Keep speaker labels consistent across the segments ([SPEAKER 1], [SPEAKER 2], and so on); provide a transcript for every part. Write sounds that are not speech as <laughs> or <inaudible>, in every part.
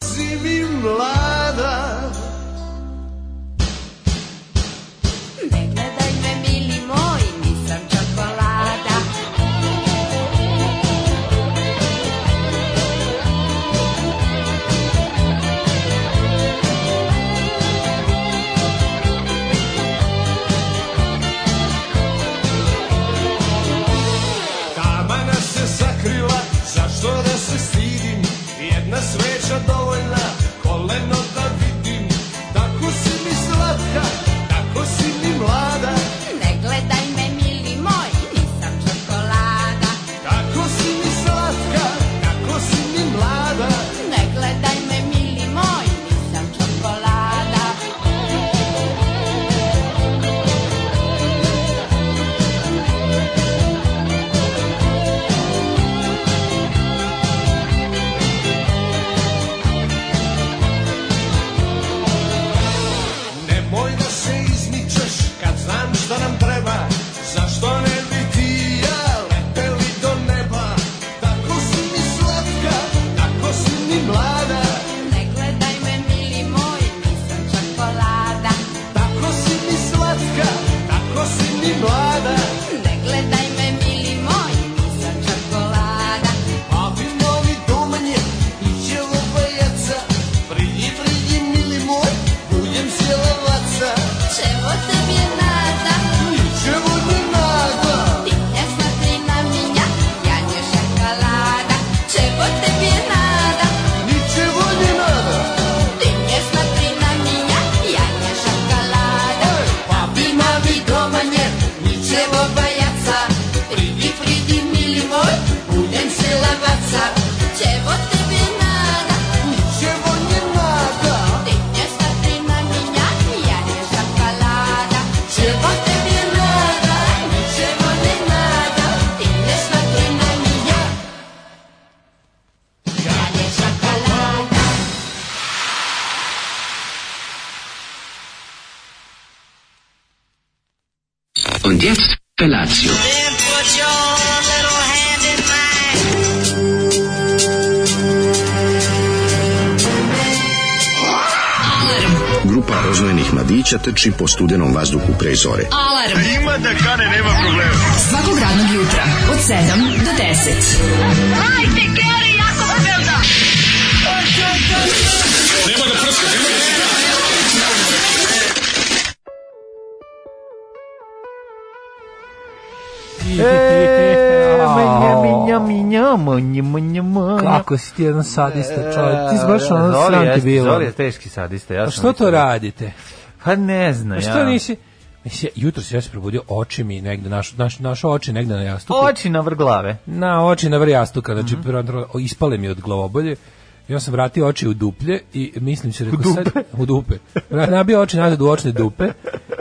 [SPEAKER 1] si mi mlada
[SPEAKER 2] Ne gledaj me, mili moj, nisam čokolada.
[SPEAKER 1] Kamana se sakrila, zašto da se stidim? Jedna sveća dovoljna, koleno da vidim. Tako si mi slatka, tako si mi mlada,
[SPEAKER 2] Ne gledaj me, mili moj, nisam čokolada.
[SPEAKER 1] tako si mi slatka, tako si mi mlada.
[SPEAKER 2] Ne gledaj me, mili moj, nisam čokolada.
[SPEAKER 1] Nemoj da se izmičeš kad znam šta nam treba. Zašto ne bi ti i ja leteli do neba? Tako si mi slatka, tako si mi mlada,
[SPEAKER 2] Ne gledaj me, mili moj, nisam čokolada.
[SPEAKER 1] tako si mi slatka, tako si mi mlada.
[SPEAKER 2] Ne gledaj me, mili moj, nisam čokolada.
[SPEAKER 1] Papi novi doma nje, iće lovajaca, pridi, pridi, mili moj, budem sjela vaca.
[SPEAKER 2] Čevo tebi je nada?
[SPEAKER 1] Ničemu ne nada,
[SPEAKER 2] Ti ne smatri na minja, ja nje šokolada. Čevo tebi je nada?
[SPEAKER 1] ničemu ne nada.
[SPEAKER 2] Ti ne smatri na minja, ja nje šokolada.
[SPEAKER 1] Ej,
[SPEAKER 2] Papi, mami, doma nje, ničevo bajaca. Pridi, pridi, mili moj, budem se lavaca. Čevo tebi je nada?
[SPEAKER 1] Ničemu ne nada,
[SPEAKER 2] Ti ne smatri na minja, ja nje šokolada. Čevo tebi je nada? Ničevo ne nada. Ti ne smatri na minja,
[SPEAKER 1] ja
[SPEAKER 2] ja nje šokolada.
[SPEAKER 3] Und jetzt Felatio.
[SPEAKER 4] Then put your little hand in mine.
[SPEAKER 5] Grupa rozvojenih mladića teči po studenom vazduhu pre zore.
[SPEAKER 6] Alarm. A ima da kane, nema problema. Svakog radnog jutra, od 7 do 10. Hajde, Keri, jako da
[SPEAKER 7] E, Minja, minja, minja, manja, manja, manja.
[SPEAKER 8] Kako si ti jedan sadista čovjek? Ti si baš ono
[SPEAKER 7] E, Zoli
[SPEAKER 8] sram ti
[SPEAKER 7] jeste-
[SPEAKER 8] bilo.
[SPEAKER 7] Zoli je teški sadista. Ja
[SPEAKER 8] A
[SPEAKER 7] sam
[SPEAKER 8] što to
[SPEAKER 7] mislio.
[SPEAKER 8] radite?
[SPEAKER 7] Pa ne znam
[SPEAKER 8] Pa
[SPEAKER 7] ja.
[SPEAKER 8] što nisi... Mislim, jutro se ja se probudio, oči mi negde, naš, naš, naš oči negde na jastuku.
[SPEAKER 7] Oči na vrh glave.
[SPEAKER 8] Na oči na vrh jastuka, znači
[SPEAKER 7] Mhm.
[SPEAKER 8] mm ispale mi od glavobolje. I onda sam vratio oči u duplje i mislim se rekao
[SPEAKER 7] U dupe?
[SPEAKER 8] sad u dupe. Vrat- Nabio oči nazad u očne dupe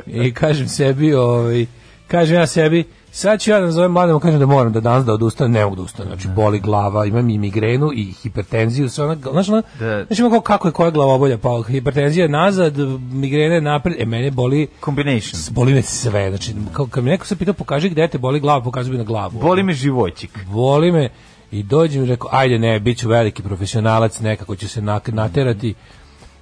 [SPEAKER 8] i kažem sebi, ovaj kažem ja sebi Sad ću ja da nazovem mladom, kažem da moram da danas da odustanem, ne mogu da odustanem, znači boli glava, imam i migrenu i hipertenziju, sve ona, znaš, ona,
[SPEAKER 7] Da.
[SPEAKER 8] znaš ima kao kako je koja glavobolja, pa hipertenzija je nazad, migrena je napred, e mene boli,
[SPEAKER 7] Combination.
[SPEAKER 8] boli me sve, znači, kao, kad mi neko se pitao pokaži gde te boli glava, pokazuje mi na glavu
[SPEAKER 7] Boli me živoćik.
[SPEAKER 8] voli me i dođem i rekao, ajde ne, bit ću veliki profesionalac, nekako ću se nak- naterati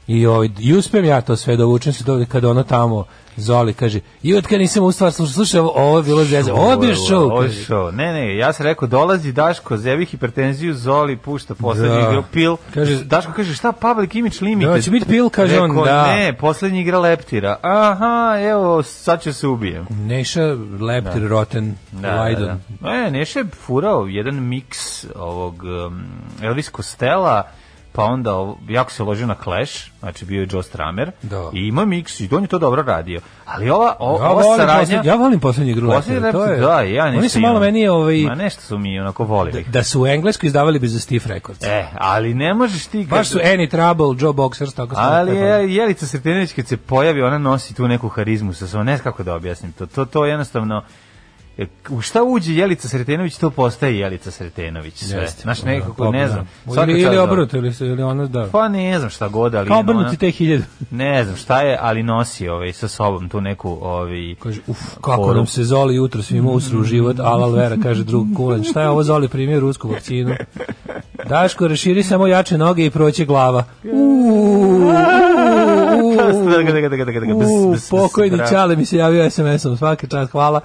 [SPEAKER 8] i, ovaj, i uspem ja to sve dovučem se dovde kada ono tamo Zoli kaže, i od kada nisam u stvar slušao, slušaj, ovo, ovo je bilo zezno, ovo je bio show,
[SPEAKER 7] Ovo je
[SPEAKER 8] kaže.
[SPEAKER 7] show. Ne, ne, ja sam rekao, dolazi Daško, zevi hipertenziju, zoli, pušta poslednju
[SPEAKER 8] Da.
[SPEAKER 7] igru, pil.
[SPEAKER 8] Kaže-
[SPEAKER 7] Daško kaže, šta Public Image Limited?
[SPEAKER 8] Da, će biti Pil, kaže
[SPEAKER 7] Rekao,
[SPEAKER 8] on, da.
[SPEAKER 7] Ne, poslednja igra Leptira. Aha, evo, sad ću se ubijem.
[SPEAKER 8] Neša, Leptir, Rotten, Lydon.
[SPEAKER 7] da. E, Neša je furao jedan miks ovog um, Elvis Costello, pa onda ovo- jako se ložio na Clash, znači bio je Joe Stramer,
[SPEAKER 8] Da.
[SPEAKER 7] i ima miks i on je to dobro radio. Ali ova, o,
[SPEAKER 8] Ja
[SPEAKER 7] ova
[SPEAKER 8] volim,
[SPEAKER 7] saradnja...
[SPEAKER 8] posled, ja volim poslednju igru
[SPEAKER 7] Posljednji
[SPEAKER 8] Leptira, to
[SPEAKER 7] rap,
[SPEAKER 8] je-
[SPEAKER 7] da, ja nešto
[SPEAKER 8] Oni su
[SPEAKER 7] imam.
[SPEAKER 8] malo meni, ovaj,
[SPEAKER 7] Ma nešto su mi onako volili.
[SPEAKER 8] da su u Englesku izdavali bi za Steve Records.
[SPEAKER 7] E, ali ne možeš ti... kad-
[SPEAKER 8] Baš su Any Trouble, Joe Boxers, tako su
[SPEAKER 7] Ali
[SPEAKER 8] tako.
[SPEAKER 7] je, Jelica Sretenović kad se pojavi, ona nosi tu neku harizmu sa sobom, ne znam kako da objasnim to. To, to jednostavno, e, u šta uđe Jelica Sretenović, to postaje Jelica Sretenović sve.
[SPEAKER 8] Jeste.
[SPEAKER 7] Znaš, nekako, ne znam.
[SPEAKER 8] Da.
[SPEAKER 7] svaka
[SPEAKER 8] Ili,
[SPEAKER 7] čast
[SPEAKER 8] ili
[SPEAKER 7] da-
[SPEAKER 8] obrnuto, ili, se- ili ono, da.
[SPEAKER 7] Pa ne znam šta god, ali...
[SPEAKER 8] Kao
[SPEAKER 7] ona-
[SPEAKER 8] obrnuti te hiljadu.
[SPEAKER 7] Ne znam šta je, ali nosi ovaj, sa sobom tu neku... Ovaj,
[SPEAKER 8] Kaže, uf, kako
[SPEAKER 7] Poru.
[SPEAKER 8] nam se Zoli jutro svima usru u život, alal vera, kaže drug kulen, šta je ovo Zoli primio rusku ovaj vakcinu? Daško, raširi samo jače noge i proće glava. Uuu, uuu, pokojni Čale mi se javio SMS-om, svaki čas, hvala.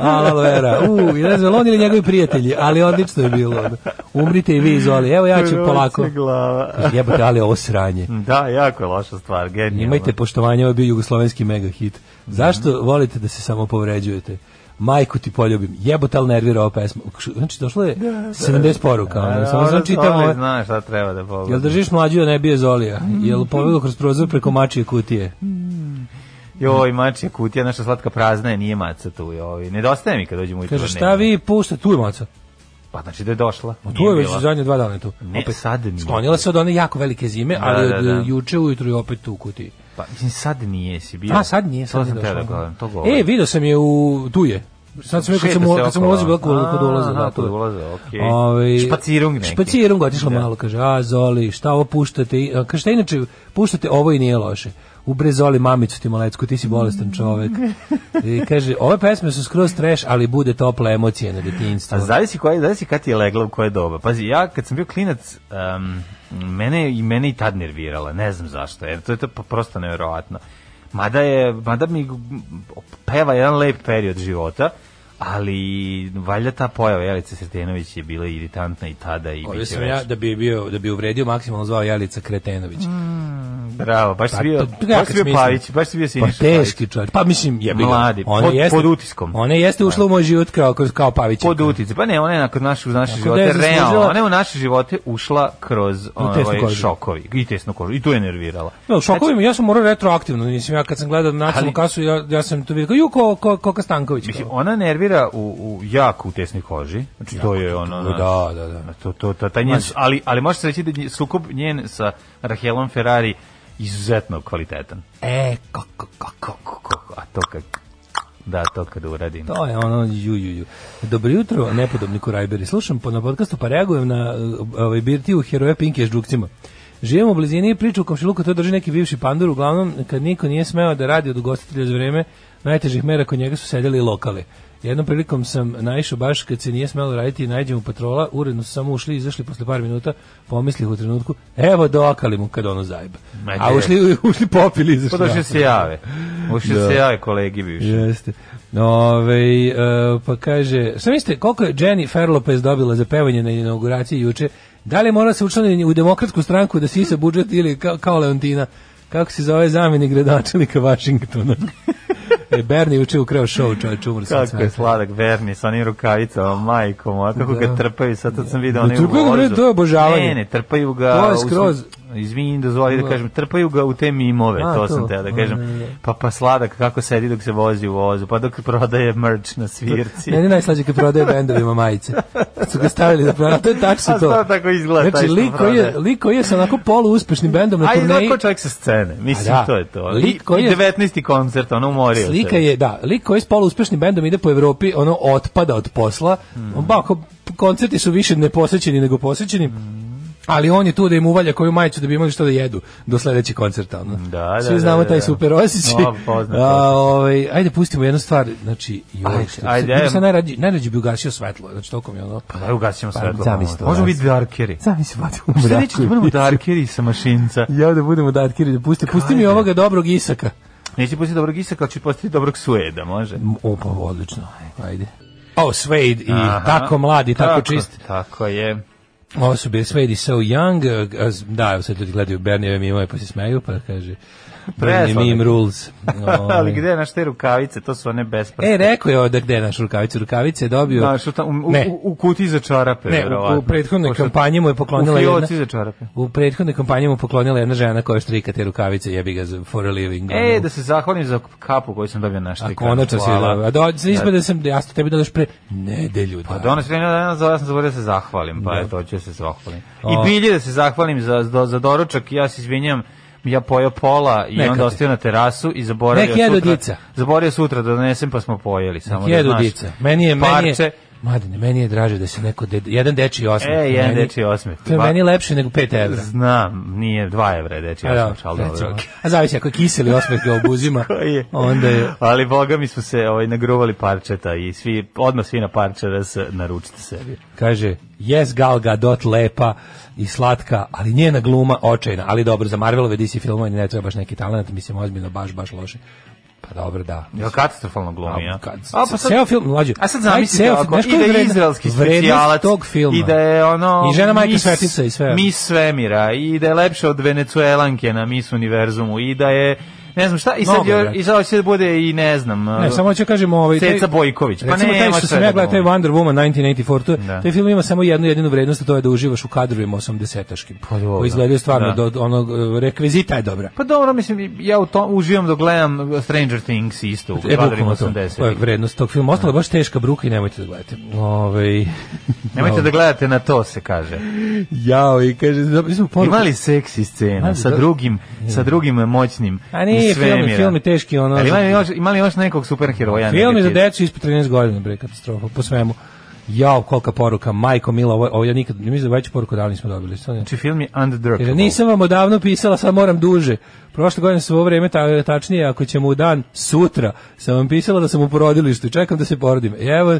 [SPEAKER 8] Alo vera. Uuu, i ne znam, on ili njegovi prijatelji, ali odlično je bilo. ono. Umrite i vi, Zoli, evo ja ću polako.
[SPEAKER 7] Glava.
[SPEAKER 8] Kaže, Jebote, ali ovo sranje.
[SPEAKER 7] Da, jako je loša stvar, genijalno.
[SPEAKER 8] Imajte poštovanje, ovo je bio jugoslovenski mega hit.
[SPEAKER 7] Mhm.
[SPEAKER 8] Zašto volite da se samo povređujete? Majku ti poljubim. Jebotal nervira ova pesma. Znači, došlo je 70 poruka. ono,
[SPEAKER 7] Da,
[SPEAKER 8] Samo
[SPEAKER 7] ono-
[SPEAKER 8] sam čitao
[SPEAKER 7] ono
[SPEAKER 8] ove.
[SPEAKER 7] Znaš šta treba da pogleda.
[SPEAKER 8] Jel držiš mlađu da ne bije Zolija?
[SPEAKER 7] Mhm.
[SPEAKER 8] Jel pobjegao kroz prozor preko mačije kutije?
[SPEAKER 7] Joj, mačija kutija, naša slatka prazna je, nije maca tu. Joj. Nedostaje mi kad dođemo ujutro.
[SPEAKER 8] Kaže,
[SPEAKER 7] ne.
[SPEAKER 8] šta vi pušta? Tu je maca.
[SPEAKER 7] Pa znači da je došla.
[SPEAKER 8] Tu je
[SPEAKER 7] Nije
[SPEAKER 8] već
[SPEAKER 7] bila.
[SPEAKER 8] zadnje dva dana tu.
[SPEAKER 7] Ne, sad nije.
[SPEAKER 8] Sklonila se od one jako velike zime,
[SPEAKER 7] Da,
[SPEAKER 8] ali
[SPEAKER 7] da,
[SPEAKER 8] od
[SPEAKER 7] da.
[SPEAKER 8] juče ujutru je opet tu u kutiji.
[SPEAKER 7] Pa, mislim, sad nije si bio.
[SPEAKER 8] A sad nije, sad
[SPEAKER 7] to
[SPEAKER 8] nije
[SPEAKER 7] sam teo da
[SPEAKER 8] došla.
[SPEAKER 7] govorim, to govorim.
[SPEAKER 8] E, video sam je u tu je. Sad sam rekao kad sam
[SPEAKER 7] Šeta se
[SPEAKER 8] kad sam
[SPEAKER 7] okolo.
[SPEAKER 8] ulazio bila kod kod ulaza,
[SPEAKER 7] A,
[SPEAKER 8] da,
[SPEAKER 7] aha,
[SPEAKER 8] tu.
[SPEAKER 7] kod ulaza, okej.
[SPEAKER 8] Ovaj
[SPEAKER 7] Špacirung neki.
[SPEAKER 8] Špacirung otišlo
[SPEAKER 7] Da.
[SPEAKER 8] malo, kaže: "A Zoli, šta ovo puštate?" I- a, Kaže šta inače puštate ovo i nije loše. U bre Zoli mamicu ti malecku, ti si bolestan čovek. I kaže, ove pesme su skroz trash, ali bude topla emocija na detinjstvu.
[SPEAKER 7] A zavisi koja, zavisi kad ti je legla u koje doba. Pazi, ja kad sam bio klinac, em, mene i mene i tad nervirala, ne znam zašto. Jer to je to po- prosto nevjerovatno. Mada je, mada mi g- peva jedan lep period života, ali valjda ta pojava Jelice Sretenović je bila iritantna i tada i
[SPEAKER 8] Ovdje
[SPEAKER 7] biće
[SPEAKER 8] sam ja
[SPEAKER 7] već.
[SPEAKER 8] da bi bio da bi uvredio maksimalno zvao Jelica Kretenović.
[SPEAKER 7] Bravo, baš si
[SPEAKER 8] Pa,
[SPEAKER 7] bio,
[SPEAKER 8] to- to ja
[SPEAKER 7] baš
[SPEAKER 8] kad
[SPEAKER 7] si bio
[SPEAKER 8] smislim.
[SPEAKER 7] Pavić, baš si bio
[SPEAKER 8] Pa
[SPEAKER 7] Siniša Pavić.
[SPEAKER 8] teški čovjek. Pa mislim, jebi ga.
[SPEAKER 7] Mladi,
[SPEAKER 8] Ona
[SPEAKER 7] pod-
[SPEAKER 8] jeste-
[SPEAKER 7] pod utiskom.
[SPEAKER 8] Ona jeste ušla u moj život kao, kao Pavić.
[SPEAKER 7] Pod utice. Pa ne, ona je nakon naše, u naše
[SPEAKER 8] Tako da
[SPEAKER 7] živote,
[SPEAKER 8] je
[SPEAKER 7] realno,
[SPEAKER 8] zaslužila-
[SPEAKER 7] ona je u naše živote ušla kroz ovaj,
[SPEAKER 8] kožu.
[SPEAKER 7] šokovi i tesnu kožu. I to je nervirala. Znači,
[SPEAKER 8] Ja, u šokovima, ja sam morao retroaktivno, nisam ja kad sam gledao nacionalnu
[SPEAKER 7] Ali-
[SPEAKER 8] kasu, ja, ja sam to vidio, kao, ju, ko, ko, Koka Stanković.
[SPEAKER 7] Mislim,
[SPEAKER 8] kao.
[SPEAKER 7] ona nervira u, u jako u tesnoj koži. Znači, to je ono... znaš,
[SPEAKER 8] da, da, da.
[SPEAKER 7] To, to, to, taj njen, ali, ali može se reći da je sukob njen sa Rahelom Ferrari izuzetno kvalitetan.
[SPEAKER 8] E, kako, kako.
[SPEAKER 7] Kako, kako, a to kad... Da, to kad uradim.
[SPEAKER 8] To je ono, ju, ju, ju. Dobro jutro, nepodobniku Rajberi. Slušam po, na podcastu, pa reagujem na uh, ovaj, birti u heroje Pinke s džukcima. Živimo u blizini priče u komšiluku, to drži neki bivši pandur, uglavnom kad niko nije smeo da radi od ugostitelja za vreme, najtežih mera kod njega su sedeli lokali. Jednom prilikom sam naišao baš kad se nije smelo raditi i nađemo patrola, uredno su samo ušli i izašli posle par minuta, pomislih u trenutku, evo dokali mu kad ono zajba.
[SPEAKER 7] Ma
[SPEAKER 8] A
[SPEAKER 7] gde?
[SPEAKER 8] ušli, <laughs> ušli popili i izašli.
[SPEAKER 7] Pa došli se jave. Ušli se jave kolegi bivši.
[SPEAKER 8] Jeste. Ove, pa kaže, šta mislite, koliko je Jenny Lopez dobila za pevanje na inauguraciji juče? Da li mora se učlaniti u demokratsku stranku da sisa budžet ili kao, kao Leontina? Kako se zove zamjenik gradonačelnika
[SPEAKER 7] <laughs>
[SPEAKER 8] Vašingtona? e, Bernie juče ukrao show, čovječ, umro sam od
[SPEAKER 7] Kako je
[SPEAKER 8] smeha.
[SPEAKER 7] sladak Verni sa onim rukavicama, majkom, a kako
[SPEAKER 8] Da.
[SPEAKER 7] ga trpaju, sad sad sam vidio
[SPEAKER 8] Da,
[SPEAKER 7] onaj
[SPEAKER 8] trpaju ga, bre, to je obožavanje.
[SPEAKER 7] Ne, ne, trpaju ga...
[SPEAKER 8] To je
[SPEAKER 7] u sm-
[SPEAKER 8] skroz-
[SPEAKER 7] Izvini, dozvoli da kažem, trpaju ga u te mimove,
[SPEAKER 8] A,
[SPEAKER 7] to,
[SPEAKER 8] to.
[SPEAKER 7] sam teo da kažem.
[SPEAKER 8] A, ne, ne.
[SPEAKER 7] Pa pa sladak kako sedi dok se vozi u vozu, pa dok prodaje merch na svirci.
[SPEAKER 8] Meni je najslađe kad prodaje bendovima majice. Kad su ga stavili da prodaje, to je tačno
[SPEAKER 7] A
[SPEAKER 8] to.
[SPEAKER 7] stvarno tako izgleda taj
[SPEAKER 8] Znači,
[SPEAKER 7] što
[SPEAKER 8] liko je,
[SPEAKER 7] prodaje.
[SPEAKER 8] liko je sa onako poluuspešnim bendom na
[SPEAKER 7] A
[SPEAKER 8] turneji.
[SPEAKER 7] i čovjek sa scene, mislim,
[SPEAKER 8] A da.
[SPEAKER 7] to je to.
[SPEAKER 8] Lik koji
[SPEAKER 7] I,
[SPEAKER 8] je-
[SPEAKER 7] i 19. koncert, ono umorio se.
[SPEAKER 8] Slika je, da, lik koji s poluuspešnim bendom ide po Evropi, ono otpada od posla. Mm. Bako, koncerti su više neposećeni nego posećeni.
[SPEAKER 7] Mm.
[SPEAKER 8] Ali on je tu da im uvalja koju majicu da bi imali što da jedu do sledećeg koncerta. Ono.
[SPEAKER 7] Da, da,
[SPEAKER 8] Svi znamo
[SPEAKER 7] da, da,
[SPEAKER 8] taj
[SPEAKER 7] da.
[SPEAKER 8] super osjećaj.
[SPEAKER 7] O, poznat
[SPEAKER 8] A, ovaj, ajde, pustimo jednu stvar. Znači, joj,
[SPEAKER 7] Ajde,
[SPEAKER 8] što,
[SPEAKER 7] ajde,
[SPEAKER 8] ajde, ajde.
[SPEAKER 7] ajde.
[SPEAKER 8] Sam najrađi, najrađi bi ugasio svetlo. Znači, toliko mi je ono...
[SPEAKER 7] Pa, evo gasimo
[SPEAKER 8] Pa,
[SPEAKER 7] svetlo.
[SPEAKER 8] zamisli to,
[SPEAKER 7] Možemo
[SPEAKER 8] da.
[SPEAKER 7] biti darkeri.
[SPEAKER 8] Zamisli, <laughs> Vladimir
[SPEAKER 7] Šta pa, nećete,
[SPEAKER 8] Mraković.
[SPEAKER 7] budemo darkeri sa mašinca.
[SPEAKER 8] Ja da budemo da Atkiri, da pusti, pusti mi ovoga dobrog Isaka.
[SPEAKER 7] Neće pustiti dobrog Isaka, ali ću pustiti dobrog Sueda, može?
[SPEAKER 8] O, pa odlično. Ajde. O, Suede i tako mladi, tako, čist.
[SPEAKER 7] Tako je.
[SPEAKER 8] Ovo su bili Suede i So Young. eh, a z- Da, evo sad ljudi gledaju Bernijeve mimove pa se smeju, pa kaže Bernie
[SPEAKER 7] Presladak.
[SPEAKER 8] meme rules.
[SPEAKER 7] <laughs> Ali
[SPEAKER 8] Ovaj.
[SPEAKER 7] gde je naš te rukavice? To su one besprste.
[SPEAKER 8] E, rekao je ovdje gde je naš rukavicu. Rukavice je dobio...
[SPEAKER 7] Znaš, u, ta- u, u,
[SPEAKER 8] Ne.
[SPEAKER 7] u- u kutiji za čarape,
[SPEAKER 8] Ne, u,
[SPEAKER 7] verovatno.
[SPEAKER 8] u prethodnoj
[SPEAKER 7] Pošto-
[SPEAKER 8] kampanji mu je poklonila
[SPEAKER 7] u
[SPEAKER 8] jedna...
[SPEAKER 7] fioci za čarape. E,
[SPEAKER 8] U prethodnoj kampanji mu je poklonila jedna žena koja štrika te rukavice, jebi ga za- for a living.
[SPEAKER 7] E,
[SPEAKER 8] ono.
[SPEAKER 7] da se zahvalim za kapu koju sam dobio na
[SPEAKER 8] A
[SPEAKER 7] štrikanu.
[SPEAKER 8] konačno si
[SPEAKER 7] Hvala.
[SPEAKER 8] dobro. A do, ispada sam, ja sam tebi dodaš pre nedelju.
[SPEAKER 7] Pa
[SPEAKER 8] dana.
[SPEAKER 7] da ono skrenuo da za ja sam zaboravio da se zahvalim, pa eto, hoću da se zahvalim.
[SPEAKER 8] O.
[SPEAKER 7] I bilje da se zahvalim za, za, za doručak, ja se izvinjam, ja pojeo pola i
[SPEAKER 8] Neka ti.
[SPEAKER 7] onda ostio na terasu i zaboravio
[SPEAKER 8] Nek jedu
[SPEAKER 7] sutra.
[SPEAKER 8] dica.
[SPEAKER 7] Zaboravio sutra da donesem pa smo pojeli. Samo
[SPEAKER 8] Jedu
[SPEAKER 7] da znaš,
[SPEAKER 8] dica. Meni je, meni je,
[SPEAKER 7] parče,
[SPEAKER 8] Mladine, meni je draže da se neko de, jedan dečiji osmeh.
[SPEAKER 7] E, jedan
[SPEAKER 8] meni-
[SPEAKER 7] dečiji osmeh. pa-
[SPEAKER 8] To je
[SPEAKER 7] Ba-
[SPEAKER 8] meni lepše nego 5 €.
[SPEAKER 7] Znam, nije 2 evra je dečija
[SPEAKER 8] da,
[SPEAKER 7] osmeh, ali dobro.
[SPEAKER 8] recimo.
[SPEAKER 7] okej. <laughs>
[SPEAKER 8] A zavisi ako je kiseli osmeh ga obuzima,
[SPEAKER 7] Koji je?
[SPEAKER 8] onda je...
[SPEAKER 7] Ali boga mi smo se ovaj, nagruvali parčeta i svi, odmah svi na parčeta se naručite sebi.
[SPEAKER 8] Kaže, jes Gal Gadot lepa i slatka, ali njena gluma očajna. Ali dobro, za Marvelove DC filmove ne treba baš neki talent, mislim ozbiljno baš, baš loše. Pa dobro, da.
[SPEAKER 7] Ja katastrofalno glumi, ja. pa
[SPEAKER 8] kad, ceo film, mlađe.
[SPEAKER 7] A sad
[SPEAKER 8] Aj,
[SPEAKER 7] zamislite
[SPEAKER 8] ceo
[SPEAKER 7] ako
[SPEAKER 8] film, znaš
[SPEAKER 7] i
[SPEAKER 8] koja
[SPEAKER 7] da
[SPEAKER 8] je
[SPEAKER 7] je
[SPEAKER 8] vrednost-
[SPEAKER 7] izraelski
[SPEAKER 8] vrednost
[SPEAKER 7] specijalac
[SPEAKER 8] tog filma?
[SPEAKER 7] i da je ono
[SPEAKER 8] I žena majka
[SPEAKER 7] mis-
[SPEAKER 8] svetica i sve.
[SPEAKER 7] Mis svemira i da je lepše od Venecuelanke na Mis univerzumu i da je ne znam šta i sad
[SPEAKER 8] Mnogo,
[SPEAKER 7] još-
[SPEAKER 8] brate.
[SPEAKER 7] i sad hoće da bude i ne znam. uh,
[SPEAKER 8] Ne, samo ću kažem ovaj taj-
[SPEAKER 7] Ceca Bojković. Pa
[SPEAKER 8] recimo,
[SPEAKER 7] ne,
[SPEAKER 8] taj
[SPEAKER 7] ima
[SPEAKER 8] što
[SPEAKER 7] sve
[SPEAKER 8] sam ja
[SPEAKER 7] da
[SPEAKER 8] gledao taj
[SPEAKER 7] glumi.
[SPEAKER 8] Wonder Woman 1984, to,
[SPEAKER 7] Da.
[SPEAKER 8] taj film ima samo jednu jedinu vrednost, a to je da uživaš u kadrovima 80-taškim.
[SPEAKER 7] Pa dobro.
[SPEAKER 8] koji izgledaju stvarno
[SPEAKER 7] Da.
[SPEAKER 8] do do onog e, rekvizita je dobra.
[SPEAKER 7] Pa dobro, mislim, ja u tom uživam dok gledam Stranger Things isto u
[SPEAKER 8] E,
[SPEAKER 7] kvadrima
[SPEAKER 8] bukvalno to. pa, To je
[SPEAKER 7] 80.
[SPEAKER 8] vrednost tog filma. Ostala je baš teška bruka i nemojte da gledate. Ovaj,
[SPEAKER 7] <laughs>
[SPEAKER 8] Ove,
[SPEAKER 7] Nemojte da gledate na to, se kaže.
[SPEAKER 8] Jao, i kaže, dobili smo poruku.
[SPEAKER 7] Imali seksi scena
[SPEAKER 8] Ali
[SPEAKER 7] sa
[SPEAKER 8] da-
[SPEAKER 7] drugim, sa drugim moćnim
[SPEAKER 8] A nije,
[SPEAKER 7] iz
[SPEAKER 8] film je-
[SPEAKER 7] svemira.
[SPEAKER 8] film je teški, ono-
[SPEAKER 7] Ali imali još, imali još nekog superheroja?
[SPEAKER 8] Film je za
[SPEAKER 7] negativnog?
[SPEAKER 8] decu ispod 13 godina, bre, katastrofa, po svemu. Jao, kolika poruka, majko mila, ovo, ovo ja nikad, ne mislim da veću poruku davno nismo dobili. Sad ne-
[SPEAKER 7] Znači, film je
[SPEAKER 8] Jer
[SPEAKER 7] Undrukable.
[SPEAKER 8] nisam vam odavno pisala, sad moram duže. Prošle godine sam u ovo vreme, ta, tačnije, ako ćemo u dan, sutra, sam vam pisala da sam u porodilištu i čekam da se porodim. Evo,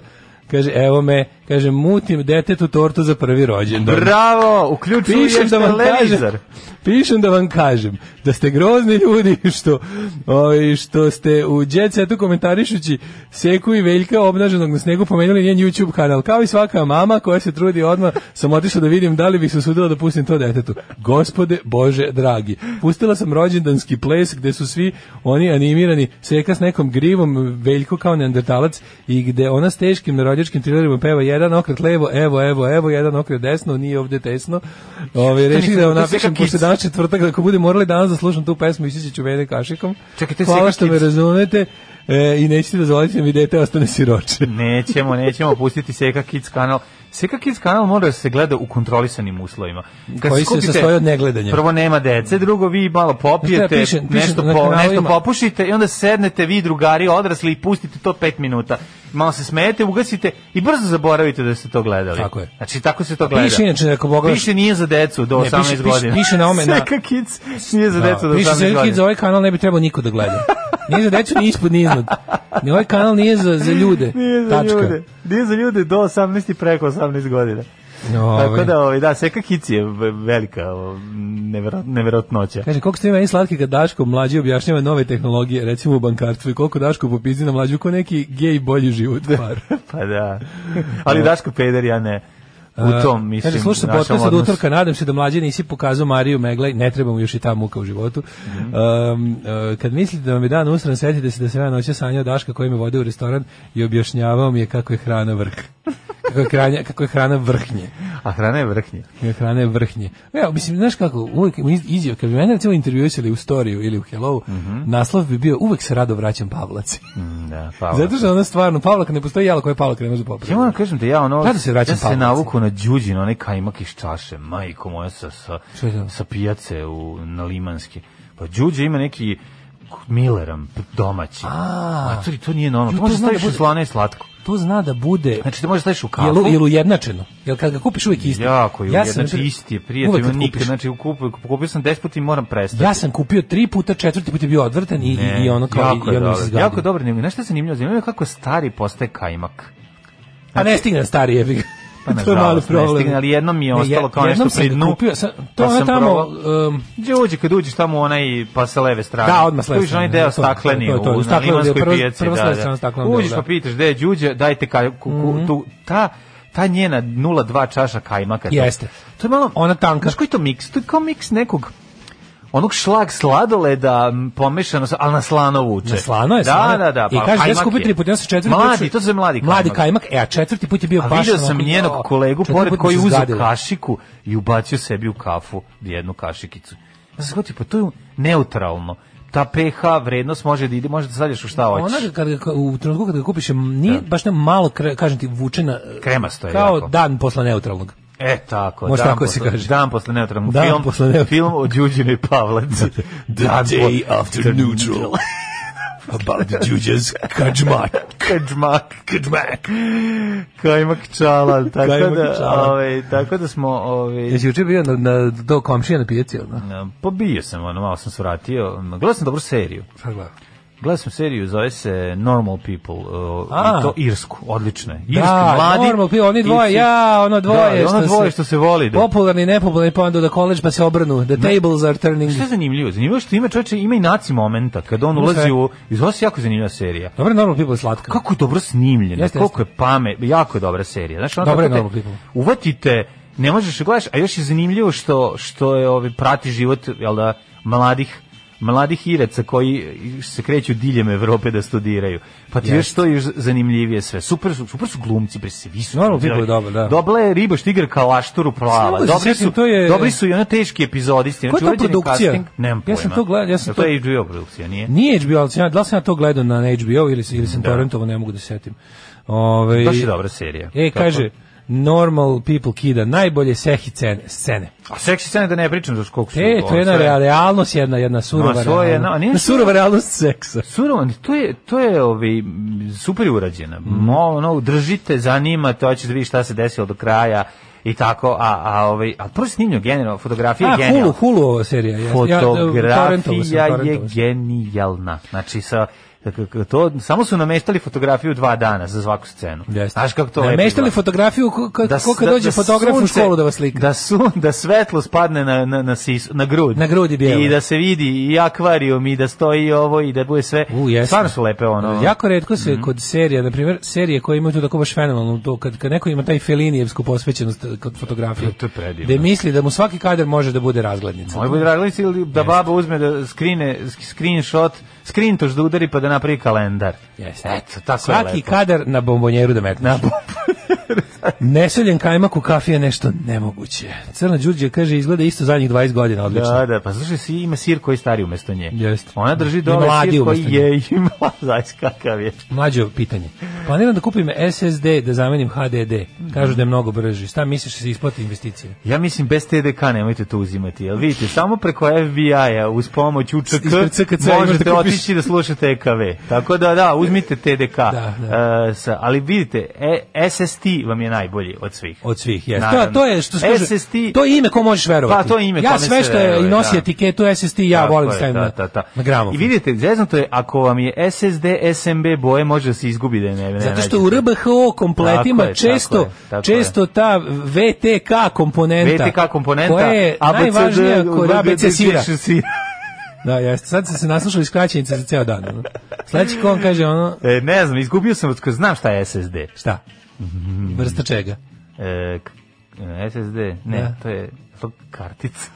[SPEAKER 8] kaže, evo me, kaže, mutim detetu tortu za prvi rođendan.
[SPEAKER 7] Bravo, uključuješ
[SPEAKER 8] Pišem da vam
[SPEAKER 7] televizor.
[SPEAKER 8] kažem, Dakle, pišem da vam kažem da ste grozni ljudi <laughs> što ovaj što ste u Jet Setu komentarišući Seku i Veljka obnaženog na snegu pomenuli njen YouTube kanal. Kao i svaka mama koja se trudi odmah, sam otišla da vidim da li bih se usudila da pustim to detetu. Gospode Bože dragi, pustila sam rođendanski ples gde su svi oni animirani Seka s nekom grivom, Veljko kao neandertalac i gde ona s teškim narodjačkim trilerima peva jedan okret levo, evo, evo, evo, jedan okret desno, nije ovde tesno. Ovaj, reši
[SPEAKER 7] nisam-
[SPEAKER 8] da
[SPEAKER 7] to
[SPEAKER 8] vam
[SPEAKER 7] je
[SPEAKER 8] napišem
[SPEAKER 7] Seka
[SPEAKER 8] pošto
[SPEAKER 7] Kids.
[SPEAKER 8] danas četvrtak, ako budem morali danas da slušam tu pesmu, isići ću mene kašikom.
[SPEAKER 7] Čekaj, to je
[SPEAKER 8] Hvala
[SPEAKER 7] Seka
[SPEAKER 8] što me
[SPEAKER 7] Kids.
[SPEAKER 8] razumete e, i nećete dozvoliti da mi dete ostane siroče.
[SPEAKER 7] <laughs> Nećemo, nećemo pustiti Seka Kids kanal. Seka Kids kanal mora da se gleda u kontrolisanim uslovima.
[SPEAKER 8] Koji se
[SPEAKER 7] skupite-
[SPEAKER 8] sastoji od negledanja.
[SPEAKER 7] Prvo nema dece, drugo vi malo popijete,
[SPEAKER 8] Znaš šta, pišem- pišem
[SPEAKER 7] nešto,
[SPEAKER 8] na
[SPEAKER 7] po, nešto
[SPEAKER 8] kanalima-
[SPEAKER 7] popušite i onda sednete vi drugari odrasli i pustite to pet minuta. Malo se smejete, ugasite i brzo zaboravite da ste to gledali.
[SPEAKER 8] Tako je.
[SPEAKER 7] Znači, tako se to gleda.
[SPEAKER 8] Piše inače, ako pogledaš-
[SPEAKER 7] Piše nije za decu do
[SPEAKER 8] Ne, piše-
[SPEAKER 7] 18
[SPEAKER 8] piše-
[SPEAKER 7] godina.
[SPEAKER 8] piše
[SPEAKER 7] <laughs>
[SPEAKER 8] na ome, na-
[SPEAKER 7] Seka Kids nije za decu do 18
[SPEAKER 8] Više
[SPEAKER 7] godina.
[SPEAKER 8] se kid za ovaj kanal ne bi trebao niko da gleda. Nije za decu, ni ispod, ni iznad. Ni ovaj kanal nije za, za ljude.
[SPEAKER 7] Nije za
[SPEAKER 8] Tačka.
[SPEAKER 7] ljude. Nije za ljude do 18 i preko 18 godina.
[SPEAKER 8] Ovaj.
[SPEAKER 7] Tako da, ovaj, da, seka kici je v- velika o, nevero- neverotnoća.
[SPEAKER 8] Kaže, koliko ste meni slatki kad Daško mlađi objašnjava nove tehnologije, recimo u bankarstvu, i koliko Daško popizdi na mlađu ko neki gej bolji život par.
[SPEAKER 7] <laughs> Pa da. Ali Daško Peder, ja ne. U tom, mislim,
[SPEAKER 8] E, Kaže, slušam
[SPEAKER 7] našem
[SPEAKER 8] podcast od
[SPEAKER 7] odnosu.
[SPEAKER 8] utorka, nadam se da mlađe nisi pokazao Mariju Meglaj, ne treba mu još i ta muka u životu.
[SPEAKER 7] Mhm.
[SPEAKER 8] Um, e, kad mislite da vam je dan usran, setite se da sam ja noća sanjao Daška koji me vode u restoran i objašnjavao mi je kako je hrana vrh. Kako je, hrana, kako je hrana vrhnje.
[SPEAKER 7] A hrana je vrhnje.
[SPEAKER 8] Kako je hrana vrhnje. Ja, mislim, znaš kako, uvijek izjav, kad bi mene recimo intervjuisali u storiju ili u hello,
[SPEAKER 7] Mhm.
[SPEAKER 8] naslov bi bio uvek se rado vraćam Pavlaci.
[SPEAKER 7] Mm, Da, pa.
[SPEAKER 8] Zato što ona stvarno, Pavlaka ne postoji jelo koje Pavlaka ne može popraviti.
[SPEAKER 7] Ja moram kažem da ja ono
[SPEAKER 8] Rado se vraćam
[SPEAKER 7] ja se
[SPEAKER 8] Pavlaci.
[SPEAKER 7] navuku na đuđin, onaj kajmak iz čaše, majko moja sa sa,
[SPEAKER 8] Što je to?
[SPEAKER 7] sa pijace u na Limanski. Pa đuđe ima neki Milleram domaći.
[SPEAKER 8] A.
[SPEAKER 7] to, to nije normalno.
[SPEAKER 8] Ju,
[SPEAKER 7] To može
[SPEAKER 8] to znam
[SPEAKER 7] staviš
[SPEAKER 8] da
[SPEAKER 7] u
[SPEAKER 8] bude-
[SPEAKER 7] slano i slatko.
[SPEAKER 8] To zna da bude
[SPEAKER 7] Znači, to možeš staviš u kafu.
[SPEAKER 8] Jel, jel ujednačeno? Jel kad ga kupiš uvijek isto?
[SPEAKER 7] Jako je,
[SPEAKER 8] Ja
[SPEAKER 7] ja
[SPEAKER 8] sam-
[SPEAKER 7] znači isti je prijatelj,
[SPEAKER 8] Uvek
[SPEAKER 7] ima
[SPEAKER 8] kad
[SPEAKER 7] nikad,
[SPEAKER 8] kupiš.
[SPEAKER 7] znači kupio, kupio sam 10 puta i moram prestati.
[SPEAKER 8] Ja sam kupio tri puta, četvrti put je bio odvrtan i, i- i ono kao
[SPEAKER 7] jako
[SPEAKER 8] i, i ono
[SPEAKER 7] je
[SPEAKER 8] mi
[SPEAKER 7] dobro.
[SPEAKER 8] se zgadio.
[SPEAKER 7] Jako je dobro, nego, znaš šta je zanimljivo, zanimljivo je kako stari postaje kajmak.
[SPEAKER 8] A ne stigne stari jebi ga.
[SPEAKER 7] Pa,
[SPEAKER 8] <laughs> to je
[SPEAKER 7] nažalost,
[SPEAKER 8] malo
[SPEAKER 7] ne
[SPEAKER 8] problem.
[SPEAKER 7] stigne, ali jednom mi je
[SPEAKER 8] Ne,
[SPEAKER 7] ostalo kao
[SPEAKER 8] jednom
[SPEAKER 7] nešto
[SPEAKER 8] sam
[SPEAKER 7] pri
[SPEAKER 8] ga
[SPEAKER 7] dnu,
[SPEAKER 8] Kupio, sam, to
[SPEAKER 7] pa
[SPEAKER 8] ono
[SPEAKER 7] sam
[SPEAKER 8] tamo...
[SPEAKER 7] probao.
[SPEAKER 8] Um,
[SPEAKER 7] Gdje uđe, kad uđeš tamo u onaj, pa sa leve strane.
[SPEAKER 8] Da, odmah s leve
[SPEAKER 7] Uđeš
[SPEAKER 8] strane,
[SPEAKER 7] onaj deo
[SPEAKER 8] da, to je,
[SPEAKER 7] stakleni
[SPEAKER 8] to je, to je,
[SPEAKER 7] u, na
[SPEAKER 8] stakleni deo,
[SPEAKER 7] limanskoj
[SPEAKER 8] prvo-
[SPEAKER 7] pijaci.
[SPEAKER 8] prvo s
[SPEAKER 7] da,
[SPEAKER 8] leve
[SPEAKER 7] da.
[SPEAKER 8] strane staklenog
[SPEAKER 7] Uđeš
[SPEAKER 8] dela,
[SPEAKER 7] pa
[SPEAKER 8] da. Mhm.
[SPEAKER 7] pitaš gde je Đuđe, dajte kaj, ku, ku, tu, ta, ta njena 0,2 čaša kajmaka. to-
[SPEAKER 8] Jeste.
[SPEAKER 7] To je malo,
[SPEAKER 8] Ona tanka.
[SPEAKER 7] Znaš koji je to miks? To je kao miks nekog onog šlag sladoleda m, pomešano sa al na slano vuče.
[SPEAKER 8] na slano je
[SPEAKER 7] da,
[SPEAKER 8] slano.
[SPEAKER 7] Da, da,
[SPEAKER 8] I
[SPEAKER 7] pa
[SPEAKER 8] kaže da
[SPEAKER 7] kajmak
[SPEAKER 8] se kupi
[SPEAKER 7] je.
[SPEAKER 8] tri puta, ja sam četvrti put
[SPEAKER 7] Mladi,
[SPEAKER 8] su-
[SPEAKER 7] to se mladi kajmak.
[SPEAKER 8] Mladi kajmak, e, a četvrti put je bio
[SPEAKER 7] A
[SPEAKER 8] baš...
[SPEAKER 7] video Pa sam
[SPEAKER 8] onako,
[SPEAKER 7] njenog
[SPEAKER 8] jao,
[SPEAKER 7] kolegu
[SPEAKER 8] četvrti
[SPEAKER 7] pored
[SPEAKER 8] put mi
[SPEAKER 7] koji
[SPEAKER 8] se
[SPEAKER 7] je uzeo
[SPEAKER 8] zgadilo.
[SPEAKER 7] kašiku i ubacio sebi u kafu jednu kašikicu. Ja sam shvatio, pa to je neutralno. Ta pH vrednost može da ide, može da sadješ u šta hoćeš.
[SPEAKER 8] Ona kad ga, u trenutku kad ga kupiš, je nije baš ne malo, kre- kažem ti, vučena...
[SPEAKER 7] Kremasto je
[SPEAKER 8] Kao
[SPEAKER 7] jako.
[SPEAKER 8] dan posla neutralnog.
[SPEAKER 7] E, tako.
[SPEAKER 8] Može
[SPEAKER 7] dan
[SPEAKER 8] tako se
[SPEAKER 7] posle-
[SPEAKER 8] kaže.
[SPEAKER 7] Dan posle neutralnog
[SPEAKER 8] Dan
[SPEAKER 7] film,
[SPEAKER 8] posle neutralnog.
[SPEAKER 7] <laughs> film o Đuđinoj Pavlaci.
[SPEAKER 8] The day after neutral. about the Đuđas kađmak.
[SPEAKER 7] Kađmak.
[SPEAKER 8] Kađmak.
[SPEAKER 7] Kajmak
[SPEAKER 8] <laughs>
[SPEAKER 7] čala, tako
[SPEAKER 8] Kajmak
[SPEAKER 7] da,
[SPEAKER 8] čala.
[SPEAKER 7] ovaj, tako da smo, ovaj,
[SPEAKER 8] <laughs> Jesi juče bio na, na do komšija na pijaci, ili na?
[SPEAKER 7] pobio sam, ono, malo sam se vratio. Gledao sam dobru seriju.
[SPEAKER 8] Šta gledam?
[SPEAKER 7] Gledao sam seriju, zove se Normal People, uh,
[SPEAKER 8] A.
[SPEAKER 7] i to Irsku, odlično je. Irski,
[SPEAKER 8] Da,
[SPEAKER 7] mladi,
[SPEAKER 8] normal, pio, oni dvoje,
[SPEAKER 7] Irci-
[SPEAKER 8] ja, ono dvoje,
[SPEAKER 7] da, ono dvoje što se voli. Da.
[SPEAKER 8] Popularni, nepopularni, pa onda do college, pa se obrnu. The tables are turning.
[SPEAKER 7] Šta je zanimljivo? Zanimljivo je što ima čoveče, ima i naci momenta, kada on
[SPEAKER 8] Ima
[SPEAKER 7] ulazi
[SPEAKER 8] sve.
[SPEAKER 7] u... Iz ovo se jako zanimljiva serija.
[SPEAKER 8] Dobro, normal people je slatka.
[SPEAKER 7] Kako je dobro snimljena,
[SPEAKER 8] Jeste,
[SPEAKER 7] koliko je pamet, jako je dobra serija. Znaš, ono
[SPEAKER 8] Dobra je
[SPEAKER 7] kako te
[SPEAKER 8] Normal People.
[SPEAKER 7] Uvatite, ne možeš da gledaš, a još je zanimljivo što, što je, ovaj, prati život jel da, mladih mladih Iraca koji se kreću diljem Evrope da studiraju. Pa ti još to je još zanimljivije sve. Super su, super su glumci, bre, svi su.
[SPEAKER 8] Normal People je dobar, da.
[SPEAKER 7] Dobla je riba štigar kao ašturu prava.
[SPEAKER 8] Samo da se
[SPEAKER 7] Dobri su,
[SPEAKER 8] sjetim, to je-
[SPEAKER 7] dobri su i ono teški epizodisti.
[SPEAKER 8] Koja je to
[SPEAKER 7] urađen
[SPEAKER 8] produkcija?
[SPEAKER 7] casting- Nemam pojma.
[SPEAKER 8] Ja sam to gleda- ja sam
[SPEAKER 7] Jel to...
[SPEAKER 8] to-
[SPEAKER 7] je HBO produkcija, nije?
[SPEAKER 8] Nije HBO, ali sam ja, da li sam ja to gledao na HBO ili, ili sam da. torrentovo, ne mogu da se setim. Ove,
[SPEAKER 7] Baš je dobra serija.
[SPEAKER 8] E,
[SPEAKER 7] Kako?
[SPEAKER 8] kaže, normal people kida, najbolje sehi scene, scene.
[SPEAKER 7] A seksi scene da ne pričam za koliko su... ono
[SPEAKER 8] E, to je jedna
[SPEAKER 7] sve-
[SPEAKER 8] real- realnost, jedna, jedna surova
[SPEAKER 7] Ma, svoje,
[SPEAKER 8] realnost.
[SPEAKER 7] no, nije-
[SPEAKER 8] surova realnost seksa.
[SPEAKER 7] Surovan, to je, to je ovaj, m, super
[SPEAKER 8] Mm.
[SPEAKER 7] urađena. Mo, ono, držite, zanima, to ćete vidjeti šta se desilo do kraja i tako, a, a, ovaj, a prvo snimljeno generalno, fotografija
[SPEAKER 8] A,
[SPEAKER 7] je
[SPEAKER 8] Hulu,
[SPEAKER 7] genijalna.
[SPEAKER 8] Hulu ova serija. jeste. Ja, torrentovo sam,
[SPEAKER 7] Fotografija je
[SPEAKER 8] torrentovo sam.
[SPEAKER 7] genijalna. Znači, sa, k- k- to, samo su nameštali fotografiju dva dana za svaku scenu.
[SPEAKER 8] Jeste.
[SPEAKER 7] Znaš kako to lepo
[SPEAKER 8] Nameštali
[SPEAKER 7] izgleda?
[SPEAKER 8] fotografiju ko, ko, Pa ko kad dođe fotograf u
[SPEAKER 7] sunce-
[SPEAKER 8] školu da vas slika.
[SPEAKER 7] Da, su, da svetlo spadne na, na, na, sis, na grud.
[SPEAKER 8] Na grudi bijelo.
[SPEAKER 7] I da se vidi i akvarijum i da stoji ovo i da bude sve.
[SPEAKER 8] U, jeste.
[SPEAKER 7] Stvarno su lepe ono.
[SPEAKER 8] Jako redko se kod serija, na primjer, serije koje imaju tu tako baš fenomenalno, to kad, kad neko ima taj felinijevsku posvećenost eh, kod fotografije.
[SPEAKER 7] To- to je predivno.
[SPEAKER 8] Da misli da mu svaki kadar može da bude razglednica.
[SPEAKER 7] Moj bude raglici ili da baba uzme da skrine, sk- screenshot, screentoš da udari pa da napravi kalendar.
[SPEAKER 8] Jeste.
[SPEAKER 7] Eto, tako je
[SPEAKER 8] Svaki
[SPEAKER 7] lepo.
[SPEAKER 8] kadar na bombonjeru da metneš. Na Nesoljen kajmak u kafi je nešto nemoguće. Crna Đurđe kaže, izgleda isto zadnjih 20 godina, odlično.
[SPEAKER 7] Da, da, pa slušaj, si ima sir koji je stari umesto nje.
[SPEAKER 8] Jeste.
[SPEAKER 7] Ona drži
[SPEAKER 8] I
[SPEAKER 7] dole
[SPEAKER 8] mladi
[SPEAKER 7] sir koji
[SPEAKER 8] umesto nje.
[SPEAKER 7] <laughs> je imala, znaš kakav je.
[SPEAKER 8] Mlađo pitanje. Planiram da kupim SSD da zamenim HDD. Kažu da je mnogo brži. Šta misliš da se isplati investicija?
[SPEAKER 7] Ja mislim bez TDK nemojte to uzimati. Jel vidite, samo preko FBI-a uz pomoć UČK
[SPEAKER 8] Ispred CKC možeš
[SPEAKER 7] možete
[SPEAKER 8] da kupiš.
[SPEAKER 7] otići da slušate EKV. Tako da da, uzmite TDK.
[SPEAKER 8] Da, da.
[SPEAKER 7] E, sa- ali vidite, e, SST vam je najbolji od svih.
[SPEAKER 8] Od svih, jeste. To,
[SPEAKER 7] Naravno.
[SPEAKER 8] to je što se kaže,
[SPEAKER 7] SST
[SPEAKER 8] to je ime ko možeš verovati.
[SPEAKER 7] Pa, to je ime
[SPEAKER 8] Ja
[SPEAKER 7] kome
[SPEAKER 8] sve
[SPEAKER 7] se
[SPEAKER 8] što je i
[SPEAKER 7] veruje,
[SPEAKER 8] nosi
[SPEAKER 7] da.
[SPEAKER 8] etiketu SST ja
[SPEAKER 7] Tako
[SPEAKER 8] volim
[SPEAKER 7] je,
[SPEAKER 8] stavim
[SPEAKER 7] da,
[SPEAKER 8] na,
[SPEAKER 7] da, da.
[SPEAKER 8] na gramofon.
[SPEAKER 7] I vidite, zeznuto je, ako vam je SSD, SMB boje, može da se izgubi da je ne, ne
[SPEAKER 8] Zato što
[SPEAKER 7] nađete.
[SPEAKER 8] u RBHO kompletima
[SPEAKER 7] Tako je,
[SPEAKER 8] često
[SPEAKER 7] tako je, tako
[SPEAKER 8] često ta VTK komponenta
[SPEAKER 7] VTK komponenta,
[SPEAKER 8] koja je
[SPEAKER 7] ABCD,
[SPEAKER 8] najvažnija kod ABC sira.
[SPEAKER 7] piše sira.
[SPEAKER 8] Da, jeste. Sad sam se naslušao iskraćenica za ceo dan. ono. Sledeći kon kaže ono,
[SPEAKER 7] E, ne znam, izgubio sam, od- znam šta je SSD.
[SPEAKER 8] šta? Vrsta čega?
[SPEAKER 7] E, k- e, SSD, ne,
[SPEAKER 8] Da.
[SPEAKER 7] to je to kartica.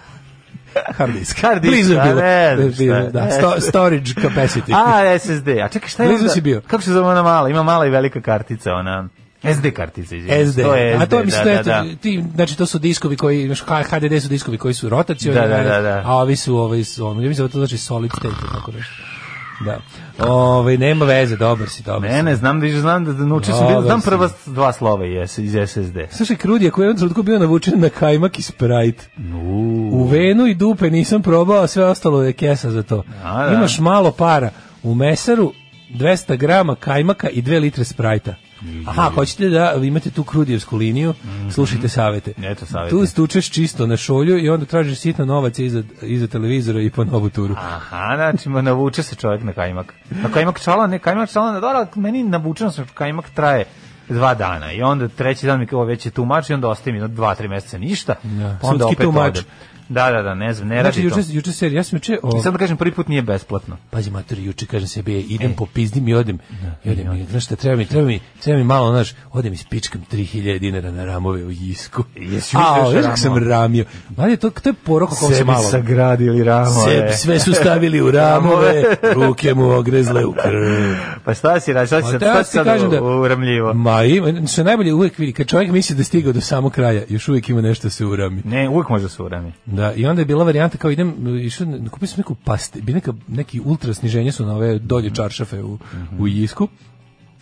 [SPEAKER 8] Hard disk.
[SPEAKER 7] Hard disk,
[SPEAKER 8] Blizu je
[SPEAKER 7] a
[SPEAKER 8] bilo.
[SPEAKER 7] ne znam šta
[SPEAKER 8] Bilo,
[SPEAKER 7] je.
[SPEAKER 8] da, sto, storage capacity.
[SPEAKER 7] <laughs> A, SSD, a čekaj, šta je
[SPEAKER 8] Blizu
[SPEAKER 7] onda-
[SPEAKER 8] si bio.
[SPEAKER 7] Kako se zove ona mala? Ima mala i velika kartica, ona... SD kartica, izvijem.
[SPEAKER 8] SD.
[SPEAKER 7] To je SD,
[SPEAKER 8] A to mislim
[SPEAKER 7] da,
[SPEAKER 8] da,
[SPEAKER 7] da, da.
[SPEAKER 8] ti znači to su diskovi koji imaš H- HDD su diskovi koji su rotacioni,
[SPEAKER 7] Da, da, da, da.
[SPEAKER 8] a ovi su ovi su ono, ja mislim da to znači solid state ili tako nešto. Da. Ovaj nema veze, dobar si, dobar
[SPEAKER 7] Ne,
[SPEAKER 8] si.
[SPEAKER 7] ne, znam da znam da, da naučio sam,
[SPEAKER 8] Dobar
[SPEAKER 7] da, znam
[SPEAKER 8] si.
[SPEAKER 7] prva dva slova iz, iz SSD.
[SPEAKER 8] Slušaj, Krudija koji je u jednom trenutku bio navučen na kajmak i sprajt. U venu i dupe nisam probao, a sve ostalo je kesa za to.
[SPEAKER 7] A, da.
[SPEAKER 8] Imaš malo para. U mesaru 200 grama kajmaka i 2 litre sprajta. Aha, hoćete da imate tu krudijevsku liniju, slušajte savete.
[SPEAKER 7] Mhm. Eto, savete.
[SPEAKER 8] Tu stučeš čisto na šolju i onda tražiš sitno novaca iza, iza televizora i po novu turu.
[SPEAKER 7] Aha, znači ma navuče se čovjek na kajmak. Na kajmak čala, ne, kajmak čala, dobro, ali meni navučeno sam, kajmak traje dva dana i onda treći dan mi kao već je tumač i onda ostaje mi jedno dva, tri meseca ništa,
[SPEAKER 8] Da,
[SPEAKER 7] pa onda
[SPEAKER 8] sudski
[SPEAKER 7] opet
[SPEAKER 8] tumač.
[SPEAKER 7] odem. Da, da, da, ne znam, ne
[SPEAKER 8] Znači,
[SPEAKER 7] radi
[SPEAKER 8] juče,
[SPEAKER 7] to.
[SPEAKER 8] juče serija, ja sam juče... o-
[SPEAKER 7] I sad da kažem, prvi put nije besplatno.
[SPEAKER 8] pazi mater juče kažem sebi ej,
[SPEAKER 7] E.
[SPEAKER 8] idem po pizdim i odem i odem i znaš šta treba mi treba mi treba mi malo znaš odem i spičkam 3000 dinara na ramove u Jisku
[SPEAKER 7] Jesi
[SPEAKER 8] a
[SPEAKER 7] uzeo
[SPEAKER 8] znaš kako
[SPEAKER 7] ramove?
[SPEAKER 8] sam ramio mali to to je poruka kako se malo
[SPEAKER 7] sagradili ramove.
[SPEAKER 8] Sebi sve su stavili
[SPEAKER 7] <laughs>
[SPEAKER 8] u ramove ruke mu ogrezle u krv
[SPEAKER 7] Pa šta si radi, šta si
[SPEAKER 8] Pa
[SPEAKER 7] sad,
[SPEAKER 8] da,
[SPEAKER 7] šta
[SPEAKER 8] ti
[SPEAKER 7] si sad
[SPEAKER 8] kažem da-
[SPEAKER 7] uramljivo?
[SPEAKER 8] ma ima što je najbolje uvek vidi kad čovjek misli da je stigao do samog kraja još uvijek ima nešto da se urami
[SPEAKER 7] Ne, uvijek može da se urami.
[SPEAKER 8] Da, i onda je bila varijanta kao idem, išao, na- kupio sam
[SPEAKER 7] Mhm.
[SPEAKER 8] neku paste, bi neka, neki ultra sniženje su na ove dolje čaršafe u, u Jisku,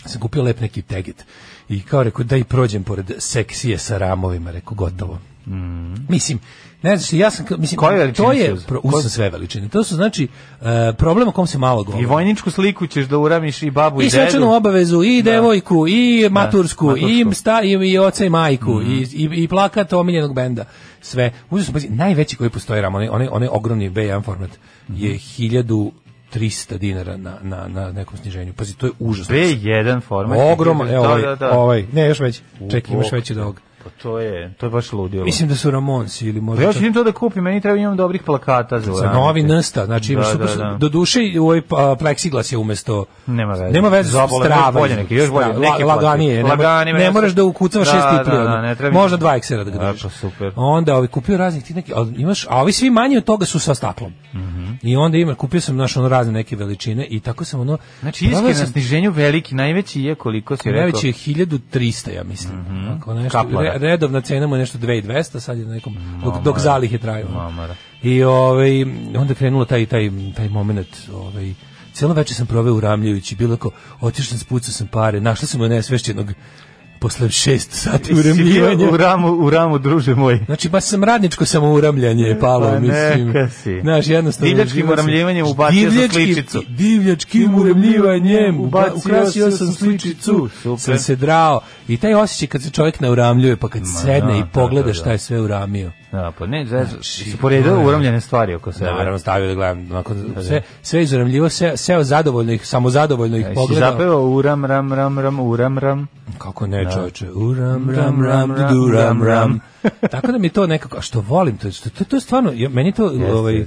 [SPEAKER 8] sam kupio lep neki teget i kao rekao da i prođem pored seksije sa ramovima, rekao gotovo. Mislim, ne znaš, ja sam, ka- mislim,
[SPEAKER 7] Mhm. Koje veličine
[SPEAKER 8] to
[SPEAKER 7] su
[SPEAKER 8] je,
[SPEAKER 7] uzeli?
[SPEAKER 8] pro, uzem sve veličine, to su znači uh, problem o kom se malo govori.
[SPEAKER 7] I vojničku sliku ćeš da uramiš i babu i,
[SPEAKER 8] I
[SPEAKER 7] dedu.
[SPEAKER 8] svečanu obavezu, i devojku, i matursku,
[SPEAKER 7] matursku. Mm.
[SPEAKER 8] i, sta, i, i oca i majku, i, i, i plakat omiljenog benda. Sve. Užasno, pazi, najveći koji postoji ram, onaj, onaj, onaj ogromni B1 format, je
[SPEAKER 7] Mhm.
[SPEAKER 8] 1300 dinara na, na, na nekom sniženju. Pazi, to je užasno.
[SPEAKER 7] B1 format.
[SPEAKER 8] Ogroman, evo ovaj,
[SPEAKER 7] da, da, da.
[SPEAKER 8] ovaj, ne, još veći. Čekaj, imaš
[SPEAKER 7] Bog.
[SPEAKER 8] veći od ovoga.
[SPEAKER 7] Pa to je, to je baš ludilo.
[SPEAKER 8] Mislim da su Ramonsi ili
[SPEAKER 7] Pa
[SPEAKER 8] možda...
[SPEAKER 7] još
[SPEAKER 8] čak-
[SPEAKER 7] idem to da kupim, meni treba imam dobrih plakata za
[SPEAKER 8] Sa
[SPEAKER 7] uramiti.
[SPEAKER 8] novi nsta, znači imaš
[SPEAKER 7] Da,
[SPEAKER 8] super,
[SPEAKER 7] da,
[SPEAKER 8] su-
[SPEAKER 7] da.
[SPEAKER 8] do duše i ovaj a, pleksiglas je umesto
[SPEAKER 7] Nema veze.
[SPEAKER 8] Nema veze,
[SPEAKER 7] Zabole,
[SPEAKER 8] strava.
[SPEAKER 7] još bolje neki, još bolje,
[SPEAKER 8] Strava,
[SPEAKER 7] neki
[SPEAKER 8] la- laganije,
[SPEAKER 7] bolje.
[SPEAKER 8] ne, mora-
[SPEAKER 7] Laganije,
[SPEAKER 8] ne
[SPEAKER 7] ne-
[SPEAKER 8] moraš da ukucavaš
[SPEAKER 7] Da,
[SPEAKER 8] šest i pio,
[SPEAKER 7] da, da,
[SPEAKER 8] ono.
[SPEAKER 7] ne treba-
[SPEAKER 8] Možda dva eksera da ga
[SPEAKER 7] Da,
[SPEAKER 8] držiš.
[SPEAKER 7] pa super.
[SPEAKER 8] Onda ovaj kupio raznih ti neki, ali imaš, a ovi svi manji od toga su sa staklom.
[SPEAKER 7] Mhm.
[SPEAKER 8] I onda ima, kupio sam naš ono razne neke veličine i tako sam ono
[SPEAKER 7] Znači,
[SPEAKER 8] pravio
[SPEAKER 7] iskreno na
[SPEAKER 8] sam-
[SPEAKER 7] sniženju veliki, najveći je koliko si rekao. Mhm.
[SPEAKER 8] Najveći je 1300, ja mislim. Ako nešto,
[SPEAKER 7] Kaplara.
[SPEAKER 8] re- redovna cena mu je nešto 2200, sad je na nekom, dok, dok zalih je traju.
[SPEAKER 7] Mamara.
[SPEAKER 8] I ovaj, onda krenulo taj, taj, taj moment, ovaj, Cijelo večer sam proveo uramljajući, bilo ako otišao sam, spucao sam pare, našla sam mu nesvešćenog posle šest sati
[SPEAKER 7] Si bio
[SPEAKER 8] uramljivanja.
[SPEAKER 7] U ramu, u ramu, druže moj.
[SPEAKER 8] Znači, baš sam radničko samouramljanje je palo,
[SPEAKER 7] Pa
[SPEAKER 8] mislim.
[SPEAKER 7] neka si.
[SPEAKER 8] Znaš, jednostavno...
[SPEAKER 7] Divljačkim
[SPEAKER 8] živio sam-
[SPEAKER 7] uramljivanjem ubacio sam sličicu.
[SPEAKER 8] Divljačkim uramljivanjem uba- ukrasio sam sličicu.
[SPEAKER 7] Super.
[SPEAKER 8] Sam se drao. I taj osjećaj kad se čovjek nauramljuje, pa kad sedne
[SPEAKER 7] da,
[SPEAKER 8] i
[SPEAKER 7] da,
[SPEAKER 8] pogleda
[SPEAKER 7] da, da.
[SPEAKER 8] šta je sve uramio.
[SPEAKER 7] Da, pa ne, znači, si poredao uramljene stvari oko sebe.
[SPEAKER 8] Naravno, stavio da gledam. Onako, sve, sve izuramljivo, sve, seo zadovoljno ih, samozadovoljno ih
[SPEAKER 7] Jesi
[SPEAKER 8] pogledao.
[SPEAKER 7] zapevao uram, ram, ram, ram, uram, ram.
[SPEAKER 8] Kako ne, čoveče. Uram, ram, ram, du, ram, ram. Tako da mi to nekako, a što volim, to, to, to, to je stvarno, ja, meni to, ovaj,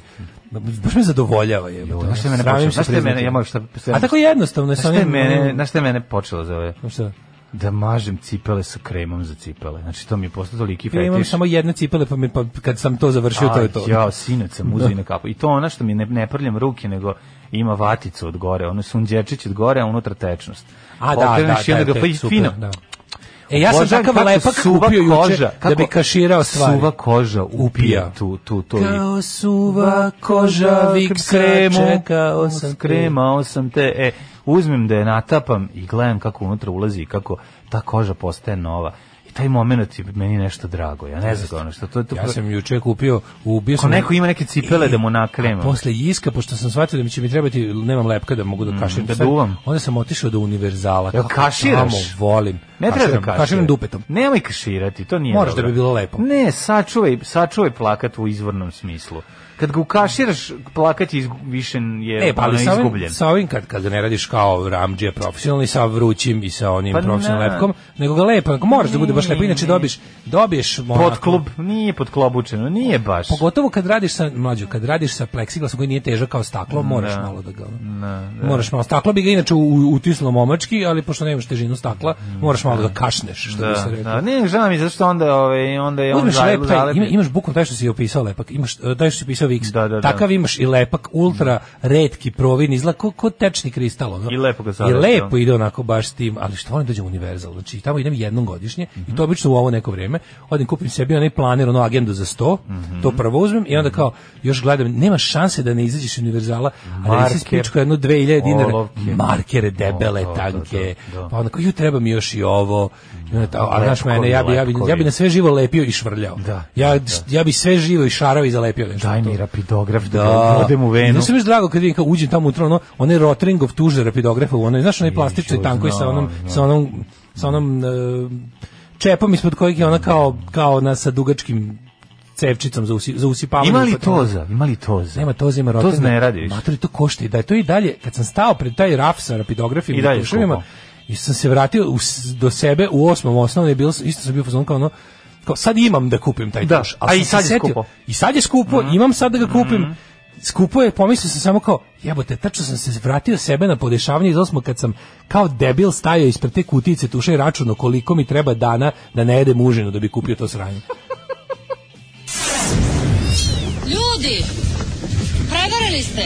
[SPEAKER 8] baš me zadovoljava. Je,
[SPEAKER 7] Znaš šta je mene počelo? Znaš šta je mene, ja moram šta...
[SPEAKER 8] A tako jednostavno je sa um,
[SPEAKER 7] Znaš šta je
[SPEAKER 8] onim-
[SPEAKER 7] mene, znaš šta je mene počelo za ove?
[SPEAKER 8] Šta?
[SPEAKER 7] Da mažem cipele sa kremom za cipele. Znači, to mi je postao toliki fetiš.
[SPEAKER 8] Ja imam samo jedne cipele, pa, mi, pa kad sam to završio, to je to.
[SPEAKER 7] Aj, Jao, sinoć sam uzeo i na kapu. I to ona što mi ne, ne prljam ruke, nego ima vaticu od gore, ono sunđerčić od gore, a unutra tečnost.
[SPEAKER 8] A da, da,
[SPEAKER 7] Okreneš
[SPEAKER 8] da,
[SPEAKER 7] i onda ga
[SPEAKER 8] da,
[SPEAKER 7] pa i
[SPEAKER 8] super,
[SPEAKER 7] fino.
[SPEAKER 8] da. E, ja sam
[SPEAKER 7] Obožavam
[SPEAKER 8] takav
[SPEAKER 7] kako
[SPEAKER 8] lepak
[SPEAKER 7] suva
[SPEAKER 8] kupio juče
[SPEAKER 7] koža,
[SPEAKER 8] da
[SPEAKER 7] kako
[SPEAKER 8] bi kaširao stvari.
[SPEAKER 7] Suva koža upija
[SPEAKER 8] Upija.
[SPEAKER 7] tu, tu, to.
[SPEAKER 8] Kao
[SPEAKER 7] Pa,
[SPEAKER 8] suva koža viksa, čekao sam
[SPEAKER 7] kremao sam te. E, uzmem da je natapam i gledam kako unutra ulazi i kako ta koža postaje nova. I taj moment je meni nešto drago. Ja ne znam ono što to je to.
[SPEAKER 8] Ja sam juče kupio, ubio
[SPEAKER 7] Ako
[SPEAKER 8] sam...
[SPEAKER 7] neko ima neke cipele da mu nakrema.
[SPEAKER 8] A Posle iska, pošto sam shvatio da mi će mi trebati, nemam lepka da mogu da kaširam.
[SPEAKER 7] Mm. da
[SPEAKER 8] sad,
[SPEAKER 7] duvam.
[SPEAKER 8] Onda sam otišao do univerzala.
[SPEAKER 7] Jel
[SPEAKER 8] Kako
[SPEAKER 7] kaširaš?
[SPEAKER 8] tamo volim.
[SPEAKER 7] Ne treba da
[SPEAKER 8] Kaširam,
[SPEAKER 7] kaširaš.
[SPEAKER 8] Kaširam dupetom.
[SPEAKER 7] Nemoj kaširati, to nije
[SPEAKER 8] Moraš
[SPEAKER 7] dobro.
[SPEAKER 8] da bi bilo lepo.
[SPEAKER 7] Ne, sačuvaj, sačuvaj plakat u izvornom smislu. Kad ga ukaširaš, plakat je izgu- više je
[SPEAKER 8] E, pa ali
[SPEAKER 7] ono,
[SPEAKER 8] sa ovim,
[SPEAKER 7] izgubljen.
[SPEAKER 8] sa ovim kad, kad ga ne radiš kao ramđija profesionalni, sa vrućim i sa onim
[SPEAKER 7] Pa
[SPEAKER 8] profesionalnim
[SPEAKER 7] ne.
[SPEAKER 8] lepkom, nego ga lepo, nego moraš da bude baš lepo,
[SPEAKER 7] Nije,
[SPEAKER 8] inače
[SPEAKER 7] nije.
[SPEAKER 8] dobiješ, dobiješ onako- Pa
[SPEAKER 7] Podklub, nije podklobučeno, nije baš.
[SPEAKER 8] Pogotovo kad radiš sa mlađu, kad radiš sa pleksiglasom koji nije težak kao staklo, moraš malo da ga. Moraš malo staklo bi ga inače u- utisnulo momački, ali pošto nemaš težinu stakla, moraš malo da ga kašneš, što bi se
[SPEAKER 7] Mm. Da,
[SPEAKER 8] reklo.
[SPEAKER 7] da, ne, žao mi, je, zašto onda, ovaj, onda je on
[SPEAKER 8] Uzmeš
[SPEAKER 7] zale-
[SPEAKER 8] lep, taj,
[SPEAKER 7] zalepljen.
[SPEAKER 8] ima, imaš bukvalno taj što si opisao lepak, imaš e, taj što si opisao Vix,
[SPEAKER 7] Da, da, da.
[SPEAKER 8] takav imaš i lepak, ultra redki provin, izgleda ko, ko tečni kristal. Ono.
[SPEAKER 7] I lepo ga
[SPEAKER 8] I
[SPEAKER 7] zalepio.
[SPEAKER 8] lepo ide onako baš s tim, ali što volim dođem u Universal, znači tamo idem jednom godišnje i
[SPEAKER 7] Mhm.
[SPEAKER 8] to obično u ovo neko vrijeme, odim kupim sebi onaj planer, ono agendu za sto,
[SPEAKER 7] Mhm.
[SPEAKER 8] to prvo uzmem i onda kao još gledam, nema šanse da ne izađeš iz Universala, a da
[SPEAKER 7] Marker.
[SPEAKER 8] nisi spičko jedno 2000 dinara,
[SPEAKER 7] Olovke.
[SPEAKER 8] markere debele,
[SPEAKER 7] O, da, da,
[SPEAKER 8] tanke,
[SPEAKER 7] da, da.
[SPEAKER 8] pa onda kao, ju treba mi još i ovo, i onda, a, a znaš
[SPEAKER 7] Lepkovi,
[SPEAKER 8] mene, ja bi, ja bi, ja bi
[SPEAKER 7] lepkovi.
[SPEAKER 8] na sve živo lepio i švrljao.
[SPEAKER 7] Da,
[SPEAKER 8] ja, ja bi sve živo i šarao i zalepio nešto.
[SPEAKER 7] Daj mi
[SPEAKER 8] To-
[SPEAKER 7] rapidograf da,
[SPEAKER 8] Da.
[SPEAKER 7] da odem u venu.
[SPEAKER 8] Znaš što mi je drago kad vidim kao uđem tamo unutra, ono, onaj Rotringov tuže rapidografa, ono, znaš onaj plastični
[SPEAKER 7] Ju,
[SPEAKER 8] tanko i sa
[SPEAKER 7] znam,
[SPEAKER 8] onom,
[SPEAKER 7] znam.
[SPEAKER 8] sa onom, sa onom e, čepom ispod kojeg je ona kao, kao na sa dugačkim cevčicom za, usi, za usipavanje.
[SPEAKER 7] Ima li
[SPEAKER 8] Pa to-
[SPEAKER 7] toza? Ima li toza?
[SPEAKER 8] Nema to zima
[SPEAKER 7] To ne radiš.
[SPEAKER 8] Matori to košta i da je to i dalje kad sam stao pred taj raf sa rapidografima
[SPEAKER 7] I dalje
[SPEAKER 8] tuševima,
[SPEAKER 7] skupao.
[SPEAKER 8] i sam se vratio u, s- do sebe u osmom osnovne je bilo isto sam bio fazon kao ono kao sad imam da kupim taj
[SPEAKER 7] Da,
[SPEAKER 8] tuš,
[SPEAKER 7] a
[SPEAKER 8] sam
[SPEAKER 7] i
[SPEAKER 8] se
[SPEAKER 7] sad je
[SPEAKER 8] setio-
[SPEAKER 7] skupo. Mhm.
[SPEAKER 8] I sad je skupo, imam sad da ga kupim. Skupo je, pomislio sam samo kao, jebote, tačno sam se vratio sebe na podešavanje iz osmog kad sam kao debil stajao ispred te kutice tuše i računao koliko mi treba dana da ne jedem užinu da bi kupio to sranje.
[SPEAKER 9] Ljudi, prevarili ste.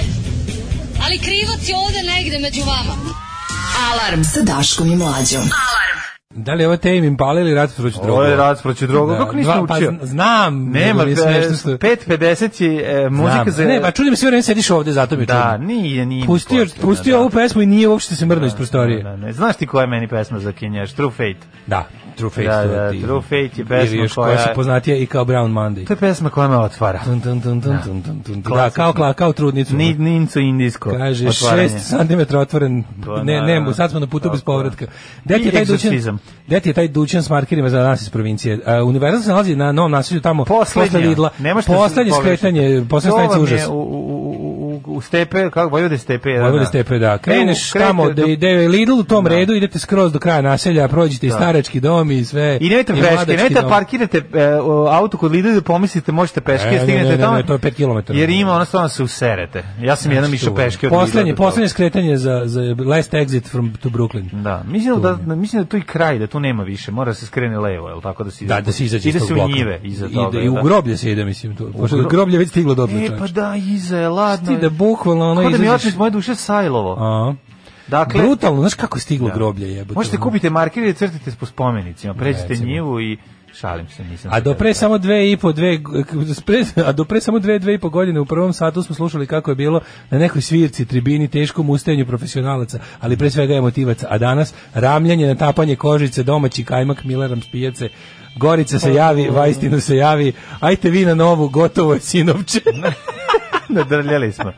[SPEAKER 9] Ali krivac je ovde negde među vama.
[SPEAKER 6] Alarm sa Daškom i Mlađom.
[SPEAKER 8] Da li je ovo Tame Impala ili Rat protiv droga?
[SPEAKER 7] Ovo je rat protiv droga. Kako nisam
[SPEAKER 8] dva-
[SPEAKER 7] učio?
[SPEAKER 8] Pa, zn- znam,
[SPEAKER 7] Nema,
[SPEAKER 8] nego nisam nešto što...
[SPEAKER 7] 5.50 je e, muzika
[SPEAKER 8] Znam.
[SPEAKER 7] za...
[SPEAKER 8] Ne, pa čudim se, sve vreme sediš ovde, zato mi je
[SPEAKER 7] Da,
[SPEAKER 8] čudno.
[SPEAKER 7] nije, nije.
[SPEAKER 8] Pustio,
[SPEAKER 7] potrebno,
[SPEAKER 8] pustio
[SPEAKER 7] da.
[SPEAKER 8] ovu pesmu i nije uopšte se mrdao iz prostorije.
[SPEAKER 7] Da, ne. Znaš ti koja je meni pesma za Kinjaš? True Fate.
[SPEAKER 8] Da, True Fate.
[SPEAKER 7] Da,
[SPEAKER 8] to
[SPEAKER 7] da,
[SPEAKER 8] ti-
[SPEAKER 7] True Fate je
[SPEAKER 8] ili
[SPEAKER 7] pesma
[SPEAKER 8] još
[SPEAKER 7] koja-
[SPEAKER 8] koja se poznatija i kao Brown Monday.
[SPEAKER 7] To je pesma koja me otvara.
[SPEAKER 8] Dun, dun, dun, dun, dun, dun, dun. Da,
[SPEAKER 7] Klasično.
[SPEAKER 8] kao, kla, kao trudnicu.
[SPEAKER 7] Ni, nincu indijsko.
[SPEAKER 8] Kaže,
[SPEAKER 7] otvaranje.
[SPEAKER 8] 6 cm otvoren,
[SPEAKER 7] To,
[SPEAKER 8] ne,
[SPEAKER 7] da, da.
[SPEAKER 8] ne, sad smo na putu bez
[SPEAKER 7] Tako je.
[SPEAKER 8] povratka. Gde ti je
[SPEAKER 7] I
[SPEAKER 8] taj
[SPEAKER 7] egzorcizam.
[SPEAKER 8] dućan? Gde ti je taj dućan s markerima za nas iz provincije? A, Univerzal se nalazi na novom naselju tamo,
[SPEAKER 7] Poslednja.
[SPEAKER 8] posle Lidla.
[SPEAKER 7] Ne možete
[SPEAKER 8] Poslednje
[SPEAKER 7] se pogrešiti.
[SPEAKER 8] skretanje, poslednje
[SPEAKER 7] To
[SPEAKER 8] stanica
[SPEAKER 7] vam je
[SPEAKER 8] užas.
[SPEAKER 7] U, u, u, u, u stepe, kako, Vojvode stepe. jedan,
[SPEAKER 8] Vojvode
[SPEAKER 7] da.
[SPEAKER 8] stepe, da. Kreneš
[SPEAKER 7] Krenete
[SPEAKER 8] tamo, da
[SPEAKER 7] do-
[SPEAKER 8] ide Lidl u tom redu, idete skroz do kraja naselja, prođete i starački dom i sve.
[SPEAKER 7] I nemojte
[SPEAKER 8] i
[SPEAKER 7] peške,
[SPEAKER 8] mladački
[SPEAKER 7] nemojte
[SPEAKER 8] dom.
[SPEAKER 7] parkirate e, o, auto kod Lidla da pomislite možete peške,
[SPEAKER 8] Ne, ne,
[SPEAKER 7] stignete
[SPEAKER 8] ne, ne,
[SPEAKER 7] tamo.
[SPEAKER 8] ne, to je pet kilometara. Znači
[SPEAKER 7] Jer ima ono stvarno se userete. Ja sam jednom išao peške od Lidla
[SPEAKER 8] Poslednje,
[SPEAKER 7] do toga.
[SPEAKER 8] poslednje skretanje za, za last exit from to Brooklyn.
[SPEAKER 7] Da, mislim da, da mislim da tu i kraj, da tu nema više, mora se skrene levo, el tako da se
[SPEAKER 8] Da, da se izađe iz
[SPEAKER 7] ide
[SPEAKER 8] tog
[SPEAKER 7] se u
[SPEAKER 8] bloka.
[SPEAKER 7] njive iza toga.
[SPEAKER 8] Ide, I u
[SPEAKER 7] da.
[SPEAKER 8] groblje se ide, mislim. To, pošto je
[SPEAKER 7] gro-
[SPEAKER 8] groblje već stiglo do
[SPEAKER 7] E, pa da, iza je ladno.
[SPEAKER 8] Ti da bukvalno ono
[SPEAKER 7] Kako da mi
[SPEAKER 8] izađeš-
[SPEAKER 7] oče iz moje duše sajlovo.
[SPEAKER 8] A,
[SPEAKER 7] Dakle,
[SPEAKER 8] brutalno, znaš kako je stiglo groblje jebote.
[SPEAKER 7] možete
[SPEAKER 8] ono.
[SPEAKER 7] kupiti markir i crtite po spomenicima, pređite
[SPEAKER 8] Recimo.
[SPEAKER 7] njivu i šalim se, nisam.
[SPEAKER 8] A
[SPEAKER 7] se
[SPEAKER 8] do
[SPEAKER 7] teo.
[SPEAKER 8] pre samo dve i po dve, pre- a do pre samo dve, dve i po godine u prvom satu smo slušali kako je bilo na nekoj svirci, tribini, teškom ustajanju profesionalaca, ali pre svega emotivaca. A danas ramljanje, natapanje kožice, domaći kajmak, mileram s pijace, Gorica se javi, Vajstinu se javi, ajte vi na novu, gotovo je
[SPEAKER 7] <laughs>
[SPEAKER 8] sinovče.
[SPEAKER 7] <laughs> nadrljali
[SPEAKER 8] <laughs>
[SPEAKER 7] smo.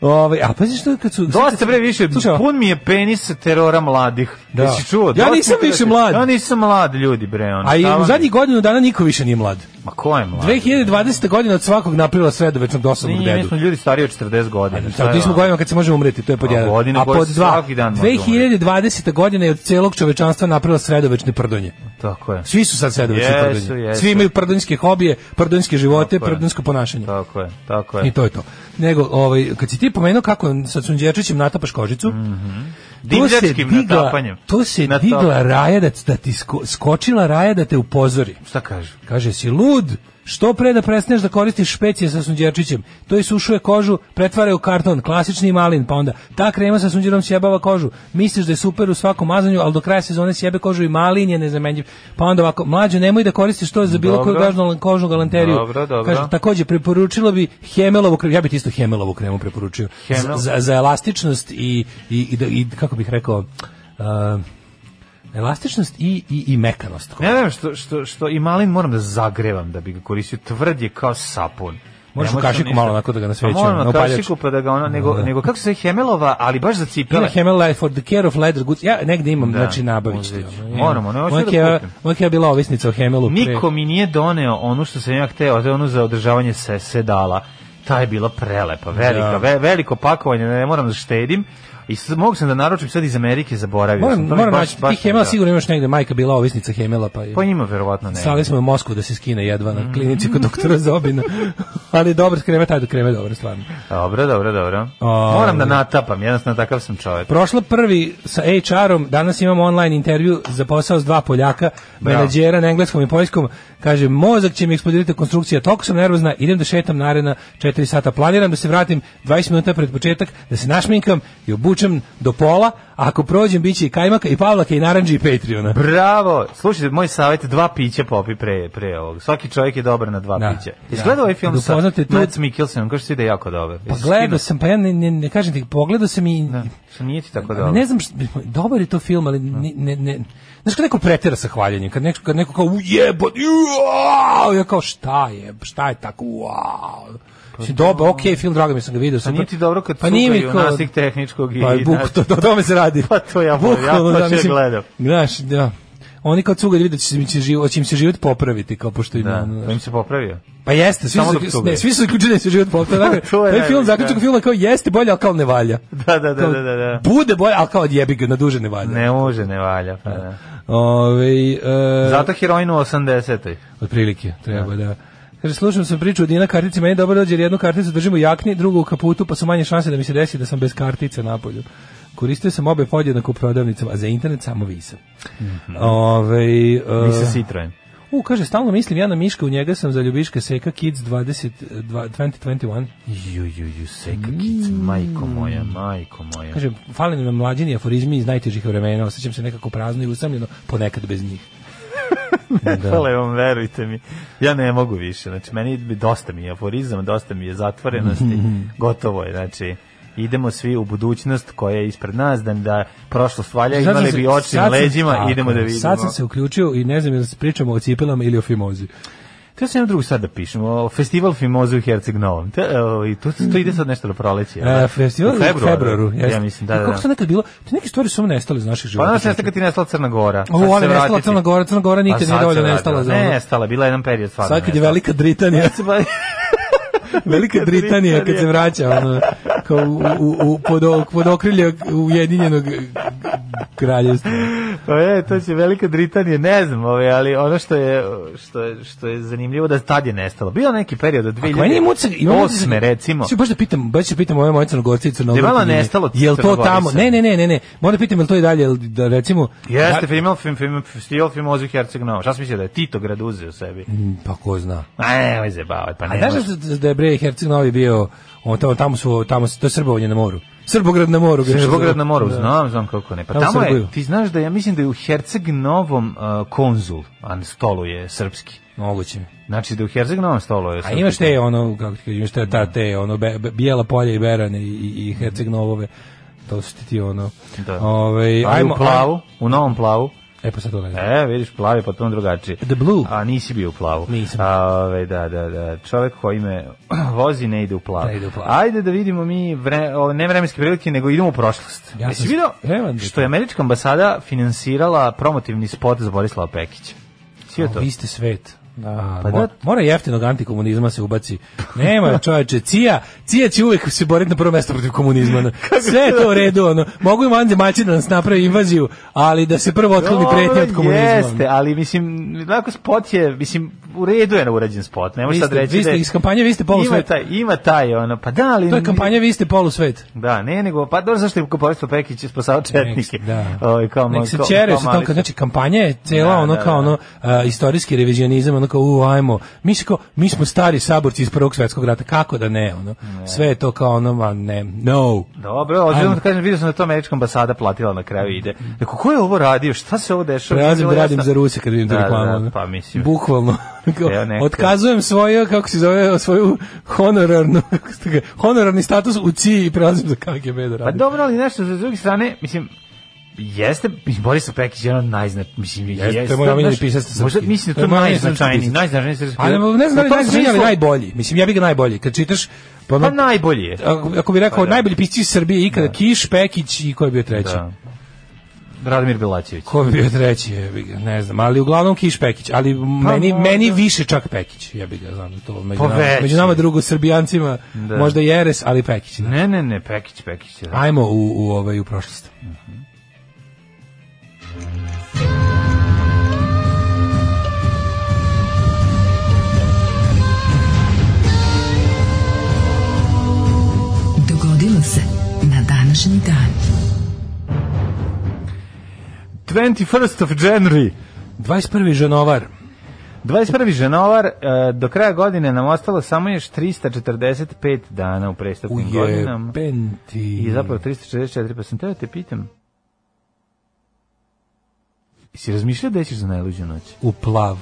[SPEAKER 8] Ove, a pazi što je kad su...
[SPEAKER 7] Dosta bre više,
[SPEAKER 8] Slušaj, ovo.
[SPEAKER 7] pun mi je penis terora mladih.
[SPEAKER 8] Da.
[SPEAKER 7] Jesi čuo?
[SPEAKER 8] Ja
[SPEAKER 7] Dosta
[SPEAKER 8] nisam
[SPEAKER 7] mi je-
[SPEAKER 8] više mlad.
[SPEAKER 7] Ja nisam mlad ljudi bre, on.
[SPEAKER 8] A i u zadnjih godinu dana niko više nije mlad.
[SPEAKER 7] Ma ko je mlad?
[SPEAKER 8] 2020. godina od svakog naprila sve do večnog dosadnog
[SPEAKER 7] Pa, Nije, mi
[SPEAKER 8] dedu.
[SPEAKER 7] smo ljudi stariji od 40 godina. šta
[SPEAKER 8] Sad
[SPEAKER 7] je
[SPEAKER 8] nismo
[SPEAKER 7] ono?
[SPEAKER 8] godinama kad se može umreti, to je pod
[SPEAKER 7] A
[SPEAKER 8] jedan.
[SPEAKER 7] godine
[SPEAKER 8] A
[SPEAKER 7] koje
[SPEAKER 8] pod
[SPEAKER 7] se
[SPEAKER 8] dva,
[SPEAKER 7] svaki dan može
[SPEAKER 8] 2020. godina je od celog čovečanstva napravila sredovečne prdonje.
[SPEAKER 7] Tako je.
[SPEAKER 8] Svi su sad sredovečne
[SPEAKER 7] Jesu,
[SPEAKER 8] prdonje.
[SPEAKER 7] jesu.
[SPEAKER 8] Svi imaju prdonjske hobije, prdonjske živote,
[SPEAKER 7] Tako je.
[SPEAKER 8] prdonjsko ponašanje.
[SPEAKER 7] Tako je, tako
[SPEAKER 8] I
[SPEAKER 7] je.
[SPEAKER 8] to je to. Nego, ovaj, kad si ti pomenuo kako sa Sunđerčićem natapaš kožicu, to se
[SPEAKER 7] Mhm. Divljačkim
[SPEAKER 8] digla,
[SPEAKER 7] natapanjem.
[SPEAKER 8] to se
[SPEAKER 7] Natap-
[SPEAKER 8] digla raja da, da ti sko, skočila raja da te upozori.
[SPEAKER 7] Šta kažu?
[SPEAKER 8] Kaže, si lud? Što pre da prestaneš da koristiš špecije sa sunđerčićem? To isušuje kožu, pretvara je u karton, klasični malin, pa onda ta krema sa sunđerom sjebava kožu. Misliš da je super u svakom mazanju, ali do kraja sezone sjebe kožu i malin je nezamenljiv. Pa onda ovako, mlađo, nemoj da koristiš to za bilo
[SPEAKER 7] Dobro.
[SPEAKER 8] koju gažnu, kožnu galanteriju.
[SPEAKER 7] Dobro, dobro.
[SPEAKER 8] Kaže, takođe, preporučilo bi Hemelovu kremu, ja bih ti isto Hemelovu kremu preporučio.
[SPEAKER 7] Hemel?
[SPEAKER 8] Za, za, za elastičnost i, i, i, da- i kako bih rekao, uh, elastičnost i, i, i mekanost.
[SPEAKER 7] Ne znam što, što, što i malin moram da zagrevam da bi ga koristio. Tvrd je kao sapun.
[SPEAKER 8] Možeš
[SPEAKER 7] Ne
[SPEAKER 8] u
[SPEAKER 7] može
[SPEAKER 8] kašiku
[SPEAKER 7] ništa.
[SPEAKER 8] malo onako da ga nasvećujem,
[SPEAKER 7] Pa moram
[SPEAKER 8] na
[SPEAKER 7] na
[SPEAKER 8] upaljač.
[SPEAKER 7] kašiku pa da ga ono, nego,
[SPEAKER 8] Da.
[SPEAKER 7] nego kako se Hemelova, ali baš za cipele.
[SPEAKER 8] Ima Hemel Life for the care of leather goods. Ja negde imam,
[SPEAKER 7] Da,
[SPEAKER 8] znači nabavić.
[SPEAKER 7] možda ću. Moramo, ne, hoću da kupim.
[SPEAKER 8] Moja keva bila ovisnica o Hemelu. pre-
[SPEAKER 7] Niko mi nije doneo ono što sam ja hteo, a to je ono za održavanje se sedala. Ta je bila prelepa, velika,
[SPEAKER 8] Da.
[SPEAKER 7] ve, veliko pakovanje, ne moram da štedim. I s- mogu sam da naručim sad iz Amerike, zaboravio
[SPEAKER 8] Moram,
[SPEAKER 7] sam. To mi
[SPEAKER 8] moram
[SPEAKER 7] znači, baš-
[SPEAKER 8] naći,
[SPEAKER 7] baš
[SPEAKER 8] ti Hemel
[SPEAKER 7] mi da.
[SPEAKER 8] sigurno imaš negde, majka bila ovisnica Hemela, pa je.
[SPEAKER 7] Pa Mm. ima verovatno ne.
[SPEAKER 8] Slali smo je u Moskvu da se skine jedva na klinici kod doktora
[SPEAKER 7] <laughs>
[SPEAKER 8] Zobina. Ali dobro, kreme, taj do kreme, dobro, stvarno.
[SPEAKER 7] Dobro, dobro, dobro.
[SPEAKER 8] A,
[SPEAKER 7] Moram da natapam, jednostavno takav sam čovjek.
[SPEAKER 8] Prošla prvi sa HR-om, danas imamo online intervju za posao s dva Poljaka, menadžera na engleskom i poljskom. Kaže, mozak će mi eksplodirati konstrukcija, toliko sam nervozna, idem da šetam narena 4 sata. Planiram da se vratim 20 minuta pred početak, da se našminkam i obučem do pola, a ako prođem biće i kajmaka i pavlaka i naranđi i Patreona.
[SPEAKER 7] Bravo! Slušajte, moj savjet, dva pića popi pre, pre ovog. Svaki čovjek je dobar na dva
[SPEAKER 8] Da,
[SPEAKER 7] pića.
[SPEAKER 8] da.
[SPEAKER 7] Izgleda ovaj film
[SPEAKER 8] Da
[SPEAKER 7] sa
[SPEAKER 8] upoznate tu-
[SPEAKER 7] Mads Mikkelsenom, kao što ide jako dobar.
[SPEAKER 8] Pa
[SPEAKER 7] Jesi
[SPEAKER 8] gledao
[SPEAKER 7] skinuo?
[SPEAKER 8] sam, pa ja ne, ne, ne kažem ti, pogledao sam i...
[SPEAKER 7] Da, što nije ti tako
[SPEAKER 8] Ali
[SPEAKER 7] dobar.
[SPEAKER 8] Pa ne znam, šta- dobar je to film, ali ne, ne, ne, znaš kad neko pretera sa hvaljenjem, kad neko, kad neko kao ujebot, uau, ja kao šta je, šta je tako, uau. Mislim, dobar, okej, film, drago mi je, sam ga vidio.
[SPEAKER 7] Pa
[SPEAKER 8] super.
[SPEAKER 7] nije ti dobro kad
[SPEAKER 8] Pa nije mi
[SPEAKER 7] cugaju
[SPEAKER 8] kao-
[SPEAKER 7] nasik tehničkog i...
[SPEAKER 8] Pa je buk, to, to, o tome se radi.
[SPEAKER 7] <laughs> Pa to ja volim, ja
[SPEAKER 8] Bukvalno,
[SPEAKER 7] to
[SPEAKER 8] da,
[SPEAKER 7] sve
[SPEAKER 8] mislim,
[SPEAKER 7] gledam.
[SPEAKER 8] Znaš, da. Oni kao cugaju vide da će, im se život, će im se život popraviti, kao pošto im...
[SPEAKER 7] Da,
[SPEAKER 8] ono,
[SPEAKER 7] to im se popravio. <laughs>
[SPEAKER 8] Pa jeste, svi
[SPEAKER 7] Samo dok
[SPEAKER 8] su,
[SPEAKER 7] cugaju.
[SPEAKER 8] ne, svi su zaključili da se život
[SPEAKER 7] <laughs>
[SPEAKER 8] popravio.
[SPEAKER 7] To je
[SPEAKER 8] Taj
[SPEAKER 7] najbolje,
[SPEAKER 8] film, zaključak
[SPEAKER 7] da.
[SPEAKER 8] filma kao jeste bolje, ali kao ne valja.
[SPEAKER 7] Da, da, da,
[SPEAKER 8] Kao,
[SPEAKER 7] da, da, da.
[SPEAKER 8] Bude bolje, ali kao odjebi ga, na duže ne valja.
[SPEAKER 7] Ne može, ne valja. Pa, da.
[SPEAKER 8] Ove, e,
[SPEAKER 7] Zato heroin u 80.
[SPEAKER 8] Otprilike, treba da. Kaže, slušam sam priču o Dina kartici, meni dobro dođe jer jednu karticu držim u jakni, drugu u kaputu, pa su manje šanse da mi se desi da sam bez kartice napolju. Koristio sam obe
[SPEAKER 7] Mhm.
[SPEAKER 8] podjednako u prodavnicama, a za internet samo visam. Ove, e,
[SPEAKER 7] Nisa Citroen.
[SPEAKER 8] U, kaže, stalno mislim ja na Miška, u njega sam za ljubiška Seka Kids 20, 2021.
[SPEAKER 7] Ju, ju, ju, seka kic, majko moja, majko moja.
[SPEAKER 8] Kaže, fali nam mlađini aforizmi iz najtežih vremena, osjećam se nekako prazno i usamljeno, ponekad bez njih.
[SPEAKER 7] da. Hvala vam, verujte mi. Ja ne mogu više. Znači, meni bi- dosta mi je aforizama, dosta mi je
[SPEAKER 8] <laughs>
[SPEAKER 7] zatvorenosti. Gotovo je, znači idemo svi u budućnost koja je ispred nas, da, da prošlost valja,
[SPEAKER 8] Sad sam
[SPEAKER 7] imali
[SPEAKER 8] se-
[SPEAKER 7] bi oči na
[SPEAKER 8] sad sam-
[SPEAKER 7] leđima,
[SPEAKER 8] tako
[SPEAKER 7] idemo da
[SPEAKER 8] je,
[SPEAKER 7] vidimo.
[SPEAKER 8] Sad sam se uključio i ne znam jel pričamo o cipelama ili o fimozi.
[SPEAKER 7] Htio sam jednu drugu sad da pišem, o festival Fimoze u Herceg Novom. Te, e, evo, i to, to ide sad nešto do proleće. jel da?
[SPEAKER 8] E, festival u februaru, jeste.
[SPEAKER 7] Ja mislim, da, da.
[SPEAKER 8] Kako to
[SPEAKER 7] da.
[SPEAKER 8] nekad bilo? Te neke stvari su nestale iz naših života.
[SPEAKER 7] Pa nas nestala kad ti nestala Crna Gora.
[SPEAKER 8] O,
[SPEAKER 7] Sad će
[SPEAKER 8] ali
[SPEAKER 7] se
[SPEAKER 8] nestala
[SPEAKER 7] vratiti.
[SPEAKER 8] Crna Gora, Crna Gora nikad
[SPEAKER 7] Pa sad
[SPEAKER 8] nije dovoljno
[SPEAKER 7] se vratila.
[SPEAKER 8] nestala za ono.
[SPEAKER 7] Ne, nestala, bila je jedan period stvarno.
[SPEAKER 8] Sad kad je
[SPEAKER 7] <laughs> nestala.
[SPEAKER 8] Velika Britanija, Velika Britanija kad se
[SPEAKER 7] Britanija.
[SPEAKER 8] vraća ono, kao u, u, u, pod, o- pod okrilje Ujedinjenog kraljevstva.
[SPEAKER 7] Pa je, to će Velika Britanija, ne znam, ovaj, ali ono što je, što je, što je zanimljivo da tad je nestalo. Bio neki period od
[SPEAKER 8] Ako meni je mucak, imam
[SPEAKER 7] 2008.
[SPEAKER 8] utisak-
[SPEAKER 7] recimo.
[SPEAKER 8] Ću baš da pitam, baš da pitam ove moje crnogorce i crnogorke.
[SPEAKER 7] Gde je malo nestalo
[SPEAKER 8] Jel to
[SPEAKER 7] Crnogorica?
[SPEAKER 8] tamo? Ne, ne, ne, ne, ne. Moram da pitam jel to i dalje, jel da recimo...
[SPEAKER 7] Jeste,
[SPEAKER 8] da,
[SPEAKER 7] film, film, film, festival Fimozu i Herceg Novo. Šta si mislio da je Tito grad uzeo sebi?
[SPEAKER 8] pa ko zna.
[SPEAKER 7] Ma nemoj zebavat, pa
[SPEAKER 8] A
[SPEAKER 7] ne.
[SPEAKER 8] znaš da, su- da je Brej Herceg Novi bio, on, tamo, tamo su, tamo su, to je Srbovanje na moru. Srbograd na moru. ga je
[SPEAKER 7] Srbograd
[SPEAKER 8] što
[SPEAKER 7] na moru,
[SPEAKER 8] zove.
[SPEAKER 7] znam, znam kako ne. Pa
[SPEAKER 8] Tamo
[SPEAKER 7] tamo je,
[SPEAKER 8] Srbuju.
[SPEAKER 7] ti znaš da ja mislim da je u Herceg Novom uh, konzul, a na stolu je srpski.
[SPEAKER 8] Moguće.
[SPEAKER 7] Znači da je u Herceg Novom stolu je
[SPEAKER 8] A
[SPEAKER 7] srpski.
[SPEAKER 8] imaš te ono, kako ti kažem, imaš te, ta, te ono, be, be, bijela polja i berane i, i, i Herceg Novove. To su ti ti ono.
[SPEAKER 7] Da.
[SPEAKER 8] Ove,
[SPEAKER 7] Ali u plavu, u novom plavu.
[SPEAKER 8] E pa sad to gledam.
[SPEAKER 7] E, vidiš, plav je potpuno drugačiji.
[SPEAKER 8] The blue.
[SPEAKER 7] A nisi bio u plavu.
[SPEAKER 8] Nisam.
[SPEAKER 7] A, ove, da, da, da. Čovek koji me <clears throat> vozi ne ide u plavu.
[SPEAKER 8] Ne ide u plavu.
[SPEAKER 7] Ajde da vidimo mi vre, o, ne vremenske prilike, nego idemo u prošlost.
[SPEAKER 8] Ja
[SPEAKER 7] Jesi
[SPEAKER 8] sam E,
[SPEAKER 7] vidio
[SPEAKER 8] spreman za
[SPEAKER 7] što
[SPEAKER 8] to.
[SPEAKER 7] je američka ambasada finansirala promotivni spot za Borislava Pekića? Svi to?
[SPEAKER 8] Vi ste svet. Da,
[SPEAKER 7] Pa
[SPEAKER 8] mo-
[SPEAKER 7] da.
[SPEAKER 8] Mora jeftinog antikomunizma se ubaci. Nema čoveče, cija, cija će uvek se boriti na prvo mesto protiv komunizma.
[SPEAKER 7] <laughs>
[SPEAKER 8] ono. Sve je to u redu, ono. Mogu i vanzemaljci da nas naprave invaziju, ali da se prvo otkloni
[SPEAKER 7] Dobro,
[SPEAKER 8] pretnja od komunizma. ono.
[SPEAKER 7] Jeste, ali mislim, onako spot je, mislim, u redu je na urađen spot. Ne možeš
[SPEAKER 8] Vi
[SPEAKER 7] sad
[SPEAKER 8] ste,
[SPEAKER 7] reći
[SPEAKER 8] vi ste
[SPEAKER 7] da je-
[SPEAKER 8] iz kampanje, vi ste
[SPEAKER 7] Ima
[SPEAKER 8] polusvet.
[SPEAKER 7] taj, ima taj, ono, pa da, ali...
[SPEAKER 8] To je kampanja, vi ste polusvet.
[SPEAKER 7] Da, ne, nego, pa dobro, zašto je Borislav Pekić spasao četnike?
[SPEAKER 8] Nek- Da.
[SPEAKER 7] Ovaj, kao,
[SPEAKER 8] Nek se
[SPEAKER 7] kao-
[SPEAKER 8] čere
[SPEAKER 7] kao
[SPEAKER 8] su tamo,
[SPEAKER 7] mali
[SPEAKER 8] kad, znači kampanja je cela
[SPEAKER 7] Da,
[SPEAKER 8] ono
[SPEAKER 7] da,
[SPEAKER 8] kao
[SPEAKER 7] da.
[SPEAKER 8] ono a, istorijski revizionizam, ono kao u ajmo, mi, se kao, mi smo stari saborci iz prvog svetskog rata, kako da ne, ono, sve je to kao ono, ma ne, no.
[SPEAKER 7] Dobro, odjednom
[SPEAKER 8] Ajmo.
[SPEAKER 7] da kažem, vidio sam da to američka ambasada platila na kraju ide. Rekao, ko je ovo radio? Šta se ovo dešava?
[SPEAKER 8] Prelazim
[SPEAKER 7] Nije
[SPEAKER 8] da
[SPEAKER 7] bilo
[SPEAKER 8] radim
[SPEAKER 7] jasno.
[SPEAKER 8] za Ruse kad vidim tu
[SPEAKER 7] Da,
[SPEAKER 8] reklamu.
[SPEAKER 7] da,
[SPEAKER 8] ono.
[SPEAKER 7] pa mislim.
[SPEAKER 8] Bukvalno.
[SPEAKER 7] <laughs>
[SPEAKER 8] Kao,
[SPEAKER 7] Ja nekad-
[SPEAKER 8] Otkazujem svoju, kako se zove, svoju honorarnu, <laughs> kako se to kaže, honorarni status u CIA i prelazim za KGB da
[SPEAKER 7] Pa
[SPEAKER 8] radim.
[SPEAKER 7] dobro, ali nešto, s druge strane, mislim, Jeste, mislim, Boris Pekić je jedan od najzna, mislim,
[SPEAKER 8] Jeste, to je moj omiljeni
[SPEAKER 7] znaš,
[SPEAKER 8] pisac srpski.
[SPEAKER 7] Možda, mislim
[SPEAKER 8] To
[SPEAKER 7] da to
[SPEAKER 8] je moj omiljeni
[SPEAKER 7] najznačajniji,
[SPEAKER 8] srpski pisac.
[SPEAKER 7] najznačajniji srpski.
[SPEAKER 8] Ali ne znam da
[SPEAKER 7] Pa U
[SPEAKER 8] li
[SPEAKER 7] tom
[SPEAKER 8] najzanimljiviji, ali
[SPEAKER 7] smislu-
[SPEAKER 8] najbolji. Mislim, ja bih ga najbolji. Kad čitaš, pa ono-
[SPEAKER 7] Pa najbolji je.
[SPEAKER 8] ako, ako bi rekao
[SPEAKER 7] Pa da.
[SPEAKER 8] najbolji pisci iz Srbije ikada Kiš, Pekić i ko je bio treći?
[SPEAKER 7] Da. Radomir Belačević.
[SPEAKER 8] Ko je bio treći, jebi ga, ne znam, ali uglavnom Kiš Pekić, ali meni,
[SPEAKER 7] Pa možda.
[SPEAKER 8] meni više čak Pekić, jebi ga, znam da to među,
[SPEAKER 7] Pa
[SPEAKER 8] nama,
[SPEAKER 7] veći.
[SPEAKER 8] među nama drugo Srbijancima,
[SPEAKER 7] Da.
[SPEAKER 8] možda Jeres, ali Pekić. Da.
[SPEAKER 7] Ne, ne, ne, Pekić, Pekić. je, Da.
[SPEAKER 8] Ajmo u, u, ovaj, u prošlost.
[SPEAKER 6] Dogodilo se na današnji dan.
[SPEAKER 7] 21st of January.
[SPEAKER 8] 21. žanovar,
[SPEAKER 7] 21. ženovar, e, do kraja godine nam ostalo samo još 345 dana u
[SPEAKER 8] u
[SPEAKER 7] prestupnim godinama.
[SPEAKER 8] jebenti.
[SPEAKER 7] I zapravo 344, pa sam teo te pitam. Si razmišljao da ćeš za najluđu noć?
[SPEAKER 8] U plav.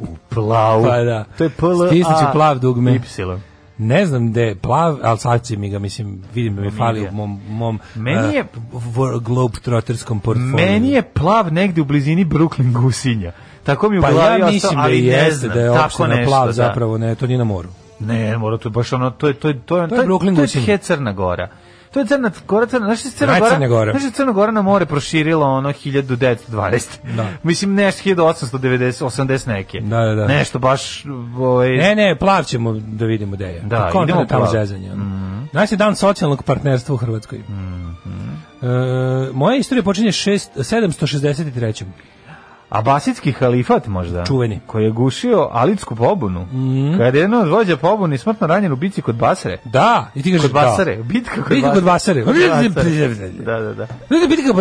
[SPEAKER 7] U plavu.
[SPEAKER 8] Pa da.
[SPEAKER 7] To je PLA.
[SPEAKER 8] Stisnut ću plav dugme.
[SPEAKER 7] Y.
[SPEAKER 8] Ne znam gde je plav, ali sad će mi ga, mislim, vidim da mi fali
[SPEAKER 7] je.
[SPEAKER 8] u mom, mom
[SPEAKER 7] Meni je-
[SPEAKER 8] uh, globetrotterskom portfoliju.
[SPEAKER 7] Meni je plav negde u blizini Brooklyn Gusinja. Tako mi je u
[SPEAKER 8] Pa
[SPEAKER 7] glavi
[SPEAKER 8] ja
[SPEAKER 7] ostao,
[SPEAKER 8] mislim da
[SPEAKER 7] ali ne
[SPEAKER 8] jeste
[SPEAKER 7] znam,
[SPEAKER 8] da je
[SPEAKER 7] tako
[SPEAKER 8] opština
[SPEAKER 7] nešto,
[SPEAKER 8] plav
[SPEAKER 7] da.
[SPEAKER 8] zapravo, ne, to nije na moru.
[SPEAKER 7] Ne, mora to je baš ono, to je, to je, to je,
[SPEAKER 8] To je Brooklyn
[SPEAKER 7] to je
[SPEAKER 8] Gusinje.
[SPEAKER 7] he Crna Gora. To je Crna Gora, Crna, znaš da je Crna
[SPEAKER 8] Najcrnja
[SPEAKER 7] Gora,
[SPEAKER 8] Gora.
[SPEAKER 7] znaš da je Crna Gora na more proširila ono 1912.
[SPEAKER 8] Da.
[SPEAKER 7] <laughs> Mislim nešto 1890, 80 neke.
[SPEAKER 8] Da, da, da.
[SPEAKER 7] Nešto baš, ovaj,
[SPEAKER 8] Ne, ne, plav ćemo da vidimo gde je.
[SPEAKER 7] Da,
[SPEAKER 8] Pa kontra
[SPEAKER 7] idemo
[SPEAKER 8] je tamo
[SPEAKER 7] plav. Mhm.
[SPEAKER 8] zezanje. ono. Danas je dan socijalnog partnerstva u Hrvatskoj. Eh, E, moja istorija počinje šest, 763.
[SPEAKER 7] Abasitski halifat možda?
[SPEAKER 8] Čuveni. Mhm.
[SPEAKER 7] Koji je gušio alitsku pobunu. Kada je jedan od vođa pobune smrtno ranjen u bici kod Basre.
[SPEAKER 8] Da, i ti kažeš
[SPEAKER 7] Kod
[SPEAKER 8] da.
[SPEAKER 7] Basare. Bitka kod
[SPEAKER 8] Bitka kod Basare.
[SPEAKER 7] Kod Basare. Da, da, da.
[SPEAKER 8] Ne, ne, bitka kod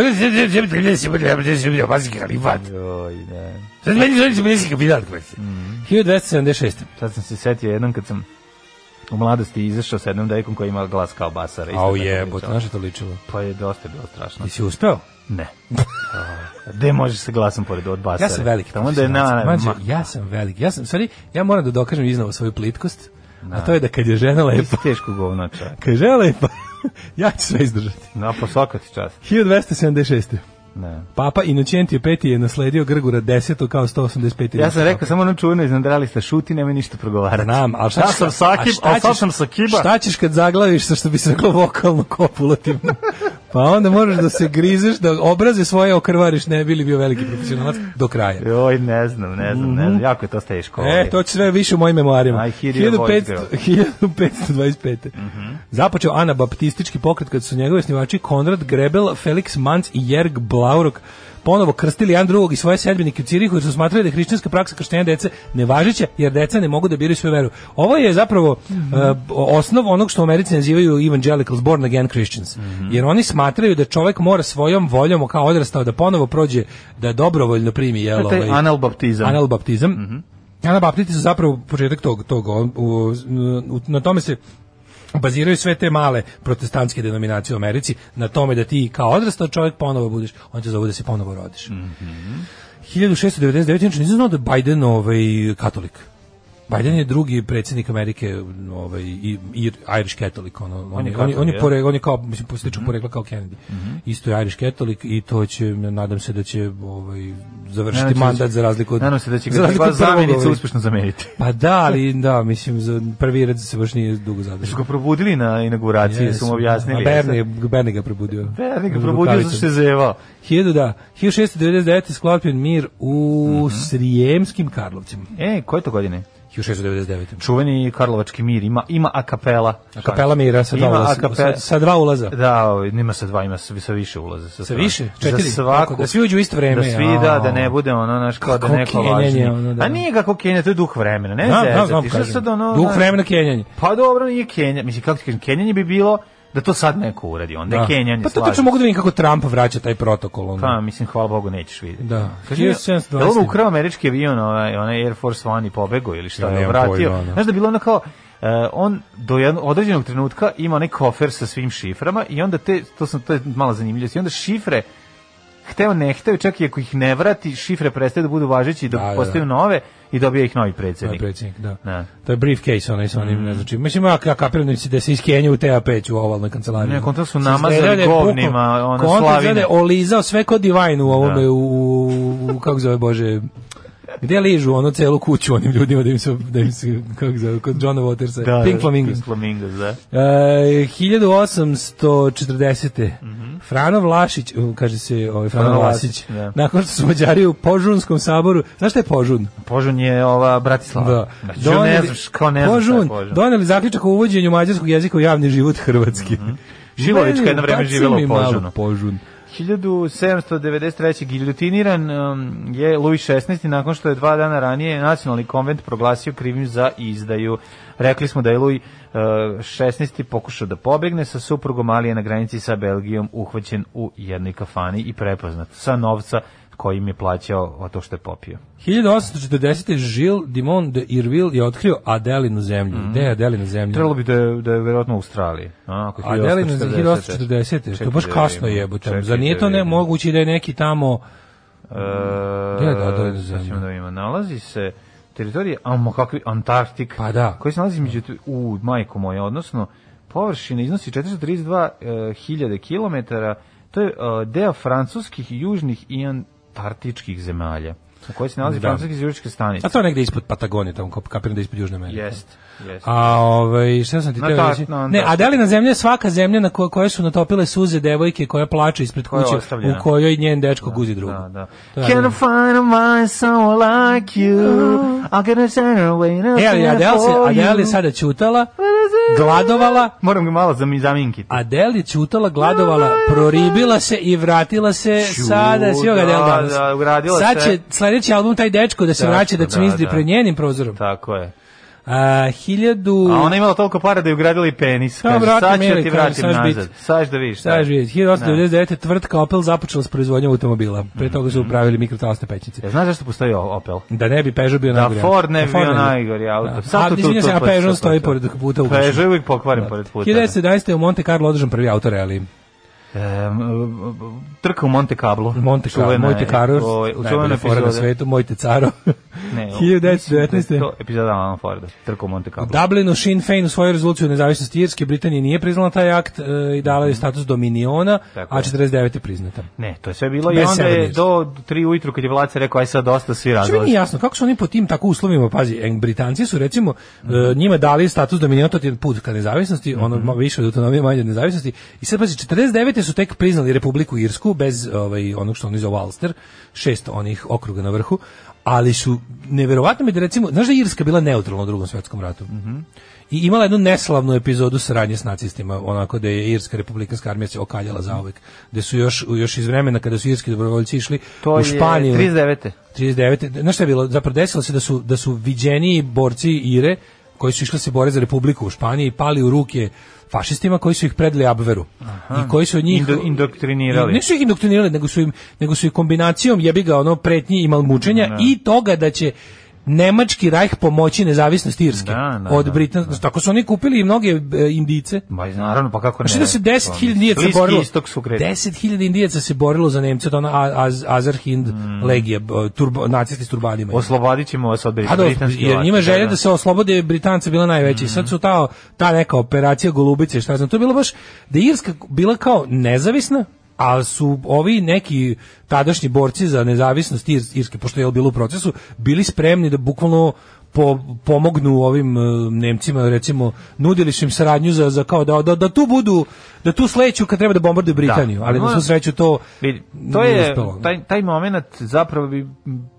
[SPEAKER 8] Basare. Abasitski halifat.
[SPEAKER 7] Joj, da.
[SPEAKER 8] Sad meni želiš abasitski kapital.
[SPEAKER 7] Mm.
[SPEAKER 8] 1276.
[SPEAKER 7] Sad sam se setio jednom kad sam u mladosti izašao sa jednom dejkom koja ima glas kao Basara. Isto
[SPEAKER 8] Au
[SPEAKER 7] tako
[SPEAKER 8] jebote,
[SPEAKER 7] pričala.
[SPEAKER 8] znaš što to ličilo?
[SPEAKER 7] Pa je dosta bilo strašno.
[SPEAKER 8] Ti Pa si uspeo? <laughs>
[SPEAKER 7] Ne. Gde možeš sa glasom pored od Basare?
[SPEAKER 8] Ja sam veliki
[SPEAKER 7] Pa Tamo da je na... na-
[SPEAKER 8] Mađo,
[SPEAKER 7] ma-
[SPEAKER 8] ja sam veliki. Ja sam, sorry, ja moram da dokažem iznova svoju plitkost, a to je da kad je žena
[SPEAKER 7] Ti
[SPEAKER 8] lepa,
[SPEAKER 7] si teško govno čovjek.
[SPEAKER 8] kad je žena lepa, <laughs> ja ću sve izdržati.
[SPEAKER 7] No, po svaka ti čast.
[SPEAKER 8] 1276.
[SPEAKER 7] Ne.
[SPEAKER 8] Papa Inocentije V je nasledio Grgura 10. kao 185.
[SPEAKER 7] Ja sam rekao samo ono čuveno iznedrali ste šuti, nemoj ništa progovarati.
[SPEAKER 8] Znam, ali šta
[SPEAKER 7] Ja
[SPEAKER 8] ćeš-
[SPEAKER 7] sam Sakib,
[SPEAKER 8] a šta
[SPEAKER 7] ali sad
[SPEAKER 8] ćeš-
[SPEAKER 7] sam Sakiba.
[SPEAKER 8] Šta ćeš kad zaglaviš sa što bi se reklo vokalno kopulativno? pa onda moraš da se grizeš, da obraze svoje okrvariš, ne bili bio veliki profesionalac do kraja.
[SPEAKER 7] Joj, ne znam, ne znam, ne znam. Jako je to teško.
[SPEAKER 8] Mhm. E, to će sve više u mojim memoarima.
[SPEAKER 7] I hear your voice,
[SPEAKER 8] 1500 1525.
[SPEAKER 7] Mhm.
[SPEAKER 8] Započeo anabaptistički pokret kad su njegovi osnivači Konrad Grebel, Felix Manz i Jerg Blaurok ponovo krstili jedan drugog i svoje sedbenike u Cirihu jer su smatrali da je hrišćanska praksa krštenja dece nevažeća jer deca ne mogu da biraju svoju veru. Ovo je zapravo
[SPEAKER 7] Mhm.
[SPEAKER 8] e, osnov onog što u Americi nazivaju evangelicals, born again Christians.
[SPEAKER 7] Mhm.
[SPEAKER 8] Jer oni smatraju da čovek mora svojom voljom kao odrastao da ponovo prođe da dobrovoljno primi jelo.
[SPEAKER 7] To je
[SPEAKER 8] ovaj,
[SPEAKER 7] analbaptizam.
[SPEAKER 8] Analbaptizam.
[SPEAKER 7] Mhm.
[SPEAKER 8] Anabaptisti su zapravo početak tog, tog on- u- u- na tome se baziraju sve te male protestantske denominacije u Americi na tome da ti kao odrastao čovjek ponovo budeš, on će zove da se ponovo rodiš.
[SPEAKER 7] Mhm.
[SPEAKER 8] 1699. Inače, nisam znao znači, da je Biden ovaj, katolik. Biden je drugi predsjednik Amerike, ovaj, i, i Irish Catholic. Ono, on, je, on, je, on, je
[SPEAKER 7] katolik, Mhm.
[SPEAKER 8] pore- on je kao, mislim, postiču porekla kao Kennedy. Isto je Irish Catholic i to će, nadam se da će ovaj, završiti
[SPEAKER 7] Nadam se da će-
[SPEAKER 8] mandat za razliku od...
[SPEAKER 7] Nadam se da će
[SPEAKER 8] za
[SPEAKER 7] ga
[SPEAKER 8] razliku
[SPEAKER 7] njegova
[SPEAKER 8] od prvog,
[SPEAKER 7] zamenica
[SPEAKER 8] ovaj.
[SPEAKER 7] uspešno zameniti.
[SPEAKER 8] Pa da, ali da, mislim, za prvi red se baš nije dugo
[SPEAKER 7] Su
[SPEAKER 8] zadržao.
[SPEAKER 7] ga probudili na inauguraciji, su mu objasnili. E,
[SPEAKER 8] A Berni, je- Berni ga probudio.
[SPEAKER 7] Berni ga
[SPEAKER 8] Uz
[SPEAKER 7] probudio
[SPEAKER 8] rukavice.
[SPEAKER 7] zašto se zevao.
[SPEAKER 8] 1000 da, 1699 je sklopljen mir u
[SPEAKER 7] Mhm.
[SPEAKER 8] Srijemskim Karlovcima.
[SPEAKER 7] E, koje to godine?
[SPEAKER 8] 1699.
[SPEAKER 7] Čuveni Karlovački mir, ima, ima akapela.
[SPEAKER 8] Kapela mira sa dva
[SPEAKER 7] Ima
[SPEAKER 8] ulaza.
[SPEAKER 7] akape-
[SPEAKER 8] Sa, sa dva ulaza.
[SPEAKER 7] Da, ovaj, nema sa dva, ima sa, sa više ulaze. Sa, strane.
[SPEAKER 8] više? Četiri?
[SPEAKER 7] Za svaku.
[SPEAKER 8] Kako, da svi uđu u isto vreme?
[SPEAKER 7] Da svi, da, da ne
[SPEAKER 8] Ao.
[SPEAKER 7] bude ono, znaš, kao da
[SPEAKER 8] Kako
[SPEAKER 7] neko
[SPEAKER 8] kenjanje,
[SPEAKER 7] važnije.
[SPEAKER 8] ono, da.
[SPEAKER 7] A nije kako Kenja, to je duh vremena, ne
[SPEAKER 8] Znam,
[SPEAKER 7] zezati.
[SPEAKER 8] znam, znam,
[SPEAKER 7] Šta
[SPEAKER 8] kažem.
[SPEAKER 7] sad ono,
[SPEAKER 8] Duh
[SPEAKER 7] znaš,
[SPEAKER 8] vremena Kenjanje.
[SPEAKER 7] Pa dobro, nije Kenja. Mislim, kako ti kažem, Kenjanje bi bilo da to sad neko uradi, onda je Kenjanje,
[SPEAKER 8] Pa to
[SPEAKER 7] slažem
[SPEAKER 8] tačno mogu da vidim kako Trump vraća taj protokol. Ono.
[SPEAKER 7] Pa, mislim, hvala Bogu, nećeš vidjeti.
[SPEAKER 8] Da.
[SPEAKER 7] Kaži, je
[SPEAKER 8] 1720.
[SPEAKER 7] li on ukrao američki avion, onaj, onaj Air Force One i pobego ili šta,
[SPEAKER 8] Ja
[SPEAKER 7] je
[SPEAKER 8] nemam
[SPEAKER 7] vratio?
[SPEAKER 8] pojma, da.
[SPEAKER 7] Znaš da je bilo ono kao, e, on do jedno, određenog trenutka ima onaj kofer sa svim šiframa i onda te, to, sam, to je mala zanimljivost, i onda šifre hteo ne hteo, čak i ako ih ne vrati, šifre prestaju da budu važeći i da,
[SPEAKER 8] Da, da,
[SPEAKER 7] postaju nove i dobija ih novi predsjednik.
[SPEAKER 8] Taj predsjednik, da.
[SPEAKER 7] Da. Mm.
[SPEAKER 8] To je briefcase onaj sa onim, ne znači. Mislim ja ja kapiram da se- da se iz Kenije u TA5 u ovalnoj kancelariji.
[SPEAKER 7] Ne, kontra su
[SPEAKER 8] Se
[SPEAKER 7] namazali
[SPEAKER 8] izgleda da je bukvalno-
[SPEAKER 7] govnima, ono,
[SPEAKER 8] kontra
[SPEAKER 7] slavine.
[SPEAKER 8] izgleda da je olizao sve ko Divine u ovome
[SPEAKER 7] Da.
[SPEAKER 8] u, u- u- kako zove bože Gde ližu ono celu kuću onim ljudima da im se da im se kako zove kod Johna Watersa,
[SPEAKER 7] Da,
[SPEAKER 8] Pink
[SPEAKER 7] da,
[SPEAKER 8] Flamingos.
[SPEAKER 7] Pink Flamingos, da.
[SPEAKER 8] E, 1840. Frano Vlašić, u, kaže se ovaj Frano,
[SPEAKER 7] Mhm. Frano
[SPEAKER 8] Vlasić,
[SPEAKER 7] Vlasić, da.
[SPEAKER 8] nakon što su Mađari u Požunskom saboru, znaš šta je Požun?
[SPEAKER 7] Požun je ova Bratislava.
[SPEAKER 8] Da.
[SPEAKER 7] Znači, Doneli, ne znaš, kao ne znaš šta je
[SPEAKER 8] Požun,
[SPEAKER 7] Požun.
[SPEAKER 8] doneli zaključak o uvođenju mađarskog jezika u javni život Hrvatski.
[SPEAKER 7] Mhm. Žilovićka jedno vreme
[SPEAKER 8] Baci
[SPEAKER 7] živela
[SPEAKER 8] mi
[SPEAKER 7] u
[SPEAKER 8] malo
[SPEAKER 7] Požunu.
[SPEAKER 8] Požun.
[SPEAKER 7] 1793. giljotiniran um, je Louis XVI nakon što je dva dana ranije nacionalni konvent proglasio krivim za izdaju. Rekli smo da je Louis uh, XVI pokušao da pobegne sa suprugom, ali je na granici sa Belgijom uhvaćen u jednoj kafani i prepoznat sa novca kojim je plaćao o to što je popio.
[SPEAKER 8] 1840. Žil Dimon de Irville je otkrio Adelinu zemlju.
[SPEAKER 7] Mhm.
[SPEAKER 8] Gde je Adelinu zemlju?
[SPEAKER 7] Trebalo bi da je, da je verovatno u Australiji. A, ako je
[SPEAKER 8] Adelinu za
[SPEAKER 7] 1840.
[SPEAKER 8] 1840. Što je baš
[SPEAKER 7] Čekaj da
[SPEAKER 8] kasno
[SPEAKER 7] vidim,
[SPEAKER 8] jebote.
[SPEAKER 7] čekaj
[SPEAKER 8] Zar nije
[SPEAKER 7] da
[SPEAKER 8] to ne
[SPEAKER 7] vidim.
[SPEAKER 8] moguće da je neki tamo... Gde je da odvojena
[SPEAKER 7] Mm. E, sad
[SPEAKER 8] zemlja?
[SPEAKER 7] ćemo da vidimo. Nalazi se teritorije amo kakvi Antarktik.
[SPEAKER 8] Pa da.
[SPEAKER 7] Koji se nalazi među u majku moje, odnosno površina iznosi 432.000 km. e, To je e, deo francuskih južnih i antarktičkih zemalja. U kojoj se nalazi
[SPEAKER 8] Da.
[SPEAKER 7] francuske zvučke stanice.
[SPEAKER 8] A to je negde ispod Patagonije, tamo kap- kapiram da je ispod Južne Amerike.
[SPEAKER 7] Jest, jest.
[SPEAKER 8] A ovaj šta sam ti
[SPEAKER 7] Na
[SPEAKER 8] teo
[SPEAKER 7] tak-
[SPEAKER 8] reći?
[SPEAKER 7] na-
[SPEAKER 8] Ne,
[SPEAKER 7] na-
[SPEAKER 8] a da li na zemlji je svaka zemlja na kojoj koje su natopile suze devojke koja plače ispred
[SPEAKER 7] Koja je
[SPEAKER 8] kuće
[SPEAKER 7] ostavljena.
[SPEAKER 8] u kojoj njen dečko guzi drugu.
[SPEAKER 7] Da, da.
[SPEAKER 8] To je
[SPEAKER 7] Can I
[SPEAKER 8] Adele.
[SPEAKER 7] find a man someone like you? I'm gonna send her away.
[SPEAKER 8] E, ali Adele se, Adele je sada ćutala gladovala,
[SPEAKER 7] Moram ga malo zam- zaminkiti.
[SPEAKER 8] Adele je čutala, gladovala, proribila se i vratila se
[SPEAKER 7] Ću,
[SPEAKER 8] sada, svi ovoga
[SPEAKER 7] da,
[SPEAKER 8] Adele danas.
[SPEAKER 7] da, ugradila
[SPEAKER 8] Sad
[SPEAKER 7] se.
[SPEAKER 8] će sledeći album taj dečko da se
[SPEAKER 7] Dečko,
[SPEAKER 8] vraća, da
[SPEAKER 7] da,
[SPEAKER 8] cvizdi
[SPEAKER 7] da.
[SPEAKER 8] pred njenim prozorom.
[SPEAKER 7] Tako je.
[SPEAKER 8] A, hiljadu...
[SPEAKER 7] A ona je imala toliko para da je ugradila i penis.
[SPEAKER 8] Kao
[SPEAKER 7] Kaže,
[SPEAKER 8] vrati
[SPEAKER 7] sad ću
[SPEAKER 8] mili,
[SPEAKER 7] ti
[SPEAKER 8] kaže,
[SPEAKER 7] vratim
[SPEAKER 8] saš bit.
[SPEAKER 7] nazad. Sad ću da vidiš. šta je.
[SPEAKER 8] Sad je 1899. tvrtka Opel započela s proizvodnjom automobila. Pre
[SPEAKER 7] Mhm.
[SPEAKER 8] toga su upravili mikrotalasne pećnice.
[SPEAKER 7] Jel znaš zašto postoji o- Opel?
[SPEAKER 8] Da ne bi Peugeot bio
[SPEAKER 7] Da
[SPEAKER 8] najgori. auto.
[SPEAKER 7] Ford ne bi bio
[SPEAKER 8] bi.
[SPEAKER 7] najgori auto.
[SPEAKER 8] Da.
[SPEAKER 7] Sad
[SPEAKER 8] A,
[SPEAKER 7] tu, tu,
[SPEAKER 8] izvinjam
[SPEAKER 7] tu,
[SPEAKER 8] se, a
[SPEAKER 7] tu,
[SPEAKER 8] Peugeot
[SPEAKER 7] tu, tu,
[SPEAKER 8] stoji
[SPEAKER 7] tu.
[SPEAKER 8] pored puta ugašen.
[SPEAKER 7] Peugeot je uvijek pokvaren pored puta, da.
[SPEAKER 8] 1917. je u Monte Carlo održan prvi autoreali.
[SPEAKER 7] Em, trka u Monte Carlo.
[SPEAKER 8] Monte Carlo,
[SPEAKER 7] Čuvena
[SPEAKER 8] Monte
[SPEAKER 7] je,
[SPEAKER 8] Carlo,
[SPEAKER 7] ovaj, u čuvenoj
[SPEAKER 8] najbolja fora na
[SPEAKER 7] epizodi.
[SPEAKER 8] svetu, Mojte Caro. <laughs>
[SPEAKER 7] Ne, u- mislim da je
[SPEAKER 8] 1919.
[SPEAKER 7] To epizoda Alan Forda, trka u Monte Carlo.
[SPEAKER 8] U Dublinu Sinn Féin u svojoj rezoluciji o nezavisnosti Irske, Britanije nije priznala taj akt e, i dala je status dominiona,
[SPEAKER 7] Tako
[SPEAKER 8] a
[SPEAKER 7] je.
[SPEAKER 8] 49. je priznata.
[SPEAKER 7] Ne, to je sve bilo i
[SPEAKER 8] Bez
[SPEAKER 7] onda je
[SPEAKER 8] Severnirske.
[SPEAKER 7] do 3 ujutru kad je Vlaca rekao aj sad dosta svi
[SPEAKER 8] Što mi
[SPEAKER 7] razlaze.
[SPEAKER 8] nije Znači, jasno, kako su oni po tim tako uslovima, pazi, en- Britanci su recimo
[SPEAKER 7] Mhm.
[SPEAKER 8] e, njima dali status dominionata to ti je put ka nezavisnosti, ono ma- više od autonomije, manje od nezavisnosti. I sad pazi, 49. su tek priznali Republiku Irsku bez ovaj, onog što oni zovu Ulster, šest onih okruga na vrhu, ali su, neverovatno mi je da recimo, znaš da je Irska bila neutralna u drugom svetskom ratu?
[SPEAKER 7] Mhm.
[SPEAKER 8] I imala jednu neslavnu epizodu saradnje s nacistima, onako da je Irska republikanska armija se okaljala zauvek, gde su još, još iz vremena kada su irski dobrovoljci išli
[SPEAKER 7] To
[SPEAKER 8] u
[SPEAKER 7] je
[SPEAKER 8] Španiju.
[SPEAKER 7] 39.
[SPEAKER 8] 39. Znaš šta je bilo? Zapravo desilo se da su, da su viđeniji borci Ire, koji su išli se bore za Republiku u Španiji, pali u ruke fašistima koji su ih predali Abveru. I koji su od njih...
[SPEAKER 7] Indo- indoktrinirali.
[SPEAKER 8] I Nisu ih indoktrinirali, nego su, im, nego su ih kombinacijom jebiga ono pretnji i malmučenja i toga da će Nemački rajh pomoći nezavisnost Irske
[SPEAKER 7] Da, da,
[SPEAKER 8] od
[SPEAKER 7] da,
[SPEAKER 8] Britan... Tako su oni kupili i mnoge e, Indice.
[SPEAKER 7] Ma naravno, pa kako ne.
[SPEAKER 8] Znači da se 10.000 indijaca
[SPEAKER 7] Bliski
[SPEAKER 8] borilo.
[SPEAKER 7] istok su kretali.
[SPEAKER 8] 10.000 indijaca se borilo za Nemce, od ona A- Az, Azerhind
[SPEAKER 7] Mm.
[SPEAKER 8] legije, b- turbo, nacisti s turbanima.
[SPEAKER 7] Oslobodit ćemo vas od
[SPEAKER 8] A da,
[SPEAKER 7] britanskih
[SPEAKER 8] Pa jer njima
[SPEAKER 7] vlasti,
[SPEAKER 8] želja da se oslobode Britanca bila najveća. I sad su ta, ta neka operacija Golubice, šta znam, to je bilo baš da je Irska bila kao nezavisna, ali su ovi neki tadašnji borci za nezavisnost Irs- Irske, pošto je bilo u procesu, bili spremni da bukvalno po, pomognu ovim e, Nemcima recimo nudili su im saradnju za, za kao da, da, da tu budu da tu sleću kad treba da bombarduju Britaniju ali na
[SPEAKER 7] Moram-
[SPEAKER 8] svu sreću to
[SPEAKER 7] Vidi, to
[SPEAKER 8] nije
[SPEAKER 7] je
[SPEAKER 8] uspelo.
[SPEAKER 7] taj taj momenat zapravo bi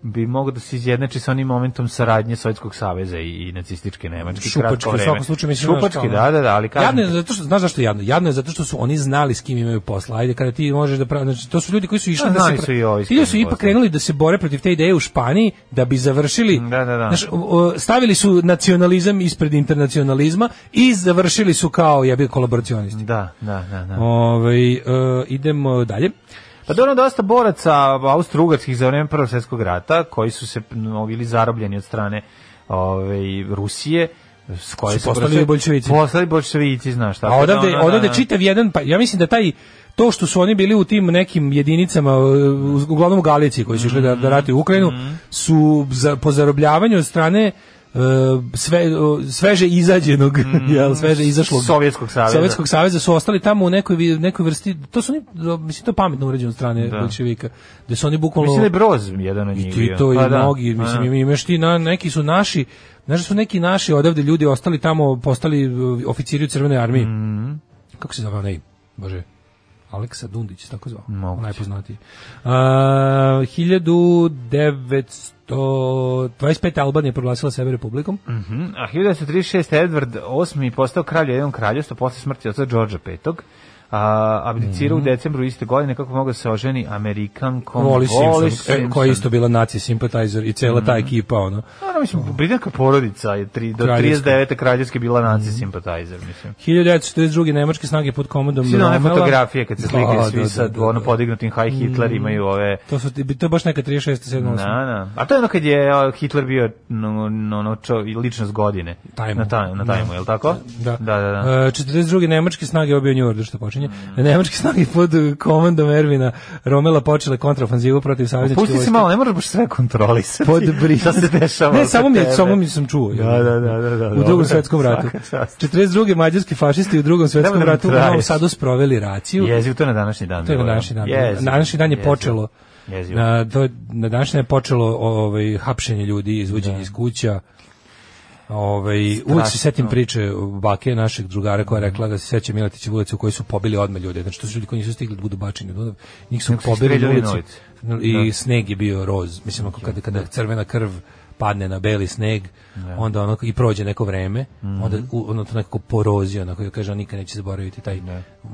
[SPEAKER 7] bi mogao da se izjednači sa onim momentom saradnje Sovjetskog saveza i, i nacističke Nemačke
[SPEAKER 8] Šupački,
[SPEAKER 7] kratko
[SPEAKER 8] u
[SPEAKER 7] vreme.
[SPEAKER 8] svakom slučaju mislim
[SPEAKER 7] Šupački,
[SPEAKER 8] znaš, ono- kao,
[SPEAKER 7] da, da, da, ali kažem
[SPEAKER 8] Jadno je
[SPEAKER 7] ti,
[SPEAKER 8] zato što znaš zašto je jadno? Jadno je zato što su oni znali s kim imaju posla. Ajde kada ti možeš da pravi, znači to su ljudi koji su išli
[SPEAKER 7] Da,
[SPEAKER 8] da, se
[SPEAKER 7] znali su i ovi s
[SPEAKER 8] Ili
[SPEAKER 7] kim
[SPEAKER 8] su
[SPEAKER 7] imaju
[SPEAKER 8] ipak
[SPEAKER 7] posla.
[SPEAKER 8] krenuli da se bore protiv te ideje u Španiji da bi završili.
[SPEAKER 7] Da, da, da.
[SPEAKER 8] Znaš, o- o, stavili su nacionalizam ispred internacionalizma i završili su kao jebi kolaboracionisti.
[SPEAKER 7] Da, da, da, da.
[SPEAKER 8] Ovaj e, idemo dalje.
[SPEAKER 7] Pa dobro, dosta boraca austrougarskih za vreme Prvog svjetskog rata, koji su se no, bili zarobljeni od strane ovaj, Rusije, s koje
[SPEAKER 8] Su postali
[SPEAKER 7] prosto-
[SPEAKER 8] boljševici.
[SPEAKER 7] Postali bolševici, znaš. tako
[SPEAKER 8] A
[SPEAKER 7] da
[SPEAKER 8] odavde,
[SPEAKER 7] ono, da,
[SPEAKER 8] odavde
[SPEAKER 7] da.
[SPEAKER 8] čitav jedan, pa ja mislim da taj to što su oni bili u tim nekim jedinicama e, uz- uglavnom u Galiciji koji su išli da, da ratuju Ukrajinu
[SPEAKER 7] Mhm.
[SPEAKER 8] su za, po zarobljavanju od strane e, sve, e, sveže izađenog <laughs> jel, sveže izašlog
[SPEAKER 7] Mhm. Sovjetskog saveza.
[SPEAKER 8] Sovjetskog saveza su ostali tamo u nekoj, vi- nekoj vrsti to su oni, do- mislim to je pametno urađeno od strane
[SPEAKER 7] Da.
[SPEAKER 8] bolševika, gde su oni bukvalno
[SPEAKER 7] Mislim da je Broz jedan od njih.
[SPEAKER 8] i ti
[SPEAKER 7] bio.
[SPEAKER 8] to i
[SPEAKER 7] Pa da.
[SPEAKER 8] mnogi,
[SPEAKER 7] Pa da.
[SPEAKER 8] mislim, imaš ti, na, neki su naši, znaš da su neki naši odavde ljudi ostali tamo, postali uh, oficiri u crvenoj armiji.
[SPEAKER 7] Mhm.
[SPEAKER 8] Kako se zove onaj, bože, Aleksa Dundić se tako zvao,
[SPEAKER 7] Moguće.
[SPEAKER 8] najpoznatiji. Uh, 1925. Albanija je proglasila sebe republikom.
[SPEAKER 7] Mhm, A 1936. Edward VIII postao kralj jednom kraljevstva posle smrti oca Đorđa V. A, abdicirao
[SPEAKER 8] Mhm.
[SPEAKER 7] u decembru iste godine kako mogu da se oženi Amerikankom
[SPEAKER 8] Wally Simpson, e,
[SPEAKER 7] Simpson. Mhm.
[SPEAKER 8] koja je isto bila naci simpatizer i cela ta ekipa, ono.
[SPEAKER 7] Naravno, mislim, britanska porodica je tri, do
[SPEAKER 8] Kraljevska.
[SPEAKER 7] 39. kraljevske bila
[SPEAKER 8] Mhm.
[SPEAKER 7] nazi simpatizer, mislim.
[SPEAKER 8] 1942. nemačke snage pod komandom
[SPEAKER 7] Svi na one
[SPEAKER 8] Rommela-
[SPEAKER 7] fotografije kad se slike
[SPEAKER 8] Da,
[SPEAKER 7] svi
[SPEAKER 8] da, da,
[SPEAKER 7] sa
[SPEAKER 8] da, Mhm. da.
[SPEAKER 7] ono podignutim High Hitler imaju ove...
[SPEAKER 8] To, su, ti- to je baš neka 36. 7.
[SPEAKER 7] Na, na. A to je ono kad je o, Hitler bio no, no, no, čo, i ličnost godine.
[SPEAKER 8] Tajmu.
[SPEAKER 7] Na, taj, na tajmu, je li tako?
[SPEAKER 8] Da.
[SPEAKER 7] Da, da, Mm. da.
[SPEAKER 8] E, 42. nemačke snage obio New Order, što počinje. Nemačke snage pod uh, komandom Ervina Romela počele kontraofanzivu protiv savezničke
[SPEAKER 7] Pusti se
[SPEAKER 8] E, vojske.
[SPEAKER 7] malo, ne moraš baš sve kontrolisati.
[SPEAKER 8] Pod Britanijom.
[SPEAKER 7] Šta se dešava?
[SPEAKER 8] Ne,
[SPEAKER 7] oko
[SPEAKER 8] samo mi, je-
[SPEAKER 7] tebe?
[SPEAKER 8] samo mi sam čuo.
[SPEAKER 7] Da, da, da, da, da,
[SPEAKER 8] u
[SPEAKER 7] dobro.
[SPEAKER 8] drugom svetskom ratu.
[SPEAKER 7] Svaka čast.
[SPEAKER 8] 42. mađarski fašisti u drugom svetskom
[SPEAKER 7] Nemoj da mi
[SPEAKER 8] ratu u
[SPEAKER 7] traješ.
[SPEAKER 8] Novom Sadu sproveli raciju.
[SPEAKER 7] Jeziv, to je na današnji dan.
[SPEAKER 8] To je na
[SPEAKER 7] bilo,
[SPEAKER 8] današnji dan.
[SPEAKER 7] Jezivo,
[SPEAKER 8] na današnji dan je
[SPEAKER 7] jezivo.
[SPEAKER 8] počelo
[SPEAKER 7] Jezivo.
[SPEAKER 8] na, to je, na današnji dan je počelo ovaj, hapšenje ljudi, izvođenje iz kuća. Ovaj, uvijek se
[SPEAKER 7] Strašno.
[SPEAKER 8] setim priče bake našeg drugara koja je rekla da se seća Miletića ulicu u kojoj su pobili odme ljude. Znači to su ljudi koji nisu stigli da budu bačeni u Dunav. Njih su
[SPEAKER 7] Nego su ih
[SPEAKER 8] pobili
[SPEAKER 7] streljali na
[SPEAKER 8] ulici. I sneg je bio roz. Mislim, ako kada, kada crvena krv padne na beli sneg, onda ono i prođe neko vreme, onda u- ono to nekako porozio, onako joj kaže on nikad neće zaboraviti taj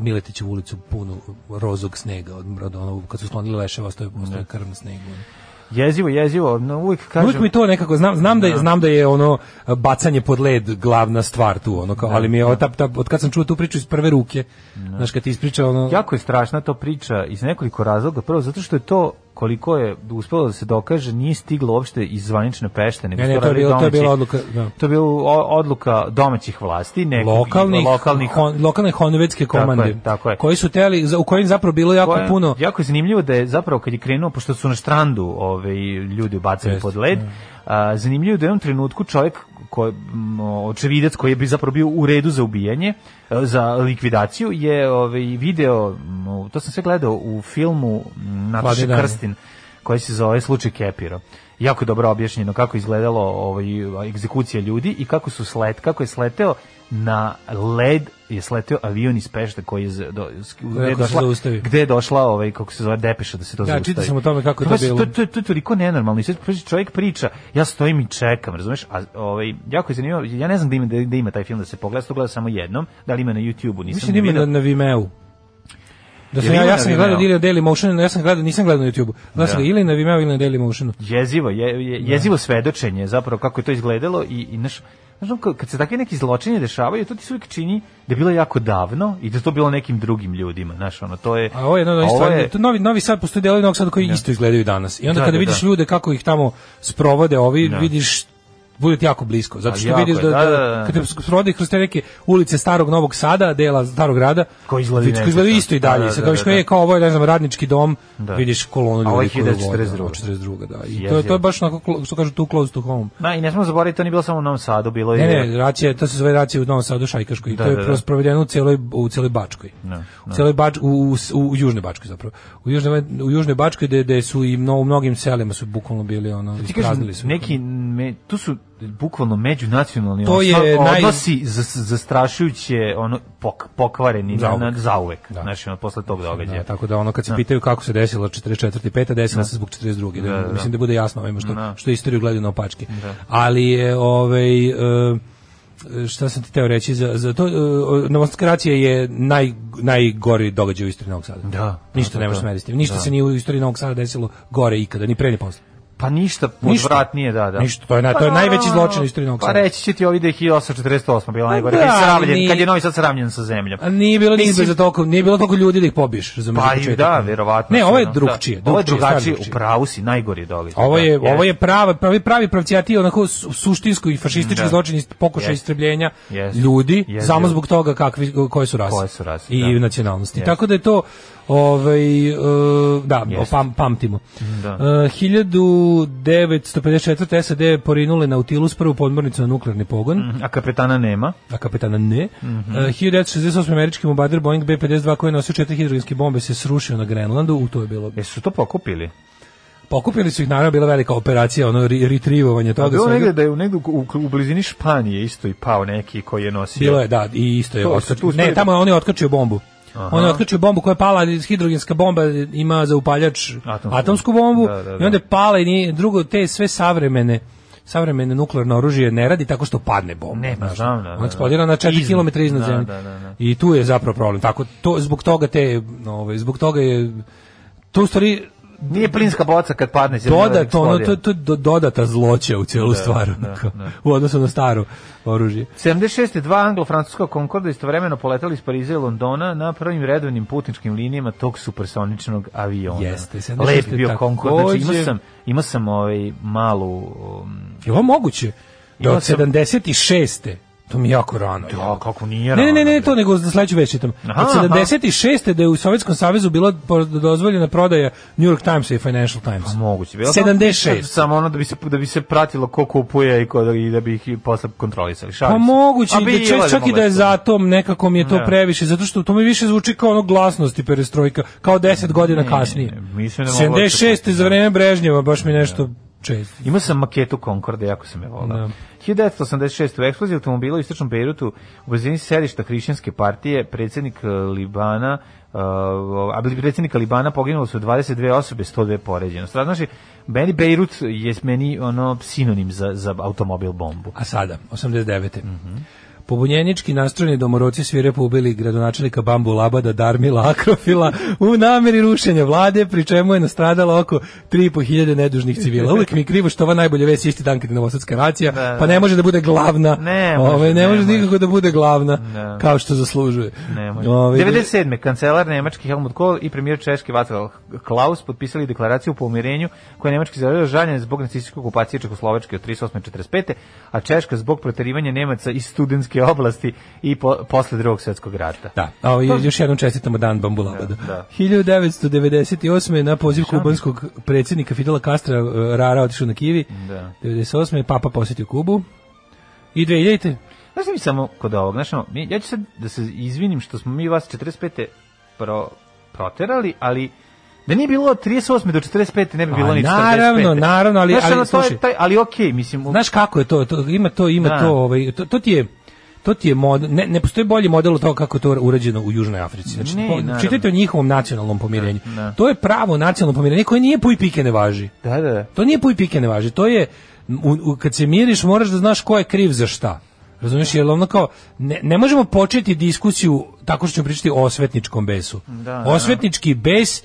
[SPEAKER 8] Miletićevu ulicu punu rozog snega od od ono kad su sklonili leševa, ostaje ostaje krv na snegu. ono.
[SPEAKER 7] Jezivo, jezivo, no, uvijek kažem...
[SPEAKER 8] Uvijek mi to nekako znam znam da je, znam da je ono bacanje pod led glavna stvar tu ono kao, ali mi je ova ta, ta, od kad sam čuo tu priču iz prve ruke. Znaš kad ti ispriča ono
[SPEAKER 7] Jako je strašna to priča iz nekoliko razloga. Prvo, zato što je to koliko je uspelo da se dokaže, nije stiglo uopšte iz zvanične pešte. Nego
[SPEAKER 8] Ne, ne,
[SPEAKER 7] su
[SPEAKER 8] to je
[SPEAKER 7] radili
[SPEAKER 8] bilo- to je bila
[SPEAKER 7] domaći-
[SPEAKER 8] odluka, da.
[SPEAKER 7] To je bila o- odluka domaćih vlasti, nekog,
[SPEAKER 8] lokalnih
[SPEAKER 7] lokalnih
[SPEAKER 8] hon, lokalne honvedske
[SPEAKER 7] Tako je,
[SPEAKER 8] komande
[SPEAKER 7] tako je.
[SPEAKER 8] koji su teli za- u kojim zapravo bilo jako
[SPEAKER 7] Koja-
[SPEAKER 8] puno
[SPEAKER 7] Jako je zanimljivo da je zapravo kad je krenuo, pošto su na štrandu ove, ljudi ubacili
[SPEAKER 8] Jest,
[SPEAKER 7] pod led, a, zanimljivo je da je u jednom trenutku čovjek koji očevidac koji je bi zapravo bio u redu za ubijanje, e, za likvidaciju je ovaj video, m, to sam sve gledao u filmu m, Nataše
[SPEAKER 8] Hladni dani.
[SPEAKER 7] Krstin koji se zove slučaj Kepiro. Jako je dobro objašnjeno kako je izgledalo ovaj egzekucija ljudi i kako su slet, kako je sleteo na led je sleteo avion iz Pešta koji je z- do, gde je
[SPEAKER 8] Kako se
[SPEAKER 7] došla,
[SPEAKER 8] zaustavi.
[SPEAKER 7] gde je došla ovaj kako se zove depeša da se to
[SPEAKER 8] Da,
[SPEAKER 7] zaustavi.
[SPEAKER 8] čitao sam o tome kako je to
[SPEAKER 7] Pazi,
[SPEAKER 8] bilo.
[SPEAKER 7] To, to, to je toliko nenormalno. I sad prođe čovjek priča, ja stojim i čekam, razumeš? A ovaj jako je zanimljivo, ja ne znam da ima da, da ima taj film da se pogleda, ja sam to gledao samo jednom, da li ima na YouTubeu, nisam
[SPEAKER 8] mislim da ima
[SPEAKER 7] video.
[SPEAKER 8] na, na Vimeo Da sam
[SPEAKER 7] Jel
[SPEAKER 8] ja,
[SPEAKER 7] ima
[SPEAKER 8] ja
[SPEAKER 7] na
[SPEAKER 8] sam ga gledao
[SPEAKER 7] Vimeo?
[SPEAKER 8] ili na Daily Motionu, ja sam gledao, nisam gledao na YouTube. Gledao sam
[SPEAKER 7] Da.
[SPEAKER 8] ga ili na Vimeo ili na Daily Motionu.
[SPEAKER 7] jezivo, je, je- jezivo svedočenje zapravo kako je to izgledalo i, i naš, znaš, ono, kad- kad se takvi neki zločini dešavaju, to ti se uvijek čini da je bilo jako davno i da je to bilo nekim drugim ljudima, znaš, ono, to je...
[SPEAKER 8] A ovo je jedna od onih
[SPEAKER 7] ovo
[SPEAKER 8] stvari,
[SPEAKER 7] je-
[SPEAKER 8] to novi, novi sad postoji delovi Novog Sada koji isto izgledaju danas. I onda
[SPEAKER 7] Da,
[SPEAKER 8] kada
[SPEAKER 7] da,
[SPEAKER 8] vidiš
[SPEAKER 7] da.
[SPEAKER 8] ljude kako ih tamo sprovode ovi,
[SPEAKER 7] Da.
[SPEAKER 8] vidiš bude ti jako blisko, zato
[SPEAKER 7] A
[SPEAKER 8] što
[SPEAKER 7] jako
[SPEAKER 8] vidiš
[SPEAKER 7] je,
[SPEAKER 8] da, da,
[SPEAKER 7] da, da, da.
[SPEAKER 8] kad te sprovode kroz te neke ulice starog Novog Sada, dela starog grada,
[SPEAKER 7] Koji izgledaju
[SPEAKER 8] vidiš, koji
[SPEAKER 7] nekako.
[SPEAKER 8] izgledaju isto i
[SPEAKER 7] Da,
[SPEAKER 8] dalje.
[SPEAKER 7] da, da,
[SPEAKER 8] Sad kao
[SPEAKER 7] da,
[SPEAKER 8] što
[SPEAKER 7] da.
[SPEAKER 8] je kao ovo je, ne znam, radnički dom,
[SPEAKER 7] Da.
[SPEAKER 8] vidiš kolonu
[SPEAKER 7] A ovo
[SPEAKER 8] ljudi
[SPEAKER 7] je
[SPEAKER 8] koji vode.
[SPEAKER 7] 1942.
[SPEAKER 8] Ovo je 42. da. I to,
[SPEAKER 7] Jezivo.
[SPEAKER 8] je, to je baš onako, klo- što kažu, tu close to home.
[SPEAKER 7] Ma, i ne smo zaboraviti, to nije bilo samo u Novom Sadu, bilo je...
[SPEAKER 8] Ne, ne, racija, to se zove racija u Novom Sadu Šajkaškoj i
[SPEAKER 7] Da,
[SPEAKER 8] to je
[SPEAKER 7] da, da.
[SPEAKER 8] da, provedeno u cijeloj u cijeloj Bačkoj.
[SPEAKER 7] Da,
[SPEAKER 8] U cijeloj Bač, u, u, s- u južnoj Bačkoj zapravo. U južnoj u južnoj Bačkoj gde, gde su i mno, u mnogim selima su bukvalno bili ono
[SPEAKER 7] Ti
[SPEAKER 8] ispraznili
[SPEAKER 7] kažeš,
[SPEAKER 8] su.
[SPEAKER 7] neki, me, tu su bukvalno međunacionalni
[SPEAKER 8] To
[SPEAKER 7] to
[SPEAKER 8] je
[SPEAKER 7] je
[SPEAKER 8] naj-
[SPEAKER 7] odnosi za, zastrašujuće ono, pok, pokvareni zauvek.
[SPEAKER 8] Zauvek.
[SPEAKER 7] Na, na, zauvek
[SPEAKER 8] Da.
[SPEAKER 7] znaš, ono, posle tog događaja.
[SPEAKER 8] Da, tako da ono kad se pitaju kako se desilo 44. i 5. desilo se zbog 42. Da,
[SPEAKER 7] Da, da.
[SPEAKER 8] Mislim da bude jasno ovima što,
[SPEAKER 7] Da.
[SPEAKER 8] što istoriju gledaju na opačke. Ali je ovaj e, šta sam ti teo reći za, za to e, novostatkracija je naj, najgori događaj u istoriji Novog Sada.
[SPEAKER 7] Da.
[SPEAKER 8] Ništa
[SPEAKER 7] Da,
[SPEAKER 8] ne možeš
[SPEAKER 7] da.
[SPEAKER 8] meriti s tim. Ništa se nije u istoriji Novog Sada desilo gore ikada, ni pre ni posle.
[SPEAKER 7] Pa ništa,
[SPEAKER 8] Ništa.
[SPEAKER 7] odvratnije, da, da.
[SPEAKER 8] Ništa, to je naj- to je najveći zločin u istoriji Novog Sada. Pa
[SPEAKER 7] Pa reći će ti ovi da je 1848 bila najgore,
[SPEAKER 8] da,
[SPEAKER 7] kad, je sravljen,
[SPEAKER 8] ali ni-
[SPEAKER 7] kad je Novi Sad sravljen sa zemljom.
[SPEAKER 8] A nije bilo ni
[SPEAKER 7] Mislim-
[SPEAKER 8] za toliko, nije bilo toliko ljudi da ih pobiješ, razumeš?
[SPEAKER 7] Pa
[SPEAKER 8] za
[SPEAKER 7] i
[SPEAKER 8] početak.
[SPEAKER 7] da, verovatno.
[SPEAKER 8] Ne, ovo je
[SPEAKER 7] ono,
[SPEAKER 8] drugčije,
[SPEAKER 7] Da. Ovo je
[SPEAKER 8] drugčije, stvarno
[SPEAKER 7] drugačije,
[SPEAKER 8] drugčije.
[SPEAKER 7] u pravu si, najgori događaj.
[SPEAKER 8] Ovo je
[SPEAKER 7] da, jeste.
[SPEAKER 8] ovo je prava pravi pravi pravcijati onako su- suštinsko i fašistički
[SPEAKER 7] Da.
[SPEAKER 8] zločin ist- pokušaj
[SPEAKER 7] Jeste.
[SPEAKER 8] istrebljenja
[SPEAKER 7] Jeste.
[SPEAKER 8] ljudi
[SPEAKER 7] Jezivo.
[SPEAKER 8] samo zbog toga kakvi koje su rase.
[SPEAKER 7] Koje su rase,
[SPEAKER 8] i
[SPEAKER 7] da.
[SPEAKER 8] nacionalnosti.
[SPEAKER 7] Jeste.
[SPEAKER 8] Tako da je to ovaj e, da
[SPEAKER 7] Jeste.
[SPEAKER 8] pam, pamtimo.
[SPEAKER 7] Da.
[SPEAKER 8] E, 1954 SAD je porinule Nautilus prvu podmornicu na nuklearni pogon
[SPEAKER 7] A kapetana nema.
[SPEAKER 8] a kapetana ne.
[SPEAKER 7] Mhm.
[SPEAKER 8] E, 1968 američki bombarder Boeing B52 koji je nosio četiri hidrogenske bombe se srušio na Grenlandu, u to je bilo.
[SPEAKER 7] Jesu E, to pokupili?
[SPEAKER 8] Pokupili su ih naravno bila velika operacija, ono ri- retrieveovanje
[SPEAKER 7] Pa
[SPEAKER 8] toga
[SPEAKER 7] bilo
[SPEAKER 8] svega.
[SPEAKER 7] negde da je u, negde u, u blizini Španije isto i pao neki koji je nosio.
[SPEAKER 8] Bilo je, da, i isto je
[SPEAKER 7] To su
[SPEAKER 8] otkačio.
[SPEAKER 7] tu
[SPEAKER 8] Ne,
[SPEAKER 7] stvari-
[SPEAKER 8] tamo on je otkačio bombu. On je otkačio bombu koja je pala, ali hidrogenska bomba ima za upaljač atomsku,
[SPEAKER 7] Atomsku.
[SPEAKER 8] bombu
[SPEAKER 7] Da, da, da.
[SPEAKER 8] i onda je pala i nije, drugo, te sve savremene savremene nuklearno oružje ne radi tako što padne bomba.
[SPEAKER 7] Ne, pa
[SPEAKER 8] znaš.
[SPEAKER 7] znam, da, da,
[SPEAKER 8] On
[SPEAKER 7] da.
[SPEAKER 8] eksplodira na 4
[SPEAKER 7] Iznad.
[SPEAKER 8] km iznad
[SPEAKER 7] Da,
[SPEAKER 8] zemlje.
[SPEAKER 7] da, da, da.
[SPEAKER 8] I tu je zapravo problem. Tako, to, zbog toga te, ovaj, zbog toga je, to u stvari
[SPEAKER 7] Nije plinska boca kad padne.
[SPEAKER 8] dodatno, ono, to, to je do- dodata zloća u cijelu stvar, onako, u odnosu na staro oružje.
[SPEAKER 7] 76. dva anglo-francuska Concorde istovremeno poletali iz Pariza i Londona na prvim redovnim putničkim linijama tog supersoničnog aviona.
[SPEAKER 8] Jeste, 76.
[SPEAKER 7] Lep bio Concorde. Znači,
[SPEAKER 8] takođe-
[SPEAKER 7] imao sam, imao sam ovaj malu... um,
[SPEAKER 8] Je li ovo moguće? Da
[SPEAKER 7] Ja
[SPEAKER 8] od
[SPEAKER 7] sam-
[SPEAKER 8] 76. To mi je jako rano.
[SPEAKER 7] Ja, kako nije
[SPEAKER 8] Ne, ne, ne,
[SPEAKER 7] rano,
[SPEAKER 8] ne,
[SPEAKER 7] bre.
[SPEAKER 8] to nego za sledeću već čitam.
[SPEAKER 7] Aha,
[SPEAKER 8] Od 76. da je u Sovjetskom savezu bila po- dozvoljena prodaja New York Timesa i Financial Timesa.
[SPEAKER 7] Pa moguće. Bilo
[SPEAKER 8] 76.
[SPEAKER 7] Samo ono da bi se da bi se pratilo ko kupuje i ko da, i da bi ih i posle kontrolisali. Šalim
[SPEAKER 8] Pa
[SPEAKER 7] se.
[SPEAKER 8] moguće,
[SPEAKER 7] A
[SPEAKER 8] i da
[SPEAKER 7] bilo
[SPEAKER 8] čak, čak i da je
[SPEAKER 7] moguće.
[SPEAKER 8] zato, nekako mi je to
[SPEAKER 7] Ne.
[SPEAKER 8] previše, zato što to mi više zvuči kao ono glasnost i perestrojka, kao 10 godina
[SPEAKER 7] ne,
[SPEAKER 8] kasnije.
[SPEAKER 7] ne, mislim da je moglo da se-
[SPEAKER 8] 76. za vreme Brežnjeva, baš mi nešto Čest.
[SPEAKER 7] Imao sam maketu Concorde, jako sam je volao.
[SPEAKER 8] Da.
[SPEAKER 7] 1986. u eksploziji automobila u istočnom Beirutu u blizini sedišta hrišćanske partije predsjednik e, Libana Uh, a bili predsjednika Libana poginule su 22 osobe, 102 poređeno. Znači, meni Beirut je meni ono sinonim za, za automobil bombu.
[SPEAKER 8] A sada, 89. Mm -hmm. Pobunjenički nastrojeni domoroci svire poubili gradonačelika Bambu Labada Darmila Akrofila u nameri rušenja vlade, pri čemu je nastradalo oko 3.500 nedužnih civila. Uvijek mi je krivo što ova najbolje vest isti dan kad je novosadska racija,
[SPEAKER 7] da.
[SPEAKER 8] pa ne može da bude glavna.
[SPEAKER 7] Ne može,
[SPEAKER 8] Ovaj, ne
[SPEAKER 7] ne
[SPEAKER 8] može
[SPEAKER 7] može.
[SPEAKER 8] nikako da bude glavna,
[SPEAKER 7] Da.
[SPEAKER 8] kao što zaslužuje.
[SPEAKER 7] Ne može.
[SPEAKER 8] Ovaj,
[SPEAKER 7] 97. kancelar Nemački Helmut Kohl i premijer Češki Václav Klaus potpisali deklaraciju o pomirenju koja je Nemački zavrljao žaljen zbog nacističke okupacije Čekoslovačke od 38. i 45. a Češka zbog proterivanja Nemaca iz studentske oblasti i po, posle drugog svjetskog rata.
[SPEAKER 8] Da, a ovo je- još jednom čestitamo dan Bambulabada.
[SPEAKER 7] Da, da.
[SPEAKER 8] 1998. na poziv kubanskog predsjednika Fidela Castra e, Rara otišao na Kivi.
[SPEAKER 7] Da.
[SPEAKER 8] 98. je papa posjetio Kubu. I 2000.
[SPEAKER 7] Znaš li mi samo kod ovog, znaš, ono, mi- ja ću sad da se izvinim što smo mi vas 45. Pro, proterali, ali da nije bilo od 38. do 45. ne bi
[SPEAKER 8] A,
[SPEAKER 7] bilo ni 45.
[SPEAKER 8] Pa naravno, naravno, ali-
[SPEAKER 7] znaš,
[SPEAKER 8] ali,
[SPEAKER 7] ono, to je
[SPEAKER 8] slušaj.
[SPEAKER 7] taj, ali okej, mislim, u-
[SPEAKER 8] Znaš kako je to, to ima to, ima
[SPEAKER 7] Da.
[SPEAKER 8] to, ovaj, to, to ti je to ti je mod, ne, ne postoji bolji model od toga kako je to urađeno u Južnoj Africi. Znači,
[SPEAKER 7] Ne,
[SPEAKER 8] po-
[SPEAKER 7] naravno.
[SPEAKER 8] čitajte o njihovom nacionalnom pomirenju.
[SPEAKER 7] Da.
[SPEAKER 8] To je pravo nacionalno pomirenje koje nije puj pike ne važi.
[SPEAKER 7] da, da, da.
[SPEAKER 8] To nije puj pike ne važi, to je u, u, kad se miriš moraš da znaš ko je kriv za šta. Razumiješ, jer ono kao, ne, ne možemo početi diskusiju tako što ćemo pričati o osvetničkom besu.
[SPEAKER 7] Da,
[SPEAKER 8] Osvetnički bes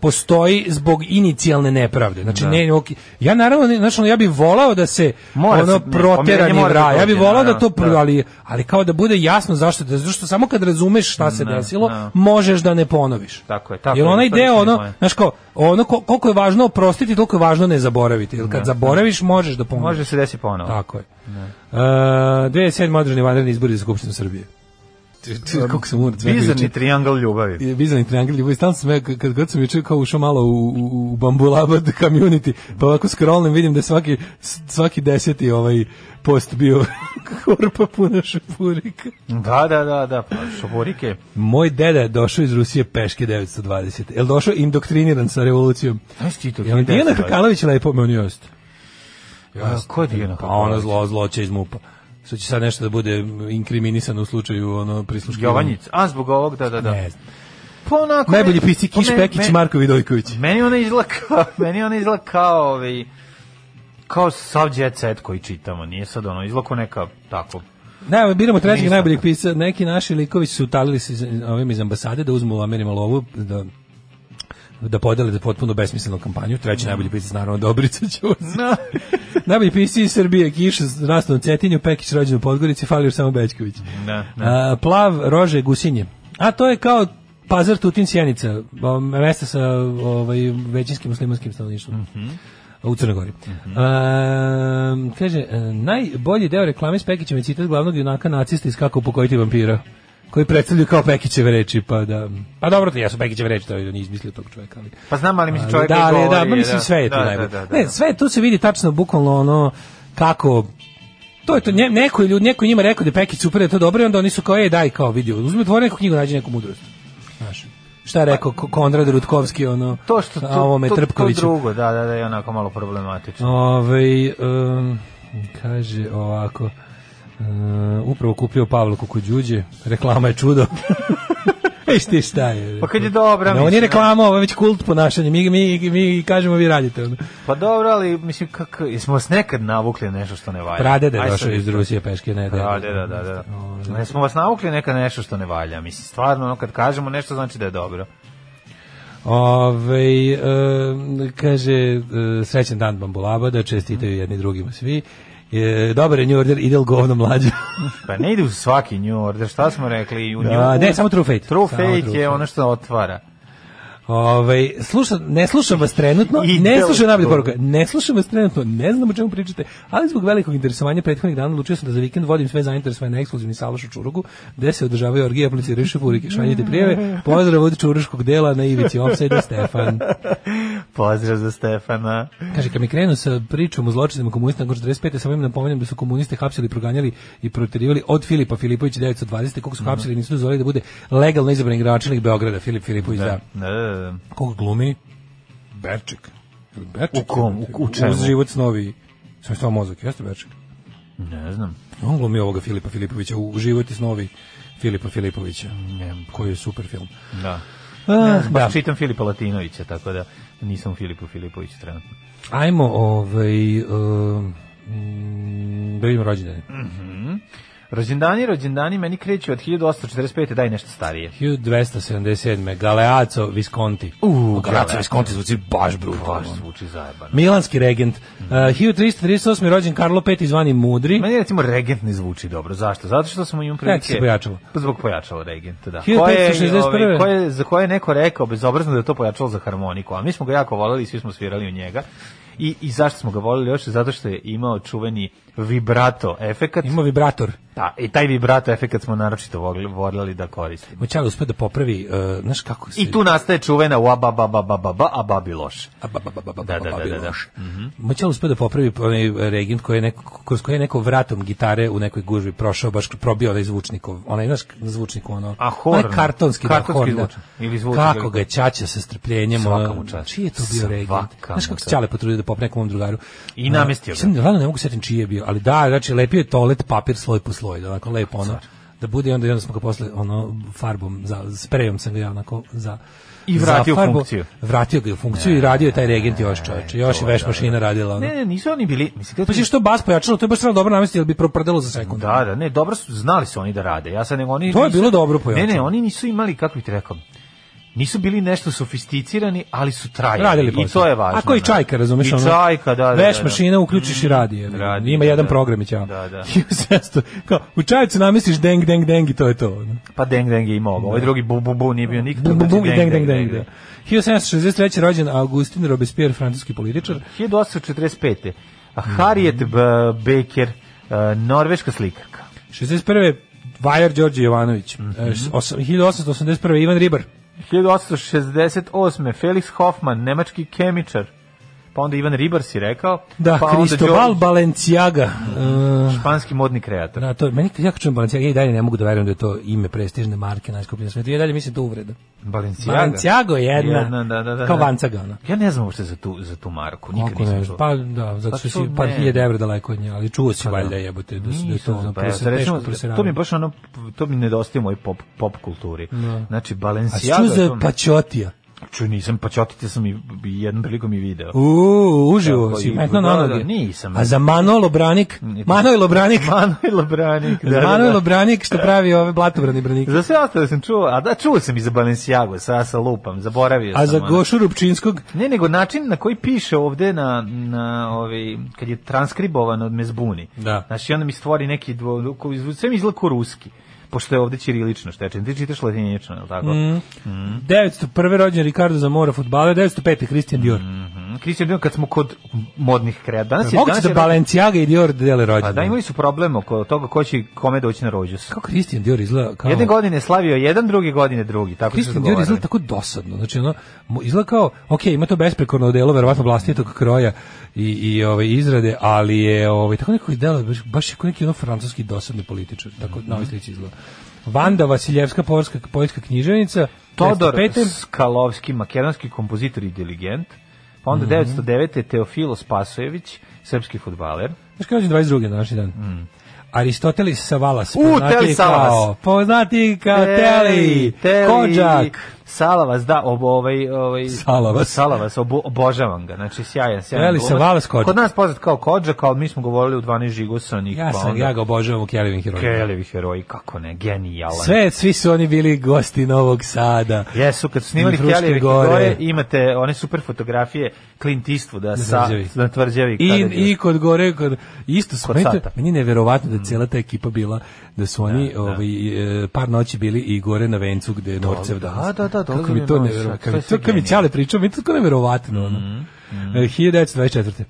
[SPEAKER 8] postoji zbog inicijalne nepravde. Znači, ne, ok, ja naravno, ne- znači, ono, ja bih volao da se
[SPEAKER 7] Mora
[SPEAKER 8] ono
[SPEAKER 7] se- ne, pomirenje
[SPEAKER 8] proterani
[SPEAKER 7] mora da
[SPEAKER 8] vra, ja bih
[SPEAKER 7] dođe,
[SPEAKER 8] volao da
[SPEAKER 7] naravno,
[SPEAKER 8] to, pr-
[SPEAKER 7] da.
[SPEAKER 8] ali, ali kao da bude jasno zašto, da, zašto samo kad razumeš šta se desilo,
[SPEAKER 7] ne.
[SPEAKER 8] možeš da ne ponoviš.
[SPEAKER 7] Tako je, tako
[SPEAKER 8] Jer
[SPEAKER 7] je,
[SPEAKER 8] onaj
[SPEAKER 7] to je
[SPEAKER 8] deo,
[SPEAKER 7] istina
[SPEAKER 8] ono,
[SPEAKER 7] moja.
[SPEAKER 8] znaš kao, ono ko- koliko je važno oprostiti, toliko je važno ne zaboraviti. Jer kad zaboraviš, možeš da pomoći.
[SPEAKER 7] Može se desi ponovo.
[SPEAKER 8] Tako je. Uh, 2007. održani vanredni izbori za Skupštinu Srbije. Kako sam umrat.
[SPEAKER 7] Bizarni triangle ljubavi.
[SPEAKER 8] Bizarni triangel, ljubav, stalno sam ja, k- kad god sam juče kao ušao malo u, u, u Bambulabad community, pa ovako scrollnem vidim da je svaki, s- svaki deseti ovaj post bio <laughs> korpa puna šupurika.
[SPEAKER 7] Da, da, da, da, pa šoborike.
[SPEAKER 8] Moj deda je došao iz Rusije peške 920. El došao indoktriniran sa revolucijom.
[SPEAKER 7] Znaš ti to?
[SPEAKER 8] Jel Dijana
[SPEAKER 7] 1920?
[SPEAKER 8] Hrkalović lepo me on jeste?
[SPEAKER 7] A, Ko je Dijana
[SPEAKER 8] Pa ona
[SPEAKER 7] Hrkalović?
[SPEAKER 8] zlo, zloće iz MUPA. Što će sad nešto da bude inkriminisan u slučaju ono prisluškivanja.
[SPEAKER 7] Jovanjic. A, zbog ovog, da, da, da.
[SPEAKER 8] Ne znam.
[SPEAKER 7] Pa onako...
[SPEAKER 8] Najbolji
[SPEAKER 7] meni- pa
[SPEAKER 8] pisci Kiš
[SPEAKER 7] me-
[SPEAKER 8] Pekić,
[SPEAKER 7] me-
[SPEAKER 8] Marko Vidojković.
[SPEAKER 7] Meni ona izgleda kao, <laughs> meni ona izgleda kao, ovaj, kao sav jet set koji čitamo, nije sad ono, izgleda kao neka, tako,
[SPEAKER 8] Ne, biramo trećeg
[SPEAKER 7] Nisam.
[SPEAKER 8] najboljeg pisca. Neki naši likovi su utalili se iz- ovim iz ambasade da uzmu Amerima lovu, da da podele da potpuno besmislenu kampanju. Treći najbolji pisac, naravno, Dobrica Ćuza. <laughs> najbolji pisci iz Srbije, Kiš, Rastno na Cetinju, Pekić rođen u Podgorici, Falio samo Bećković.
[SPEAKER 7] Da, da.
[SPEAKER 8] A, plav, rože, gusinje. A to je kao Pazar, Tutin, Sjenica, o, mesta sa ovaj, većinskim muslimanskim stanovništvom.
[SPEAKER 7] Mhm.
[SPEAKER 8] u Crnoj Gori. Ehm, kaže, e, najbolji deo reklame s Pekićem je citat glavnog junaka nacista iz Kako pokojiti vampira, koji predstavljaju kao Pekićeve reči, pa da... Pa dobro, to jesu Pekićeve reči, to je on je izmislio tog čoveka, ali...
[SPEAKER 7] pa znam, ali mislim čovjek
[SPEAKER 8] da,
[SPEAKER 7] koji
[SPEAKER 8] ali, da,
[SPEAKER 7] govori,
[SPEAKER 8] ma mislim sve je tu
[SPEAKER 7] da, da,
[SPEAKER 8] najbolje.
[SPEAKER 7] da, da,
[SPEAKER 8] Ne, sve tu se vidi tačno bukvalno ono kako To je to, nje- neko je ljud, neko je njima rekao da je Pekić super, da je to dobro i onda oni su kao, ej, daj, kao, vidi, uzmi otvori neku knjigu, nađi neku mudrost. Znaš, šta je rekao Ko- Konrad Rutkovski, ono,
[SPEAKER 7] To što to,
[SPEAKER 8] a ovome
[SPEAKER 7] to, to,
[SPEAKER 8] Trpkoviću.
[SPEAKER 7] drugo, da, da, da, je onako malo problematično.
[SPEAKER 8] Ove, um, kaže ovako, um, upravo kupio Pavlo Kukuđuđe, reklama je čudo. <laughs> Viš ti šta je.
[SPEAKER 7] Pa kad je dobra,
[SPEAKER 8] Ne, on je
[SPEAKER 7] mislim,
[SPEAKER 8] reklama, ovo je već kult ponašanja. Mi, mi, mi kažemo, vi radite. Ono.
[SPEAKER 7] Pa dobro, ali mislim kako jesmo vas nekad navukli na nešto što ne valja.
[SPEAKER 8] Prade da je
[SPEAKER 7] Aj,
[SPEAKER 8] došao
[SPEAKER 7] Pa sad
[SPEAKER 8] iz Rusije peške. Ne,
[SPEAKER 7] Prade, da, da, da.
[SPEAKER 8] Ovaj.
[SPEAKER 7] Ne smo vas navukli neka nešto što ne valja, mislim stvarno ono kad kažemo nešto znači da je dobro.
[SPEAKER 8] Ove, kaže, e, srećan dan Bambulabada, čestitaju jedni drugima svi. E, dobar je New Order, idel govno mlađo. <laughs>
[SPEAKER 7] Pa ne ide u svaki New Order, šta smo rekli? U
[SPEAKER 8] da,
[SPEAKER 7] New-
[SPEAKER 8] ne, samo True Fate.
[SPEAKER 7] True
[SPEAKER 8] Samo
[SPEAKER 7] Fate je
[SPEAKER 8] Fate.
[SPEAKER 7] ono što otvara. <laughs>
[SPEAKER 8] Ovaj slušam, ne slušam vas trenutno,
[SPEAKER 7] I
[SPEAKER 8] ne
[SPEAKER 7] deo-
[SPEAKER 8] slušam najbolje poruka. Ne slušam vas trenutno, ne znam o čemu pričate, ali zbog velikog interesovanja prethodnih dana odlučio sam da za vikend vodim sve zainteresovane na ekskluzivni salaš u Čurugu, gde se održavaju orgije, apliciraju šepurike, šaljite prijeve. Pozdrav od Čuruškog dela na Ivici Offside Stefan.
[SPEAKER 7] Pozdrav za Stefana.
[SPEAKER 8] Kaže, kad mi krenu sa pričom o zločinima komunista nakon 45. sam im napominjem da su komuniste hapsili, proganjali i proterivali od Filipa Filipovića 1920. Koliko su hapsili, nisu dozvolili da bude legalno izabran gračelnik Beograda, Filip Filipović, da.
[SPEAKER 7] Da, da, da.
[SPEAKER 8] Koga glumi? Berček. Beček?
[SPEAKER 7] U kom? U- u čemu?
[SPEAKER 8] Uz život snovi. Sam stao mozak, jeste Beček?
[SPEAKER 7] Ne znam.
[SPEAKER 8] On glumi ovoga Filipa Filipovića u život i snovi Filipa Filipovića, koji je super film.
[SPEAKER 7] Da.
[SPEAKER 8] Ah,
[SPEAKER 7] Baš čitam Filipa Latinovića, tako da nisam u Filipu Filipoviću trenutno.
[SPEAKER 8] Ajmo, ovaj, um, mm, da vidimo rođendane.
[SPEAKER 7] Rođendani, rođendani meni kreću od 1845. Daj nešto starije.
[SPEAKER 8] 1277. Galeazzo Visconti.
[SPEAKER 7] U,
[SPEAKER 8] Galeazzo
[SPEAKER 7] Galeazzo.
[SPEAKER 8] Visconti zvuči baš
[SPEAKER 7] Baš
[SPEAKER 8] brutalno.
[SPEAKER 7] zvuči zajebano.
[SPEAKER 8] Milanski regent. Uh, 1338. rođen Karlo V. zvani Mudri.
[SPEAKER 7] Meni recimo regent ne zvuči dobro. Zašto? Zato što smo imali
[SPEAKER 8] Ne, ti
[SPEAKER 7] prilike...
[SPEAKER 8] si pojačalo.
[SPEAKER 7] Pa zbog pojačalo regent, da. Koje,
[SPEAKER 8] 1561.
[SPEAKER 7] ovaj, koje, za koje je neko rekao, bezobrazno da je to pojačalo za harmoniku, a mi smo ga jako volili i svi smo svirali u njega. I, I zašto smo ga volili još? Zato što je imao čuveni vibrato efekat.
[SPEAKER 8] Ima vibrator.
[SPEAKER 7] Da, i taj vibrato efekat smo naročito vogli- voljeli da koristimo.
[SPEAKER 8] Moćala uspio da popravi, uh, znaš kako se...
[SPEAKER 7] I tu nastaje čuvena ua ba ba ba ba ba ba a babi loš.
[SPEAKER 8] Da, da, da,
[SPEAKER 7] da. Mhm.
[SPEAKER 8] Moćala uspio da popravi onaj regent koji je neko, kroz koji je neko vratom gitare u nekoj gužvi prošao, baš probio onaj zvučnikov, onaj, znaš, zvučnik ono,
[SPEAKER 7] A, horn.
[SPEAKER 8] onaj kartonski,
[SPEAKER 7] Kartonski
[SPEAKER 8] horn,
[SPEAKER 7] zvučnik. Ili zvučnik,
[SPEAKER 8] kako
[SPEAKER 7] ili-
[SPEAKER 8] ga je čača sa strpljenjem,
[SPEAKER 7] Svaka
[SPEAKER 8] ono,
[SPEAKER 7] mu čast.
[SPEAKER 8] čiji je to bio
[SPEAKER 7] Svaka
[SPEAKER 8] regent,
[SPEAKER 7] mu
[SPEAKER 8] znaš kako se
[SPEAKER 7] čast.
[SPEAKER 8] Ćale potrudio da popne nekom mom drugaru,
[SPEAKER 7] I namestio
[SPEAKER 8] ga,
[SPEAKER 7] ga.
[SPEAKER 8] sad stvarno ne mogu setim čiji je bio, ali da, znači, lepio je toalet papir sloj po sloj, da onako lepo ono, da bude i onda, i onda smo ga posle ono farbom za sprejom sam ga ja onako za
[SPEAKER 7] I
[SPEAKER 8] za
[SPEAKER 7] vratio u
[SPEAKER 8] farbu.
[SPEAKER 7] funkciju.
[SPEAKER 8] Vratio ga je u funkciju i radio je taj regent još čoveče. Još je veš mašina radila. Ono.
[SPEAKER 7] Ne, ne, nisu oni bili, mislim,
[SPEAKER 8] Pa
[SPEAKER 7] kad
[SPEAKER 8] si što bas pojačalo, to je baš stvarno dobro namestilo, bi proprdelo za sekund.
[SPEAKER 7] Da, da, ne, dobro su, znali su oni da rade. Ja sad nego oni
[SPEAKER 8] To je
[SPEAKER 7] nisu-
[SPEAKER 8] bilo dobro pojačano.
[SPEAKER 7] Ne, ne, oni nisu imali kako bih ti rekao. Nisu bili nešto sofisticirani, ali su trajali.
[SPEAKER 8] Radili
[SPEAKER 7] I
[SPEAKER 8] posao.
[SPEAKER 7] to je važno.
[SPEAKER 8] Ako i
[SPEAKER 7] da.
[SPEAKER 8] čajka, razumeš ono,
[SPEAKER 7] I čajka, da, da.
[SPEAKER 8] Veš
[SPEAKER 7] da, da.
[SPEAKER 8] mašina uključiš i radi. Je.
[SPEAKER 7] Radi,
[SPEAKER 8] Ima
[SPEAKER 7] da,
[SPEAKER 8] jedan
[SPEAKER 7] da.
[SPEAKER 8] program i ćao.
[SPEAKER 7] Da, da.
[SPEAKER 8] <laughs> I u sestu, kao, u čajcu namestiš deng, deng, deng i to je to. ono.
[SPEAKER 7] Pa deng deng je imao. Ovaj drugi bu bu bu nije bio nikakav.
[SPEAKER 8] Bum, bum, bum i
[SPEAKER 7] znači,
[SPEAKER 8] deng, deng, deng. da. 1763. rođen Augustin Robespierre, francuski političar.
[SPEAKER 7] 1845. A Harriet
[SPEAKER 8] Mhm.
[SPEAKER 7] B- Baker, e, norveška slikarka.
[SPEAKER 8] 61. Vajar Đorđe Jovanović.
[SPEAKER 7] Mhm.
[SPEAKER 8] E, s- osam- 1881. Ivan Ribar.
[SPEAKER 7] 1868. Felix Hoffman, nemački kemičar. Pa onda Ivan Ribar si rekao.
[SPEAKER 8] Da,
[SPEAKER 7] pa onda Mhm.
[SPEAKER 8] Cristobal
[SPEAKER 7] George,
[SPEAKER 8] Balenciaga. E,
[SPEAKER 7] španski modni kreator.
[SPEAKER 8] Da, to je, meni jako čujem Balenciaga, ja i dalje ne mogu da verujem da je to ime prestižne marke najskuplje na svetu, ja i dalje mislim da je to uvreda.
[SPEAKER 7] Balenciaga.
[SPEAKER 8] Balenciago je jedna,
[SPEAKER 7] da, da, da,
[SPEAKER 8] kao
[SPEAKER 7] da.
[SPEAKER 8] Vancaga, ona.
[SPEAKER 7] Ja ne znam uopšte za tu, za tu marku, nikad
[SPEAKER 8] Kako ne
[SPEAKER 7] nisam
[SPEAKER 8] znam,
[SPEAKER 7] čuo.
[SPEAKER 8] pa da, zato
[SPEAKER 7] Pa
[SPEAKER 8] što si
[SPEAKER 7] to
[SPEAKER 8] par
[SPEAKER 7] ne. Pa
[SPEAKER 8] hiljada evra daleko od nje, ali čuo si valjda
[SPEAKER 7] da.
[SPEAKER 8] jebote da, su- da je
[SPEAKER 7] Nisam,
[SPEAKER 8] to ono,
[SPEAKER 7] pa
[SPEAKER 8] prese-
[SPEAKER 7] eto, recimo,
[SPEAKER 8] teško preseravanje.
[SPEAKER 7] to mi baš ono, to mi nedostaje u mojoj pop, pop kulturi. Znači,
[SPEAKER 8] A si
[SPEAKER 7] Balenciaga...
[SPEAKER 8] čuo za pa-
[SPEAKER 7] to mi-
[SPEAKER 8] Pačotija?
[SPEAKER 7] Čuo nisam, pa čotite sam i i jednom prilikom i video.
[SPEAKER 8] Uuu, uživo
[SPEAKER 7] Tako
[SPEAKER 8] si,
[SPEAKER 7] i-
[SPEAKER 8] metno
[SPEAKER 7] da,
[SPEAKER 8] na
[SPEAKER 7] da,
[SPEAKER 8] noge.
[SPEAKER 7] nisam.
[SPEAKER 8] A za Manolo Branik? Manojlo Branik? <laughs>
[SPEAKER 7] Manuel Branik, da, da, da.
[SPEAKER 8] Manojlo Branik što pravi ove blatobrani branike.
[SPEAKER 7] Za sve ostale sam čuo, a da, čuo sam i za Balenciagu, sa, sa lupam, zaboravio
[SPEAKER 8] A
[SPEAKER 7] sam.
[SPEAKER 8] za
[SPEAKER 7] ono.
[SPEAKER 8] Gošu Rupčinskog?
[SPEAKER 7] Ne, nego način na koji piše ovde na, na ovaj, kad je transkribovan od mezbuni.
[SPEAKER 8] Da.
[SPEAKER 7] Znači, onda mi stvori neki, dvo, ko- sve mi izlako ruski, pošto je ovde ćirilično štečen. Ti čitaš latinično, je li tako?
[SPEAKER 8] Mhm.
[SPEAKER 7] Mm.
[SPEAKER 8] 901. rođen Ricardo Zamora, futbaler, 905. Christian Dior. Mm,
[SPEAKER 7] Kristijan, Dion, kad smo kod modnih kreda, danas je...
[SPEAKER 8] Mogu
[SPEAKER 7] danas
[SPEAKER 8] da
[SPEAKER 7] je-
[SPEAKER 8] Balenciaga i Dior dele
[SPEAKER 7] Pa
[SPEAKER 8] rođen.
[SPEAKER 7] da, imali su problem oko toga ko će kome doći na rođus.
[SPEAKER 8] Kako Christian Dior izgleda kao...
[SPEAKER 7] Jedne godine je slavio jedan, druge godine drugi. Tako su se
[SPEAKER 8] Christian Dior
[SPEAKER 7] dogovarali.
[SPEAKER 8] izgleda tako dosadno. Znači, ono, mo- izgleda kao, ok, ima to besprekorno delo, verovatno vlastitog kroja i, i ove, izrade, ali je ovaj, tako neko delo, baš, baš je kao neki ono francuski dosadni političar. Tako na ovoj slici izgleda. Vanda Vasiljevska, poljska, poljska književnica,
[SPEAKER 7] Todor
[SPEAKER 8] 905.
[SPEAKER 7] Skalovski, makedonski kompozitor i dirigent. Pa
[SPEAKER 8] Mhm.
[SPEAKER 7] onda 909. Teofilo Spasojević, srpski futbaler.
[SPEAKER 8] Znaš kada je rođen 22. na današnji dan? Mm. Aristoteles Savalas,
[SPEAKER 7] U, Teli Savalas.
[SPEAKER 8] kao, poznati kao Teli,
[SPEAKER 7] Teli,
[SPEAKER 8] Kođak.
[SPEAKER 7] Salavas, da, ob, ovaj, ovaj,
[SPEAKER 8] Salavas.
[SPEAKER 7] Salavas, obo, obožavam ga, znači sjajan, sjajan.
[SPEAKER 8] Teli
[SPEAKER 7] glumac.
[SPEAKER 8] Savalas Kođak.
[SPEAKER 7] Kod nas poznat kao Kođak, ali mi smo govorili u 12 žigosanih.
[SPEAKER 8] Ja sam, ja ga obožavam u Kelvin Heroju.
[SPEAKER 7] Kelevi pa heroji, kako ne, genijalan.
[SPEAKER 8] Sve, svi su oni bili gosti Novog Sada.
[SPEAKER 7] Jesu, kad su snimali
[SPEAKER 8] I Fruške
[SPEAKER 7] Keljevi
[SPEAKER 8] gore.
[SPEAKER 7] gore, imate one super fotografije Clint Eastwooda sa,
[SPEAKER 8] tvrđavi.
[SPEAKER 7] na tvrđavi. kada
[SPEAKER 8] I,
[SPEAKER 7] je-
[SPEAKER 8] I kod gore, kod, isto su,
[SPEAKER 7] Kod
[SPEAKER 8] meni, to-
[SPEAKER 7] Sata. Mm.
[SPEAKER 8] meni je neverovatno da je cijela ta ekipa bila, da su oni ovaj, e, par noći bili i gore na vencu gde je Norcev
[SPEAKER 7] da,
[SPEAKER 8] danas.
[SPEAKER 7] da, da,
[SPEAKER 8] Kako
[SPEAKER 7] dole
[SPEAKER 8] mi
[SPEAKER 7] na
[SPEAKER 8] to
[SPEAKER 7] Novi
[SPEAKER 8] neverovatno,
[SPEAKER 7] Sad,
[SPEAKER 8] kako
[SPEAKER 7] to
[SPEAKER 8] mi
[SPEAKER 7] je
[SPEAKER 8] to
[SPEAKER 7] sve Mm,
[SPEAKER 8] kad mi
[SPEAKER 7] genijalno.
[SPEAKER 8] Ćale pričao, mi je to tako neverovatno. ono. E, 1924.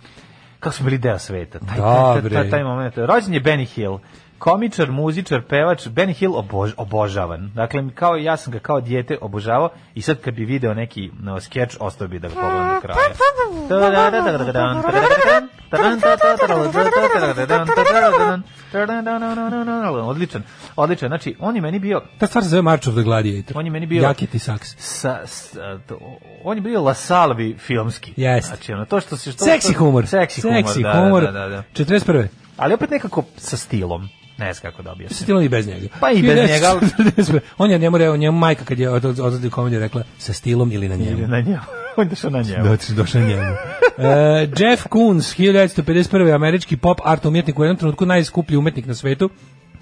[SPEAKER 7] kako smo bili deo sveta. Taj,
[SPEAKER 8] Da,
[SPEAKER 7] taj, taj,
[SPEAKER 8] bre.
[SPEAKER 7] taj, taj moment. Rođen je Benny Hill, komičar, muzičar, pevač, Ben Hill obož, obožavan. Dakle, mi kao, ja sam ga kao dijete obožavao i sad kad bi video neki no, skeč, ostao bi da ga pogledam do kraja. Odličan, odličan. Znači, on je meni bio
[SPEAKER 8] Ta stvar se zove March of the Gladiator.
[SPEAKER 7] On je meni bio-
[SPEAKER 8] Jaket i saks.
[SPEAKER 7] sa, sa to, on je bio Lasalvi filmski.
[SPEAKER 8] Jeste.
[SPEAKER 7] Znači, ono, to što se što
[SPEAKER 8] Seksi
[SPEAKER 7] to-
[SPEAKER 8] humor.
[SPEAKER 7] Seksi humor, da,
[SPEAKER 8] humor.
[SPEAKER 7] da, da, da.
[SPEAKER 8] 41.
[SPEAKER 7] Ali opet nekako sa stilom. Ne znam kako da objasnim.
[SPEAKER 8] Stilom i bez njega.
[SPEAKER 7] Pa i bez njega, ali-
[SPEAKER 8] 1941. On je njemu, re- njemu majka kad je od- od- odlazi u komediju rekla sa stilom ili na njemu.
[SPEAKER 7] Na njemu. <laughs> On je došao na njemu.
[SPEAKER 8] Doći došao njemu. E, Jeff Koons, 1951. američki pop art umjetnik u jednom trenutku najskuplji umetnik na svetu.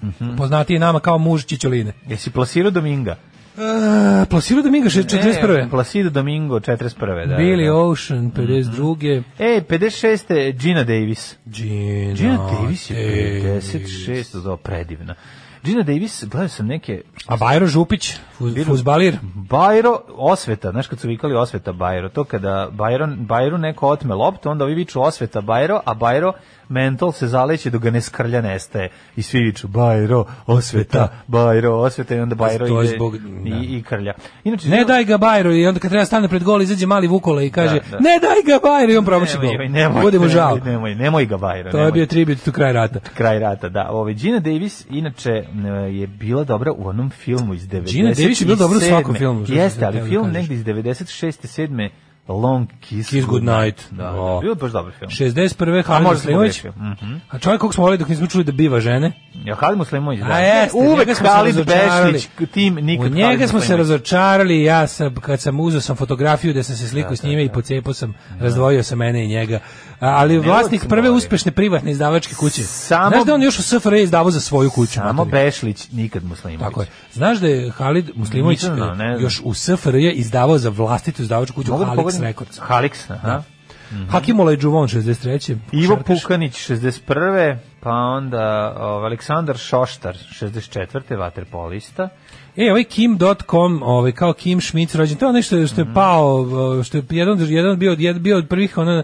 [SPEAKER 7] Mhm.
[SPEAKER 8] Poznati je nama kao muž Čičoline.
[SPEAKER 7] Jesi plasirao Dominga?
[SPEAKER 8] E, Plasiro Domingo, 41.
[SPEAKER 7] E, Placido Domingo, 41. Da,
[SPEAKER 8] Billy
[SPEAKER 7] da.
[SPEAKER 8] Ocean, 52.
[SPEAKER 7] E, 56. Gina Davis.
[SPEAKER 8] Gina,
[SPEAKER 7] Gina Davis je
[SPEAKER 8] Davis.
[SPEAKER 7] 56. Da, predivna. Gina Davis, gledao sam neke...
[SPEAKER 8] A Bajro Župić, fuz, fuzbalir.
[SPEAKER 7] Bajro, osveta, znaš kad su vikali osveta Bajro, to kada Bajron, Bajru neko otme loptu, onda ovi viču osveta Bajro, a Bajro mentol se zaleće dok ga ne skrlja nestaje. I svi viču Bajro, osveta, Bajro, osveta i onda Bajro
[SPEAKER 8] Pa To je
[SPEAKER 7] ide
[SPEAKER 8] zbog- da.
[SPEAKER 7] i, i krlja. Inače,
[SPEAKER 8] Ne daj ga Bajro i onda kad treba stane pred gol izađe mali Vukola i kaže
[SPEAKER 7] Da, da.
[SPEAKER 8] ne daj ga Bajro i on promaši
[SPEAKER 7] nemoj,
[SPEAKER 8] gol.
[SPEAKER 7] joj, nemoj,
[SPEAKER 8] Budemo
[SPEAKER 7] nemoj,
[SPEAKER 8] žao.
[SPEAKER 7] Nemoj, nemoj ga Bajro.
[SPEAKER 8] To
[SPEAKER 7] nemoj.
[SPEAKER 8] je bio tribut u kraj rata.
[SPEAKER 7] kraj rata, da. Ove, Gina Davis, inače, n- je bila dobra u onom filmu iz 97.
[SPEAKER 8] Davis je bila dobra u svakom filmu, što sam
[SPEAKER 7] Jeste,
[SPEAKER 8] htio
[SPEAKER 7] ali
[SPEAKER 8] da
[SPEAKER 7] film
[SPEAKER 8] kažem.
[SPEAKER 7] negdje iz 96. 7. Long Kiss,
[SPEAKER 8] Kiss Good Night.
[SPEAKER 7] Da, da.
[SPEAKER 8] O.
[SPEAKER 7] Bio je baš dobar film.
[SPEAKER 8] 61.
[SPEAKER 7] A,
[SPEAKER 8] Halid
[SPEAKER 7] možda sam
[SPEAKER 8] Muslimović.
[SPEAKER 7] pogrešio. Mhm.
[SPEAKER 8] A čovjek kog smo volili dok nismo čuli da biva žene.
[SPEAKER 7] Ja Halid Muslimović, da.
[SPEAKER 8] A jeste,
[SPEAKER 7] Uvek
[SPEAKER 8] njega smo se
[SPEAKER 7] Halid
[SPEAKER 8] razočarali.
[SPEAKER 7] Bešlić, tim nikad
[SPEAKER 8] U njega
[SPEAKER 7] Halid
[SPEAKER 8] smo se
[SPEAKER 7] Muslimović.
[SPEAKER 8] razočarali, ja sam, kad sam uzeo sam fotografiju da sam se slikao s njime i pocepao sam, razdvojio sam mene i njega. A, ali vlasnik
[SPEAKER 7] smo
[SPEAKER 8] prve
[SPEAKER 7] volili.
[SPEAKER 8] uspešne privatne izdavačke kuće.
[SPEAKER 7] Samo-
[SPEAKER 8] Znaš da on još u SFRJ E izdavao za svoju kuću?
[SPEAKER 7] Samo
[SPEAKER 8] materiju?
[SPEAKER 7] Bešlić, nikad Muslimović.
[SPEAKER 8] Tako je. Znaš da je Halid Muslimović
[SPEAKER 7] Nisam znao, ne
[SPEAKER 8] eh,
[SPEAKER 7] znam.
[SPEAKER 8] još u SFRJ izdavao za vlastitu izdavačku kuću
[SPEAKER 7] Mogu da
[SPEAKER 8] Halix
[SPEAKER 7] pogodim?
[SPEAKER 8] Records.
[SPEAKER 7] Halix, aha.
[SPEAKER 8] Hakimola i Džuvon 63.
[SPEAKER 7] Ivo
[SPEAKER 8] Košarkaš.
[SPEAKER 7] Pukanić 61. pa onda ovaj, Aleksandar Šoštar 64. vaterpolista.
[SPEAKER 8] E, ovaj kim.com, ovaj kao Kim Schmidt rođen, to je nešto što je
[SPEAKER 7] Mhm.
[SPEAKER 8] pao, o, što je jedan jedan bio jedan bio od prvih ona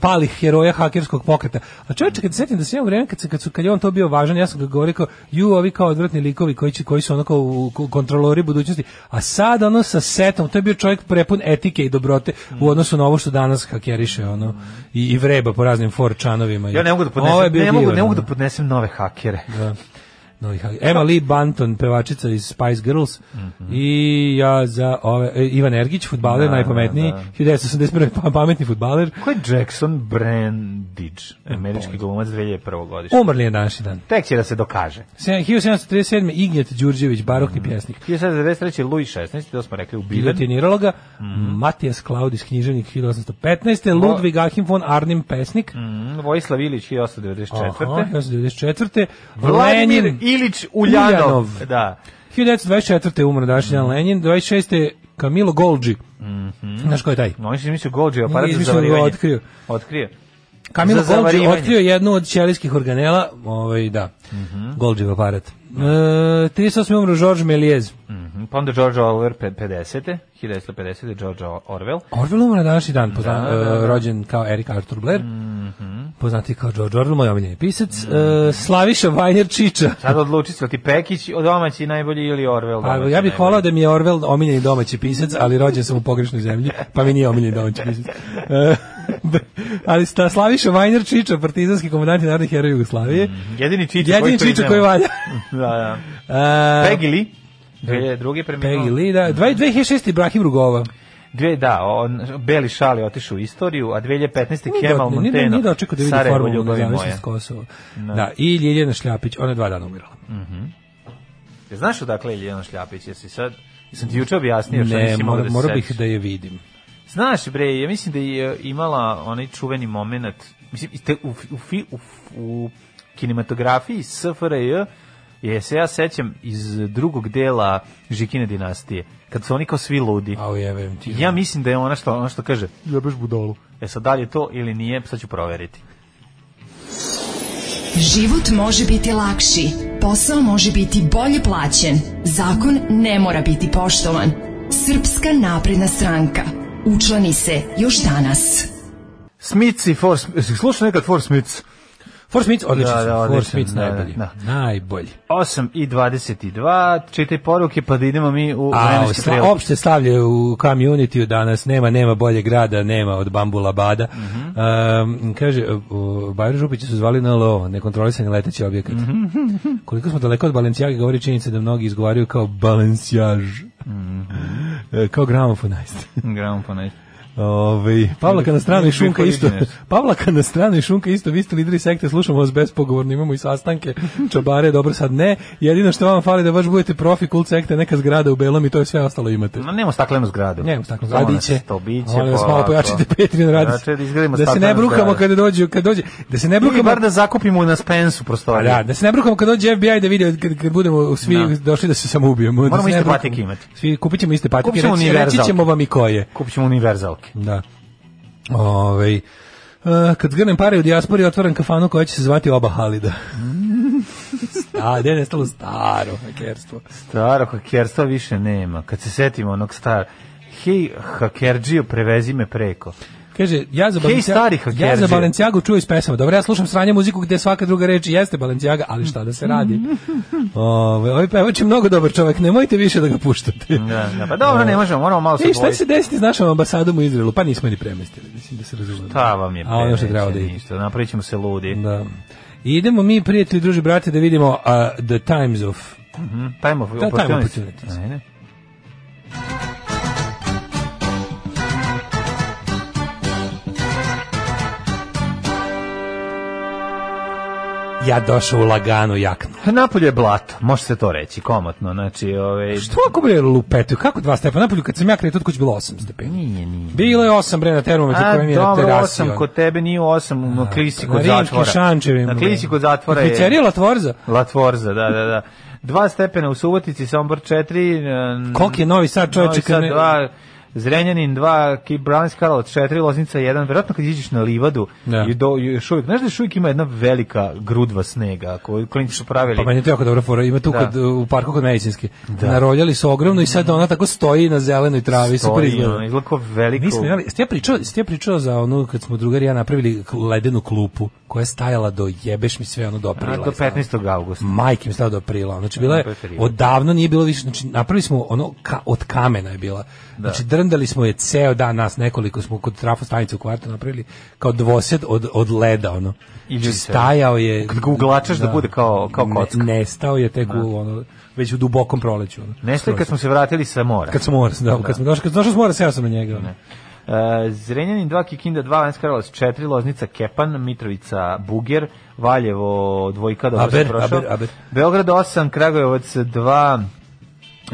[SPEAKER 8] palih heroja hakerskog pokreta. A čovječe, kad se setim da se jedno vreme kad se kad su kad je on to bio važan, ja sam ga govorio kao ju ovi kao odvratni likovi koji će koji su onako u, u- kontrolori budućnosti. A sad ono sa setom, to je bio čovjek prepun etike i dobrote
[SPEAKER 7] Mhm.
[SPEAKER 8] u odnosu na ovo što danas hakeriše ono i, i vreba po raznim forčanovima.
[SPEAKER 7] Ja ne mogu da
[SPEAKER 8] Ovo je
[SPEAKER 7] podnesem,
[SPEAKER 8] bio
[SPEAKER 7] ne mogu,
[SPEAKER 8] divan,
[SPEAKER 7] ne mogu da
[SPEAKER 8] ono.
[SPEAKER 7] podnesem nove hakere.
[SPEAKER 8] Da. Novi Hag- Emma e, Lee Banton, pevačica iz Spice Girls i ja za ove, e, Ivan Ergić, futbaler, najpametniji, 1981. pa- pametni futbaler,
[SPEAKER 7] Ko je Jackson Brandage, američki glumac 2001. godište?
[SPEAKER 8] umrli je naši dan.
[SPEAKER 7] Tek će da se dokaže.
[SPEAKER 8] Se- 1737. Ignjet Đurđević, barokni pjesnik.
[SPEAKER 7] 1993. Louis 16, to smo rekli u Bilen.
[SPEAKER 8] Gilotiniralo ga, Matijas Klaudis, književnik 1815. Ludvig Achim von Arnim, pesnik.
[SPEAKER 7] Mm, Vojislav Ilić,
[SPEAKER 8] Aha,
[SPEAKER 7] 1894.
[SPEAKER 8] 1994.
[SPEAKER 7] Vladimir
[SPEAKER 8] Lenin,
[SPEAKER 7] Ilić Uljanov.
[SPEAKER 8] Uljanov.
[SPEAKER 7] Da.
[SPEAKER 8] 1924. je umro današnji dan Lenin, 26. Kamilo Golgi. Znaš ko je taj?
[SPEAKER 7] No, Oni su mislio Golđe, aparat za
[SPEAKER 8] izmislio ga,
[SPEAKER 7] zavarivanje.
[SPEAKER 8] otkrio.
[SPEAKER 7] Otkrio.
[SPEAKER 8] Kamilo
[SPEAKER 7] Za
[SPEAKER 8] Golđe
[SPEAKER 7] zavarivanje.
[SPEAKER 8] otkrio jednu od ćelijskih organela, ovaj, da, mm aparat. E, 38. umro Georges Méliès.
[SPEAKER 7] Mhm, Pa onda George Orwell, pe- 50. 1950. George Orwell.
[SPEAKER 8] Orwell umro na današnji dan, pozna,
[SPEAKER 7] Da, da, da. Mhm.
[SPEAKER 8] e, rođen kao Eric Arthur Blair, poznati kao George Orwell, moj omiljeni pisac. E, Slaviša Vajner Čiča.
[SPEAKER 7] Sad odluči se li ti Pekić domaći najbolji ili Orwell
[SPEAKER 8] A, Pa, ja
[SPEAKER 7] domaći
[SPEAKER 8] bih
[SPEAKER 7] najbolji?
[SPEAKER 8] volao da mi je Orwell omiljeni domaći pisac, ali rođen sam u pogrešnoj zemlji, pa mi nije omiljeni domaći pisac. E, <laughs> ali sta Slaviša Vajner Čiča, partizanski komandant i narodni heroj Jugoslavije.
[SPEAKER 7] Jedini Čiča koji
[SPEAKER 8] Jedini Čiča
[SPEAKER 7] priznamo.
[SPEAKER 8] koji valja.
[SPEAKER 7] <laughs> da, da.
[SPEAKER 8] E,
[SPEAKER 7] Peggy Lee. 2002. preminuo.
[SPEAKER 8] Peggy Lee, da. Dva- 2006. Ibrahim Rugova.
[SPEAKER 7] Dve, da, on, Beli šal je otišao u istoriju, a 2015. Kemal
[SPEAKER 8] Ni do-
[SPEAKER 7] Monteno.
[SPEAKER 8] Ni, ni, dočekao da vidi
[SPEAKER 7] Sarajevo,
[SPEAKER 8] formu
[SPEAKER 7] ljubavi
[SPEAKER 8] nezavisnost
[SPEAKER 7] moja.
[SPEAKER 8] Kosova. Da, i Ljiljana Šljapić, ona je dva dana umirala.
[SPEAKER 7] Jel Znaš odakle je Ljiljana Šljapić? Jesi sad... Sam ti juče objasnio što
[SPEAKER 8] Ne,
[SPEAKER 7] nisi mogao
[SPEAKER 8] mora,
[SPEAKER 7] da se
[SPEAKER 8] morao bih
[SPEAKER 7] setiš.
[SPEAKER 8] da je vidim.
[SPEAKER 7] Znaš, bre, ja mislim da je imala onaj čuveni moment, mislim, i te- u, fi- u, fi- u, f- u kinematografiji SFRJ je se ja sećam iz drugog dela Žikine dinastije, kad su oni kao svi ludi.
[SPEAKER 8] A ujevem ti.
[SPEAKER 7] Ja mislim da je ona što, ona što kaže, jebeš budolu. E sad, da li je to ili nije, sad ću proveriti.
[SPEAKER 10] Život može biti lakši, posao može biti bolje plaćen, zakon ne mora biti poštovan. Srpska napredna stranka. Učlani se još danas.
[SPEAKER 7] Smici, for, slušao nekad For Smiths?
[SPEAKER 8] Force Meats, odlični
[SPEAKER 7] Da,
[SPEAKER 8] su.
[SPEAKER 7] da,
[SPEAKER 8] Force
[SPEAKER 7] odličan,
[SPEAKER 8] Meats
[SPEAKER 7] da, da,
[SPEAKER 8] najbolji.
[SPEAKER 7] da.
[SPEAKER 8] Najbolji.
[SPEAKER 7] 8 i 22, čitaj poruke pa da idemo mi u
[SPEAKER 8] A,
[SPEAKER 7] vremenski
[SPEAKER 8] sla-
[SPEAKER 7] prilog.
[SPEAKER 8] opšte stavlje u community danas, nema, nema bolje grada, nema od Bambula Bada. Um, kaže, u Bajro Župića su zvali na LO, nekontrolisani leteći objekat. Koliko smo daleko od Balenciaga, govori činjenica da mnogi izgovaraju kao Balenciaž. E, kao gramofon, najste.
[SPEAKER 7] Gramofon, nešto.
[SPEAKER 8] Ovaj Pavlaka na strani
[SPEAKER 7] Ili
[SPEAKER 8] šunka isto.
[SPEAKER 7] pojedinac.
[SPEAKER 8] Pavlaka na strani šunka isto, vi ste lideri sekte, slušamo vas bespogovorno, imamo i
[SPEAKER 7] <laughs>
[SPEAKER 8] sastanke. Čabare, dobro sad ne. Jedino što vam fali da baš budete profi kult sekte, neka zgrada u belom i to je sve ostalo imate.
[SPEAKER 7] Ma nema staklenu zgradu.
[SPEAKER 8] Nemam staklo
[SPEAKER 7] Samo
[SPEAKER 8] zadiće.
[SPEAKER 7] nas To biće.
[SPEAKER 8] Molim vas malo
[SPEAKER 7] polako.
[SPEAKER 8] pojačite Petrin radi. se.
[SPEAKER 7] Znači, da izgradimo
[SPEAKER 8] Da se ne
[SPEAKER 7] staklenu
[SPEAKER 8] brukamo
[SPEAKER 7] zgradu.
[SPEAKER 8] kada dođu, kad dođe, da se ne
[SPEAKER 7] Ili
[SPEAKER 8] brukamo. Pa
[SPEAKER 7] bar da zakupimo na Spensu prostoriju.
[SPEAKER 8] Da, da se ne brukamo kad dođe FBI da vidi kad, kad budemo svi
[SPEAKER 7] Da.
[SPEAKER 8] došli da se samo ubijemo.
[SPEAKER 7] Moramo iste patike
[SPEAKER 8] patike
[SPEAKER 7] imati.
[SPEAKER 8] Svi kupit ćemo iste patike.
[SPEAKER 7] Kupit ćemo
[SPEAKER 8] reći- Reći
[SPEAKER 7] univerzalke.
[SPEAKER 8] ćemo vam i koje.
[SPEAKER 7] Kupit ćemo univerzalke.
[SPEAKER 8] Da. Ovaj e, kad zgrnem pare u dijaspori otvaram kafanu koja će se zvati Oba Halida. <laughs> A, gde je nestalo staro hakerstvo.
[SPEAKER 7] Staro hakerstva više nema. Kad se setimo onog star... Hej, hakerđio, prevezi me preko.
[SPEAKER 8] Kaže, ja za
[SPEAKER 7] Hej, stari
[SPEAKER 8] Balenciagu,
[SPEAKER 7] hakerđije.
[SPEAKER 8] ja za Balenciagu čuo iz pesama. Dobro, ja slušam sranje muziku gde svaka druga reč jeste Balenciaga, ali šta da se <laughs> radi? Ovaj ovaj pevač je mnogo dobar čovjek, nemojte više da ga puštate.
[SPEAKER 7] Da, da, pa dobro, ne možemo, moramo malo se
[SPEAKER 8] Ej, šta će
[SPEAKER 7] bojiti.
[SPEAKER 8] Mm, se desiti s našom ambasadom u Izraelu? Pa nismo je ni premestili, mislim da se razumemo.
[SPEAKER 7] Ta vam je
[SPEAKER 8] A ono što
[SPEAKER 7] preveće,
[SPEAKER 8] treba da ide.
[SPEAKER 7] ništa. Napravit ćemo se ludi.
[SPEAKER 8] Da. Idemo mi, prijatelji, druži, brate, da vidimo a, The Times of...
[SPEAKER 7] Mhm, Time of
[SPEAKER 8] time
[SPEAKER 7] opportunities.
[SPEAKER 8] opportunities.
[SPEAKER 7] Ajde.
[SPEAKER 8] Ja došao u laganu jaknu.
[SPEAKER 7] Napolje je blato, može se to reći, komotno. Znači, ove,
[SPEAKER 8] Što ako bre lupetuju? Kako dva stepa? Napolju kad sam ja kretao, od kuće bilo 8 stepeni.
[SPEAKER 7] Nije, nije.
[SPEAKER 8] Bilo je 8 bre na termometru
[SPEAKER 7] A,
[SPEAKER 8] kojem je na
[SPEAKER 7] dobro,
[SPEAKER 8] terasi.
[SPEAKER 7] osam
[SPEAKER 8] ono.
[SPEAKER 7] kod tebe nije osam, na klisi
[SPEAKER 8] Na
[SPEAKER 7] kod
[SPEAKER 8] Rimskim
[SPEAKER 7] zatvora.
[SPEAKER 8] Šančevim,
[SPEAKER 7] Na
[SPEAKER 8] bre.
[SPEAKER 7] klisi kod zatvora
[SPEAKER 8] Na
[SPEAKER 7] je... Mm.
[SPEAKER 8] pizzeriji Latvorza.
[SPEAKER 7] Latvorza, da, da, da. Dva stepena u Subotici, Sombor 4.
[SPEAKER 8] Koliki je Novi Sad, čoveče,
[SPEAKER 7] Novi
[SPEAKER 8] kad
[SPEAKER 7] Sad
[SPEAKER 8] ne-
[SPEAKER 7] 2, Zrenjanin 2, Kibranski Karlovac 4, Loznica 1. Verovatno kad iđeš na livadu,
[SPEAKER 8] Da.
[SPEAKER 7] i do, i još uvijek, znaš da još uvijek ima jedna velika grudva snega koju klinici su pravili.
[SPEAKER 8] Pa meni je to jako dobra fora. Ima tu
[SPEAKER 7] Da.
[SPEAKER 8] kod, u parku kod medicinske. Naroljali su ogromno i sad ona tako stoji na zelenoj travi. super
[SPEAKER 7] Stoji,
[SPEAKER 8] izgleda.
[SPEAKER 7] ono, izgleda kao veliko...
[SPEAKER 8] Mi smo imali, ste ja pričao, ste ja pričao za onu kad smo drugari i ja napravili k- ledenu klupu koja je stajala do jebeš mi sve ono do aprila.
[SPEAKER 7] A, do
[SPEAKER 8] je stajala.
[SPEAKER 7] 15. augusta.
[SPEAKER 8] Majke mi stala do aprila. Znači bila je
[SPEAKER 7] To je terrible.
[SPEAKER 8] odavno nije bilo više, znači napravili smo ono ka, od kamena je bila. Znači drndali smo je ceo dan nas nekoliko smo kod trafo stanice u kvartu napravili kao dvosed od od leda ono.
[SPEAKER 7] I
[SPEAKER 8] Znači,
[SPEAKER 7] ljudi se-
[SPEAKER 8] stajao je
[SPEAKER 7] Kad ga uglačaš da bude kao- kao
[SPEAKER 8] Ne-
[SPEAKER 7] kocka.
[SPEAKER 8] nestao je tek u ono već u dubokom proleću. Ono.
[SPEAKER 7] Nešto je kad smo se vratili sa mora.
[SPEAKER 8] kad smo mora, da, kad smo došli, kad smo došli s mora, seo sam na njega. ono.
[SPEAKER 7] E, Zrenjanin 2, Kikinda 2, Vanjska Karlovac 4, Loznica Kepan, Mitrovica Buger, Valjevo dvojka, dobro
[SPEAKER 8] Aber,
[SPEAKER 7] se prošao.
[SPEAKER 8] aber, aber.
[SPEAKER 7] Beograd 8, Kragujevac 2,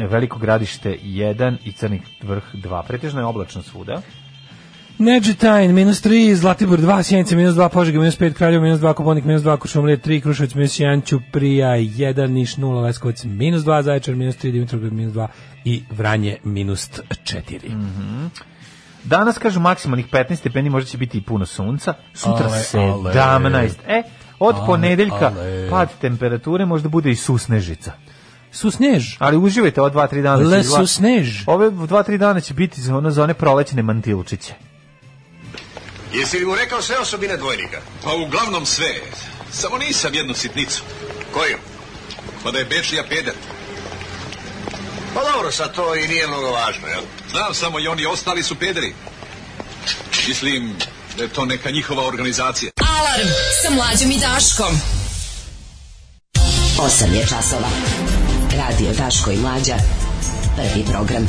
[SPEAKER 7] Veliko gradište 1 i Crni vrh 2. Pretežno je oblačno svuda.
[SPEAKER 8] Neđetajn, minus 3, Zlatibor 2, Sjenica minus 2, Požega minus 5, Kraljevo minus 2, Koponik minus 2, Košumlije 3, Kruševac minus 1, Ćuprija 1, Niš 0, Leskovac minus 2, Zaječar minus 3, Dimitrovgrad minus 2 i Vranje minus 4.
[SPEAKER 7] Mm. Danas, kažu, maksimalnih 15 stepeni, možda će biti i puno sunca.
[SPEAKER 8] Ale,
[SPEAKER 7] Sutra
[SPEAKER 8] ale.
[SPEAKER 7] 17. E, od
[SPEAKER 8] Ale,
[SPEAKER 7] ponedeljka
[SPEAKER 8] ale.
[SPEAKER 7] pad temperature možda bude i susnežica.
[SPEAKER 8] Susnež,
[SPEAKER 7] Ali uživajte ova 2-3 dana. će
[SPEAKER 8] Le
[SPEAKER 7] izgleda-
[SPEAKER 8] Susnež.
[SPEAKER 7] Ove 2-3 dana će biti za, ono, za one prolećne mantilčiće.
[SPEAKER 1] Jesi li mu rekao sve osobine dvojnika?
[SPEAKER 11] Pa uglavnom sve. Samo nisam jednu sitnicu.
[SPEAKER 1] Koju?
[SPEAKER 11] Pa da je Bečija peder.
[SPEAKER 1] Pa dobro, sad to i nije mnogo važno, jel?
[SPEAKER 11] Znam samo i oni ostali su pederi. Mislim da je to neka njihova organizacija.
[SPEAKER 10] Alarm sa mlađom i Daškom.
[SPEAKER 12] 8 je časova. Radio Daško i Mlađa. Prvi program.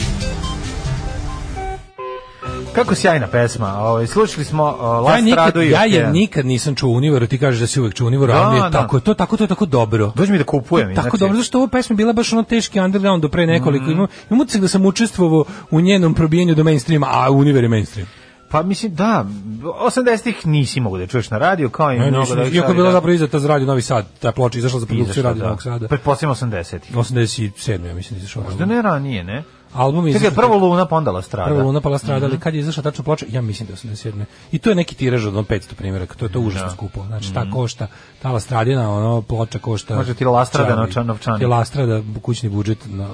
[SPEAKER 7] Kako sjajna pesma. Ovaj slušali smo uh,
[SPEAKER 8] ja,
[SPEAKER 7] Last
[SPEAKER 8] nikad,
[SPEAKER 7] Radu i
[SPEAKER 8] ja je
[SPEAKER 7] Okean.
[SPEAKER 8] nikad nisam čuo univeru, ti kažeš da si uvek čuo univeru,
[SPEAKER 7] Da,
[SPEAKER 8] ali mi je
[SPEAKER 7] da.
[SPEAKER 8] tako, je to, tako, to je tako dobro.
[SPEAKER 7] Dođi mi znači- da kupujem.
[SPEAKER 8] Tako
[SPEAKER 7] inače.
[SPEAKER 8] dobro, zašto ova pesma je bila baš ono teški underground do pre nekoliko. Mm. Imam, imam utisak da sam učestvovao u njenom probijenju do mainstreama, a univer je mainstream.
[SPEAKER 7] Pa mislim da 80-ih nisi mogu da čuješ na radiju kao i
[SPEAKER 8] Ne,
[SPEAKER 7] mnogo
[SPEAKER 8] nisam,
[SPEAKER 7] da.
[SPEAKER 8] iako je bila zapravo izdata za Radio Novi Sad, ta ploča je izašla za produkciju Radio Novog Sada.
[SPEAKER 7] Pretpostavljam 80-ih.
[SPEAKER 8] 87. ja mislim da je izašao.
[SPEAKER 7] Da ne ranije, ne?
[SPEAKER 8] album je
[SPEAKER 7] Čekaj,
[SPEAKER 8] izašao-
[SPEAKER 7] prvo Luna, pa onda La Strada.
[SPEAKER 8] Prvo Luna, pa La Strada, ali
[SPEAKER 7] Mhm.
[SPEAKER 8] kad je izašla tačno ploča, ja mislim da 87. I to je neki tiraž od ono 500 primjeraka, to je to užasno
[SPEAKER 7] Da.
[SPEAKER 8] skupo. Znači, ta
[SPEAKER 7] Mhm.
[SPEAKER 8] košta, ta La Stradina, ono, ploča košta...
[SPEAKER 7] Može ti La Strada
[SPEAKER 8] čarli.
[SPEAKER 7] novčan- Mhm. novčanik.
[SPEAKER 8] Ti La Strada, kućni budžet, na,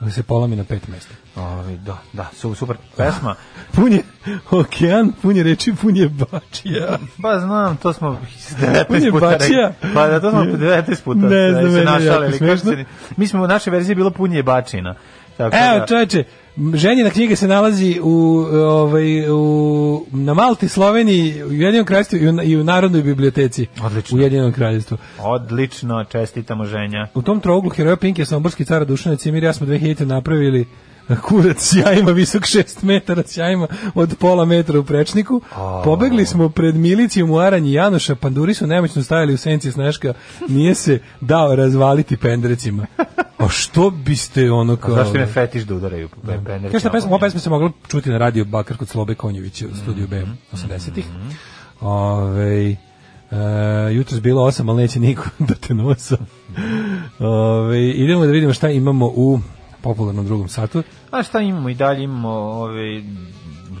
[SPEAKER 8] na, se polomi na pet mesta.
[SPEAKER 7] Ovi, da, da, su, super pesma.
[SPEAKER 8] <laughs> pun je okean, pun je reči, pun je bačija.
[SPEAKER 7] Pa znam, to smo <laughs>
[SPEAKER 8] 19
[SPEAKER 7] 19
[SPEAKER 8] puta
[SPEAKER 7] puta
[SPEAKER 8] bačija.
[SPEAKER 7] rekli. Pa da, to smo 19 puta
[SPEAKER 8] Ne znam,
[SPEAKER 7] se
[SPEAKER 8] meni je
[SPEAKER 7] našalili,
[SPEAKER 8] jako
[SPEAKER 7] kako
[SPEAKER 8] smešno.
[SPEAKER 7] se- Mi smo u našoj verziji je bilo punje bačina. Tako
[SPEAKER 8] Evo,
[SPEAKER 7] Pa da-
[SPEAKER 8] čoveče, ženjina knjiga se nalazi u, e, ovaj, u, na Malti, Sloveniji, u Jedinom kraljestvu i u, i u Narodnoj biblioteci. Odlično. U Jedinom kraljestvu.
[SPEAKER 7] Odlično, čestitamo ženja.
[SPEAKER 8] U tom troglu heroja Pinkija, Somborski car Dušan Cimir, ja smo 2000 napravili eh, kurac s jajima, visok 6 metara s jajima od pola metra u prečniku. Pobegli smo pred milicijom u Aranji Janoša, panduri su nemoćno stajali u senci sneška, nije se dao razvaliti
[SPEAKER 7] <laughs>
[SPEAKER 8] pendrecima. A što biste ono
[SPEAKER 7] A
[SPEAKER 8] kao...
[SPEAKER 7] zašto im je fetiš da udaraju? Bender
[SPEAKER 8] Kaže šta
[SPEAKER 7] Čambo?
[SPEAKER 8] pesma, ova pesma se mogla čuti na radiju Bakar kod Slobe Konjevića u studiju B 80-ih. Ovaj e, jutros bilo 8, ali neće niko <laughs> da te nosa. Ovaj idemo da vidimo šta imamo u popularnom drugom satu.
[SPEAKER 7] A šta imamo i dalje imamo ove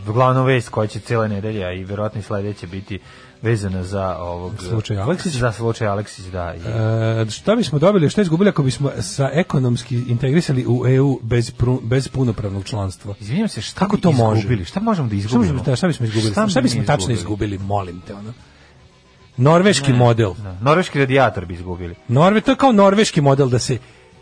[SPEAKER 7] glavnu vest koja će cijela nedelja i verovatno i sledeće biti vezana za ovog
[SPEAKER 8] Slučaj Aleksić?
[SPEAKER 7] Za slučaj Aleksić, da. I,
[SPEAKER 8] E, šta bismo dobili, šta izgubili ako bismo sa ekonomski integrisali u EU bez, pru- bez punopravnog članstva?
[SPEAKER 7] Izvinjam se, šta
[SPEAKER 8] Kako
[SPEAKER 7] bi
[SPEAKER 8] to može?
[SPEAKER 7] izgubili? Šta možemo da izgubimo?
[SPEAKER 8] Šta, možemo- da, šta bismo izgubili?
[SPEAKER 7] Šta
[SPEAKER 8] Šta,
[SPEAKER 7] bi
[SPEAKER 8] bismo
[SPEAKER 7] mi
[SPEAKER 8] tačno izgubili, molim te, ono? Norveški model.
[SPEAKER 7] Da, norveški radijator bi izgubili.
[SPEAKER 8] Norve, to je kao norveški model da se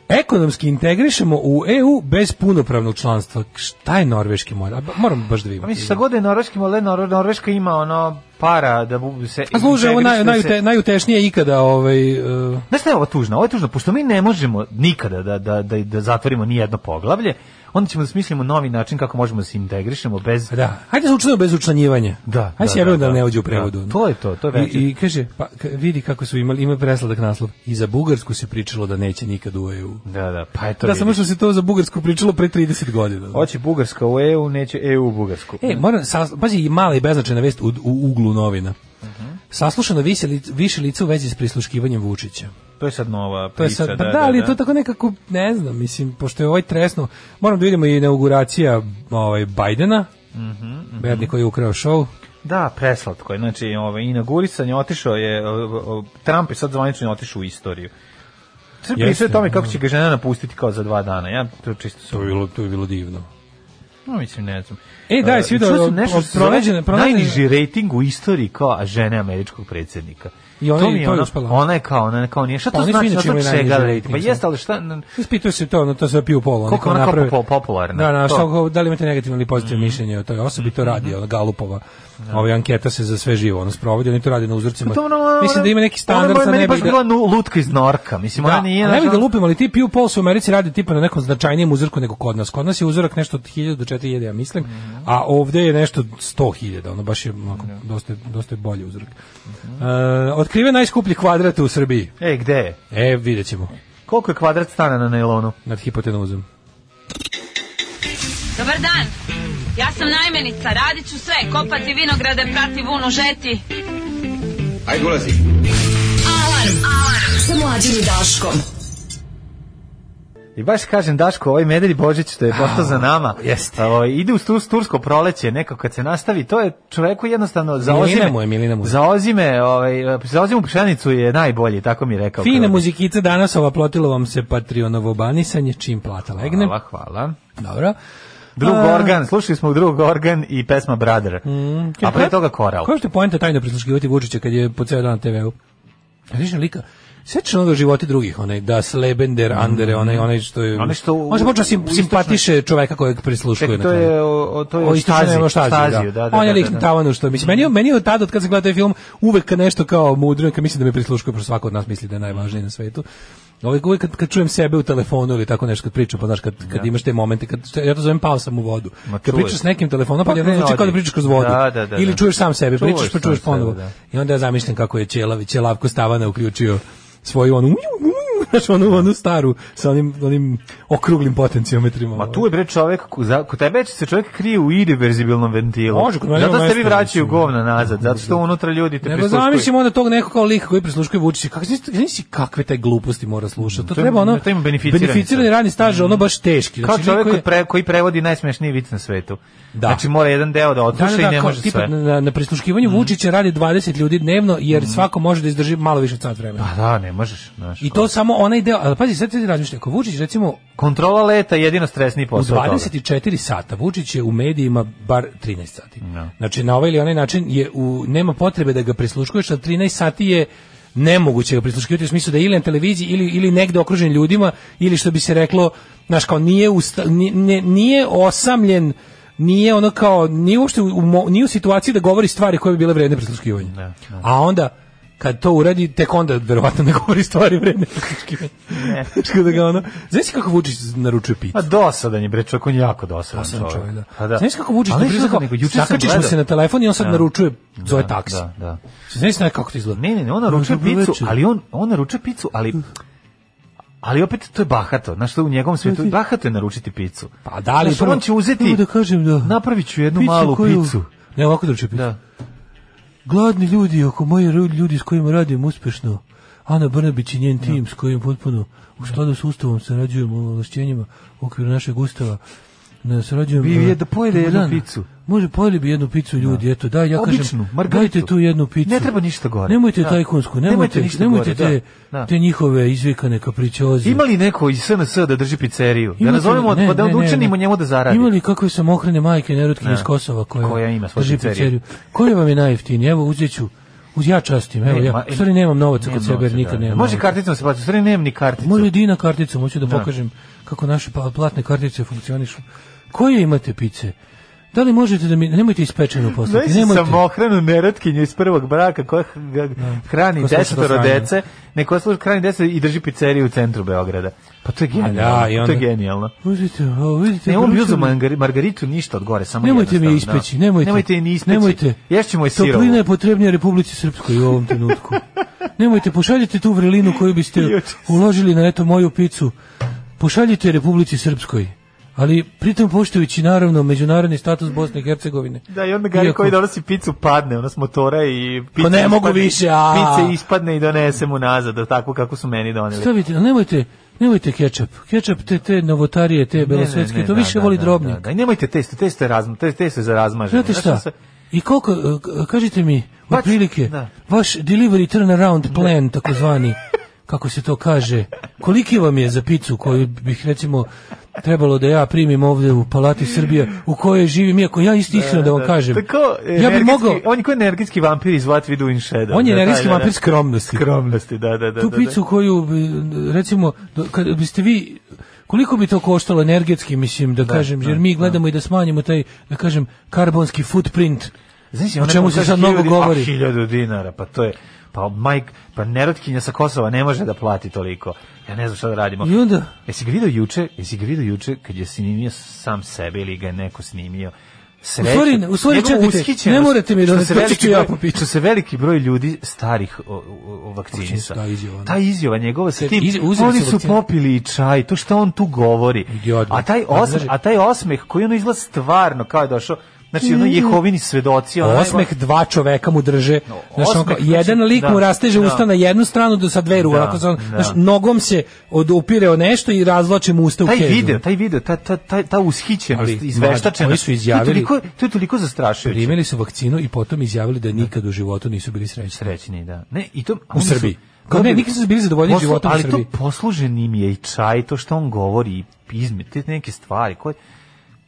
[SPEAKER 8] ekonomski integrišemo u EU bez punopravnog članstva. Šta je norveški model? A ba- Moram baš da
[SPEAKER 7] Pa
[SPEAKER 8] vidimo.
[SPEAKER 7] mislim, šta god je norveški model, Nor- Norveška ima ono para da bu- se...
[SPEAKER 8] A služe, ovo naj,
[SPEAKER 7] integriše
[SPEAKER 8] najute,
[SPEAKER 7] se-
[SPEAKER 8] najutešnije ikada. Ovaj, uh,
[SPEAKER 7] Znaš šta je ovo tužno? Ovo je tužno, pošto mi ne možemo nikada da, da, da, da zatvorimo ni jedno poglavlje, onda ćemo da smislimo novi način kako možemo da se integrišemo bez...
[SPEAKER 8] da. Hajde se učinimo bez učlanjivanja. Da, Hajde
[SPEAKER 7] da,
[SPEAKER 8] se jebemo da,
[SPEAKER 7] da, da.
[SPEAKER 8] ne uđe u prevodu. ono.
[SPEAKER 7] Da, to je to, to je veće.
[SPEAKER 8] I, I kaže, pa, ka- vidi kako su imali, ima presladak naslov. I za Bugarsku se pričalo da neće nikad u EU.
[SPEAKER 7] Da, da, pa eto
[SPEAKER 8] Da,
[SPEAKER 7] vidiš.
[SPEAKER 8] samo što se to za Bugarsku pričalo pre 30 godina.
[SPEAKER 7] Hoće Bugarska u EU, neće EU u Bugarsku.
[SPEAKER 8] E, moram, sas- pazi, i mala i beznačajna vest u, u uglu novina.
[SPEAKER 7] Mhm.
[SPEAKER 8] Saslušano više, lic- više lica u vezi s prisluškivanjem Vučića.
[SPEAKER 7] To je sad nova priča.
[SPEAKER 8] To je sad, pa da, ali je to tako nekako, ne znam, mislim, pošto je ovaj tresno, moram da vidimo i inauguracija ovaj, Bajdena,
[SPEAKER 7] Mhm, mhm.
[SPEAKER 8] bedni koji je ukrao šou.
[SPEAKER 7] Da, preslatko je. Znači, ovaj, inaugurisanje otišao je, o, o, Trump je sad zvanično otišao u istoriju. Sve
[SPEAKER 8] Jeste,
[SPEAKER 7] pričaju o tome kako
[SPEAKER 8] da.
[SPEAKER 7] će ga žena napustiti kao za dva dana. Ja to čisto sam...
[SPEAKER 8] To je bilo, to je bilo divno.
[SPEAKER 7] No, mislim, ne znam.
[SPEAKER 8] E, da,
[SPEAKER 7] E,
[SPEAKER 8] jesi vidio,
[SPEAKER 7] čuo sam
[SPEAKER 8] od-
[SPEAKER 7] nešto
[SPEAKER 8] od
[SPEAKER 7] što se zove
[SPEAKER 8] pronađene- pronađene-
[SPEAKER 7] Najniži rating u istoriji kao a žene američkog predsjednika.
[SPEAKER 8] I ona
[SPEAKER 7] mi
[SPEAKER 8] je- to je
[SPEAKER 7] ona-
[SPEAKER 8] uspela.
[SPEAKER 7] Ona je kao, ona je kao nije. Šta
[SPEAKER 8] Pa
[SPEAKER 7] to
[SPEAKER 8] oni su
[SPEAKER 7] znači?
[SPEAKER 8] inače
[SPEAKER 7] Znači,
[SPEAKER 8] imali
[SPEAKER 7] čega
[SPEAKER 8] najniži
[SPEAKER 7] rating?
[SPEAKER 8] rating,
[SPEAKER 7] Pa
[SPEAKER 8] sad.
[SPEAKER 7] jeste, ali šta...
[SPEAKER 8] Ispituje se to, ono, to sve pije u polu. ono,
[SPEAKER 7] Koliko
[SPEAKER 8] kao
[SPEAKER 7] je ona kao
[SPEAKER 8] naprave-
[SPEAKER 7] po- popularna?
[SPEAKER 8] Da, da,
[SPEAKER 7] To. Mhm.
[SPEAKER 8] šta, kao, da li imate negativno ili pozitivno mišljenje o toj osobi, to radi, ona Galupova. Ova anketa se za sve živo, ono, sprovodi, oni to radi na uzorcima.
[SPEAKER 7] Pa to ono-
[SPEAKER 8] Mislim da ima neki standard,
[SPEAKER 7] Ona je
[SPEAKER 8] sad
[SPEAKER 7] meni
[SPEAKER 8] ne bih
[SPEAKER 7] baš
[SPEAKER 8] da-
[SPEAKER 7] bila nu- lutka iz Norka. Mislim, ona
[SPEAKER 8] Da,
[SPEAKER 7] nije...
[SPEAKER 8] a ne
[SPEAKER 7] znaš,
[SPEAKER 8] bih da
[SPEAKER 7] ono-
[SPEAKER 8] lupim, ali ti Pew Pulse u Americi radi tipa na nekom značajnijem uzorku nego kod nas. Kod nas je uzorak nešto od 1000 do 4000, ja mislim,
[SPEAKER 7] Mhm.
[SPEAKER 8] a ovde je nešto od 100.000, ono baš je onako, dosta, dosta je bolji uzorak. E, otkriven najskuplji kvadrat u Srbiji.
[SPEAKER 7] E, gde je?
[SPEAKER 8] E, vidjet ćemo,
[SPEAKER 7] Koliko je kvadrat stana na nailonu?
[SPEAKER 8] nad hipotenuzom.
[SPEAKER 13] Dobar dan. Ja sam najmenica, radit ću sve, kopati vinograde, prati vunu, žeti.
[SPEAKER 11] Ajde, ulazi.
[SPEAKER 12] Alarm. Alarm. Sa mlađim i Daškom.
[SPEAKER 7] I baš kažem, Daško, ovaj Medelj Božić što je postao za nama, jeste. ide u tu- tursko proleće, neko kad se nastavi, to je čoveku jednostavno zaozime.
[SPEAKER 8] Milina mu je, Milina mu je.
[SPEAKER 7] Zaozime, ovaj, zaozime u pšenicu je najbolji, tako mi je rekao.
[SPEAKER 8] Fine
[SPEAKER 7] Kralj.
[SPEAKER 8] muzikica danas, ova plotilo vam se Patreonovo banisanje, čim plata legne.
[SPEAKER 7] Hvala, hvala.
[SPEAKER 8] Dobro.
[SPEAKER 7] Drug
[SPEAKER 8] A- Mm,
[SPEAKER 7] organ, slušali smo drug organ i pesma Brother. A pre toga koral.
[SPEAKER 8] Kao što je poenta tajno prisluškivati Vučića kad je po ceo dan na TV-u? Više lika, sećaš onoga životi drugih, onaj da Slebender, Andere, onaj, onaj što je...
[SPEAKER 7] Onaj što u-
[SPEAKER 8] on se počeo sim,
[SPEAKER 7] u istočnoj-
[SPEAKER 8] simpatiše čoveka kojeg prisluškuje.
[SPEAKER 7] Čekaj,
[SPEAKER 8] na
[SPEAKER 7] to
[SPEAKER 8] kraju.
[SPEAKER 7] je, o, o, to je
[SPEAKER 8] O istočnoj
[SPEAKER 7] Staziju,
[SPEAKER 8] Staziju,
[SPEAKER 7] Staziju, da, da,
[SPEAKER 8] on je
[SPEAKER 7] da,
[SPEAKER 8] lik
[SPEAKER 7] da.
[SPEAKER 8] na tavanu što mislim. Meni, je- meni je od tada od kad sam gledao taj film uvek nešto kao mudro, kad mislim da me prisluškuje, pošto svako od nas misli da je najvažniji na svetu. Uvijek, uvijek kad, kad čujem sebe u telefonu ili tako nešto kad pričam, pa znaš, kad, kad imaš te momente, kad, ja to zovem pao sam u vodu.
[SPEAKER 7] Ma,
[SPEAKER 8] kad
[SPEAKER 7] čuješ.
[SPEAKER 8] pričaš s nekim telefonom, pa,
[SPEAKER 7] Pa,
[SPEAKER 8] pa ne zvuči kao da
[SPEAKER 7] odi.
[SPEAKER 8] pričaš kroz vodu.
[SPEAKER 7] Da, da, da,
[SPEAKER 8] ili
[SPEAKER 7] da.
[SPEAKER 8] čuješ sam sebe,
[SPEAKER 7] Čuješ
[SPEAKER 8] pričaš pa
[SPEAKER 7] sam
[SPEAKER 8] čuješ
[SPEAKER 7] sebe,
[SPEAKER 8] ponovo.
[SPEAKER 7] da.
[SPEAKER 8] I onda ja zamišljam kako je Ćelav, Ćelavko Stavana uključio svoju onu <laughs> Znaš, onu, onu staru sa onim, onim okruglim potencijometrima.
[SPEAKER 7] Ma tu je bre čovjek, ko- za- kod tebe se čovjek krije u irreverzibilnom ventilu.
[SPEAKER 8] Može, kod mene
[SPEAKER 7] Zato
[SPEAKER 8] ima
[SPEAKER 7] ste vi
[SPEAKER 8] mesto,
[SPEAKER 7] vraćaju
[SPEAKER 8] mislim.
[SPEAKER 7] govna nazad, zato što unutra ljudi te
[SPEAKER 8] Nego
[SPEAKER 7] prisluškuju.
[SPEAKER 8] zamišljamo onda tog nekog kao lika koji prisluškuje Vučića. Kako znaš, znaš si kakve taj gluposti mora slušati? To,
[SPEAKER 7] To je-
[SPEAKER 8] treba ono
[SPEAKER 7] to ima beneficirani staž.
[SPEAKER 8] radni staž, ono baš teški.
[SPEAKER 7] Kao čovjek
[SPEAKER 8] neko
[SPEAKER 7] koji,
[SPEAKER 8] je-
[SPEAKER 7] pre, koji prevodi najsmešniji vic na svetu. Da. Znači mora jedan deo da
[SPEAKER 8] Da,
[SPEAKER 7] odsluša
[SPEAKER 8] da,
[SPEAKER 7] i
[SPEAKER 8] da,
[SPEAKER 7] ne
[SPEAKER 8] kao
[SPEAKER 7] može
[SPEAKER 8] tipa
[SPEAKER 7] sve. Mm.
[SPEAKER 8] Na, na prisluškivanju Vučića radi 20 ljudi dnevno, jer svako može da izdrži malo više od sat vremena.
[SPEAKER 7] Pa da, ne možeš. Znaš,
[SPEAKER 8] I to samo onaj deo, ali pazi, sad ti razmišljaj, ako Vučić recimo
[SPEAKER 7] Kontrola leta je jedino stresni
[SPEAKER 8] u
[SPEAKER 7] posao. od toga.
[SPEAKER 8] 24 sata, Vučić je u medijima bar 13 sati. Znači, na ovaj ili onaj način je u, nema potrebe da ga prisluškuješ, a 13 sati je nemoguće ga prisluškivati u smislu da je ili na televiziji ili, ili negde okružen ljudima ili što bi se reklo, znaš kao nije, usta, nije, nije- nije osamljen nije ono kao, nije uopšte u, u mo- nije u situaciji da govori stvari koje bi bile vredne prisluškivanja. A onda kad to uradi, tek onda verovatno ne govori stvari vredne prisluškivanja. <laughs> Znaš, kao da ga ono, znaš kako Vučić naručuje pitu?
[SPEAKER 7] Pa dosadan je bre, čovjek on je jako dosadan,
[SPEAKER 8] Dosadan
[SPEAKER 7] čovjek.
[SPEAKER 8] čovjek, da.
[SPEAKER 7] Pa da.
[SPEAKER 8] Znaš kako Vučić
[SPEAKER 7] Ali
[SPEAKER 8] to
[SPEAKER 7] znaš
[SPEAKER 8] brzo
[SPEAKER 7] kako,
[SPEAKER 8] kao,
[SPEAKER 7] nego juče sam
[SPEAKER 8] zakačiš mu
[SPEAKER 7] gledao.
[SPEAKER 8] se na telefon i on sad
[SPEAKER 7] Da.
[SPEAKER 8] naručuje, zove
[SPEAKER 7] Da,
[SPEAKER 8] taksi.
[SPEAKER 7] Da, da.
[SPEAKER 8] Znaš ne kako to izgleda?
[SPEAKER 7] Ne, ne, ne, on naručuje
[SPEAKER 8] Dobro
[SPEAKER 7] picu,
[SPEAKER 8] večer.
[SPEAKER 7] ali on, on naručuje picu, ali... Ali opet to je bahato, znaš što u njegovom svijetu bahato je naručiti picu.
[SPEAKER 8] Pa da ali
[SPEAKER 7] znaš, on će uzeti,
[SPEAKER 8] Evo da kažem da
[SPEAKER 7] napravit ću jednu
[SPEAKER 8] picu
[SPEAKER 7] malu
[SPEAKER 8] koju-
[SPEAKER 7] picu.
[SPEAKER 8] Ne, ovako naručuje picu.
[SPEAKER 7] Da.
[SPEAKER 8] Gladni ljudi, ako moji ru- ljudi s kojima radim uspešno, Ana Brnabić i njen tim s kojim potpuno u skladu s ustavom sarađujemo u ovlašćenjima u okviru našeg ustava. Ne, sarađujemo.
[SPEAKER 7] Bi- je
[SPEAKER 8] e,
[SPEAKER 7] da pojede
[SPEAKER 8] tokom
[SPEAKER 7] jednu
[SPEAKER 8] dana.
[SPEAKER 7] picu.
[SPEAKER 8] Može pojeli bi jednu picu ljudi, eto, da, ja
[SPEAKER 7] Običnu,
[SPEAKER 8] kažem,
[SPEAKER 7] margaritu.
[SPEAKER 8] dajte tu jednu picu.
[SPEAKER 7] Ne treba ništa gore.
[SPEAKER 8] Nemojte
[SPEAKER 7] Da.
[SPEAKER 8] tajkunsku, nemojte,
[SPEAKER 7] Nemojte
[SPEAKER 8] nemojte,
[SPEAKER 7] ništa gore,
[SPEAKER 8] te,
[SPEAKER 7] da. Da.
[SPEAKER 8] te njihove izvikane kapričoze.
[SPEAKER 7] Ima li neko iz SNS da drži pizzeriju? Da
[SPEAKER 8] Imate
[SPEAKER 7] nazovemo,
[SPEAKER 8] li- ne,
[SPEAKER 7] pa da
[SPEAKER 8] ne, ne, ne.
[SPEAKER 7] učinimo njemu da zaradi.
[SPEAKER 8] Ima li kakve sam ohrane majke nerutkinje
[SPEAKER 7] Ne.
[SPEAKER 8] iz Kosova koja,
[SPEAKER 7] Koja ima svoju
[SPEAKER 8] drži
[SPEAKER 7] pizzeriju.
[SPEAKER 8] pizzeriju? Koja vam je najjeftinija? Evo uzet ću, uz ja častim, evo
[SPEAKER 7] Ne,
[SPEAKER 8] ja,
[SPEAKER 7] ma-
[SPEAKER 8] u stvari nemam novaca
[SPEAKER 7] Nemam
[SPEAKER 8] kod sebe, jer
[SPEAKER 7] novca,
[SPEAKER 8] nikad
[SPEAKER 7] da.
[SPEAKER 8] nemam
[SPEAKER 7] Može
[SPEAKER 8] novaca.
[SPEAKER 7] karticom se plaća, u stvari nemam ni karticu.
[SPEAKER 8] Može dina kartica, hoću da
[SPEAKER 7] Da.
[SPEAKER 8] pokažem kako naše pa- platne kartice funkcionišu. Koje imate pice? Da li možete da mi, nemojte ispečenu poslati,
[SPEAKER 7] Znaš
[SPEAKER 8] nemojte.
[SPEAKER 7] samohranu neretkinju iz prvog braka koja h- g- hrani
[SPEAKER 8] Ko sluša to
[SPEAKER 7] desetoro
[SPEAKER 8] sranje.
[SPEAKER 7] dece, neko sluša hrani deset i drži pizzeriju u centru Beograda. Pa to je genijalno.
[SPEAKER 8] A da, i
[SPEAKER 7] to
[SPEAKER 8] onda-
[SPEAKER 7] je genijalno.
[SPEAKER 8] Uzmite, ovo, vidite,
[SPEAKER 7] Ne, on bi
[SPEAKER 8] vruće
[SPEAKER 7] uzeo
[SPEAKER 8] mi-
[SPEAKER 7] margar- margaritu ništa od gore, samo
[SPEAKER 8] Nemojte mi je
[SPEAKER 7] jednostavno, da.
[SPEAKER 8] ispeći, nemojte.
[SPEAKER 7] Nemojte je ni ispeći.
[SPEAKER 8] Nemojte.
[SPEAKER 7] Ješćemo je sirovu.
[SPEAKER 8] Toplina je potrebnija Republici Srpskoj u ovom
[SPEAKER 7] <laughs>
[SPEAKER 8] trenutku. nemojte, pošaljite tu vrelinu koju biste uložili na eto moju picu. Pošaljite je Republici Srpskoj. Ali pritom poštujući naravno međunarodni status Bosne i Hercegovine.
[SPEAKER 7] Da, i onda Gari
[SPEAKER 8] Iako-
[SPEAKER 7] koji donosi picu padne, ona s motora i pica
[SPEAKER 8] ne mogu
[SPEAKER 7] ispadne-
[SPEAKER 8] više, a.
[SPEAKER 7] Pica ispadne i donese mu nazad, tako kako su meni doneli.
[SPEAKER 8] Stavite, ali nemojte, nemojte kečap. Kečap te, te novotarije, te belosvetske, to više voli drobnjak.
[SPEAKER 7] Da, da, I nemojte testo, testo je, razma, testo, testo je za razmaženje.
[SPEAKER 8] Znate
[SPEAKER 7] Znaš
[SPEAKER 8] šta?
[SPEAKER 7] što se-
[SPEAKER 8] I koliko, e, k- kažite mi, otprilike,
[SPEAKER 7] da.
[SPEAKER 8] vaš delivery turnaround plan, takozvani, kako se to kaže, koliki vam je za picu koju bih, recimo, trebalo da ja primim ovdje u Palati Srbije, u kojoj živim, iako ja isto iskreno da vam kažem,
[SPEAKER 7] Tako,
[SPEAKER 8] ja bih mogao,
[SPEAKER 7] On je kao energijski vampir iz What We Do in Shadow.
[SPEAKER 8] On je
[SPEAKER 7] Da, da,
[SPEAKER 8] energijski
[SPEAKER 7] da, da.
[SPEAKER 8] vampir skromnosti.
[SPEAKER 7] Skromnosti, da, da, da.
[SPEAKER 8] tu
[SPEAKER 7] da,
[SPEAKER 8] picu koju, e, recimo, do- kad biste vi, koliko bi to koštalo energetski, mislim, da, kažem, jer mi gledamo i da smanjimo taj, da kažem, karbonski footprint,
[SPEAKER 7] da. Znaš,
[SPEAKER 8] o
[SPEAKER 7] ona
[SPEAKER 8] čemu
[SPEAKER 7] mu
[SPEAKER 8] se
[SPEAKER 7] kaže
[SPEAKER 8] sad mnogo
[SPEAKER 7] hiljadu- A,
[SPEAKER 8] govori.
[SPEAKER 7] hiljadu dinara, pa to je... Pa Mike, pa nerotkinja sa Kosova ne može da plati toliko. Ja ne znam šta da radimo.
[SPEAKER 8] I onda,
[SPEAKER 7] Jesi ga video juče, jesi ga video juče kad je snimio sam sebe ili ga je neko snimio? Sreća,
[SPEAKER 8] U stvari- u stvari,
[SPEAKER 7] njegovu
[SPEAKER 8] čekajte,
[SPEAKER 7] ushićenost,
[SPEAKER 8] ne morate mi da
[SPEAKER 7] što
[SPEAKER 8] ne
[SPEAKER 7] se
[SPEAKER 8] plaću,
[SPEAKER 7] veliki
[SPEAKER 8] ću ja
[SPEAKER 7] broj-
[SPEAKER 8] po piću.
[SPEAKER 7] Što se veliki broj ljudi starih o, o, o vakcinisa.
[SPEAKER 8] Ta izjava, ono.
[SPEAKER 7] Ta izjava njegova sa
[SPEAKER 8] Te
[SPEAKER 7] tim,
[SPEAKER 8] izjave, uzeli
[SPEAKER 7] oni
[SPEAKER 8] su
[SPEAKER 7] su
[SPEAKER 8] vakcinu.
[SPEAKER 7] popili i čaj, to što on tu govori.
[SPEAKER 8] Idiot, bre.
[SPEAKER 7] A taj,
[SPEAKER 8] Ali,
[SPEAKER 7] osmeh,
[SPEAKER 8] znaš-
[SPEAKER 7] a taj osmeh koji ono izgleda stvarno kao je došao, znači ono jehovini svedoci. ono
[SPEAKER 8] Mm. Osmeh
[SPEAKER 7] najgore-
[SPEAKER 8] dva čoveka mu drže. Znaš, on kao,
[SPEAKER 7] osmeh,
[SPEAKER 8] jedan
[SPEAKER 7] znači,
[SPEAKER 8] lik mu
[SPEAKER 7] da,
[SPEAKER 8] rasteže
[SPEAKER 7] da.
[SPEAKER 8] usta na jednu stranu do sa dve ruke.
[SPEAKER 7] Da,
[SPEAKER 8] onako, znaš,
[SPEAKER 7] da.
[SPEAKER 8] znaš, nogom se odupire o nešto i razvlači mu usta u
[SPEAKER 7] taj
[SPEAKER 8] kezu.
[SPEAKER 7] video, taj video, ta, ta, ta, ta
[SPEAKER 8] Ali,
[SPEAKER 7] ushićenost,
[SPEAKER 8] mlađe,
[SPEAKER 7] izveštačenost.
[SPEAKER 8] oni su
[SPEAKER 7] to je
[SPEAKER 8] izjavili-
[SPEAKER 7] toliko- To je toliko zastrašujuće.
[SPEAKER 8] Primili su vakcinu i potom izjavili da nikad u životu nisu bili srećni.
[SPEAKER 7] srećni, da. Ne, i to
[SPEAKER 8] U
[SPEAKER 7] oni su-
[SPEAKER 8] Srbiji. Kao ne, nikad su bili zadovoljni
[SPEAKER 7] Poslu-
[SPEAKER 8] životom u
[SPEAKER 7] ali
[SPEAKER 8] Srbiji.
[SPEAKER 7] to poslužen im je i čaj, to što on govori i izme, te neke stvari koje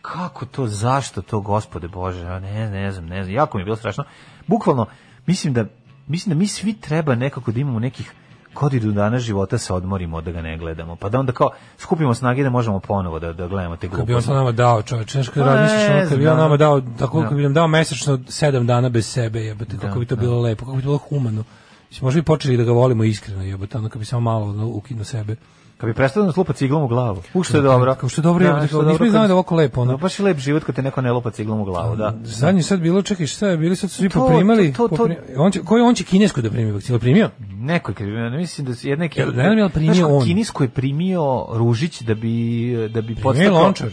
[SPEAKER 7] kako to, zašto to, gospode Bože, ja ne, ne znam, ne znam, jako mi je bilo strašno. Bukvalno, mislim da, mislim da mi svi treba nekako da imamo nekih godinu dana života se odmorimo da ga ne gledamo, pa da onda kao skupimo snage da možemo ponovo da, da gledamo te
[SPEAKER 8] Kad bi on
[SPEAKER 7] gluposti.
[SPEAKER 8] to nama dao, čovječe, znaš kad
[SPEAKER 7] Pa ne
[SPEAKER 8] razmišljaš ono, kad bi on
[SPEAKER 7] znam.
[SPEAKER 8] nama dao, tako
[SPEAKER 7] Da.
[SPEAKER 8] kad bi nam dao mesečno sedam dana bez sebe, jebote, kako bi to bilo lepo, kako bi to bilo humano. Možda bi počeli da ga volimo iskreno, jebote, ono kad bi samo malo ono, ukinu sebe.
[SPEAKER 7] Kad bi prestao da nas lupa ciglom u glavu. U što je dobro.
[SPEAKER 8] Kao što je dobro, jebote, kao, nismo ni znali da je ovako lepo. Ono.
[SPEAKER 7] Da, baš je lep život kad te neko ne lupa ciglom u glavu, da.
[SPEAKER 8] Zadnji sad bilo, čekaj, šta je, bili sad su svi
[SPEAKER 7] To,
[SPEAKER 8] poprimali.
[SPEAKER 7] to, to, to.
[SPEAKER 8] popri- on će, koji on će kinesku da primi vakcinu? Primio?
[SPEAKER 7] Neko je primio, ne mislim da su jedna
[SPEAKER 8] Jel- ne znam je li primio
[SPEAKER 7] Znaš,
[SPEAKER 8] on?
[SPEAKER 7] Kinisku je primio Ružić da bi, da
[SPEAKER 8] Primio
[SPEAKER 7] bi
[SPEAKER 8] je
[SPEAKER 7] podstakao...
[SPEAKER 8] lončar.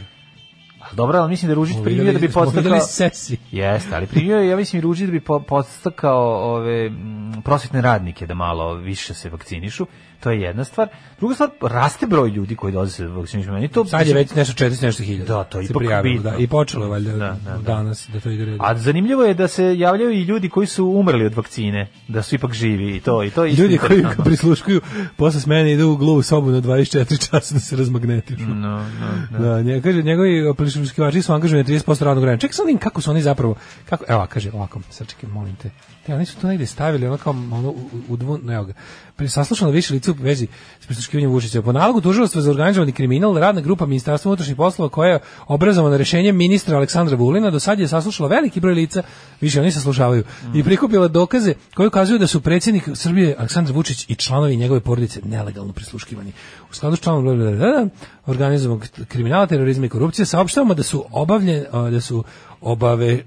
[SPEAKER 7] A Dobro, ali mislim da je Ružić
[SPEAKER 8] Smo
[SPEAKER 7] primio
[SPEAKER 8] videli-
[SPEAKER 7] da bi
[SPEAKER 8] smo videli
[SPEAKER 7] podstakao...
[SPEAKER 8] sesi.
[SPEAKER 7] Jeste, ali primio je, ja mislim, i Ružić da bi po, podstakao ove, mm, prosvetne radnike da malo više se vakcinišu. To je jedna stvar. Druga stvar, raste broj ljudi koji dolaze se vakcinišu. Meni to,
[SPEAKER 8] Sad je već nešto 40 nešto hiljada.
[SPEAKER 7] Da, to je
[SPEAKER 8] se
[SPEAKER 7] ipak
[SPEAKER 8] prijavilo,
[SPEAKER 7] bitno.
[SPEAKER 8] Da, I počelo je valjda
[SPEAKER 7] Da, da, da.
[SPEAKER 8] danas da to ide red.
[SPEAKER 7] A zanimljivo je da se javljaju i ljudi koji su umrli od vakcine, da su ipak živi i to i to je isto
[SPEAKER 8] Ljudi koji
[SPEAKER 7] interesantno.
[SPEAKER 8] ga <laughs> prisluškuju, posle smene idu u gluvu sobu na 24 časa da se razmagnetišu.
[SPEAKER 7] No, no, no.
[SPEAKER 8] Da, nje, kaže, njegovi prisluškivači su angažovani 30% radnog vremena. Čekaj sad da vidim kako su oni zapravo, kako, evo, kaže, ovako, sad čekaj, molim te. Te, oni su to negde stavili, ono kao, ono, u, u dvu, evo ga, pri saslušano više lice u vezi s prisluškivanjem Vučića. Po nalogu tužilaštva za organizovani kriminal, radna grupa Ministarstva unutrašnjih poslova koja je obrazovana rešenjem ministra Aleksandra Vulina, do sad je saslušala veliki broj lica, više oni saslušavaju, i prikupila dokaze koji ukazuju da su predsjednik Srbije Aleksandar Vučić i članovi njegove porodice nelegalno prisluškivani. U skladu s članom BBBB, organizovanog kriminala, terorizma i korupcije saopštavamo da su obavljen, a, da su obave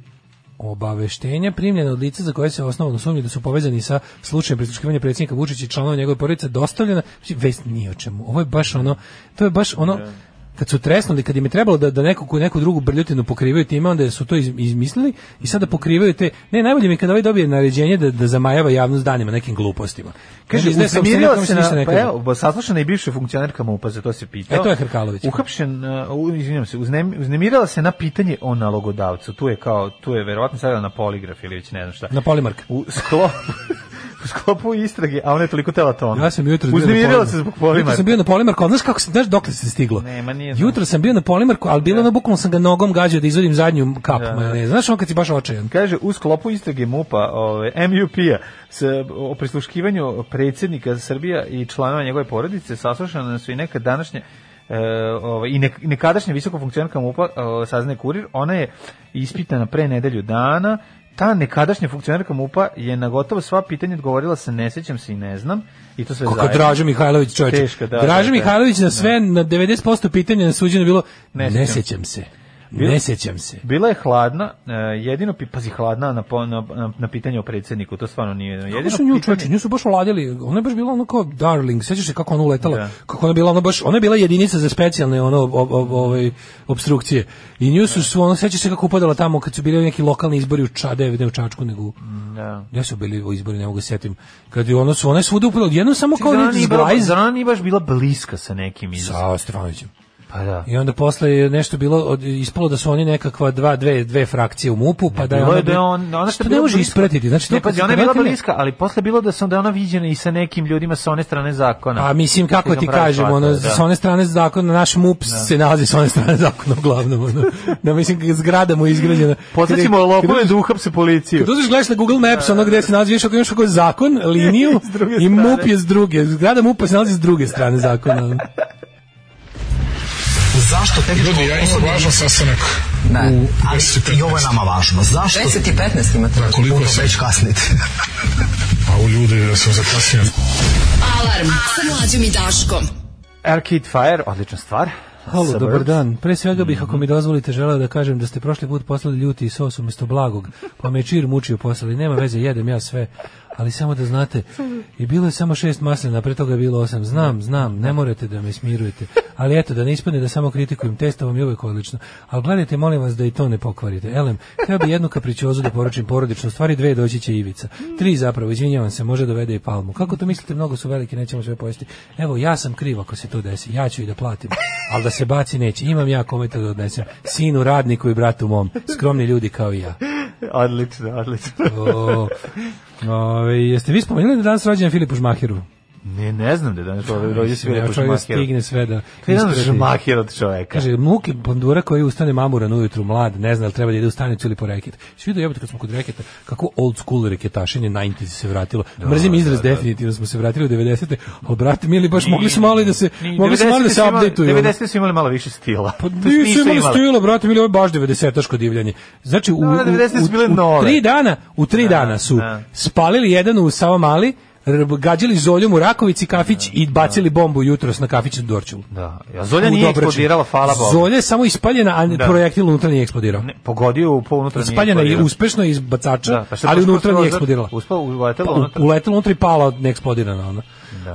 [SPEAKER 8] obaveštenja primljena od lica za koje se osnovno sumnja da su povezani sa slučajem prisluškivanja predsjednika Vučića i članova njegove porodice dostavljena, mislim, vest ni o čemu. Ovo je baš ono, to je baš ono, kad su tresnuli, kad im je trebalo da, da neku, neku drugu brljutinu pokrivaju time, onda su to iz- izmislili i sada pokrivaju te... Ne, najbolje mi je kada ovaj dobije naređenje da, da zamajava javnost danima nekim glupostima.
[SPEAKER 7] Kaže,
[SPEAKER 8] Meni izdaje saopštenje
[SPEAKER 7] uznemirio
[SPEAKER 8] kome
[SPEAKER 7] se
[SPEAKER 8] ništa ne
[SPEAKER 7] na, pa
[SPEAKER 8] kaže.
[SPEAKER 7] evo, bo- saslušana je i bivša funkcionerka MUPA, za to se pitao.
[SPEAKER 8] E, to je Hrkalović.
[SPEAKER 7] Uhapšen, uh, u- izvinjam se, uznem, uznemirila se na pitanje o nalogodavcu. Tu je kao, tu je verovatno sada na poligraf ili već ne znam šta.
[SPEAKER 8] Na polimark.
[SPEAKER 7] U sklopu, <laughs> u sklopu istrage, a ona je toliko telatona.
[SPEAKER 8] Ja sam jutro
[SPEAKER 7] Uznemirila se zbog polimarka.
[SPEAKER 8] sam bio na polimarku, ali znaš kako se, znaš dokle se stiglo?
[SPEAKER 7] Nema, nije znam.
[SPEAKER 8] Jutro sam bio na polimarku, ali bilo je ono bukvalno sam ga nogom gađao da izvadim zadnju kap
[SPEAKER 7] Da.
[SPEAKER 8] majoneza. Znaš ono kad si baš očajan?
[SPEAKER 7] Kaže, u sklopu istrage MUPA, ove, MUP-a, s- o prisluškivanju predsjednika Srbija i članova njegove porodice, saslušana su i neka današnja e, ovaj, i nek- nekadašnja visoka funkcionarka MUPA, e, saznaje kurir, ona je ispitana pre nedelju dana, ta nekadašnja funkcionarka MUPA je na gotovo sva pitanja odgovorila sa ne sećam se i ne znam, i to sve
[SPEAKER 8] Kako
[SPEAKER 7] zajedno.
[SPEAKER 8] Dražo Mihajlović čovječe.
[SPEAKER 7] Teško, da,
[SPEAKER 8] Dražo
[SPEAKER 7] da, da.
[SPEAKER 8] Mihajlović na sve, na 90% pitanja na suđenju je bilo
[SPEAKER 7] Ne
[SPEAKER 8] ne,
[SPEAKER 7] sjećam
[SPEAKER 8] sećam se.
[SPEAKER 7] Bilo-
[SPEAKER 8] Ne sećam se.
[SPEAKER 7] Bila je hladna, e, jedino, pi- pazi, hladna na, po- na, na, na pitanje o predsjedniku, to stvarno nije jedno.
[SPEAKER 8] Kako
[SPEAKER 7] Jedino
[SPEAKER 8] su nju
[SPEAKER 7] pitanje-
[SPEAKER 8] čovječe, nju su baš oladili. Ona je baš bila ono kao darling. Sećaš se kako ona uletala?
[SPEAKER 7] Da.
[SPEAKER 8] Kako ona je bila ono baš, ona je bila jedinica za specijalne ono ob, ob, ob- ovaj obstrukcije. I nju su, su ono sećaš se kako upadala tamo kad su bili neki lokalni izbori u Čade, ne u Čačku nego u-
[SPEAKER 7] Da.
[SPEAKER 8] Ja su bili u izbori, ne mogu se setim. Kad je ona su, ona je svuda upala, jednom samo kao
[SPEAKER 7] Zrana
[SPEAKER 8] neki
[SPEAKER 7] nije bila-
[SPEAKER 8] zglajz
[SPEAKER 7] Zrana nije baš bila bliska sa nekim iz...
[SPEAKER 8] sa Stefanovićem.
[SPEAKER 7] Pa da.
[SPEAKER 8] I onda posle je nešto bilo od, ispalo da su oni nekakva dva dve dve frakcije u MUP-u, pa da je
[SPEAKER 7] Bilo
[SPEAKER 8] ona
[SPEAKER 7] je da je on, ona što
[SPEAKER 8] što ne može ispratiti. Znači
[SPEAKER 7] ne,
[SPEAKER 8] to kad
[SPEAKER 7] pazi,
[SPEAKER 8] su
[SPEAKER 7] ona je bila
[SPEAKER 8] krenuli-
[SPEAKER 7] bliska, ali posle bilo da su da je ona viđena i sa nekim ljudima sa one strane zakona.
[SPEAKER 8] A Pa mislim kako
[SPEAKER 7] Koji
[SPEAKER 8] ti
[SPEAKER 7] nam pravi
[SPEAKER 8] kažem, ono
[SPEAKER 7] svatove,
[SPEAKER 8] sa
[SPEAKER 7] da.
[SPEAKER 8] one strane zakona naš MUP se nalazi sa one strane zakona uglavnom, ono. Da mislim zgrada mu je
[SPEAKER 7] <laughs>
[SPEAKER 8] izgrađena.
[SPEAKER 7] Podsećimo
[SPEAKER 8] Kada-
[SPEAKER 7] lopove
[SPEAKER 8] kada-
[SPEAKER 7] da uhapse policiju.
[SPEAKER 8] Kad uzmeš gledaš na Google Maps, ono gde se nalazi, vidiš ako imaš ako zakon, liniju,
[SPEAKER 7] <laughs> S druge
[SPEAKER 8] i
[SPEAKER 7] strane.
[SPEAKER 8] MUP je s druge. Zgrada MUP-a se nalazi s druge strane zakona. ono.
[SPEAKER 14] Zašto tek Ljudi, ja imam važan sastanak. Ne, ali i ovo je nama važno. Zašto? 10 i 15 imate. Da, koliko Puno već kasnite. A u ljudi da sam zakasnio.
[SPEAKER 10] Alarm sa mlađom i Daškom.
[SPEAKER 7] Arcade Fire, odlična stvar.
[SPEAKER 8] Halo,
[SPEAKER 7] Suburbs.
[SPEAKER 8] dobar dan. Pre svega bih, ako mi dozvolite, želeo da kažem da ste prošli put poslali ljuti i sos umjesto blagog, pa me je čir mučio poslali. Nema veze, jedem ja sve, ali samo da znate, i bilo je samo šest maslina, pre toga je bilo osam. Znam, znam, ne morate da me smirujete, ali eto, da ne ispadne da samo kritikujem, testo vam je uvek odlično. Ali gledajte, molim vas da i to ne pokvarite. Elem, htio bi jednu kapričozu da poručim porodično, u stvari dve doći će Ivica. Tri zapravo, izvinjavam se, može dovede i palmu. Kako to mislite, mnogo su veliki, nećemo sve pojesti. Evo, ja sam kriv ako se to desi, ja ću i da platim, ali da se baci neće. Imam ja kome to da odnesem. Sinu, radniku i bratu mom, skromni ljudi kao i ja.
[SPEAKER 7] <laughs> Odlično, odlično.
[SPEAKER 8] O, ove, jeste vi spomenuli da je danas rođen Filipu Žmahiru?
[SPEAKER 7] Ne, ne znam da je danas ovdje rođe se
[SPEAKER 8] Ja
[SPEAKER 7] Filipu
[SPEAKER 8] čovjek
[SPEAKER 7] Šmahiru.
[SPEAKER 8] stigne sve da...
[SPEAKER 7] To je jedan
[SPEAKER 8] isprati.
[SPEAKER 7] žmahir od čoveka.
[SPEAKER 8] Kaže, muki pandura koji ustane mamuran ujutru, mlad, ne zna li treba da ide u stanicu ili po reket. Svi vidio jebote kad smo kod reketa, kako old school reketašenje 90 se vratilo. Mrzim izraz, definitivno smo se vratili u 90-te, ali brate mili, baš mogli smo malo i da se,
[SPEAKER 7] I
[SPEAKER 8] mogli smo malo da
[SPEAKER 7] 90-te
[SPEAKER 8] se
[SPEAKER 7] su imali-
[SPEAKER 8] updateuju.
[SPEAKER 7] 90-te su imali malo više stila.
[SPEAKER 8] Pa
[SPEAKER 7] To jest,
[SPEAKER 8] nisu imali stila, brate, bili ovo je baš 90-taško divljanje. Znači, u, u,
[SPEAKER 7] Da, da, 90-te su bile
[SPEAKER 8] u, u
[SPEAKER 7] nove.
[SPEAKER 8] tri dana, u tri dana su
[SPEAKER 7] da.
[SPEAKER 8] spalili jedan u Savamali, r- gađali zoljom u Rakovici kafić i bacili bombu jutros na kafić u Dorčulu.
[SPEAKER 7] Da. A Zolja Pa nije eksplodirala, hvala Bogu.
[SPEAKER 8] Zolja je samo ispaljena, a
[SPEAKER 7] Da.
[SPEAKER 8] da. projektil unutra nije eksplodirao.
[SPEAKER 7] Ne, pogodio u po unutra
[SPEAKER 8] Ispaljena je uspešno iz bacača,
[SPEAKER 7] Da, pa šta
[SPEAKER 8] ali
[SPEAKER 7] to
[SPEAKER 8] unutra
[SPEAKER 7] što
[SPEAKER 8] nije
[SPEAKER 7] skroz-
[SPEAKER 8] eksplodirala.
[SPEAKER 7] uspao- uletela
[SPEAKER 8] Pa, u-
[SPEAKER 7] unutra.
[SPEAKER 8] Uletela unutra i pala neeksplodirana ona.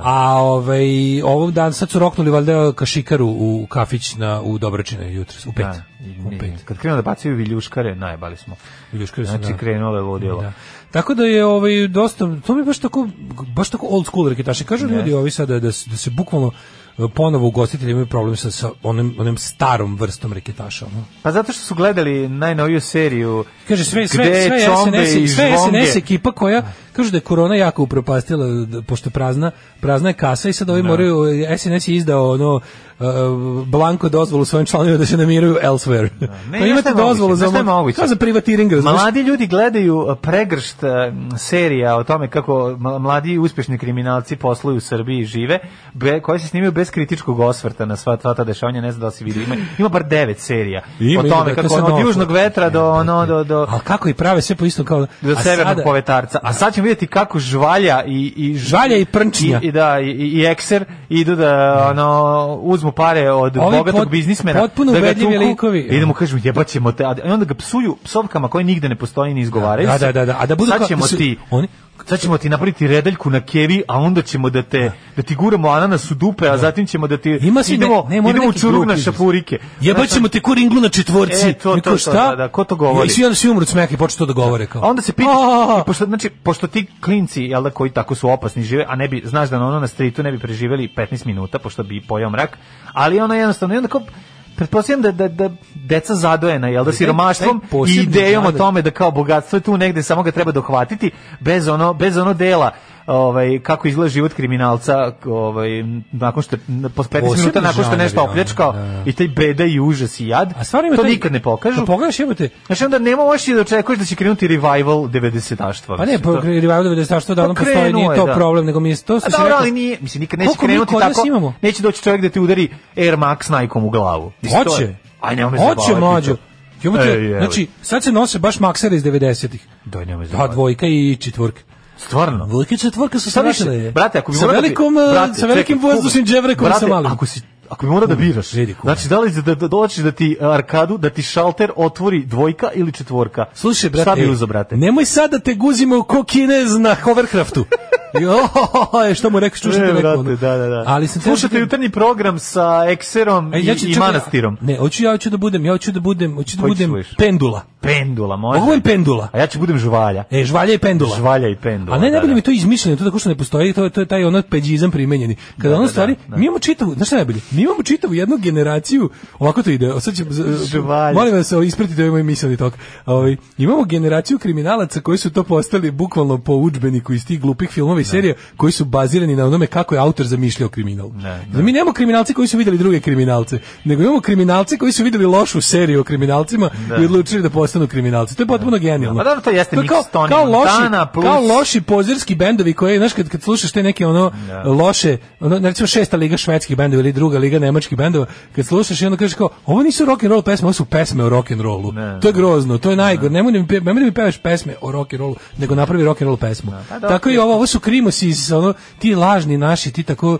[SPEAKER 8] A ovaj ovog dan sad su roknuli valjda kašikaru u kafić na u Dobračine jutros u pet.
[SPEAKER 7] Da,
[SPEAKER 8] u pet.
[SPEAKER 7] Kad krenu da bacaju viljuškare, najbali smo.
[SPEAKER 8] Viljuškare su,
[SPEAKER 7] znači,
[SPEAKER 8] da.
[SPEAKER 7] krenulo je ludilo.
[SPEAKER 8] Da. Tako da je ovaj dosta to mi je baš tako baš tako old school reketaši kažu
[SPEAKER 7] Ne.
[SPEAKER 8] ljudi ovi sada da, se- da se bukvalno e, ponovo ugostitelji imaju problem sa, sa onim, onim starom vrstom reketaša. Ono.
[SPEAKER 7] Pa zato što su gledali najnoviju seriju
[SPEAKER 8] Kaže sve
[SPEAKER 7] gde
[SPEAKER 8] sve sve
[SPEAKER 7] čombe i
[SPEAKER 8] SNS sve
[SPEAKER 7] žvonge.
[SPEAKER 8] SNS ekipa koja kažu da je korona jako upropastila da, pošto je prazna prazna je kasa i sad ovi
[SPEAKER 7] Da.
[SPEAKER 8] moraju e, SNS je izdao ono e, blanko dozvolu svojim članovima da se namiraju elsewhere.
[SPEAKER 7] Ne,
[SPEAKER 8] Pa
[SPEAKER 7] znaš
[SPEAKER 8] imate
[SPEAKER 7] šta je
[SPEAKER 8] dozvolu
[SPEAKER 7] moguće, znaš
[SPEAKER 8] za ono-
[SPEAKER 7] šta je moguće?
[SPEAKER 8] kao za privatiring, razumeš?
[SPEAKER 7] Mladi ljudi gledaju e, pregršt e, serija o tome kako ma- mladi i uspješni kriminalci posluju u Srbiji i žive, be, koje se snimaju bez kritičkog osvrta na sva sva ta dešavanja, ne znam da li si vidio, ima, ima bar devet serija
[SPEAKER 8] Ima,
[SPEAKER 7] o
[SPEAKER 8] ima,
[SPEAKER 7] tome
[SPEAKER 8] da, to
[SPEAKER 7] kako
[SPEAKER 8] sam
[SPEAKER 7] ono, od
[SPEAKER 8] novo.
[SPEAKER 7] južnog vetra do ono do do
[SPEAKER 8] Ali kako i prave sve po istom kao
[SPEAKER 7] do
[SPEAKER 8] a
[SPEAKER 7] severnog
[SPEAKER 8] sada-
[SPEAKER 7] povetarca. A sad ćemo vidjeti kako žvalja i i
[SPEAKER 8] Žvalja i prnčnja.
[SPEAKER 7] I, i da i, i ekser idu da ono uzmu pare od
[SPEAKER 8] Ovi
[SPEAKER 7] bogatog
[SPEAKER 8] pot-
[SPEAKER 7] biznismena
[SPEAKER 8] potpuno
[SPEAKER 7] da ga
[SPEAKER 8] ubedljivi
[SPEAKER 7] tuku
[SPEAKER 8] likovi.
[SPEAKER 7] i da mu kažu jebaćemo te a i onda ga psuju psovkama koje nigde ne postoji ni izgovaraju.
[SPEAKER 8] Da,
[SPEAKER 7] se.
[SPEAKER 8] da, da, da. A da budu
[SPEAKER 7] sad
[SPEAKER 8] kao-
[SPEAKER 7] ćemo
[SPEAKER 8] da su-
[SPEAKER 7] ti
[SPEAKER 8] oni-
[SPEAKER 7] Sad ćemo ti napraviti redeljku na kevi, a onda ćemo da te da ti guramo ananas u dupe, a zatim ćemo da ti
[SPEAKER 8] Ima si
[SPEAKER 7] idemo,
[SPEAKER 8] ne, ne, mora
[SPEAKER 7] idemo u
[SPEAKER 8] neki
[SPEAKER 7] čuruk na
[SPEAKER 8] grupi.
[SPEAKER 7] šapurike.
[SPEAKER 8] Jebat ćemo te ko ringlu na četvorci.
[SPEAKER 7] E, to,
[SPEAKER 8] Mi
[SPEAKER 7] to,
[SPEAKER 8] kao,
[SPEAKER 7] to,
[SPEAKER 8] šta?
[SPEAKER 7] da, da, ko to govori?
[SPEAKER 8] I svi onda svi umru od smeka i počnu to da govore. Kao.
[SPEAKER 7] A onda se pitaš,
[SPEAKER 8] "Ah!"
[SPEAKER 7] i pošto, znači, pošto ti klinci, jel da, koji tako su opasni žive, a ne bi, znaš da na ono na streetu ne bi preživeli 15 minuta, pošto bi pojao mrak, ali ono jednostavno, i onda kao, pretpostavljam da, da, da deca zadojena, jel da,
[SPEAKER 8] taj-
[SPEAKER 7] siromaštvom
[SPEAKER 8] taj
[SPEAKER 7] i
[SPEAKER 8] posebni
[SPEAKER 7] idejom o
[SPEAKER 8] žanr.
[SPEAKER 7] tome da kao bogatstvo je tu negde, samo ga treba dohvatiti, bez ono, bez ono dela, ovaj kako izgleda život kriminalca ovaj nakon što je- po 15
[SPEAKER 8] Posebni
[SPEAKER 7] minuta nakon što je
[SPEAKER 8] žanr
[SPEAKER 7] nešto
[SPEAKER 8] je ono,
[SPEAKER 7] opljačkao
[SPEAKER 8] da, da.
[SPEAKER 7] i taj beda i užas i jad
[SPEAKER 8] A Pa stvarno ima
[SPEAKER 7] to
[SPEAKER 8] taj- Pa
[SPEAKER 7] nikad ne pokažu
[SPEAKER 8] Kad pogledaš, jebote,
[SPEAKER 7] Znači onda nema možeš i da očekuješ da će krenuti revival 90-aštva.
[SPEAKER 8] Pa ne,
[SPEAKER 7] mislim,
[SPEAKER 8] po
[SPEAKER 7] to-
[SPEAKER 8] revival 90-aštvo davno
[SPEAKER 7] Pa
[SPEAKER 8] postoji,
[SPEAKER 7] krenuo
[SPEAKER 8] nije
[SPEAKER 7] je,
[SPEAKER 8] to
[SPEAKER 7] da.
[SPEAKER 8] problem, nego mi je to
[SPEAKER 7] A
[SPEAKER 8] što si
[SPEAKER 7] dobro,
[SPEAKER 8] rekao.
[SPEAKER 7] ali nije, mislim, nikad neće
[SPEAKER 8] Koliko mi
[SPEAKER 7] krenuti
[SPEAKER 8] kod nas
[SPEAKER 7] tako,
[SPEAKER 8] imamo?
[SPEAKER 7] neće doći čovjek da ti udari Air Max najkom u glavu. Mislim, to je-
[SPEAKER 8] Hoće.
[SPEAKER 7] Aj, nemoj me
[SPEAKER 8] Hoće
[SPEAKER 7] zabavati
[SPEAKER 8] mlađo.
[SPEAKER 7] to.
[SPEAKER 8] Jebote,
[SPEAKER 7] Ej, je li.
[SPEAKER 8] znači, sad se nose baš maksere iz 90-ih.
[SPEAKER 7] Daj, nemoj
[SPEAKER 8] Da,
[SPEAKER 7] zabavati.
[SPEAKER 8] dvojka i četvorka.
[SPEAKER 7] Stvarno.
[SPEAKER 8] Dvojka i četvorka su
[SPEAKER 7] Šta više?
[SPEAKER 8] strašile.
[SPEAKER 7] Brate, ako bi
[SPEAKER 8] sa
[SPEAKER 7] morao da bi-
[SPEAKER 8] velikom, eh,
[SPEAKER 7] brate,
[SPEAKER 8] sa velikim
[SPEAKER 7] čekaj,
[SPEAKER 8] vozdušnim
[SPEAKER 7] kume.
[SPEAKER 8] dževrekom i sa
[SPEAKER 7] Brate,
[SPEAKER 8] malim.
[SPEAKER 7] Ako si ako bi morao da biraš.
[SPEAKER 8] vidi kume.
[SPEAKER 7] Znači, da li da, da dođeš da ti eh, arkadu, da ti šalter otvori dvojka ili četvorka?
[SPEAKER 8] Slušaj, brate,
[SPEAKER 7] Šta bi
[SPEAKER 8] ej,
[SPEAKER 7] uzeo, brate?
[SPEAKER 8] Nemoj sad da te guzimo ko Kinez na <laughs> hovercraftu. Jo, što mu rekao, čušite
[SPEAKER 7] E,
[SPEAKER 8] neko.
[SPEAKER 7] brate,
[SPEAKER 8] ono.
[SPEAKER 7] da, da, da.
[SPEAKER 8] Ali sam
[SPEAKER 7] Slušate jutarnji program sa Ekserom
[SPEAKER 8] E,
[SPEAKER 7] i,
[SPEAKER 8] ja ću
[SPEAKER 7] i
[SPEAKER 8] čekaj,
[SPEAKER 7] Manastirom.
[SPEAKER 8] Ne, hoću ja hoću da budem, ja hoću da budem, hoću da
[SPEAKER 7] Koji
[SPEAKER 8] budem
[SPEAKER 7] ćeš?
[SPEAKER 8] pendula.
[SPEAKER 7] Pendula, može.
[SPEAKER 8] Ovo je pendula.
[SPEAKER 7] A ja ću budem žvalja.
[SPEAKER 8] E, žvalja i pendula.
[SPEAKER 7] Žvalja i pendula.
[SPEAKER 8] A ne, najbolje
[SPEAKER 7] da,
[SPEAKER 8] mi je to izmišljeno, to tako što ne postoji, to, to je taj ono peđizam primenjeni. Kada ono stvari, mi imamo čitavu, znaš šta je najbolje? Mi imamo čitavu jednu generaciju, ovako to ide, sad ćemo,
[SPEAKER 7] Žvalj.
[SPEAKER 8] molim vas, ovo, ispratite ovaj moj misleni tok. Ovaj, imamo generaciju kriminalaca koji su to postali bukvalno po udžbeniku iz tih glupih filmova i serija, koji su bazirani na onome kako je autor zamišljao kriminal.
[SPEAKER 7] Ne,
[SPEAKER 8] Da mi nemamo kriminalce koji su videli druge kriminalce, nego imamo kriminalce koji su videli lošu seriju o kriminalcima
[SPEAKER 7] Da.
[SPEAKER 8] i odlučili da postanu kriminalci. To je potpuno genijalno.
[SPEAKER 7] Pa dobro, to jeste
[SPEAKER 8] kao-
[SPEAKER 7] mix Tony
[SPEAKER 8] kao loši-
[SPEAKER 7] Montana plus-
[SPEAKER 8] Kao loši pozirski bendovi koji, znaš, kad, kad slušaš te neke ono loše, ono, recimo šesta liga švedskih bendova ili druga liga nemačkih bendova, kad slušaš i onda kažeš kao, ovo nisu rock'n'roll pesme, ovo su pesme o rock'n'rollu.
[SPEAKER 7] Ne.
[SPEAKER 8] To je grozno, to je najgore. Nemoj da mi, pe- nemoj da mi pevaš pesme o rock'n'rollu, nego napravi rock'n'roll pesmu.
[SPEAKER 7] Pa dobro,
[SPEAKER 8] Tako i ovo, ovo su krimosi iz, ono, ti lažni naši, ti tako,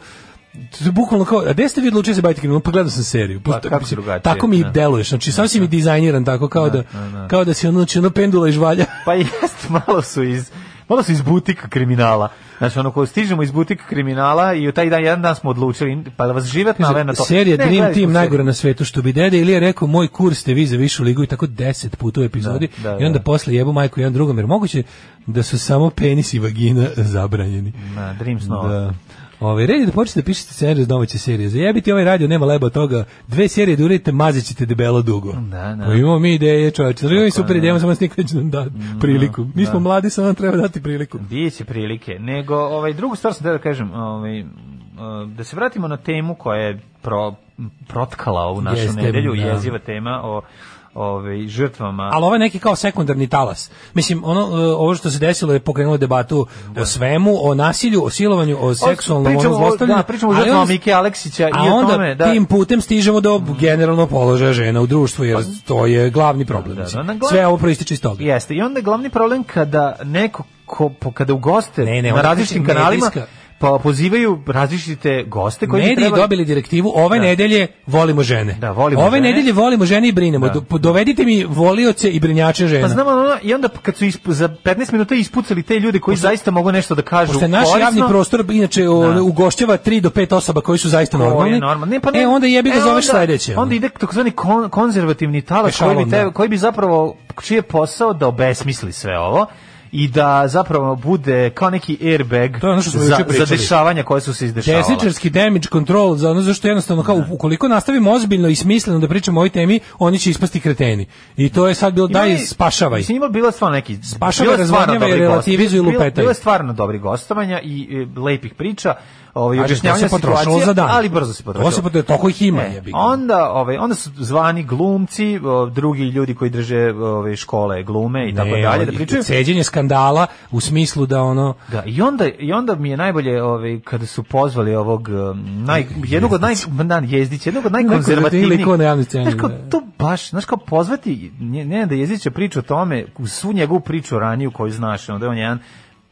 [SPEAKER 8] to je bukvalno kao, a gde ste vi odlučili da se baviti kriminalom? Pa gledao sam seriju.
[SPEAKER 7] Pa kako
[SPEAKER 8] Mislim,
[SPEAKER 7] drugačije,
[SPEAKER 8] Tako mi
[SPEAKER 7] ne.
[SPEAKER 8] deluješ, znači sam si mi dizajniran tako kao da,
[SPEAKER 7] ne, ne.
[SPEAKER 8] kao da si ono, znači, ono pendula i žvalja.
[SPEAKER 7] Pa jeste, <laughs> malo su iz malo su iz butika kriminala. Znači, ono, ko stižemo iz butika kriminala i u taj dan, jedan dan smo odlučili, pa da vas živet nave na to.
[SPEAKER 8] Serija
[SPEAKER 7] Ne,
[SPEAKER 8] Dream
[SPEAKER 7] gledaj
[SPEAKER 8] Team
[SPEAKER 7] tu
[SPEAKER 8] najgore na svetu što bi dede ili je rekao moj kurs ste vi za višu ligu i tako 10 puta u epizodi
[SPEAKER 7] Da, da,
[SPEAKER 8] i onda
[SPEAKER 7] da.
[SPEAKER 8] posle jebu majku jedan drugom jer moguće da su samo penis i vagina <laughs> zabranjeni.
[SPEAKER 7] seriju. Na, Dream Snow.
[SPEAKER 8] Da. Ove, red je da počnete da pišete scenarij iz domaće serije. Zajebiti ovaj radio, nema leba od toga. Dve serije da uredite, mazit ćete debelo dugo.
[SPEAKER 7] Da, da.
[SPEAKER 8] Pa imamo mi ideje, čovječe. Znači, imamo super idejama, samo nas niko neće nam dati priliku. Mi smo mladi, samo nam treba dati priliku.
[SPEAKER 7] Biće prilike. Nego, ovaj, drugu stvar sam teo da kažem, ovaj, eh, da se vratimo na temu koja je pro, protkala ovu našu
[SPEAKER 8] Jeste,
[SPEAKER 7] nedelju,
[SPEAKER 8] da.
[SPEAKER 7] jeziva tema o ovaj žrtvama.
[SPEAKER 8] Ali ovo je neki kao sekundarni talas. Mislim, ono, e, ovo što se desilo je pokrenulo debatu o svemu, o nasilju, o silovanju, o seksualnom
[SPEAKER 7] pričamo
[SPEAKER 8] ono,
[SPEAKER 7] o-
[SPEAKER 8] zlostavljanju.
[SPEAKER 7] da, pričamo o
[SPEAKER 8] a onda-
[SPEAKER 7] žrtvama Mike Aleksića i
[SPEAKER 8] a
[SPEAKER 7] o
[SPEAKER 8] onda
[SPEAKER 7] tome, da. Mm.
[SPEAKER 8] tim putem stižemo do generalno položaja žena u društvu, jer to je glavni problem. mislim.
[SPEAKER 7] Pa- na glav-
[SPEAKER 8] Sve ovo proističe iz toga.
[SPEAKER 7] Jeste, i onda je glavni problem kada neko, ko, po- kada u goste
[SPEAKER 8] Ne, ne,
[SPEAKER 7] na
[SPEAKER 8] onda
[SPEAKER 7] različitim
[SPEAKER 8] znači
[SPEAKER 7] kanalima
[SPEAKER 8] medijska-
[SPEAKER 7] pa pozivaju različite goste koji bi
[SPEAKER 8] Mediji
[SPEAKER 7] trebali-
[SPEAKER 8] dobili direktivu ove
[SPEAKER 7] Da.
[SPEAKER 8] nedelje volimo žene.
[SPEAKER 7] Da, volimo
[SPEAKER 8] ove
[SPEAKER 7] žene.
[SPEAKER 8] nedelje volimo žene i brinemo.
[SPEAKER 7] Da.
[SPEAKER 8] Do- Dovedite mi volioce i brinjače žena.
[SPEAKER 7] Pa znam, ono, ono, i onda kad su ispu, za 15 minuta ispucali te ljude koji zaista mogu nešto da kažu
[SPEAKER 8] Pošto je naš
[SPEAKER 7] korisno,
[SPEAKER 8] javni prostor inače o-
[SPEAKER 7] Da.
[SPEAKER 8] ugošćava 3 do 5 osoba koji su zaista
[SPEAKER 7] Ovo je
[SPEAKER 8] normalni.
[SPEAKER 7] normalno. Ne, pa ne,
[SPEAKER 8] e onda jebi ga
[SPEAKER 7] e,
[SPEAKER 8] zoveš
[SPEAKER 7] onda-
[SPEAKER 8] sledeće. ono.
[SPEAKER 7] Onda ide takozvani kon, konzervativni talas
[SPEAKER 8] Ešalon,
[SPEAKER 7] koji bi, te,
[SPEAKER 8] da.
[SPEAKER 7] koji bi zapravo, čiji je posao da obesmisli sve ovo i da zapravo bude kao neki airbag
[SPEAKER 8] To je ono što smo
[SPEAKER 7] za,
[SPEAKER 8] juče
[SPEAKER 7] za
[SPEAKER 8] pričali.
[SPEAKER 7] dešavanja koje su se izdešavala.
[SPEAKER 8] Desničarski damage control za ono zašto jednostavno kao ukoliko nastavimo ozbiljno i smisleno da pričamo o ovoj temi, oni će ispasti kreteni. I to je sad bilo
[SPEAKER 7] Ima
[SPEAKER 8] daj
[SPEAKER 7] i-
[SPEAKER 8] spašavaj.
[SPEAKER 7] Mislim, ima bila stvarno neki...
[SPEAKER 8] Spašavaj,
[SPEAKER 7] bilo je stvarno
[SPEAKER 8] razvodnjava i
[SPEAKER 7] dobrih gost-
[SPEAKER 8] relativizuj i
[SPEAKER 7] bilo-
[SPEAKER 8] lupetaj.
[SPEAKER 7] Bilo je stvarno dobri gostovanja i e, lepih priča, ovaj,
[SPEAKER 8] Kažem, to
[SPEAKER 7] objašnjavanja
[SPEAKER 8] se potrošilo
[SPEAKER 7] situacije,
[SPEAKER 8] za dan.
[SPEAKER 7] ali brzo se
[SPEAKER 8] To
[SPEAKER 7] potrošilo.
[SPEAKER 8] se potrošilo, toliko ih ima,
[SPEAKER 7] E,
[SPEAKER 8] jebi ga.
[SPEAKER 7] onda, ovaj, onda su zvani glumci, o, drugi ljudi koji drže ove, škole glume i tako
[SPEAKER 8] Ne,
[SPEAKER 7] dalje,
[SPEAKER 8] ono,
[SPEAKER 7] da pričaju.
[SPEAKER 8] Ceđenje skandala u smislu da ono
[SPEAKER 7] Da, i onda i onda mi je najbolje ovaj kada su pozvali ovog um, naj jednog od naj da, jezdić, jednog od
[SPEAKER 8] Neko da
[SPEAKER 7] najkonzervativnijih.
[SPEAKER 8] ili ko na javnoj sceni,
[SPEAKER 7] Znaš kao,
[SPEAKER 8] da.
[SPEAKER 7] to baš, znaš kao pozvati ne, ne da jezdić je priča o tome, u svu njegovu priču raniju koju znaš, onda je on jedan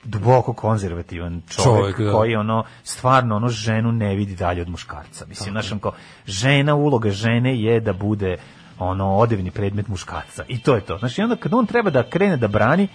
[SPEAKER 7] duboko konzervativan čovjek,
[SPEAKER 8] Čovek, da.
[SPEAKER 7] koji ono stvarno ono ženu ne vidi dalje od muškarca. Mislim, znaš on kao žena uloga žene je da bude ono odevni predmet muškarca i to je to. Znaš, i onda kad on treba da krene da brani,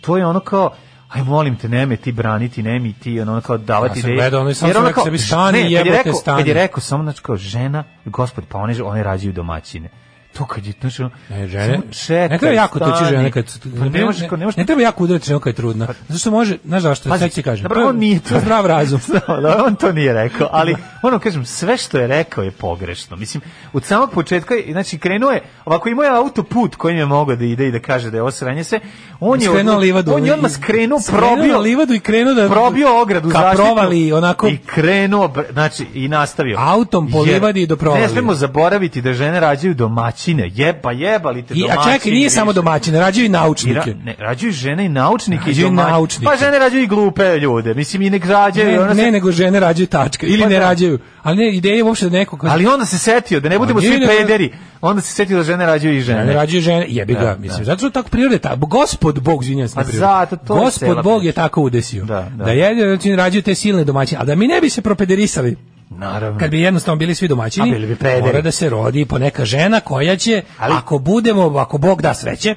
[SPEAKER 7] to je ono kao aj molim te neme ti braniti nemi ti ono kao davati
[SPEAKER 8] Ja sam
[SPEAKER 7] ideje.
[SPEAKER 8] gledao, ono i sam
[SPEAKER 7] Jer
[SPEAKER 8] sam
[SPEAKER 7] ono
[SPEAKER 8] rekao
[SPEAKER 7] kao,
[SPEAKER 8] sebi, stani,
[SPEAKER 7] ne, kad je
[SPEAKER 8] jebote,
[SPEAKER 7] rekao-
[SPEAKER 8] stani.
[SPEAKER 7] Kad je rekao samo znači kao žena, gospod, pa one one rađaju domaćine. To kad je znači ono,
[SPEAKER 8] E, žene,
[SPEAKER 7] samo čekaj,
[SPEAKER 8] ne treba jako tući
[SPEAKER 7] stani.
[SPEAKER 8] žene kad su-
[SPEAKER 7] Pa ne možeš kao- ne možeš
[SPEAKER 8] ne treba jako udariti ženu kad je trudna. Zato što može, znaš zašto,
[SPEAKER 7] Pazi,
[SPEAKER 8] sad ti kažem.
[SPEAKER 7] dobro, on nije to-
[SPEAKER 8] je zdrav
[SPEAKER 7] <laughs>
[SPEAKER 8] razum.
[SPEAKER 7] Da, on to nije rekao,
[SPEAKER 8] <laughs>
[SPEAKER 7] ali ono kažem, sve što je rekao je pogrešno. Mislim, od samog početka, je- znači krenuo je, ovako imao je autoput kojim je mogao da ide i da kaže da je ovo sranje se, on je,
[SPEAKER 8] skrenuo
[SPEAKER 7] od-
[SPEAKER 8] livadu.
[SPEAKER 7] on je odmah
[SPEAKER 8] i-
[SPEAKER 7] skrenuo,
[SPEAKER 8] skrenuo na
[SPEAKER 7] probio,
[SPEAKER 8] livadu i krenuo da
[SPEAKER 7] probio ogradu
[SPEAKER 8] ka
[SPEAKER 7] zaštitnu
[SPEAKER 8] provali onako
[SPEAKER 7] i krenuo br- znači i nastavio
[SPEAKER 8] Autom po
[SPEAKER 7] Jer
[SPEAKER 8] livadi do provali.
[SPEAKER 7] ne smemo zaboraviti da žene rađaju domaćine jeba jebali te
[SPEAKER 8] I, a
[SPEAKER 7] domaćini
[SPEAKER 8] čekaj, nije
[SPEAKER 7] više.
[SPEAKER 8] samo domaćine, rađaju i
[SPEAKER 7] I ra-
[SPEAKER 8] naučnike.
[SPEAKER 7] ne, rađuju žene i naučnike
[SPEAKER 8] Rađuju
[SPEAKER 7] i domaći-
[SPEAKER 8] naučnike.
[SPEAKER 7] Pa žene rađuju i glupe ljude. Mislim i nek rađaju. i
[SPEAKER 8] Ne,
[SPEAKER 7] ona se-
[SPEAKER 8] ne, nego žene rađaju tačka. Ili
[SPEAKER 7] Pa
[SPEAKER 8] ne
[SPEAKER 7] da.
[SPEAKER 8] rađaju. Ali ne, ideja je uopšte da neko... kaže-
[SPEAKER 7] Ali onda se setio da ne budemo
[SPEAKER 8] A Pa nije,
[SPEAKER 7] svi
[SPEAKER 8] nego-
[SPEAKER 7] pederi. Onda se setio da žene rađaju i žene.
[SPEAKER 8] Ne rađaju žene, jebi ga,
[SPEAKER 7] Da,
[SPEAKER 8] mislim.
[SPEAKER 7] da.
[SPEAKER 8] Zato što tako priroda je ta, gospod Bog, izvinjam se,
[SPEAKER 7] Pa
[SPEAKER 8] ne priroda.
[SPEAKER 7] zato to je
[SPEAKER 8] Gospod
[SPEAKER 7] cela
[SPEAKER 8] Bog
[SPEAKER 7] priča.
[SPEAKER 8] je tako udesio.
[SPEAKER 7] Da, da.
[SPEAKER 8] je, znači, rađaju te silne domaćine. A da mi ne bi se propederisali,
[SPEAKER 7] Naravno.
[SPEAKER 8] kad bi jednostavno bili svi domaćini,
[SPEAKER 7] A bili bi pederi.
[SPEAKER 8] mora da se rodi po neka žena koja će,
[SPEAKER 7] Ali-
[SPEAKER 8] ako budemo, ako Bog da sreće,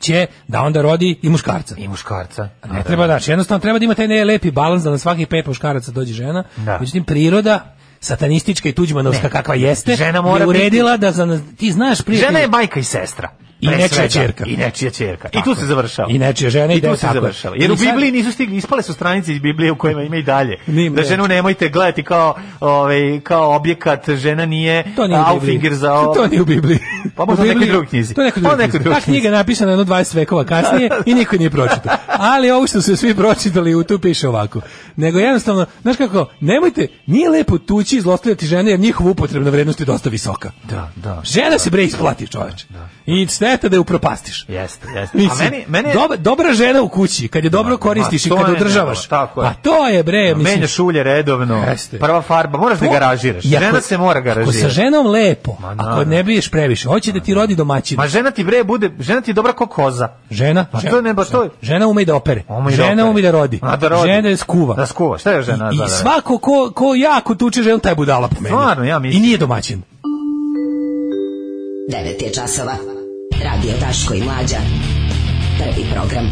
[SPEAKER 8] će da onda rodi i muškarca.
[SPEAKER 7] I muškarca.
[SPEAKER 8] Ne treba da, jednostavno treba da ima taj ne lepi balans da na svakih pet muškaraca dođe žena.
[SPEAKER 7] Da.
[SPEAKER 8] Međutim priroda satanistička i tuđmanovska
[SPEAKER 7] Ne.
[SPEAKER 8] kakva jeste,
[SPEAKER 7] Žena mora
[SPEAKER 8] je uredila da za ti znaš prijatelj
[SPEAKER 7] Žena je majka i sestra.
[SPEAKER 8] I
[SPEAKER 7] pre
[SPEAKER 8] nečija
[SPEAKER 7] svega.
[SPEAKER 8] ćerka.
[SPEAKER 7] I nečija ćerka. I
[SPEAKER 8] Tako
[SPEAKER 7] tu
[SPEAKER 8] je.
[SPEAKER 7] se završava.
[SPEAKER 8] I nečija žena i
[SPEAKER 7] I tu
[SPEAKER 8] dete,
[SPEAKER 7] se
[SPEAKER 8] tako je.
[SPEAKER 7] završava. Jer
[SPEAKER 8] I
[SPEAKER 7] u
[SPEAKER 8] sad-
[SPEAKER 7] Bibliji nisu stigli, ispale su stranice iz Biblije u kojima ima i dalje.
[SPEAKER 8] Nim,
[SPEAKER 7] da
[SPEAKER 8] ne.
[SPEAKER 7] ženu nemojte gledati kao, ovaj, kao objekat, žena nije,
[SPEAKER 8] To nije u
[SPEAKER 7] Aufinger
[SPEAKER 8] Bibliji.
[SPEAKER 7] za ovo.
[SPEAKER 8] To nije u Bibliji.
[SPEAKER 7] <laughs> Pa
[SPEAKER 8] U
[SPEAKER 7] možda u nekoj
[SPEAKER 8] Bibliji-
[SPEAKER 7] drugoj knjizi.
[SPEAKER 8] To je nekoj
[SPEAKER 7] Pa
[SPEAKER 8] drugoj
[SPEAKER 7] nekoj
[SPEAKER 8] knjizi.
[SPEAKER 7] drugoj
[SPEAKER 8] Ta knjiga je napisana jedno 20 vekova
[SPEAKER 7] <laughs>
[SPEAKER 8] kasnije i niko je nije pročitao. Ali ovo što su svi pročitali u tu piše ovako. Nego jednostavno, znaš kako, nemojte, nije lepo tući i zlostavljati žene jer njihova upotrebna vrednost je dosta visoka.
[SPEAKER 7] Da, da.
[SPEAKER 8] Žena se bre isplati, čoveče. I šteta da je upropastiš.
[SPEAKER 7] Jeste, jeste. A
[SPEAKER 8] Mislim,
[SPEAKER 7] meni, meni je-
[SPEAKER 8] dob- dobra žena u kući, kad je dobro koristiš i
[SPEAKER 7] Ma, to
[SPEAKER 8] kad
[SPEAKER 7] je
[SPEAKER 8] održavaš.
[SPEAKER 7] dobro, tako je.
[SPEAKER 8] A to je bre, mislim,
[SPEAKER 7] Menjaš ulje redovno.
[SPEAKER 8] Jeste.
[SPEAKER 7] Prva farba, moraš da
[SPEAKER 8] To-
[SPEAKER 7] garažiraš.
[SPEAKER 8] I ako-
[SPEAKER 7] Žena se mora
[SPEAKER 8] Ako sa
[SPEAKER 7] garažirati.
[SPEAKER 8] ženom lepo,
[SPEAKER 7] Ma,
[SPEAKER 8] ako
[SPEAKER 7] da.
[SPEAKER 8] ne briješ previše, hoće da ti rodi domaćin.
[SPEAKER 7] Ma žena ti bre bude, žena ti je dobra ko koza.
[SPEAKER 8] Žena,
[SPEAKER 7] Pa
[SPEAKER 8] žena,
[SPEAKER 7] to ne, ba, to je-
[SPEAKER 8] žena ume i da opere.
[SPEAKER 7] Ume i da
[SPEAKER 8] žena
[SPEAKER 7] opere.
[SPEAKER 8] ume i da rodi.
[SPEAKER 7] A, da rodi.
[SPEAKER 8] Žena je skuva.
[SPEAKER 7] Da skuva, šta je žena,
[SPEAKER 8] I,
[SPEAKER 7] da, da,
[SPEAKER 8] i
[SPEAKER 7] da.
[SPEAKER 8] svako ko, ko jako tuče ženu, taj je budala po meni.
[SPEAKER 7] Stvarno, ja mislim.
[SPEAKER 8] I nije domaćin.
[SPEAKER 12] 9 je časova. Radio Daško i Mlađa. Prvi program.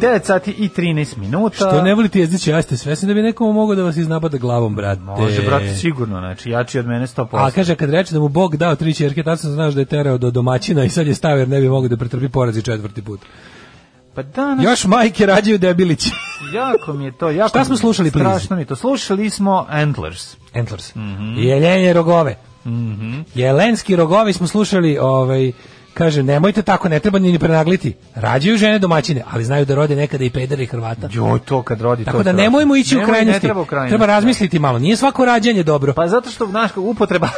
[SPEAKER 7] 9 sati i 13 minuta.
[SPEAKER 8] Što ne volite jezdići, ja ste svesni da bi nekomu mogao da vas iznabada glavom, brate.
[SPEAKER 7] Može, brate,
[SPEAKER 8] E.
[SPEAKER 7] sigurno, znači, jači od mene 100%.
[SPEAKER 8] A kaže, kad reče da mu Bog dao tri čerke, tad sam znaš da je terao do domaćina i sad je stavio jer ne bi mogao da pretrpi porazi četvrti put.
[SPEAKER 7] pa danas
[SPEAKER 8] Još majke rađaju debilići.
[SPEAKER 7] jako mi je to, jako
[SPEAKER 8] Šta smo
[SPEAKER 7] mi-
[SPEAKER 8] slušali, please?
[SPEAKER 7] Strašno mi je to. Slušali smo Antlers.
[SPEAKER 8] Antlers. Jelenje rogove. Jelenski rogovi smo slušali ovaj Kaže, nemojte tako, ne treba ni ni prenagliti. Rađaju žene domaćine, ali znaju da rode nekada i pedera i Hrvata.
[SPEAKER 7] Joj, to kad rodi, to
[SPEAKER 8] Tako da
[SPEAKER 7] treba.
[SPEAKER 8] nemojmo ići
[SPEAKER 7] Nemoj,
[SPEAKER 8] u
[SPEAKER 7] ne
[SPEAKER 8] krajnosti.
[SPEAKER 7] treba u krajnosti,
[SPEAKER 8] Treba
[SPEAKER 7] da.
[SPEAKER 8] razmisliti malo. Nije svako rađanje dobro.
[SPEAKER 7] Pa zato što znaš kako upotreba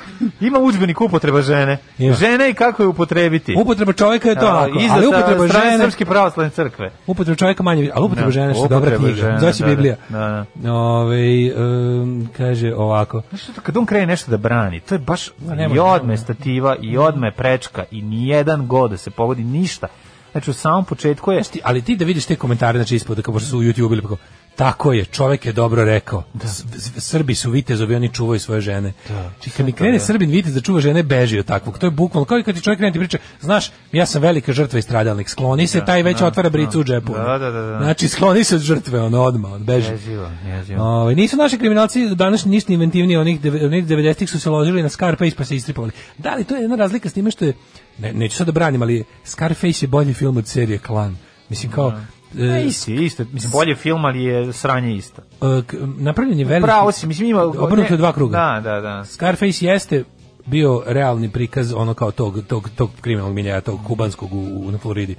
[SPEAKER 7] <laughs> Ima udžbenik upotreba žene.
[SPEAKER 8] Ima.
[SPEAKER 7] Žene i kako je upotrebiti.
[SPEAKER 8] Upotreba čovjeka je to
[SPEAKER 7] A,
[SPEAKER 8] onako,
[SPEAKER 7] izdat
[SPEAKER 8] ali
[SPEAKER 7] sa
[SPEAKER 8] upotreba
[SPEAKER 7] strane
[SPEAKER 8] žene-
[SPEAKER 7] Srpske pravoslavne crkve.
[SPEAKER 8] Upotreba čovjeka manje, ali upotreba
[SPEAKER 7] Da,
[SPEAKER 8] žene što je
[SPEAKER 7] upotreba
[SPEAKER 8] dobra knjiga.
[SPEAKER 7] žene,
[SPEAKER 8] Zove se
[SPEAKER 7] da, da,
[SPEAKER 8] Biblija.
[SPEAKER 7] da,
[SPEAKER 8] Ovaj, em, kaže ovako.
[SPEAKER 7] Što kad on krene nešto da brani, to je baš
[SPEAKER 8] ne može,
[SPEAKER 7] i odme stativa, i odme prečka, i nijedan god da se pogodi ništa. Znači u samom početku je...
[SPEAKER 8] ti- ali ti da vidiš te komentare znači ispod kako su u YouTubeu bili pa kao, tako je, čovjek je dobro rekao. S- s- Srbi su vitezovi, oni čuvaju svoje žene. Znači, kad mi krene
[SPEAKER 7] da.
[SPEAKER 8] Srbin vitez da čuva žene, beži od takvog. To je bukvalno kao i kad ti čovjek krene ti priča, znaš, ja sam velika žrtva i stradalnik, skloni se,
[SPEAKER 7] Da,
[SPEAKER 8] taj već
[SPEAKER 7] da,
[SPEAKER 8] otvara bricu
[SPEAKER 7] da.
[SPEAKER 8] u džepu.
[SPEAKER 7] Da, da, da, da.
[SPEAKER 8] Znači, skloni se od žrtve, ono, odmah, on beži.
[SPEAKER 7] Jezivo, jezivo.
[SPEAKER 8] Ovaj, nisu naši kriminalci danas ništa inventivniji, onih deve- onih 90-ih su se ložili na Scarface pa se istripovali. Da li to je jedna razlika s time što je, ne, neću sad da branim, ali Scarface je bolji film od serije Klan. Mislim kao,
[SPEAKER 7] Ne,
[SPEAKER 8] e,
[SPEAKER 7] isti, isto. Mislim, bolje film, ali je sranje isto.
[SPEAKER 8] e, k- napravljen je veliki...
[SPEAKER 7] Pravo si, mislim, ima...
[SPEAKER 8] Obrnuto je dva kruga.
[SPEAKER 7] Da, da, da.
[SPEAKER 8] Scarface jeste bio realni prikaz ono kao tog, tog, tog kriminalnog miljaja, tog kubanskog u, u, na Floridi.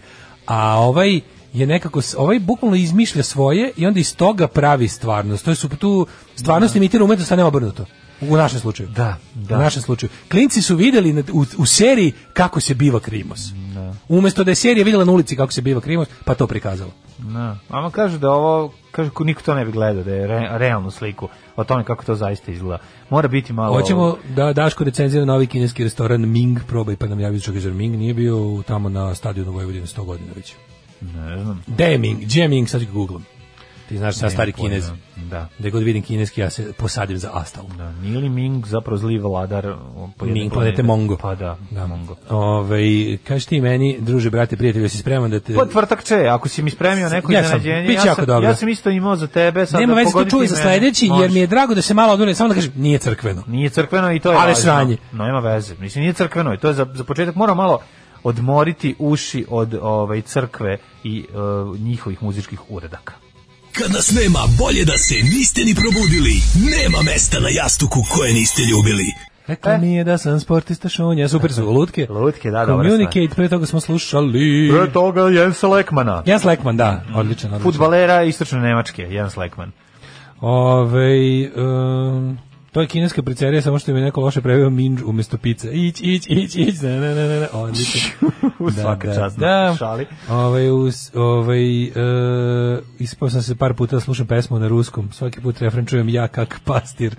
[SPEAKER 8] A ovaj je nekako, s- ovaj bukvalno izmišlja svoje i onda iz toga pravi stvarnost. To je su tu stvarnost imitira umetnost, a ne obrnuto. U našem slučaju. Da,
[SPEAKER 7] da.
[SPEAKER 8] U našem slučaju. Klinci su videli na- u, u seriji kako se biva krimos. Umesto da je serija vidjela na ulici kako se biva krimos, pa to prikazala.
[SPEAKER 7] Da. Ama kaže da ovo, kaže ko niko to ne bi gledao, da je re, realnu sliku o tome kako to zaista izgleda. Mora biti malo...
[SPEAKER 8] Hoćemo da Daško recenzira novi kineski restoran Ming, probaj pa nam javi čak jer Ming nije bio u- tamo na stadionu Vojvodine 100 godina već.
[SPEAKER 7] Ne znam.
[SPEAKER 8] Gde je Ming? Gde je Ming? Sad ću googlam. Ti znaš sad
[SPEAKER 7] Nemam
[SPEAKER 8] stari
[SPEAKER 7] pojma.
[SPEAKER 8] kinez.
[SPEAKER 7] Da.
[SPEAKER 8] Da god vidim kineski, ja se posadim za astal.
[SPEAKER 7] Da, nije li Ming zapravo zli vladar o, jedne
[SPEAKER 8] Ming planete Mongo.
[SPEAKER 7] Pa da, da. Mongo.
[SPEAKER 8] Ove, kaži ti meni, druže, brate, prijatelju, jesi spreman da te...
[SPEAKER 7] Pa tvrtak će, ako si mi spremio neko
[SPEAKER 8] Ja sam,
[SPEAKER 7] iznenađenje,
[SPEAKER 8] bit će
[SPEAKER 7] ja,
[SPEAKER 8] jako
[SPEAKER 7] sam,
[SPEAKER 8] dobro.
[SPEAKER 7] ja sam isto imao za tebe. Sad
[SPEAKER 8] Nema
[SPEAKER 7] da
[SPEAKER 8] veze, to
[SPEAKER 7] pogodi
[SPEAKER 8] čuj
[SPEAKER 7] ti
[SPEAKER 8] za
[SPEAKER 7] mene.
[SPEAKER 8] sledeći, jer
[SPEAKER 7] Može.
[SPEAKER 8] mi je drago da se malo odulim, samo da kažem, nije crkveno.
[SPEAKER 7] Nije crkveno i to je
[SPEAKER 8] Ali
[SPEAKER 7] važno.
[SPEAKER 8] sranje.
[SPEAKER 7] No, nema veze. Mislim, nije crkveno i to je za, za početak. Moram malo odmoriti uši od ovaj crkve i e, njihovih muzičkih uredaka.
[SPEAKER 15] Kad nas nema, bolje da se niste ni probudili. Nema mesta na jastuku koje niste ljubili.
[SPEAKER 8] Rekla mi je da sam sportista šunja. Super su, lutke.
[SPEAKER 7] Lutke, da, dobra
[SPEAKER 8] Communicate, pre toga smo slušali...
[SPEAKER 7] Pre toga Jensa Lekmana.
[SPEAKER 8] Jens Lekman, da, odličan. odličan.
[SPEAKER 7] Futbalera istočne Nemačke, Jens Lekman.
[SPEAKER 8] Ove, um, to je kineska pizzerija, samo što im je neko loše preveo minđ umjesto pice. Ić, ić, ić, ić, ne, ne, ne, ne, ne, odlično.
[SPEAKER 7] Svaka čast na šali.
[SPEAKER 8] Ove, us, ovaj, e, ispao sam se par puta da slušam pesmu na ruskom, svaki put refren čujem ja kak pastir.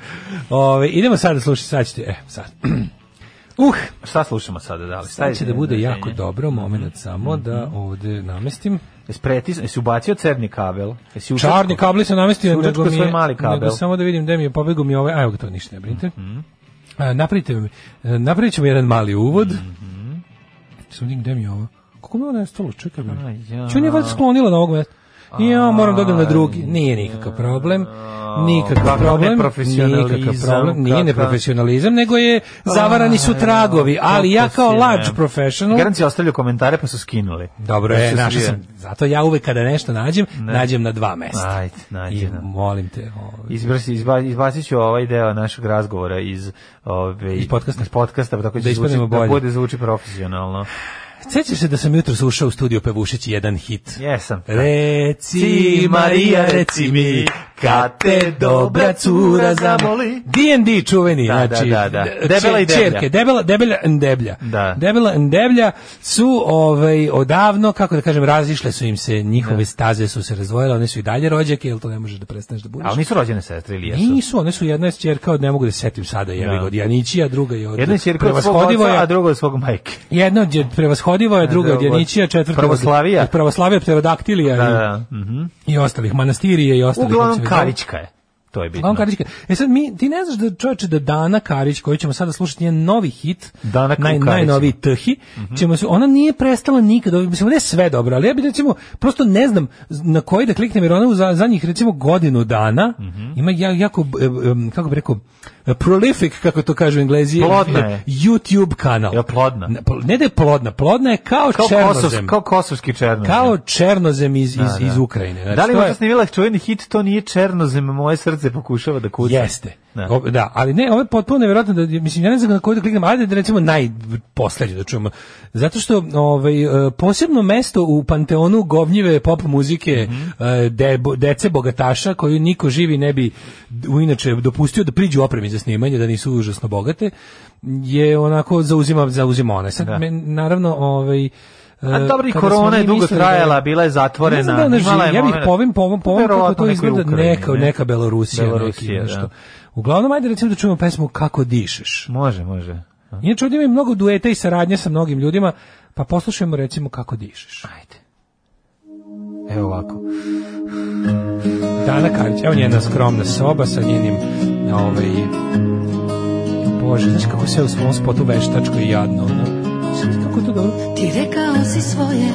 [SPEAKER 8] Ove, idemo sad da slušati, sad ćete, e, sad. <clears throat> uh,
[SPEAKER 7] Šta slušamo sada, da li?
[SPEAKER 8] sad će da bude jako dobro, moment samo da ovde namestim.
[SPEAKER 7] Jesi, pretis, jesi ubacio crni kabel? Jesi učačko-
[SPEAKER 8] Čarni kabli sam namestio,
[SPEAKER 7] Jesi
[SPEAKER 8] nego mi
[SPEAKER 7] učačko svoj
[SPEAKER 8] je,
[SPEAKER 7] mali kabel. Mhm.
[SPEAKER 8] nego samo da vidim gde mi je pobegao mi je ovaj, a evo ga to ništa, ne brinite. A, napravite mi, e, napravit ćemo jedan mali uvod.
[SPEAKER 7] Mhm.
[SPEAKER 8] Samo vidim gde mi je ovo. Kako mi je ovo nestalo, čekaj mi.
[SPEAKER 7] ja.
[SPEAKER 8] Ču nije valjda sklonila na ovog mesta. I ja moram dodam na drugi. Nije nikakav problem. Nikakav
[SPEAKER 7] Kakav
[SPEAKER 8] problem.
[SPEAKER 7] neprofesionalizam,
[SPEAKER 8] Nikakav problem. Nije
[SPEAKER 7] kakav-
[SPEAKER 8] neprofesionalizam, nego je zavarani su tragovi. Ali ja
[SPEAKER 7] Kako
[SPEAKER 8] kao
[SPEAKER 7] si,
[SPEAKER 8] large
[SPEAKER 7] ne?
[SPEAKER 8] professional...
[SPEAKER 7] Garanci ostavljaju komentare pa su skinuli.
[SPEAKER 8] Dobro
[SPEAKER 7] Pa
[SPEAKER 8] je,
[SPEAKER 7] su
[SPEAKER 8] našao
[SPEAKER 7] svi-
[SPEAKER 8] sam. Zato ja uvek kada nešto nađem, nađem na dva mesta.
[SPEAKER 7] Ajde, nađi,
[SPEAKER 8] I
[SPEAKER 7] da.
[SPEAKER 8] molim te, ovaj,
[SPEAKER 7] Izbrsi, izba, izbacit ću ovaj deo našeg razgovora iz, ove,
[SPEAKER 8] Iz podcasta.
[SPEAKER 7] iz podcasta, pa tako
[SPEAKER 8] Da
[SPEAKER 7] će zvuči,
[SPEAKER 8] ispadnemo bolje.
[SPEAKER 7] da bude zvuči profesionalno.
[SPEAKER 8] Sećaš se da sam jutro ušao u studio pevušeći jedan hit?
[SPEAKER 7] Jesam.
[SPEAKER 8] Reci, Marija, reci mi, kad te dobra cura zamoli. D&D čuveni,
[SPEAKER 7] Da, da,
[SPEAKER 8] znači,
[SPEAKER 7] da, da.
[SPEAKER 8] d-
[SPEAKER 7] Debela i
[SPEAKER 8] čer-
[SPEAKER 7] deblja.
[SPEAKER 8] čerke, debela, debela, ndeblja.
[SPEAKER 7] Da.
[SPEAKER 8] Debela ndeblja su ovaj, odavno, kako da kažem, razišle su im se, njihove staze su se razvojile, one su i dalje rođake, jer to ne možeš da prestaneš da budeš.
[SPEAKER 7] Ali nisu rođene sestre ili jesu?
[SPEAKER 8] Nisu, one su jedna je ćerka od ne mogu da se setim sada, jebi
[SPEAKER 7] Da.
[SPEAKER 8] ga, od Janićija, druga je od
[SPEAKER 7] Jedna je ćerka od svog
[SPEAKER 8] Prevashodivo
[SPEAKER 7] oca,
[SPEAKER 8] je-
[SPEAKER 7] a druga od svog majke.
[SPEAKER 8] Jedna od je- prevashodivo je, druga od
[SPEAKER 7] Drugo od
[SPEAKER 8] Janićija, četvrta od-
[SPEAKER 7] Pravoslavija.
[SPEAKER 8] od Pravoslavija, Pterodaktilija
[SPEAKER 7] Da,
[SPEAKER 8] i-
[SPEAKER 7] da. mhm.
[SPEAKER 8] i ostalih manastirije i ostalih. znači,
[SPEAKER 7] Uglavnom
[SPEAKER 8] kako se već
[SPEAKER 7] Karićka je. To
[SPEAKER 8] zove.
[SPEAKER 7] je bitno.
[SPEAKER 8] Uglavnom Karićka. E sad mi, ti ne znaš da čovječe da Dana Karić, koju ćemo sada slušati, njen novi hit,
[SPEAKER 7] Dana
[SPEAKER 8] naj,
[SPEAKER 7] Karić. Mhm.
[SPEAKER 8] najnoviji Thi, ćemo se, ona nije prestala nikad, ovo- mislim, ne sve dobro, ali ja bi recimo, prosto ne znam na koji da kliknem, jer ona u za, zadnjih recimo godinu dana
[SPEAKER 7] Mhm.
[SPEAKER 8] ima ja- jako, e, e, kako bi rekao, e, prolific, kako to kažu englezi,
[SPEAKER 7] Plodna je.
[SPEAKER 8] YouTube kanal.
[SPEAKER 7] Je plodna.
[SPEAKER 8] Ne, pl- Ne da je plodna, plodna je kao,
[SPEAKER 7] Kao,
[SPEAKER 8] černozem.
[SPEAKER 7] kosovski, kao kosovski černozem.
[SPEAKER 8] Kao černozem iz, iz,
[SPEAKER 7] Da, da.
[SPEAKER 8] iz Ukrajine. Znači,
[SPEAKER 7] da li
[SPEAKER 8] to je-
[SPEAKER 7] možda snimila čuveni hit To nije černozem, moje srce se pokušava da kuca.
[SPEAKER 8] Jeste. Da. O, da, ali ne, ovo je potpuno nevjerojatno da mislim ja ne znam na koju da kliknem, ajde da recimo najposlednje da čujemo. Zato što ovaj e, posebno mesto u panteonu govnjive pop muzike
[SPEAKER 7] Mhm.
[SPEAKER 8] e, debo- dece bogataša koju niko živi ne bi d- u inače dopustio da priđu opremi za snimanje da nisu užasno bogate je onako zauzima zauzima ona. Sad men- naravno ovaj
[SPEAKER 7] A dobro, i
[SPEAKER 8] kada smo
[SPEAKER 7] korona je
[SPEAKER 8] mi
[SPEAKER 7] dugo
[SPEAKER 8] mislili da je-
[SPEAKER 7] trajala, bila je zatvorena,
[SPEAKER 8] Ne znam da ona
[SPEAKER 7] imala je
[SPEAKER 8] živi, ja bih
[SPEAKER 7] momenat-
[SPEAKER 8] po ovim, po ovom, po ovom kako
[SPEAKER 7] Verovatno
[SPEAKER 8] to
[SPEAKER 7] nekoj
[SPEAKER 8] izgleda
[SPEAKER 7] Ukrajini,
[SPEAKER 8] neka,
[SPEAKER 7] ne?
[SPEAKER 8] neka Belorusija,
[SPEAKER 7] Belorusija,
[SPEAKER 8] neki, nešto.
[SPEAKER 7] da.
[SPEAKER 8] Uglavnom, ajde recimo da čujemo pesmu Kako dišeš.
[SPEAKER 7] Može, može.
[SPEAKER 8] Inače, ovdje ima i mnogo dueta i saradnje sa mnogim ljudima, pa poslušajmo recimo Kako dišeš. Ajde.
[SPEAKER 7] Evo ovako.
[SPEAKER 8] Dana Karić, evo njena skromna soba sa njenim, ovaj, bože, znaš kako se u svom spotu veštačko i jadno, ono. Znaš Kako to dobro?
[SPEAKER 16] Ti rekao si svoje,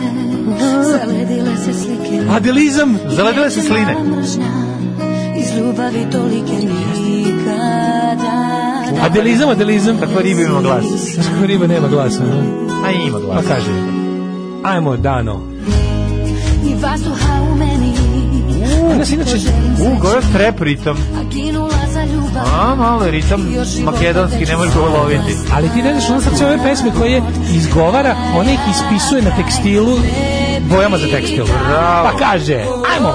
[SPEAKER 16] zaledile se slike.
[SPEAKER 7] Adelizam! Zaledile se
[SPEAKER 16] Neće
[SPEAKER 7] sline.
[SPEAKER 16] mala mržnja, Iz ljubavi tolike nikada.
[SPEAKER 8] Adelizam, adelizam.
[SPEAKER 7] Kako riba ima glas.
[SPEAKER 8] Znaš kako riba nema glasa, ne?
[SPEAKER 7] A ima glasa.
[SPEAKER 8] Pa kaže, ajmo, Dano.
[SPEAKER 16] I vazduha u meni.
[SPEAKER 7] Ona se inače... U, gore trep ritam.
[SPEAKER 16] A ginula za ljubav.
[SPEAKER 7] A, malo je ritam makedonski, ne možeš ga uloviti.
[SPEAKER 8] Ali ti ne znaš, ona sad sve ove pesme koje izgovara, ona ih ispisuje na tekstilu bojama za tekstil.
[SPEAKER 7] Bravo.
[SPEAKER 8] Pa kaže, ajmo!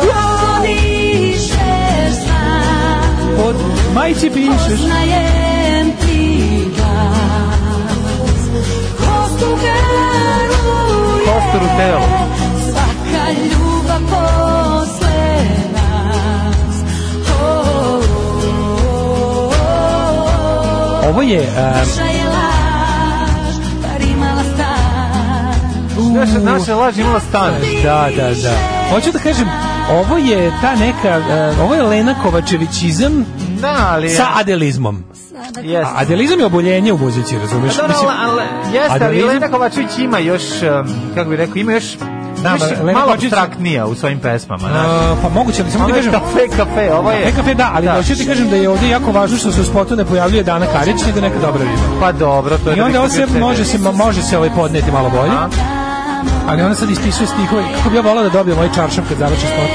[SPEAKER 16] Kako dišeš sam,
[SPEAKER 8] Od majci pišeš.
[SPEAKER 16] poznajem ti glas. Kostu veruje
[SPEAKER 7] Kostor u telu.
[SPEAKER 16] Svaka ljubav posle nas. O, o, o, o.
[SPEAKER 8] Ovo je...
[SPEAKER 16] Naša je laž, par imala stan.
[SPEAKER 7] Naša, naša laž imala stan.
[SPEAKER 8] Da, da, da. Hoću da kažem, ovo je ta neka, e, ovo je Lena Kovačevićizam
[SPEAKER 7] Da, ali...
[SPEAKER 8] sa adelizmom.
[SPEAKER 7] Jeste.
[SPEAKER 8] A adelizam je oboljenje u muzici, razumiješ?
[SPEAKER 7] Pa Dobro, ali, ali, jeste, ali
[SPEAKER 8] adelizam-
[SPEAKER 7] Lena Kovačević ima još, um, kako bih rekao, ima još
[SPEAKER 8] Da,
[SPEAKER 7] još
[SPEAKER 8] Lena
[SPEAKER 7] malo
[SPEAKER 8] Kovačević-
[SPEAKER 7] abstraktnija u svojim pesmama. znaš.
[SPEAKER 8] A, pa moguće, ali samo ti
[SPEAKER 7] Ovo je
[SPEAKER 8] kažem...
[SPEAKER 7] kafe, kafe, ovo je-
[SPEAKER 8] Kafe, da, ali
[SPEAKER 7] Da.
[SPEAKER 8] hoću ti kažem da je ovdje jako važno što se u spotu ne pojavljuje Dana Karić, nego neka dobra riba.
[SPEAKER 7] Pa dobro, to je...
[SPEAKER 8] I
[SPEAKER 7] da
[SPEAKER 8] onda
[SPEAKER 7] bi
[SPEAKER 8] ovo se
[SPEAKER 7] bio
[SPEAKER 8] može se može se ovaj podneti malo bolje.
[SPEAKER 7] Aha.
[SPEAKER 8] Ali ona sad ispisuje stihove. Kako bi ja volao da dobijem ovaj čaršaf kad završi spot?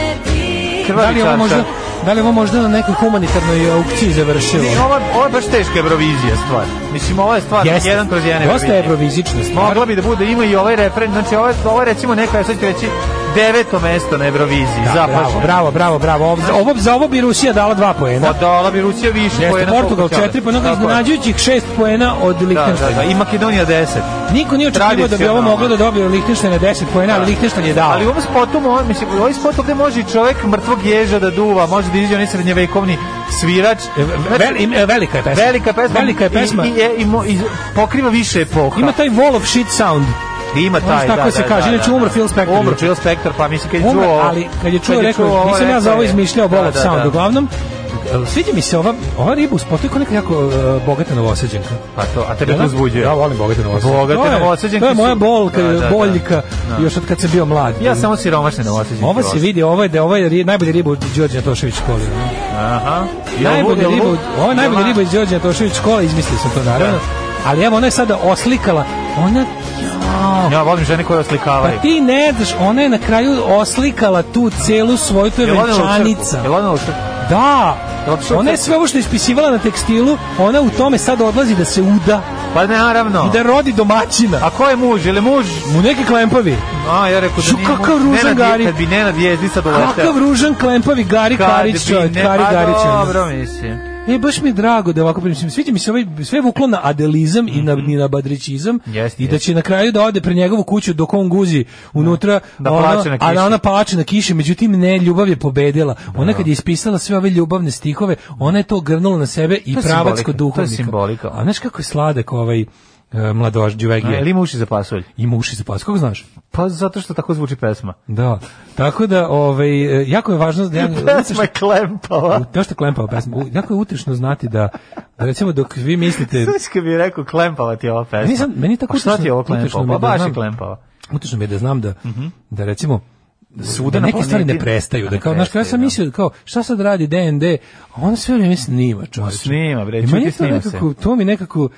[SPEAKER 8] Da li je ovo
[SPEAKER 7] čaršaf.
[SPEAKER 8] možda da li je ovo možda na nekoj humanitarnoj aukciji završilo?
[SPEAKER 7] Ne, Ovo, ovo je baš teška Eurovizija stvar. Mislim, ovo je stvar
[SPEAKER 8] Jeste.
[SPEAKER 7] Pa, jedan kroz jedan
[SPEAKER 8] Dosta
[SPEAKER 7] Eurovizija.
[SPEAKER 8] evrovizična stvar.
[SPEAKER 7] Mogla bi da bude, ima i ovaj refren, znači ovo je, ovo je recimo neka, sad ću reći, deveto mesto na Euroviziji.
[SPEAKER 8] Da, bravo, bravo, bravo, bravo. Ovo, za- ovo, za ovo bi Rusija dala dva poena.
[SPEAKER 7] Pa dala bi Rusija više
[SPEAKER 8] Jeste,
[SPEAKER 7] poena.
[SPEAKER 8] Portugal
[SPEAKER 7] koliko će.
[SPEAKER 8] četiri pa poena,
[SPEAKER 7] Tako je.
[SPEAKER 8] iznenađujućih šest poena od
[SPEAKER 7] Da, da, da,
[SPEAKER 8] Lichtensteina.
[SPEAKER 7] i Makedonija 10.
[SPEAKER 8] Niko nije očekivao da bi ovo
[SPEAKER 7] Tradicionalno.
[SPEAKER 8] moglo da dobije Lichtenstein na 10 poena, ali Lichtenstein je dao.
[SPEAKER 7] Ali u ovom spotu, mo- mislim, u ovom spotu gde može i čovjek mrtvog ježa da duva, može da izađe onaj srednjevekovni svirač. znači,
[SPEAKER 8] Veli- im- e, velika je pesma.
[SPEAKER 7] Velika pesma.
[SPEAKER 8] Velika je pesma.
[SPEAKER 7] I, i, je- i, mo- i pokriva više epoha.
[SPEAKER 8] Ima taj wall of shit sound.
[SPEAKER 7] Ima
[SPEAKER 8] Ono
[SPEAKER 7] taj,
[SPEAKER 8] što tako
[SPEAKER 7] da,
[SPEAKER 8] se
[SPEAKER 7] da,
[SPEAKER 8] kaže,
[SPEAKER 7] da,
[SPEAKER 8] inače
[SPEAKER 7] da,
[SPEAKER 8] umro
[SPEAKER 7] da.
[SPEAKER 8] Phil Spector
[SPEAKER 7] Umro
[SPEAKER 8] juče.
[SPEAKER 7] Phil Spector, pa mislim kad je
[SPEAKER 8] Umre,
[SPEAKER 7] čuo... ovo-
[SPEAKER 8] ali kad je čuo, rekao,
[SPEAKER 7] ovo,
[SPEAKER 8] nisam ja za
[SPEAKER 7] rekao
[SPEAKER 8] ovo
[SPEAKER 7] je-
[SPEAKER 8] izmišljao Ball
[SPEAKER 7] Da,
[SPEAKER 8] of
[SPEAKER 7] da,
[SPEAKER 8] Sound.
[SPEAKER 7] da.
[SPEAKER 8] Uglavnom, e, sviđa mi se ova, ova riba u spotu je kao neka jako e, bogata novoseđenka.
[SPEAKER 7] Pa to, a tebe
[SPEAKER 8] Jel
[SPEAKER 7] to
[SPEAKER 8] da?
[SPEAKER 7] uzbuđuje.
[SPEAKER 8] Ja volim bogate novoseđenke.
[SPEAKER 7] Bogate
[SPEAKER 8] To je-
[SPEAKER 7] Novosađanke
[SPEAKER 8] To je moja
[SPEAKER 7] su-
[SPEAKER 8] bolka,
[SPEAKER 7] Da, da, da.
[SPEAKER 8] boljka,
[SPEAKER 7] Da.
[SPEAKER 8] još od kad sam bio mlad.
[SPEAKER 7] Ja samo siromašne novoseđenke.
[SPEAKER 8] Ovo se vidi, ovo je, da, ovo je ri- najbolja riba od Đorđe Tošević škole.
[SPEAKER 7] Aha. I ovo-
[SPEAKER 8] Najbolja
[SPEAKER 7] i ovo-
[SPEAKER 8] riba, od- ovo je najbolja
[SPEAKER 7] Jel-
[SPEAKER 8] riba iz Đorđe Tošević škole, izmislio sam to naravno. Ali evo, ona je sada oslikala, ona Jao.
[SPEAKER 7] Ja volim žene koje oslikavaju.
[SPEAKER 8] Pa ti ne znaš, ona je na kraju oslikala tu celu svoju, to je
[SPEAKER 7] Jel odnela u crkvu?
[SPEAKER 8] venčanica.
[SPEAKER 7] Jel odnela u crkvu?
[SPEAKER 8] Da,
[SPEAKER 7] Jel otišla u
[SPEAKER 8] ona je
[SPEAKER 7] crkvu?
[SPEAKER 8] sve ovo što je ispisivala na tekstilu, ona u tome sad odlazi da se uda
[SPEAKER 7] Pa naravno.
[SPEAKER 8] i da rodi domaćina.
[SPEAKER 7] A ko je muž? Je li muž?
[SPEAKER 8] Mu neki klempavi.
[SPEAKER 7] A, ja rekao da
[SPEAKER 8] Šu,
[SPEAKER 7] nije
[SPEAKER 8] kakav
[SPEAKER 7] muž.
[SPEAKER 8] ružan
[SPEAKER 7] Nenad je-
[SPEAKER 8] Gari.
[SPEAKER 7] Kad bi Nenad jezdi sad uleteo.
[SPEAKER 8] Kakav ružan klempavi Gari
[SPEAKER 7] Kad
[SPEAKER 8] Karić,
[SPEAKER 7] bi
[SPEAKER 8] čovjek,
[SPEAKER 7] ne-
[SPEAKER 8] Gari
[SPEAKER 7] pa
[SPEAKER 8] Garić. ono.
[SPEAKER 7] Dobro, mislim.
[SPEAKER 8] E, baš mi je drago da ovako mislim, sviđa mi se ovaj, sve je vuklo na adelizam i
[SPEAKER 7] Mhm.
[SPEAKER 8] na, i na badrićizam
[SPEAKER 7] Jeste,
[SPEAKER 8] i da će na kraju da ode pre njegovu kuću dok on guzi unutra,
[SPEAKER 7] Da
[SPEAKER 8] a ona-
[SPEAKER 7] plače na
[SPEAKER 8] a
[SPEAKER 7] kiši.
[SPEAKER 8] ona plače na kiši, međutim ne, ljubav je pobedila. Ona kad je ispisala sve ove ljubavne stihove, ona je to grnula na sebe i
[SPEAKER 7] To je
[SPEAKER 8] pravac
[SPEAKER 7] simbolika,
[SPEAKER 8] kod
[SPEAKER 7] to je
[SPEAKER 8] duhovnika.
[SPEAKER 7] simbolika.
[SPEAKER 8] A znaš kako je sladak ovaj e, mladoš
[SPEAKER 7] A,
[SPEAKER 8] Đuvegije?
[SPEAKER 7] Ili muši za pasulj?
[SPEAKER 8] Ima uši za pas, kako znaš?
[SPEAKER 7] Pa zato što tako zvuči
[SPEAKER 8] <laughs>
[SPEAKER 7] pesma.
[SPEAKER 8] Da. Tako da, ovaj, e, jako je važno... da-
[SPEAKER 7] <laughs> Pesma je klempava.
[SPEAKER 8] To što je klempao pesma. U- Jako je utrišno znati da, da recimo dok vi mislite...
[SPEAKER 7] Znaš kad bi rekao klempava ti je ova pesma?
[SPEAKER 8] Nisam, meni je tako
[SPEAKER 7] A šta
[SPEAKER 8] utišno-
[SPEAKER 7] ti je ovo
[SPEAKER 8] utišno
[SPEAKER 7] klempava?
[SPEAKER 8] mi
[SPEAKER 7] Pa
[SPEAKER 8] je da
[SPEAKER 7] baš
[SPEAKER 8] znam.
[SPEAKER 7] je klempava.
[SPEAKER 8] Utišno mi je da znam da, da recimo
[SPEAKER 7] Mhm.
[SPEAKER 8] da
[SPEAKER 7] Svuda na
[SPEAKER 8] neke stvari ne
[SPEAKER 7] planeti-
[SPEAKER 8] prestaju. Da
[SPEAKER 7] Ne
[SPEAKER 8] kao, znaš, ja sam
[SPEAKER 7] prestaju, da.
[SPEAKER 8] mislio, kao, šta sad radi D&D, a on sve vrijeme snima, čovječe.
[SPEAKER 7] Snima, bre,
[SPEAKER 8] I meni
[SPEAKER 7] čuti
[SPEAKER 8] je to
[SPEAKER 7] snima se.
[SPEAKER 8] nekako, to mi nekako,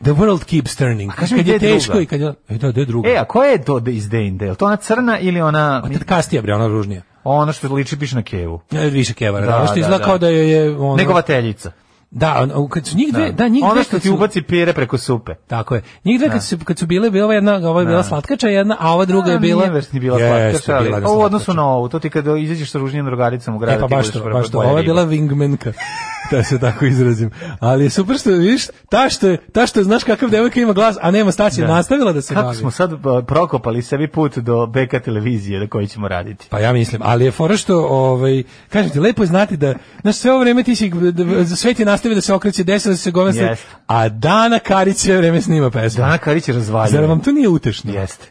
[SPEAKER 8] the world keeps turning.
[SPEAKER 7] kaži mi,
[SPEAKER 8] kad je
[SPEAKER 7] gde je
[SPEAKER 8] teško
[SPEAKER 7] druga?
[SPEAKER 8] i kad je, e da, gde je druga?
[SPEAKER 7] E, a koja je to iz Dane Dale? To ona crna ili ona...
[SPEAKER 8] A tad Kastija, bre, ona ružnija.
[SPEAKER 7] ono što liči piše na kevu.
[SPEAKER 8] E, Više kevara, da, da, što izgleda kao da joj je... Ono,
[SPEAKER 7] Negovateljica.
[SPEAKER 8] Da, on, kad su njih dve, da,
[SPEAKER 7] Da.
[SPEAKER 8] njih
[SPEAKER 7] Ono
[SPEAKER 8] dve
[SPEAKER 7] što
[SPEAKER 8] kad
[SPEAKER 7] ti
[SPEAKER 8] su-
[SPEAKER 7] ubaci pire preko supe.
[SPEAKER 8] Tako je. Njih dve
[SPEAKER 7] Da.
[SPEAKER 8] kad su, kad su bile, bila jedna, ova je bila
[SPEAKER 7] Da.
[SPEAKER 8] slatkača jedna, a ova druga je bila...
[SPEAKER 7] Nije baš ni bila
[SPEAKER 8] Jeste,
[SPEAKER 7] slatkača, ali
[SPEAKER 8] bila je
[SPEAKER 7] a u
[SPEAKER 8] slatkača.
[SPEAKER 7] odnosu na ovu, to ti kada izađeš sa ružnijim drugaricom u gradu,
[SPEAKER 8] E pa
[SPEAKER 7] ti
[SPEAKER 8] baš
[SPEAKER 7] budeš
[SPEAKER 8] to,
[SPEAKER 7] prva
[SPEAKER 8] baš to.
[SPEAKER 7] koja
[SPEAKER 8] Ovo je
[SPEAKER 7] riba.
[SPEAKER 8] bila wingmanka. <laughs> Da se tako izrazim. Ali je super što vidiš, ta što je, ta što je, znaš kakav devojka ima glas, a nema staći,
[SPEAKER 7] Da.
[SPEAKER 8] nastavila da se
[SPEAKER 7] Kako
[SPEAKER 8] bavi.
[SPEAKER 7] smo sad ba, prokopali sebi put do BK televizije na kojoj ćemo raditi?
[SPEAKER 8] Pa ja mislim, ali je fora što, ovaj, kažem ti, lepo je znati da, znaš, sve ovo vreme ti si, da, da, sve ti nastavi da se okreće desno, da se gove
[SPEAKER 7] Jeste.
[SPEAKER 8] a Dana Karić sve vreme snima pesmu.
[SPEAKER 7] Dana Karić je razvaljena.
[SPEAKER 8] Zar vam to nije utešno?
[SPEAKER 7] Jeste.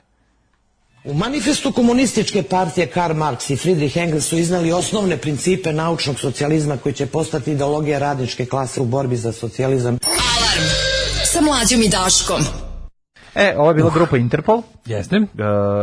[SPEAKER 17] U manifestu komunističke partije Karl Marx i Friedrich Engels su iznali osnovne principe naučnog socijalizma koji će postati ideologija radničke klase u borbi za socijalizam.
[SPEAKER 10] Alarm sa mlađom i Daškom.
[SPEAKER 7] E, ovo je bila grupa Interpol. e,
[SPEAKER 8] Jeste.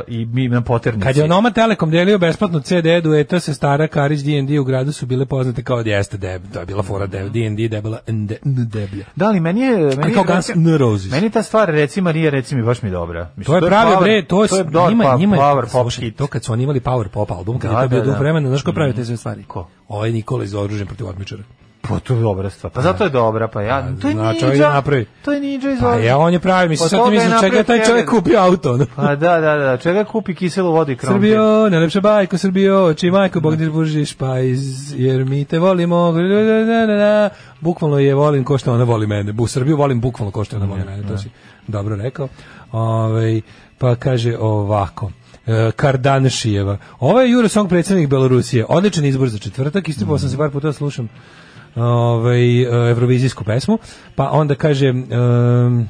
[SPEAKER 7] I mi na poternici.
[SPEAKER 8] Kad je Onoma Telekom delio besplatnu CD dueta e, se stara Karić D&D u gradu su bile poznate kao jeste deb, to je bila fora deb, D&D debela nde- n- deblja.
[SPEAKER 7] Da li meni je meni je-
[SPEAKER 8] kao Guns N' Roses.
[SPEAKER 7] Meni ta stvar reci Marija reci mi baš mi je dobra.
[SPEAKER 8] To je pravi
[SPEAKER 7] power-
[SPEAKER 8] bre, to, je,
[SPEAKER 7] dobar
[SPEAKER 8] njima,
[SPEAKER 7] pa-
[SPEAKER 8] njima je-
[SPEAKER 7] power pop
[SPEAKER 8] slušaj,
[SPEAKER 7] hit.
[SPEAKER 8] to kad su oni imali power pop album, kad
[SPEAKER 7] Da,
[SPEAKER 8] je to bio
[SPEAKER 7] da,
[SPEAKER 8] duh
[SPEAKER 7] da. Mm.
[SPEAKER 8] vremena, znaš ko pravi te sve stvari?
[SPEAKER 7] Ko?
[SPEAKER 8] Ovo je Nikola iz oružja protiv otmičara.
[SPEAKER 7] Pa to je dobra stvar. Pa zato je dobra, pa ja. To je
[SPEAKER 8] Znači, on je
[SPEAKER 7] Ninja.
[SPEAKER 8] napravi.
[SPEAKER 7] To je Ninja iz
[SPEAKER 8] Pa
[SPEAKER 7] ovoga.
[SPEAKER 8] ja, on je pravi, mislim,
[SPEAKER 7] Pa
[SPEAKER 8] sad ti
[SPEAKER 7] toga je
[SPEAKER 8] mislim, čega je taj
[SPEAKER 7] napravio
[SPEAKER 8] čovjek
[SPEAKER 7] Kevin.
[SPEAKER 8] kupio auto? ono?
[SPEAKER 7] Pa da, da, da, čega kupi kiselu vodu i krompir?
[SPEAKER 8] Srbijo, najlepša bajko Srbijo, čiji majko Bog ne bužiš, pa iz, jer mi te volimo. Da, da, da, da, da. Bukvalno je volim ko što ona voli mene. Bu Srbiju volim bukvalno ko što ona voli mene, to si dobro rekao. Ovaj pa kaže ovako. e, Kardanšijeva. Ovo je Eurosong predsjednik Belorusije. Odličan izbor za četvrtak. Istripao sam se par puta da slušam ovaj, e, evrovizijsku pesmu. Pa onda kaže... em,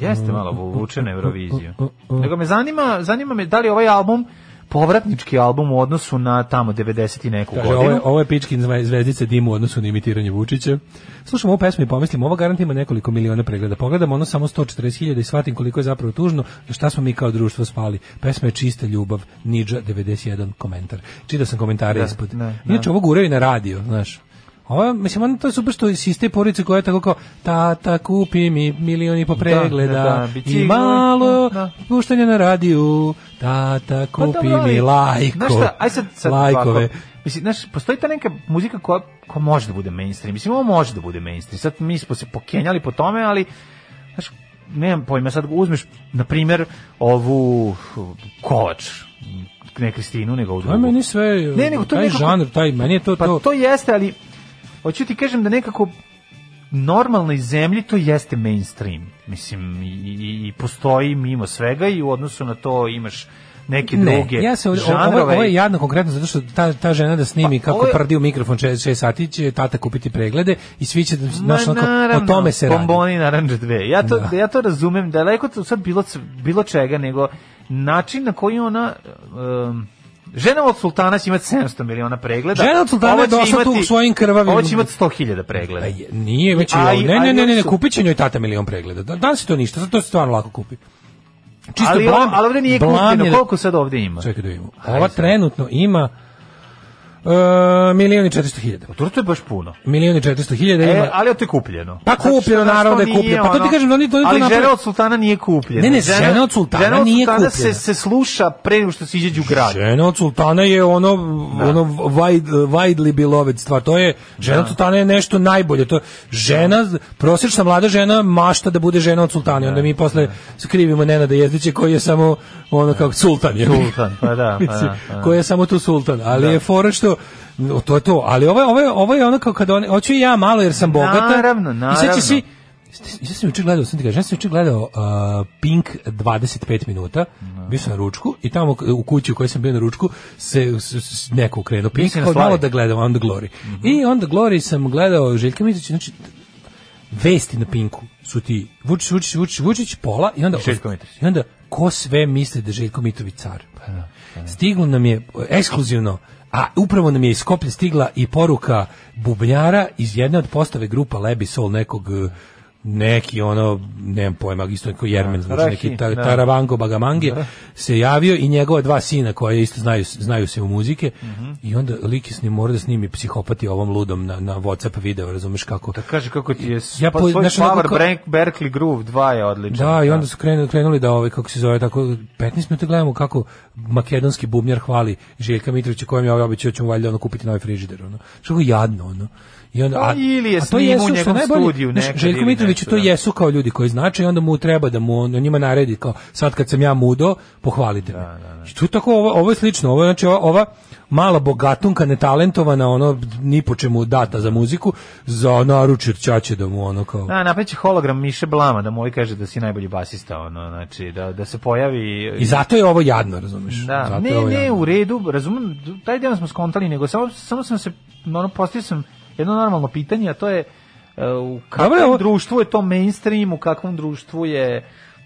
[SPEAKER 7] Jeste malo vuče na Euroviziju. Nego me zanima, zanima me da li je ovaj album povratnički album u odnosu na tamo 90 i neku
[SPEAKER 8] Kaže, ovo,
[SPEAKER 7] godinu.
[SPEAKER 8] je, ovo je pičkin zve- zvezdica dim u odnosu na imitiranje Vučića. Slušam ovu pesmu i pomislim, ovo garant ima nekoliko miliona pregleda. Pogledam ono samo 140.000 i shvatim koliko je zapravo tužno, da šta smo mi kao društvo spali. Pesma je čista ljubav, Nidža 91 komentar. Čitao sam komentare
[SPEAKER 7] Da,
[SPEAKER 8] ispod.
[SPEAKER 7] da, da.
[SPEAKER 8] Inače, ovo guraju na radio, znaš. Ovo, mislim, ono to je super što iz iste porodice koja je tako kao tata kupi mi milion i po pregleda
[SPEAKER 7] da, da,
[SPEAKER 8] i
[SPEAKER 7] bicikl,
[SPEAKER 8] malo
[SPEAKER 7] da.
[SPEAKER 8] puštanja na radiju tata
[SPEAKER 7] Pa
[SPEAKER 8] kupi
[SPEAKER 7] dobro, ali,
[SPEAKER 8] mi lajko
[SPEAKER 7] Znaš šta, aj sad, sad
[SPEAKER 8] lajkove
[SPEAKER 7] ovako. Mislim, znaš, postoji ta neka muzika koja, koja može da bude mainstream. Mislim, ovo može da bude mainstream. Sad mi smo se pokenjali po tome, ali, znaš, nemam pojma, sad uzmeš, na primjer, ovu kovač, ne Kristinu, nego ovu
[SPEAKER 8] To je
[SPEAKER 7] drugu.
[SPEAKER 8] Pa meni sve,
[SPEAKER 7] Ne, nego to
[SPEAKER 8] taj
[SPEAKER 7] nekako-
[SPEAKER 8] žanr, taj, meni je to,
[SPEAKER 7] Pa
[SPEAKER 8] to,
[SPEAKER 7] to jeste, ali hoću ti kažem da nekako normalnoj zemlji to jeste mainstream. Mislim, i, i, i postoji mimo svega i u odnosu na to imaš neke druge
[SPEAKER 8] ja se ovdje- ovo, ovo,
[SPEAKER 7] žanrove.
[SPEAKER 8] je jadno konkretno zato što ta, ta žena da snimi
[SPEAKER 7] Pa,
[SPEAKER 8] kako
[SPEAKER 7] ovo je-
[SPEAKER 8] prdi u mikrofon 6, 6 sati će tata kupiti preglede i svi će,
[SPEAKER 7] Ma,
[SPEAKER 8] znaš, onako,
[SPEAKER 7] naravno,
[SPEAKER 8] o tome se radi.
[SPEAKER 7] Bomboni naranđe dve. Ja to,
[SPEAKER 8] Da.
[SPEAKER 7] ja to razumem, daleko to sad bilo, c- bilo čega, nego način na koji ona... um, Žena od sultana će imati 700 miliona pregleda.
[SPEAKER 8] Žena od sultana
[SPEAKER 7] ovo
[SPEAKER 8] je
[SPEAKER 7] će
[SPEAKER 8] došla tu
[SPEAKER 7] imati-
[SPEAKER 8] u svojim krvavim-
[SPEAKER 7] Ovo će imati 100.000 pregleda.
[SPEAKER 8] Pa je- Nije već,
[SPEAKER 7] A i-
[SPEAKER 8] ne,
[SPEAKER 7] a
[SPEAKER 8] ne,
[SPEAKER 7] i
[SPEAKER 8] ne, ne,
[SPEAKER 7] oni
[SPEAKER 8] ne,
[SPEAKER 7] su-
[SPEAKER 8] kupit će njoj tata milion pregleda. Da, da se to ništa, zato se stvarno lako kupi. Čisto
[SPEAKER 7] ali,
[SPEAKER 8] blam,
[SPEAKER 7] ali ovde nije
[SPEAKER 8] blam je
[SPEAKER 7] kupljeno,
[SPEAKER 8] da-
[SPEAKER 7] koliko sad ovde ima?
[SPEAKER 8] Čekaj da vidimo. Ova trenutno ima e, milion i 400 hiljada.
[SPEAKER 7] To je baš puno.
[SPEAKER 8] Milion i 400 hiljada ima.
[SPEAKER 7] E, ali to je kupljeno. Znači,
[SPEAKER 8] Pa
[SPEAKER 7] Zato što
[SPEAKER 8] kupljeno,
[SPEAKER 7] znaš,
[SPEAKER 8] naravno
[SPEAKER 7] to
[SPEAKER 8] da je kupljeno.
[SPEAKER 7] nije
[SPEAKER 8] Pa to ti
[SPEAKER 7] ono-
[SPEAKER 8] kažem da oni- da oni to
[SPEAKER 7] Ali
[SPEAKER 8] naprave-
[SPEAKER 7] žena od sultana nije kupljena.
[SPEAKER 8] Ne, ne, žena od sultana
[SPEAKER 7] žena od
[SPEAKER 8] nije
[SPEAKER 7] sultana
[SPEAKER 8] kupljena.
[SPEAKER 7] Se, se sluša pre nego što se iđe u grad.
[SPEAKER 8] Žena od sultana je ono ono wide, widely beloved stvar. To je žena od sultana je nešto najbolje. To je žena prosječna mlada žena mašta da bude žena od sultana. i Onda mi posle skrivimo Nenada Jezdića koji je samo ono kako sultan je.
[SPEAKER 7] Sultan,
[SPEAKER 8] <laughs>
[SPEAKER 7] pa da, pa da, pa da.
[SPEAKER 8] koji je samo tu sultan, ali je fora što no, to je to, ali ovo je- ovo je ovo je ono kao kad on hoću i ja malo jer sam bogata.
[SPEAKER 7] Naravno,
[SPEAKER 8] I sad
[SPEAKER 7] naravno.
[SPEAKER 8] će svi Ja sam juče gledao, sam ti kažem, ja sam juče gledao uh, Pink 25 minuta, bio sam na ručku i tamo k- u kući u kojoj sam bio na ručku se s, s- neko ukrenuo Pink,
[SPEAKER 7] Nisi na
[SPEAKER 8] kao
[SPEAKER 7] slavi?
[SPEAKER 8] malo da gledam On the Glory. I On the Glory sam gledao Željka Mitrović, znači vesti na Pinku su ti Vučić, Vučić, Vučić, Vučić, Pola i onda
[SPEAKER 7] Željko Mitrović. Pa
[SPEAKER 8] i onda ko sve misli da je Željko Mitrović car. Stiglo nam je e, ekskluzivno, a upravo nam je iz Skopja stigla i poruka bubnjara iz jedne od postave grupa Lebi Soul nekog e, neki ono, nemam pojma, isto koji Jermen, zvuči,
[SPEAKER 7] Rahi,
[SPEAKER 8] neki tar,
[SPEAKER 7] da.
[SPEAKER 8] Taravango Bagamange,
[SPEAKER 7] Da.
[SPEAKER 8] se javio i njegova dva sina koje isto znaju, znaju se u muzike
[SPEAKER 7] Mhm.
[SPEAKER 8] i onda lik je s njim mora da snimi psihopati ovom ludom na, na Whatsapp video, razumeš kako. Da
[SPEAKER 7] Kaže kako ti je
[SPEAKER 8] Ja
[SPEAKER 7] ja
[SPEAKER 8] po-
[SPEAKER 7] po, svoj
[SPEAKER 8] znaš, onako
[SPEAKER 7] Power
[SPEAKER 8] kao-
[SPEAKER 7] Break, Berkeley Groove 2 je odličan.
[SPEAKER 8] Da, i onda su krenuli, krenuli da ovaj kako se zove tako 15 minuta gledamo kako makedonski bubnjar hvali Željka Mitrovića kojem je ovaj obećao da će mu valjda ono kupiti novi frižider ono. Što je jadno ono. I onda
[SPEAKER 7] Pa ili je
[SPEAKER 8] to
[SPEAKER 7] snimao
[SPEAKER 8] jesu,
[SPEAKER 7] u
[SPEAKER 8] što je
[SPEAKER 7] njegovom
[SPEAKER 8] najbolje,
[SPEAKER 7] studiju
[SPEAKER 8] znaš,
[SPEAKER 7] nekad
[SPEAKER 8] Željko
[SPEAKER 7] ili
[SPEAKER 8] Mitrović
[SPEAKER 7] nešto,
[SPEAKER 8] to
[SPEAKER 7] da.
[SPEAKER 8] jesu kao ljudi koji znače i onda mu treba da mu on, njima naredi kao sad kad sam ja mudo pohvalite me. I tu tako ovo, ovo je slično, ovo je, znači ova, ova mala bogatunka netalentovana ono ni po čemu data za muziku za naručir ćaće da mu ono kao
[SPEAKER 7] A, napravit će hologram Miše Blama da mu ovaj kaže da si najbolji basista, ono, znači, da, da se pojavi...
[SPEAKER 8] I zato je ovo jadno, razumeš?
[SPEAKER 7] Da,
[SPEAKER 8] zato je
[SPEAKER 7] ne,
[SPEAKER 8] ovo
[SPEAKER 7] ne,
[SPEAKER 8] jadno.
[SPEAKER 7] u redu, razumem, taj deo smo skontali, nego samo, samo sam se, ono, postavio sam jedno normalno pitanje, a to je e, u kakvom
[SPEAKER 8] Dobro je ovo-
[SPEAKER 7] društvu je to mainstream, u kakvom društvu je...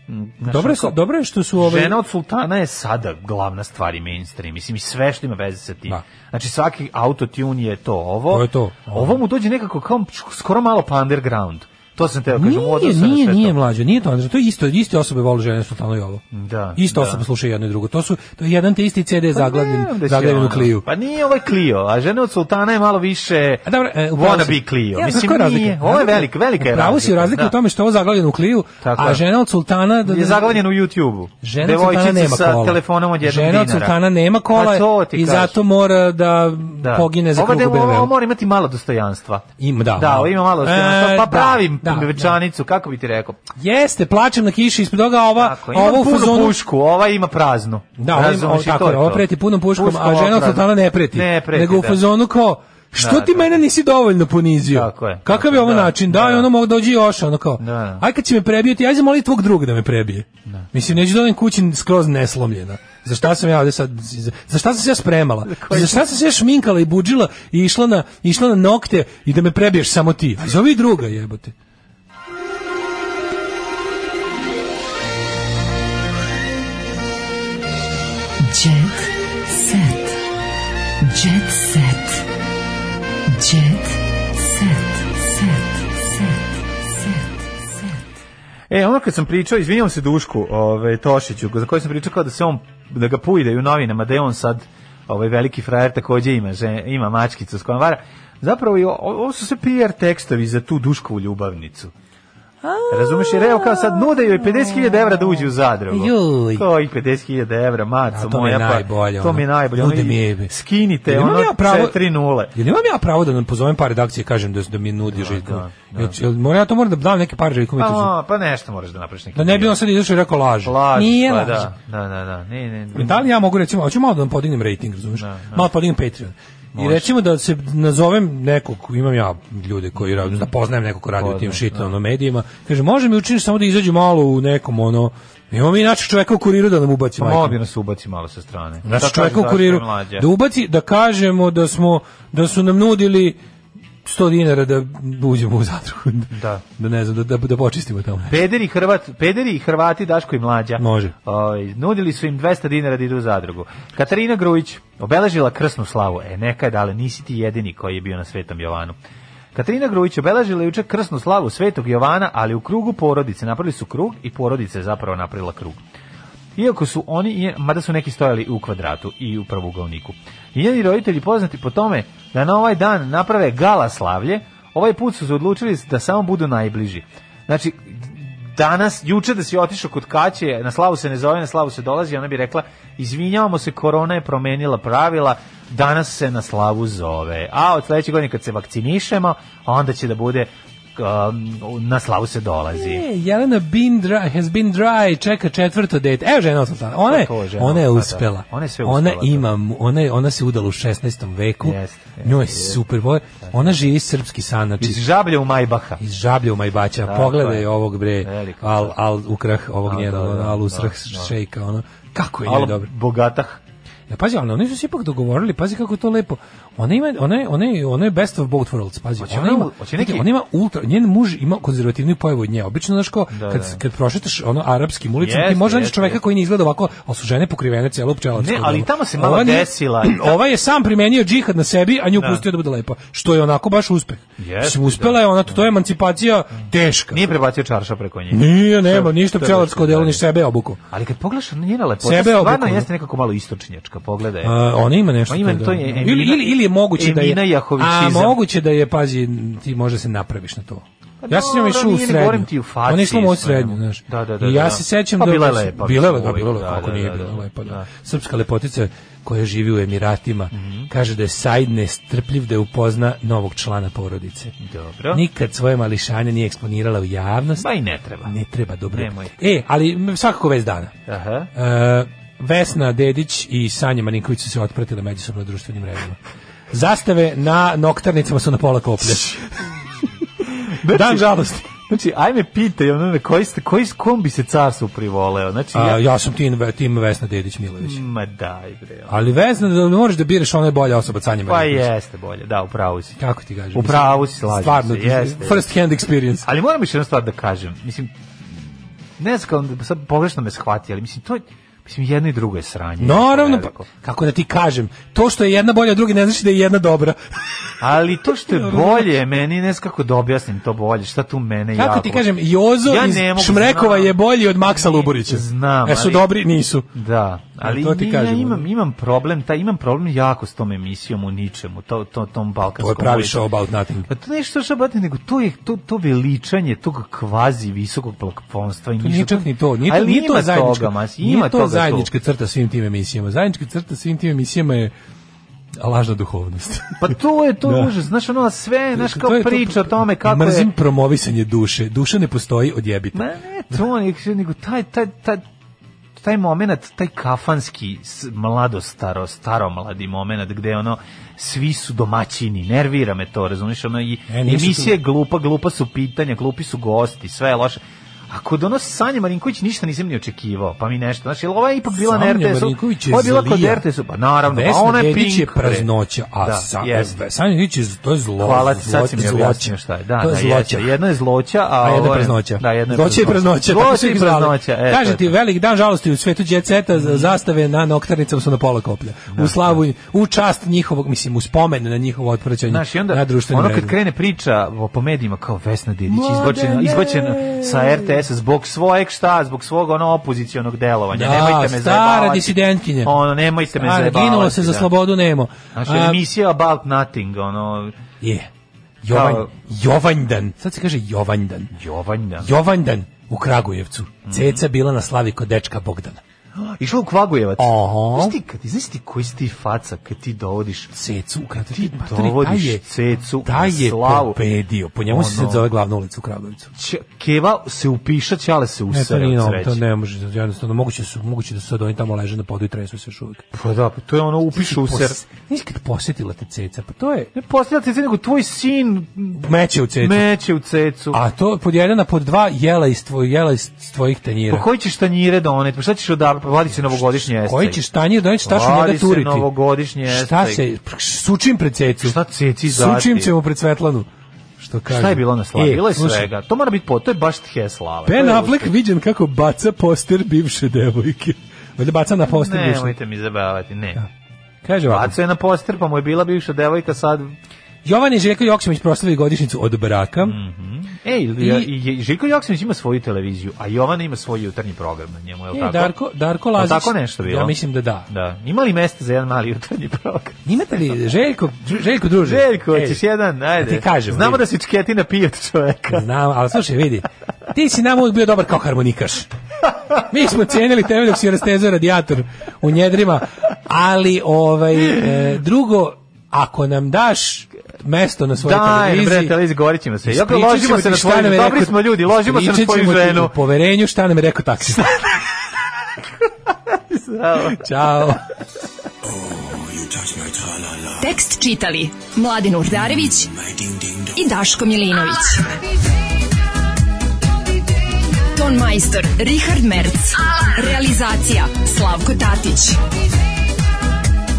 [SPEAKER 7] m, znaš, ono,
[SPEAKER 8] Dobro je,
[SPEAKER 7] kao-
[SPEAKER 8] dobro je što su ove
[SPEAKER 7] Žena od sultana je sada glavna stvar i mainstream, mislim i sve što ima veze sa tim. Znači svaki autotune je to ovo.
[SPEAKER 8] To je to.
[SPEAKER 7] Ovo mu dođe nekako kao skoro malo pa underground. To sam teo kažem,
[SPEAKER 8] Nije,
[SPEAKER 7] odnosno na
[SPEAKER 8] nije,
[SPEAKER 7] sve
[SPEAKER 8] nije
[SPEAKER 7] to.
[SPEAKER 8] mlađe, nije to Andrej, to je isto, iste osobe vole žene sultano i ovo.
[SPEAKER 7] Da.
[SPEAKER 8] Isto
[SPEAKER 7] da.
[SPEAKER 8] osobe slušaju jedno i drugo. To su to je jedan te isti CD
[SPEAKER 7] Pa
[SPEAKER 8] zaglavljen,
[SPEAKER 7] znam da si
[SPEAKER 8] zaglavljen u
[SPEAKER 7] ono.
[SPEAKER 8] Kliju.
[SPEAKER 7] Pa nije ovaj Clio, a žene od sultana je malo više
[SPEAKER 8] A dobro, e, upravo si-
[SPEAKER 7] wannabe Clio.
[SPEAKER 8] Ja,
[SPEAKER 7] mislim,
[SPEAKER 8] koja je razlika?
[SPEAKER 7] nije. Ovo je
[SPEAKER 8] Razlika-
[SPEAKER 7] velika, velika je razlika.
[SPEAKER 8] Pravo si razlika
[SPEAKER 7] da.
[SPEAKER 8] u tome što je ovo zaglavljeno u Kliju,
[SPEAKER 7] Tako
[SPEAKER 8] a
[SPEAKER 7] je.
[SPEAKER 8] žena od sultana da,
[SPEAKER 7] je zaglavljen u YouTube-u.
[SPEAKER 8] Žena od sultana nema
[SPEAKER 7] sa
[SPEAKER 8] kola.
[SPEAKER 7] telefonom od jednog
[SPEAKER 8] Žena od
[SPEAKER 7] dinara.
[SPEAKER 8] sultana nema kola
[SPEAKER 7] Pa to ti
[SPEAKER 8] i
[SPEAKER 7] kažem.
[SPEAKER 8] zato mora da, pogine za
[SPEAKER 7] Ovo
[SPEAKER 8] krugu
[SPEAKER 7] da- ovo-
[SPEAKER 8] BMW.
[SPEAKER 7] Ovo mora imati malo dostojanstva.
[SPEAKER 8] Ima, da. ono-
[SPEAKER 7] Da, ovo ima malo dostojanstva.
[SPEAKER 8] E,
[SPEAKER 7] pa
[SPEAKER 8] da,
[SPEAKER 7] pravim
[SPEAKER 8] da, da.
[SPEAKER 7] večanicu, kako bi ti rekao.
[SPEAKER 8] Jeste, plačem na kiši ispred toga, a ova,
[SPEAKER 7] Tako, ima
[SPEAKER 8] Pa, ovo u
[SPEAKER 7] punu
[SPEAKER 8] fazonu...
[SPEAKER 7] pušku, ova ima praznu.
[SPEAKER 8] Da, ovo, ima, ovo,
[SPEAKER 7] Razumeš, i
[SPEAKER 8] tako,
[SPEAKER 7] to
[SPEAKER 8] je,
[SPEAKER 7] je
[SPEAKER 8] ovo
[SPEAKER 7] to.
[SPEAKER 8] preti punom puškom,
[SPEAKER 7] Puškom,
[SPEAKER 8] a
[SPEAKER 7] ovo
[SPEAKER 8] žena od
[SPEAKER 7] prazno.
[SPEAKER 8] sultana ne preti.
[SPEAKER 7] Ne preti,
[SPEAKER 8] Nego u
[SPEAKER 7] da.
[SPEAKER 8] fazonu kao, što
[SPEAKER 7] Da,
[SPEAKER 8] ti
[SPEAKER 7] da.
[SPEAKER 8] mene nisi dovoljno ponizio? Kakav je ovo način? Da, i ono mogu dođi još, ono kao, aj kad će me prebijeti, aj zamoli tvog druga da me prebije. Mislim, neću da odem kući skroz neslomljena. Za šta sam ja ovde sad, za- za šta sam se ja spremala? Za šta sam se ja šminkala i budžila i išla na, išla na nokte i da me prebiješ samo ti? A zovi druga jebote.
[SPEAKER 12] Jet set. Jet set. Jet set. Set. Set. Set.
[SPEAKER 7] E, ono kad sam pričao, izvinjavam se Dušku, ovaj Tošiću, za koji sam pričao kao da se on da ga pujde i u novinama da je on sad ovaj veliki frajer takođe ima že, ima mačkicu s kojom vara. Zapravo i o- ovo su sve PR tekstovi za tu Duškovu ljubavnicu. Razumeš, jer evo kao sad nude joj 50.000 evra da uđe u zadrugu.
[SPEAKER 8] Juj.
[SPEAKER 7] To i 50.000 evra, maco
[SPEAKER 8] A to mi
[SPEAKER 7] moja,
[SPEAKER 8] je
[SPEAKER 7] pa
[SPEAKER 8] najbolje.
[SPEAKER 7] to mi je
[SPEAKER 8] ono.
[SPEAKER 7] najbolje.
[SPEAKER 8] Nude
[SPEAKER 7] ono,
[SPEAKER 8] mi je.
[SPEAKER 7] Skinite,
[SPEAKER 8] Jel imam
[SPEAKER 7] ono,
[SPEAKER 8] ja pravo-
[SPEAKER 7] 4 nule.
[SPEAKER 8] Jel imam ja pravo da nam pozovem par redakcije i kažem da, da mi nudi Željko?
[SPEAKER 7] da,
[SPEAKER 8] Jel, jel moram ja to moram da dam neke par Željko Mitroviću?
[SPEAKER 7] Pa, pa nešto moraš da napraviš neki.
[SPEAKER 8] Da ne bi on sad izašao i rekao laž.
[SPEAKER 7] Laž,
[SPEAKER 8] Nije
[SPEAKER 7] pa
[SPEAKER 8] laž.
[SPEAKER 7] da, da, da, da. Ne, ne, ne.
[SPEAKER 8] Da li ja mogu recimo, hoću malo da vam podignem rating, razumiješ? Malo podignem Patreon. I
[SPEAKER 7] Može.
[SPEAKER 8] recimo da se nazovem nekog, imam ja ljude koji radi, da poznajem nekog ko radi u tim
[SPEAKER 7] Poznajem,
[SPEAKER 8] shit ono, medijima, kaže, može mi učiniti samo da izađe malo u nekom, ono, imamo mi inače čoveka u kuriru da nam ubaci
[SPEAKER 7] Pa
[SPEAKER 8] majke
[SPEAKER 7] mogu
[SPEAKER 8] mi.
[SPEAKER 7] bi nas ubaci malo sa strane.
[SPEAKER 8] Znači
[SPEAKER 7] Da
[SPEAKER 8] čovjeka
[SPEAKER 7] kažem
[SPEAKER 8] u
[SPEAKER 7] zašto je
[SPEAKER 8] kuriru
[SPEAKER 7] mlađa.
[SPEAKER 8] da ubaci da kažemo da smo da su nam nudili 100 dinara da uđemo u zadrugu.
[SPEAKER 7] Da.
[SPEAKER 8] Da ne znam da da, da počistimo tamo.
[SPEAKER 7] Pederi Hrvat, pederi i Hrvati Daško i mlađa.
[SPEAKER 8] Može.
[SPEAKER 7] Ovaj, nudili su im 200 dinara da idu u zadrugu. Katarina Grujić obeležila krsnu slavu. E nekad, ali nisi ti jedini koji je bio na Svetom Jovanu. Katarina Grujić obeležila je juče krsnu slavu Svetog Jovana, ali u krugu porodice. Napravili su krug i porodica je zapravo napravila krug. Iako su oni, i- mada su neki stojali u kvadratu i u pravougaoniku. I njeni roditelji poznati po tome da na ovaj dan naprave gala slavlje, ovaj put su se odlučili da samo budu najbliži. Znači, danas, juče da si otišao kod Kaće, na slavu se ne zove, na slavu se dolazi, ona bi rekla, izvinjavamo se, korona je promenila pravila, danas se na slavu zove. A od sledećeg godine kad se vakcinišemo, onda će da bude um, na slavu se dolazi.
[SPEAKER 8] E, Jelena been dry, has been dry, čeka četvrto dete. Evo žena od sultana. Ona je,
[SPEAKER 7] Pa To je žena
[SPEAKER 8] ona je
[SPEAKER 7] od
[SPEAKER 8] uspela.
[SPEAKER 7] sultana. Ona je sve
[SPEAKER 8] Ona
[SPEAKER 7] uspela,
[SPEAKER 8] ima, mu- ona, je- ona se udala u 16. veku.
[SPEAKER 7] Jeste, jeste,
[SPEAKER 8] Njoj je
[SPEAKER 7] jeste.
[SPEAKER 8] super. Bo, ona živi srpski san. Znači,
[SPEAKER 7] Iz žablja u Majbaha.
[SPEAKER 8] iz žablja u Majbaća.
[SPEAKER 7] Tako
[SPEAKER 8] Pogledaj
[SPEAKER 7] je.
[SPEAKER 8] ovog bre.
[SPEAKER 7] Veliko.
[SPEAKER 8] Al, al ukrah ovog ono,
[SPEAKER 7] Al,
[SPEAKER 8] njena,
[SPEAKER 7] da, da,
[SPEAKER 8] al
[SPEAKER 7] da,
[SPEAKER 8] usrah
[SPEAKER 7] da.
[SPEAKER 8] šejka. Ono. Kako je njoj
[SPEAKER 7] Alo,
[SPEAKER 8] dobro.
[SPEAKER 7] bogatah.
[SPEAKER 8] Ja pazi, ali oni su se ipak dogovorili, pazi kako je to lepo. Ona ima ona je, ona je, ona je best of both worlds, pazi.
[SPEAKER 7] Hoće
[SPEAKER 8] ona
[SPEAKER 7] ona
[SPEAKER 8] ima,
[SPEAKER 7] u- hoće neki-
[SPEAKER 8] ona ima ultra, njen muž ima konzervativni pojavu od nje. Obično znaš kao
[SPEAKER 7] Da,
[SPEAKER 8] kad
[SPEAKER 7] da.
[SPEAKER 8] kad prošetaš ono arapskim ulicama, ti
[SPEAKER 7] Jeste,
[SPEAKER 8] možeš naći
[SPEAKER 7] jeste,
[SPEAKER 8] čoveka
[SPEAKER 7] jeste.
[SPEAKER 8] koji ne izgleda ovako, ali su žene pokrivene celo pčelačko.
[SPEAKER 7] Ne, ali
[SPEAKER 8] dobro.
[SPEAKER 7] tamo se malo
[SPEAKER 8] Ova nije- <clears throat>
[SPEAKER 7] desila-
[SPEAKER 8] Ova je sam primenio džihad na sebi, a nju
[SPEAKER 7] Da.
[SPEAKER 8] pustio da bude lepa, što je onako baš uspeh.
[SPEAKER 7] Jeste, Mm.
[SPEAKER 8] Mislim, uspela je ona, to, to je emancipacija teška.
[SPEAKER 7] Nije prebacio čarša preko nje.
[SPEAKER 8] Nije, nema,
[SPEAKER 7] To-
[SPEAKER 8] ništa
[SPEAKER 7] to je
[SPEAKER 8] pčelarsko
[SPEAKER 7] baš
[SPEAKER 8] delo,
[SPEAKER 7] dalje.
[SPEAKER 8] ni sebe obuku.
[SPEAKER 7] Ali kad pogledaš njena lepota,
[SPEAKER 8] Sebe
[SPEAKER 7] stvarno
[SPEAKER 8] obuku,
[SPEAKER 7] jeste
[SPEAKER 8] da.
[SPEAKER 7] nekako malo istočnjačka, pogledaj.
[SPEAKER 8] A, ona ima nešto.
[SPEAKER 7] Ona ima,
[SPEAKER 8] tu, da.
[SPEAKER 7] to je Emina-
[SPEAKER 8] ili, ili, ili je moguće da je...
[SPEAKER 7] Emina
[SPEAKER 8] A
[SPEAKER 7] Jahovićizam.
[SPEAKER 8] moguće da je, pazi, ti možda se napraviš na to.
[SPEAKER 7] Pa
[SPEAKER 8] ja sam s njom
[SPEAKER 7] dobro,
[SPEAKER 8] išao u
[SPEAKER 7] nije, ne
[SPEAKER 8] srednju.
[SPEAKER 7] govorim ti u faci,
[SPEAKER 8] Ona je išla u moju
[SPEAKER 7] sve. ono.
[SPEAKER 8] srednju, znaš.
[SPEAKER 7] Da, da, da,
[SPEAKER 8] I ja
[SPEAKER 7] da.
[SPEAKER 8] se sećam
[SPEAKER 7] Pa
[SPEAKER 8] da...
[SPEAKER 7] bila je lepa,
[SPEAKER 8] Bila je lepa,
[SPEAKER 7] mislim,
[SPEAKER 8] bila je
[SPEAKER 7] uvijek,
[SPEAKER 8] lepa,
[SPEAKER 7] da,
[SPEAKER 8] kako
[SPEAKER 7] da,
[SPEAKER 8] nije
[SPEAKER 7] da,
[SPEAKER 8] bila
[SPEAKER 7] da.
[SPEAKER 8] lepa, da.
[SPEAKER 7] Da. Mhm.
[SPEAKER 8] Srpska lepotica koja živi u Emiratima, kaže da je Said nestrpljiv da upozna novog člana porodice.
[SPEAKER 7] Dobro.
[SPEAKER 8] Nikad svoje mališanje nije eksponirala u javnost.
[SPEAKER 7] Ba i ne treba.
[SPEAKER 8] Ne treba, dobro.
[SPEAKER 7] Nemoj.
[SPEAKER 8] E, ali m, svakako vez dana.
[SPEAKER 7] Aha.
[SPEAKER 8] E, Vesna Dedić i Sanja Marinković su se otpratile međusobno na društvenim mrežama. Zastave na noktarnicama su na pola koplja. Dan žalosti.
[SPEAKER 7] Znači, ajme pitaj, ono, na koji, ste, koji s kom bi se carstvu privoleo? Znači,
[SPEAKER 8] A, ja sam tim, tim Vesna Dedić Milović.
[SPEAKER 7] Ma daj bre. ono.
[SPEAKER 8] Ali Vesna, da ne možeš da biraš ona je bolja osoba od Sanje
[SPEAKER 7] Pa
[SPEAKER 8] Marinković.
[SPEAKER 7] jeste bolje, da, u pravu si.
[SPEAKER 8] Kako ti kažem?
[SPEAKER 7] U pravu si, slažem
[SPEAKER 8] Stvarno,
[SPEAKER 7] se, jeste.
[SPEAKER 8] first hand experience.
[SPEAKER 7] Ali moram još jednu stvar da kažem. Mislim, ne znam kao, sad pogrešno me shvati, ali mislim, to je, mislim, jedno i drugo je sranje.
[SPEAKER 8] Naravno, pa,
[SPEAKER 7] Veliko.
[SPEAKER 8] kako da ti kažem, to što je jedna bolja od druge ne znači da je jedna dobra.
[SPEAKER 7] Ali to što je bolje, meni ne znam kako da objasnim to bolje, šta tu mene jako...
[SPEAKER 8] Kako ti kažem, Jozo
[SPEAKER 7] Ja
[SPEAKER 8] iz
[SPEAKER 7] ne mogu,
[SPEAKER 8] Šmrekova
[SPEAKER 7] znam.
[SPEAKER 8] je bolji od Maksa Luburića.
[SPEAKER 7] Znam,
[SPEAKER 8] E su
[SPEAKER 7] ali-
[SPEAKER 8] dobri? Nisu.
[SPEAKER 7] Da, ali
[SPEAKER 8] E, to ti
[SPEAKER 7] ni-
[SPEAKER 8] kažem,
[SPEAKER 7] ja imam,
[SPEAKER 8] ono.
[SPEAKER 7] imam problem, taj, imam problem jako s tom emisijom u ničemu, to, to, tom
[SPEAKER 8] To
[SPEAKER 7] balkanskom
[SPEAKER 8] je pravi
[SPEAKER 7] ulicom.
[SPEAKER 8] show about nothing.
[SPEAKER 7] Pa to nešto što bati, nego to je to, to veličanje tog kvazi visokog plafonstva i
[SPEAKER 8] To nije čak ni to, nije to,
[SPEAKER 7] Ali
[SPEAKER 8] nije to
[SPEAKER 7] ima
[SPEAKER 8] zajednička,
[SPEAKER 7] toga, mas,
[SPEAKER 8] nije
[SPEAKER 7] ima
[SPEAKER 8] to
[SPEAKER 7] toga
[SPEAKER 8] zajednička crta svim tim emisijama. Zajednička crta svim tim emisijama je lažna duhovnost.
[SPEAKER 7] tu. Pa to je to
[SPEAKER 8] <laughs> Da.
[SPEAKER 7] užas, znaš, ono sve, znaš,
[SPEAKER 8] <laughs>
[SPEAKER 7] kao
[SPEAKER 8] To je to-
[SPEAKER 7] priča o tome kako
[SPEAKER 8] Mrzim
[SPEAKER 7] je...
[SPEAKER 8] promovisanje duše. Duša ne postoji, odjebite.
[SPEAKER 7] Ma ne, to nek- nego taj, taj, taj, taj moment, taj kafanski s- mlado-staro, staro-mladi moment gde ono svi su domaćini, nervira me to, razumiješ, ono i
[SPEAKER 8] E, nisu tu.
[SPEAKER 7] emisija je glupa, glupa su pitanja, glupi su gosti, sve je loše. A kod ono Sanja Marinković ništa nisam ni očekivao, pa mi nešto, znači, ova je ipak bila na
[SPEAKER 8] Sanja
[SPEAKER 7] RTS-u,
[SPEAKER 8] Marinković je
[SPEAKER 7] ova je bila kod
[SPEAKER 8] zlija.
[SPEAKER 7] RTS-u, pa naravno,
[SPEAKER 8] Vesna
[SPEAKER 7] a ona je
[SPEAKER 8] Dedić
[SPEAKER 7] pink.
[SPEAKER 8] je
[SPEAKER 7] bre.
[SPEAKER 8] praznoća, a
[SPEAKER 7] Da,
[SPEAKER 8] sa,
[SPEAKER 7] jeste.
[SPEAKER 8] Sanja Dedić je z- to je zlo.
[SPEAKER 7] Hvala ti, sad
[SPEAKER 8] zlo-
[SPEAKER 7] si mi
[SPEAKER 8] zloća.
[SPEAKER 7] objasnio šta je. Da,
[SPEAKER 8] to je
[SPEAKER 7] da,
[SPEAKER 8] zloća.
[SPEAKER 7] jeste. Jedno je zloća, a,
[SPEAKER 8] A jedna
[SPEAKER 7] ovo
[SPEAKER 8] je praznoća.
[SPEAKER 7] Da, jedno je
[SPEAKER 8] Zloća i praznoća. kako su
[SPEAKER 7] Zloća
[SPEAKER 8] ih
[SPEAKER 7] i
[SPEAKER 8] zvali.
[SPEAKER 7] praznoća. e, to
[SPEAKER 8] Kaže
[SPEAKER 7] je
[SPEAKER 8] ti,
[SPEAKER 7] to.
[SPEAKER 8] velik dan žalosti u svetu djeceta, zastave na noktarnicama su na pola koplja. U slavu, u čast njihovog, mislim, u spomen na njihovo otpraćanje
[SPEAKER 7] Znaš, i onda,
[SPEAKER 8] na društvenim
[SPEAKER 7] ono kad
[SPEAKER 8] mrežama.
[SPEAKER 7] krene priča o- po medijima kao Vesna Dedić,
[SPEAKER 8] Mladene!
[SPEAKER 7] izbačena, izbačena sa RTS-a zbog svojeg šta, zbog svog ono opozicionog delovanja.
[SPEAKER 8] Da,
[SPEAKER 7] nemojte
[SPEAKER 8] stara
[SPEAKER 7] me zajebavati.
[SPEAKER 8] disidentkinja.
[SPEAKER 7] Ono, nemojte me
[SPEAKER 8] A,
[SPEAKER 7] zajebavati.
[SPEAKER 8] ginulo se za
[SPEAKER 7] da.
[SPEAKER 8] slobodu Nemo.
[SPEAKER 7] Znaš,
[SPEAKER 8] A,
[SPEAKER 7] emisija About Nothing, ono...
[SPEAKER 8] Je. Jovan,
[SPEAKER 7] Kao-
[SPEAKER 8] Jovanjdan. Sad se kaže Jovanjdan.
[SPEAKER 7] Jovanja.
[SPEAKER 8] Jovanjdan u Kragujevcu.
[SPEAKER 7] Mhm.
[SPEAKER 8] Ceca bila na slavi kod dečka Bogdana.
[SPEAKER 7] Išla u Kvagujevac.
[SPEAKER 8] Aha.
[SPEAKER 7] Znaš ti, kad, znaš ti koji si ti faca kad ti dovodiš
[SPEAKER 8] Cecu u Kragujevcu.
[SPEAKER 7] Ti
[SPEAKER 8] Pa, taj
[SPEAKER 7] dovodiš
[SPEAKER 8] je-
[SPEAKER 7] cecu
[SPEAKER 8] Taj
[SPEAKER 7] na
[SPEAKER 8] je
[SPEAKER 7] slavu.
[SPEAKER 8] torpedio. Po njemu se
[SPEAKER 7] Ono.
[SPEAKER 8] sad zove glavna ulica u Kragujevcu.
[SPEAKER 7] Č- Keva se upiša, Ćale se
[SPEAKER 8] Ne, to
[SPEAKER 7] usere
[SPEAKER 8] nije
[SPEAKER 7] od
[SPEAKER 8] novo, to
[SPEAKER 7] sreće.
[SPEAKER 8] ne može, jednostavno, moguće, su, moguće da su sad oni tamo leže na podu i tresu se još uvijek.
[SPEAKER 7] Pa da, pa to je ono upišu u ser.
[SPEAKER 8] Nisi kad posjetila te ceca, pa to je
[SPEAKER 7] Ne postavlja se nego tvoj sin
[SPEAKER 8] meće u cecu.
[SPEAKER 7] meće u cecu.
[SPEAKER 8] A to pod jedan, a pod dva jela iz, tvoj, jela iz tvojih tanjira.
[SPEAKER 7] Pa koji ćeš tanjire doneti? Pa šta ćeš odabra? Pa vadi se novogodišnji estaj.
[SPEAKER 8] Koji ćeš tanjir doneti, šta ću
[SPEAKER 7] Vadi
[SPEAKER 8] njega
[SPEAKER 7] se
[SPEAKER 8] turiti?
[SPEAKER 7] novogodišnji
[SPEAKER 8] Šta
[SPEAKER 7] estaj.
[SPEAKER 8] se, sučim pred cecu.
[SPEAKER 7] Šta ceci zati?
[SPEAKER 8] Sučim ćemo pred Svetlanu. Što kaže?
[SPEAKER 7] Šta je bilo na slavi?
[SPEAKER 8] E,
[SPEAKER 7] bilo je
[SPEAKER 8] slušaj,
[SPEAKER 7] svega. To mora biti po, to je baš tje slava. To
[SPEAKER 8] Ben
[SPEAKER 7] je
[SPEAKER 8] Affleck viđen kako baca poster bivše devojke. Valjda baca na
[SPEAKER 7] uspeh.
[SPEAKER 8] poster bivše.
[SPEAKER 7] Nemojte mi zabavati, ne.
[SPEAKER 8] Kaže ovako.
[SPEAKER 7] Baco je na poster, pa mu je bila bivša devojka sad...
[SPEAKER 8] Jovan i Željko Joksimić proslavili godišnjicu od
[SPEAKER 7] Mhm.
[SPEAKER 8] braka.
[SPEAKER 7] Ej,
[SPEAKER 8] I-
[SPEAKER 7] E, I... Željko Joksimić ima svoju televiziju, a Jovana ima svoj jutarnji program na njemu, je li
[SPEAKER 8] E,
[SPEAKER 7] Pa tako?
[SPEAKER 8] Darko, Darko
[SPEAKER 7] Je li
[SPEAKER 8] Lazić.
[SPEAKER 7] tako nešto bilo?
[SPEAKER 8] Ja mislim da da.
[SPEAKER 7] Da. Ima li mesta za jedan mali jutarnji program?
[SPEAKER 8] Imate li Željko, Željko druže?
[SPEAKER 7] Željko,
[SPEAKER 8] Ej,
[SPEAKER 7] hoćeš jedan, ajde.
[SPEAKER 8] E, ti kažem,
[SPEAKER 7] Znamo
[SPEAKER 8] vidi.
[SPEAKER 7] da si čketina pije od čoveka.
[SPEAKER 8] Znam, ali slušaj, vidi, ti si nam uvijek bio dobar kao harmonikaš. Mi smo cijenili tebe dok si rastezao radijator u njedrima, ali ovaj, e, drugo, ako nam daš mesto na svojoj
[SPEAKER 7] Daj,
[SPEAKER 8] televiziji,
[SPEAKER 7] bre, televiziji govorit ćemo se. Jok,
[SPEAKER 8] ispričat
[SPEAKER 7] ložimo
[SPEAKER 8] ćemo
[SPEAKER 7] se
[SPEAKER 8] ti
[SPEAKER 7] na
[SPEAKER 8] šta
[SPEAKER 7] svoju,
[SPEAKER 8] nam je
[SPEAKER 7] dobri
[SPEAKER 8] rekao-
[SPEAKER 7] smo ljudi, ložimo se na
[SPEAKER 8] ispričat
[SPEAKER 7] svoju
[SPEAKER 8] ćemo ti
[SPEAKER 7] ženu.
[SPEAKER 8] U poverenju šta nam je rekao
[SPEAKER 7] <laughs>
[SPEAKER 8] taksista. Ćao.
[SPEAKER 10] Tekst čitali Mladin Urdarević i Daško Milinović. Ton majstor Richard Merc. Realizacija Slavko Tatić.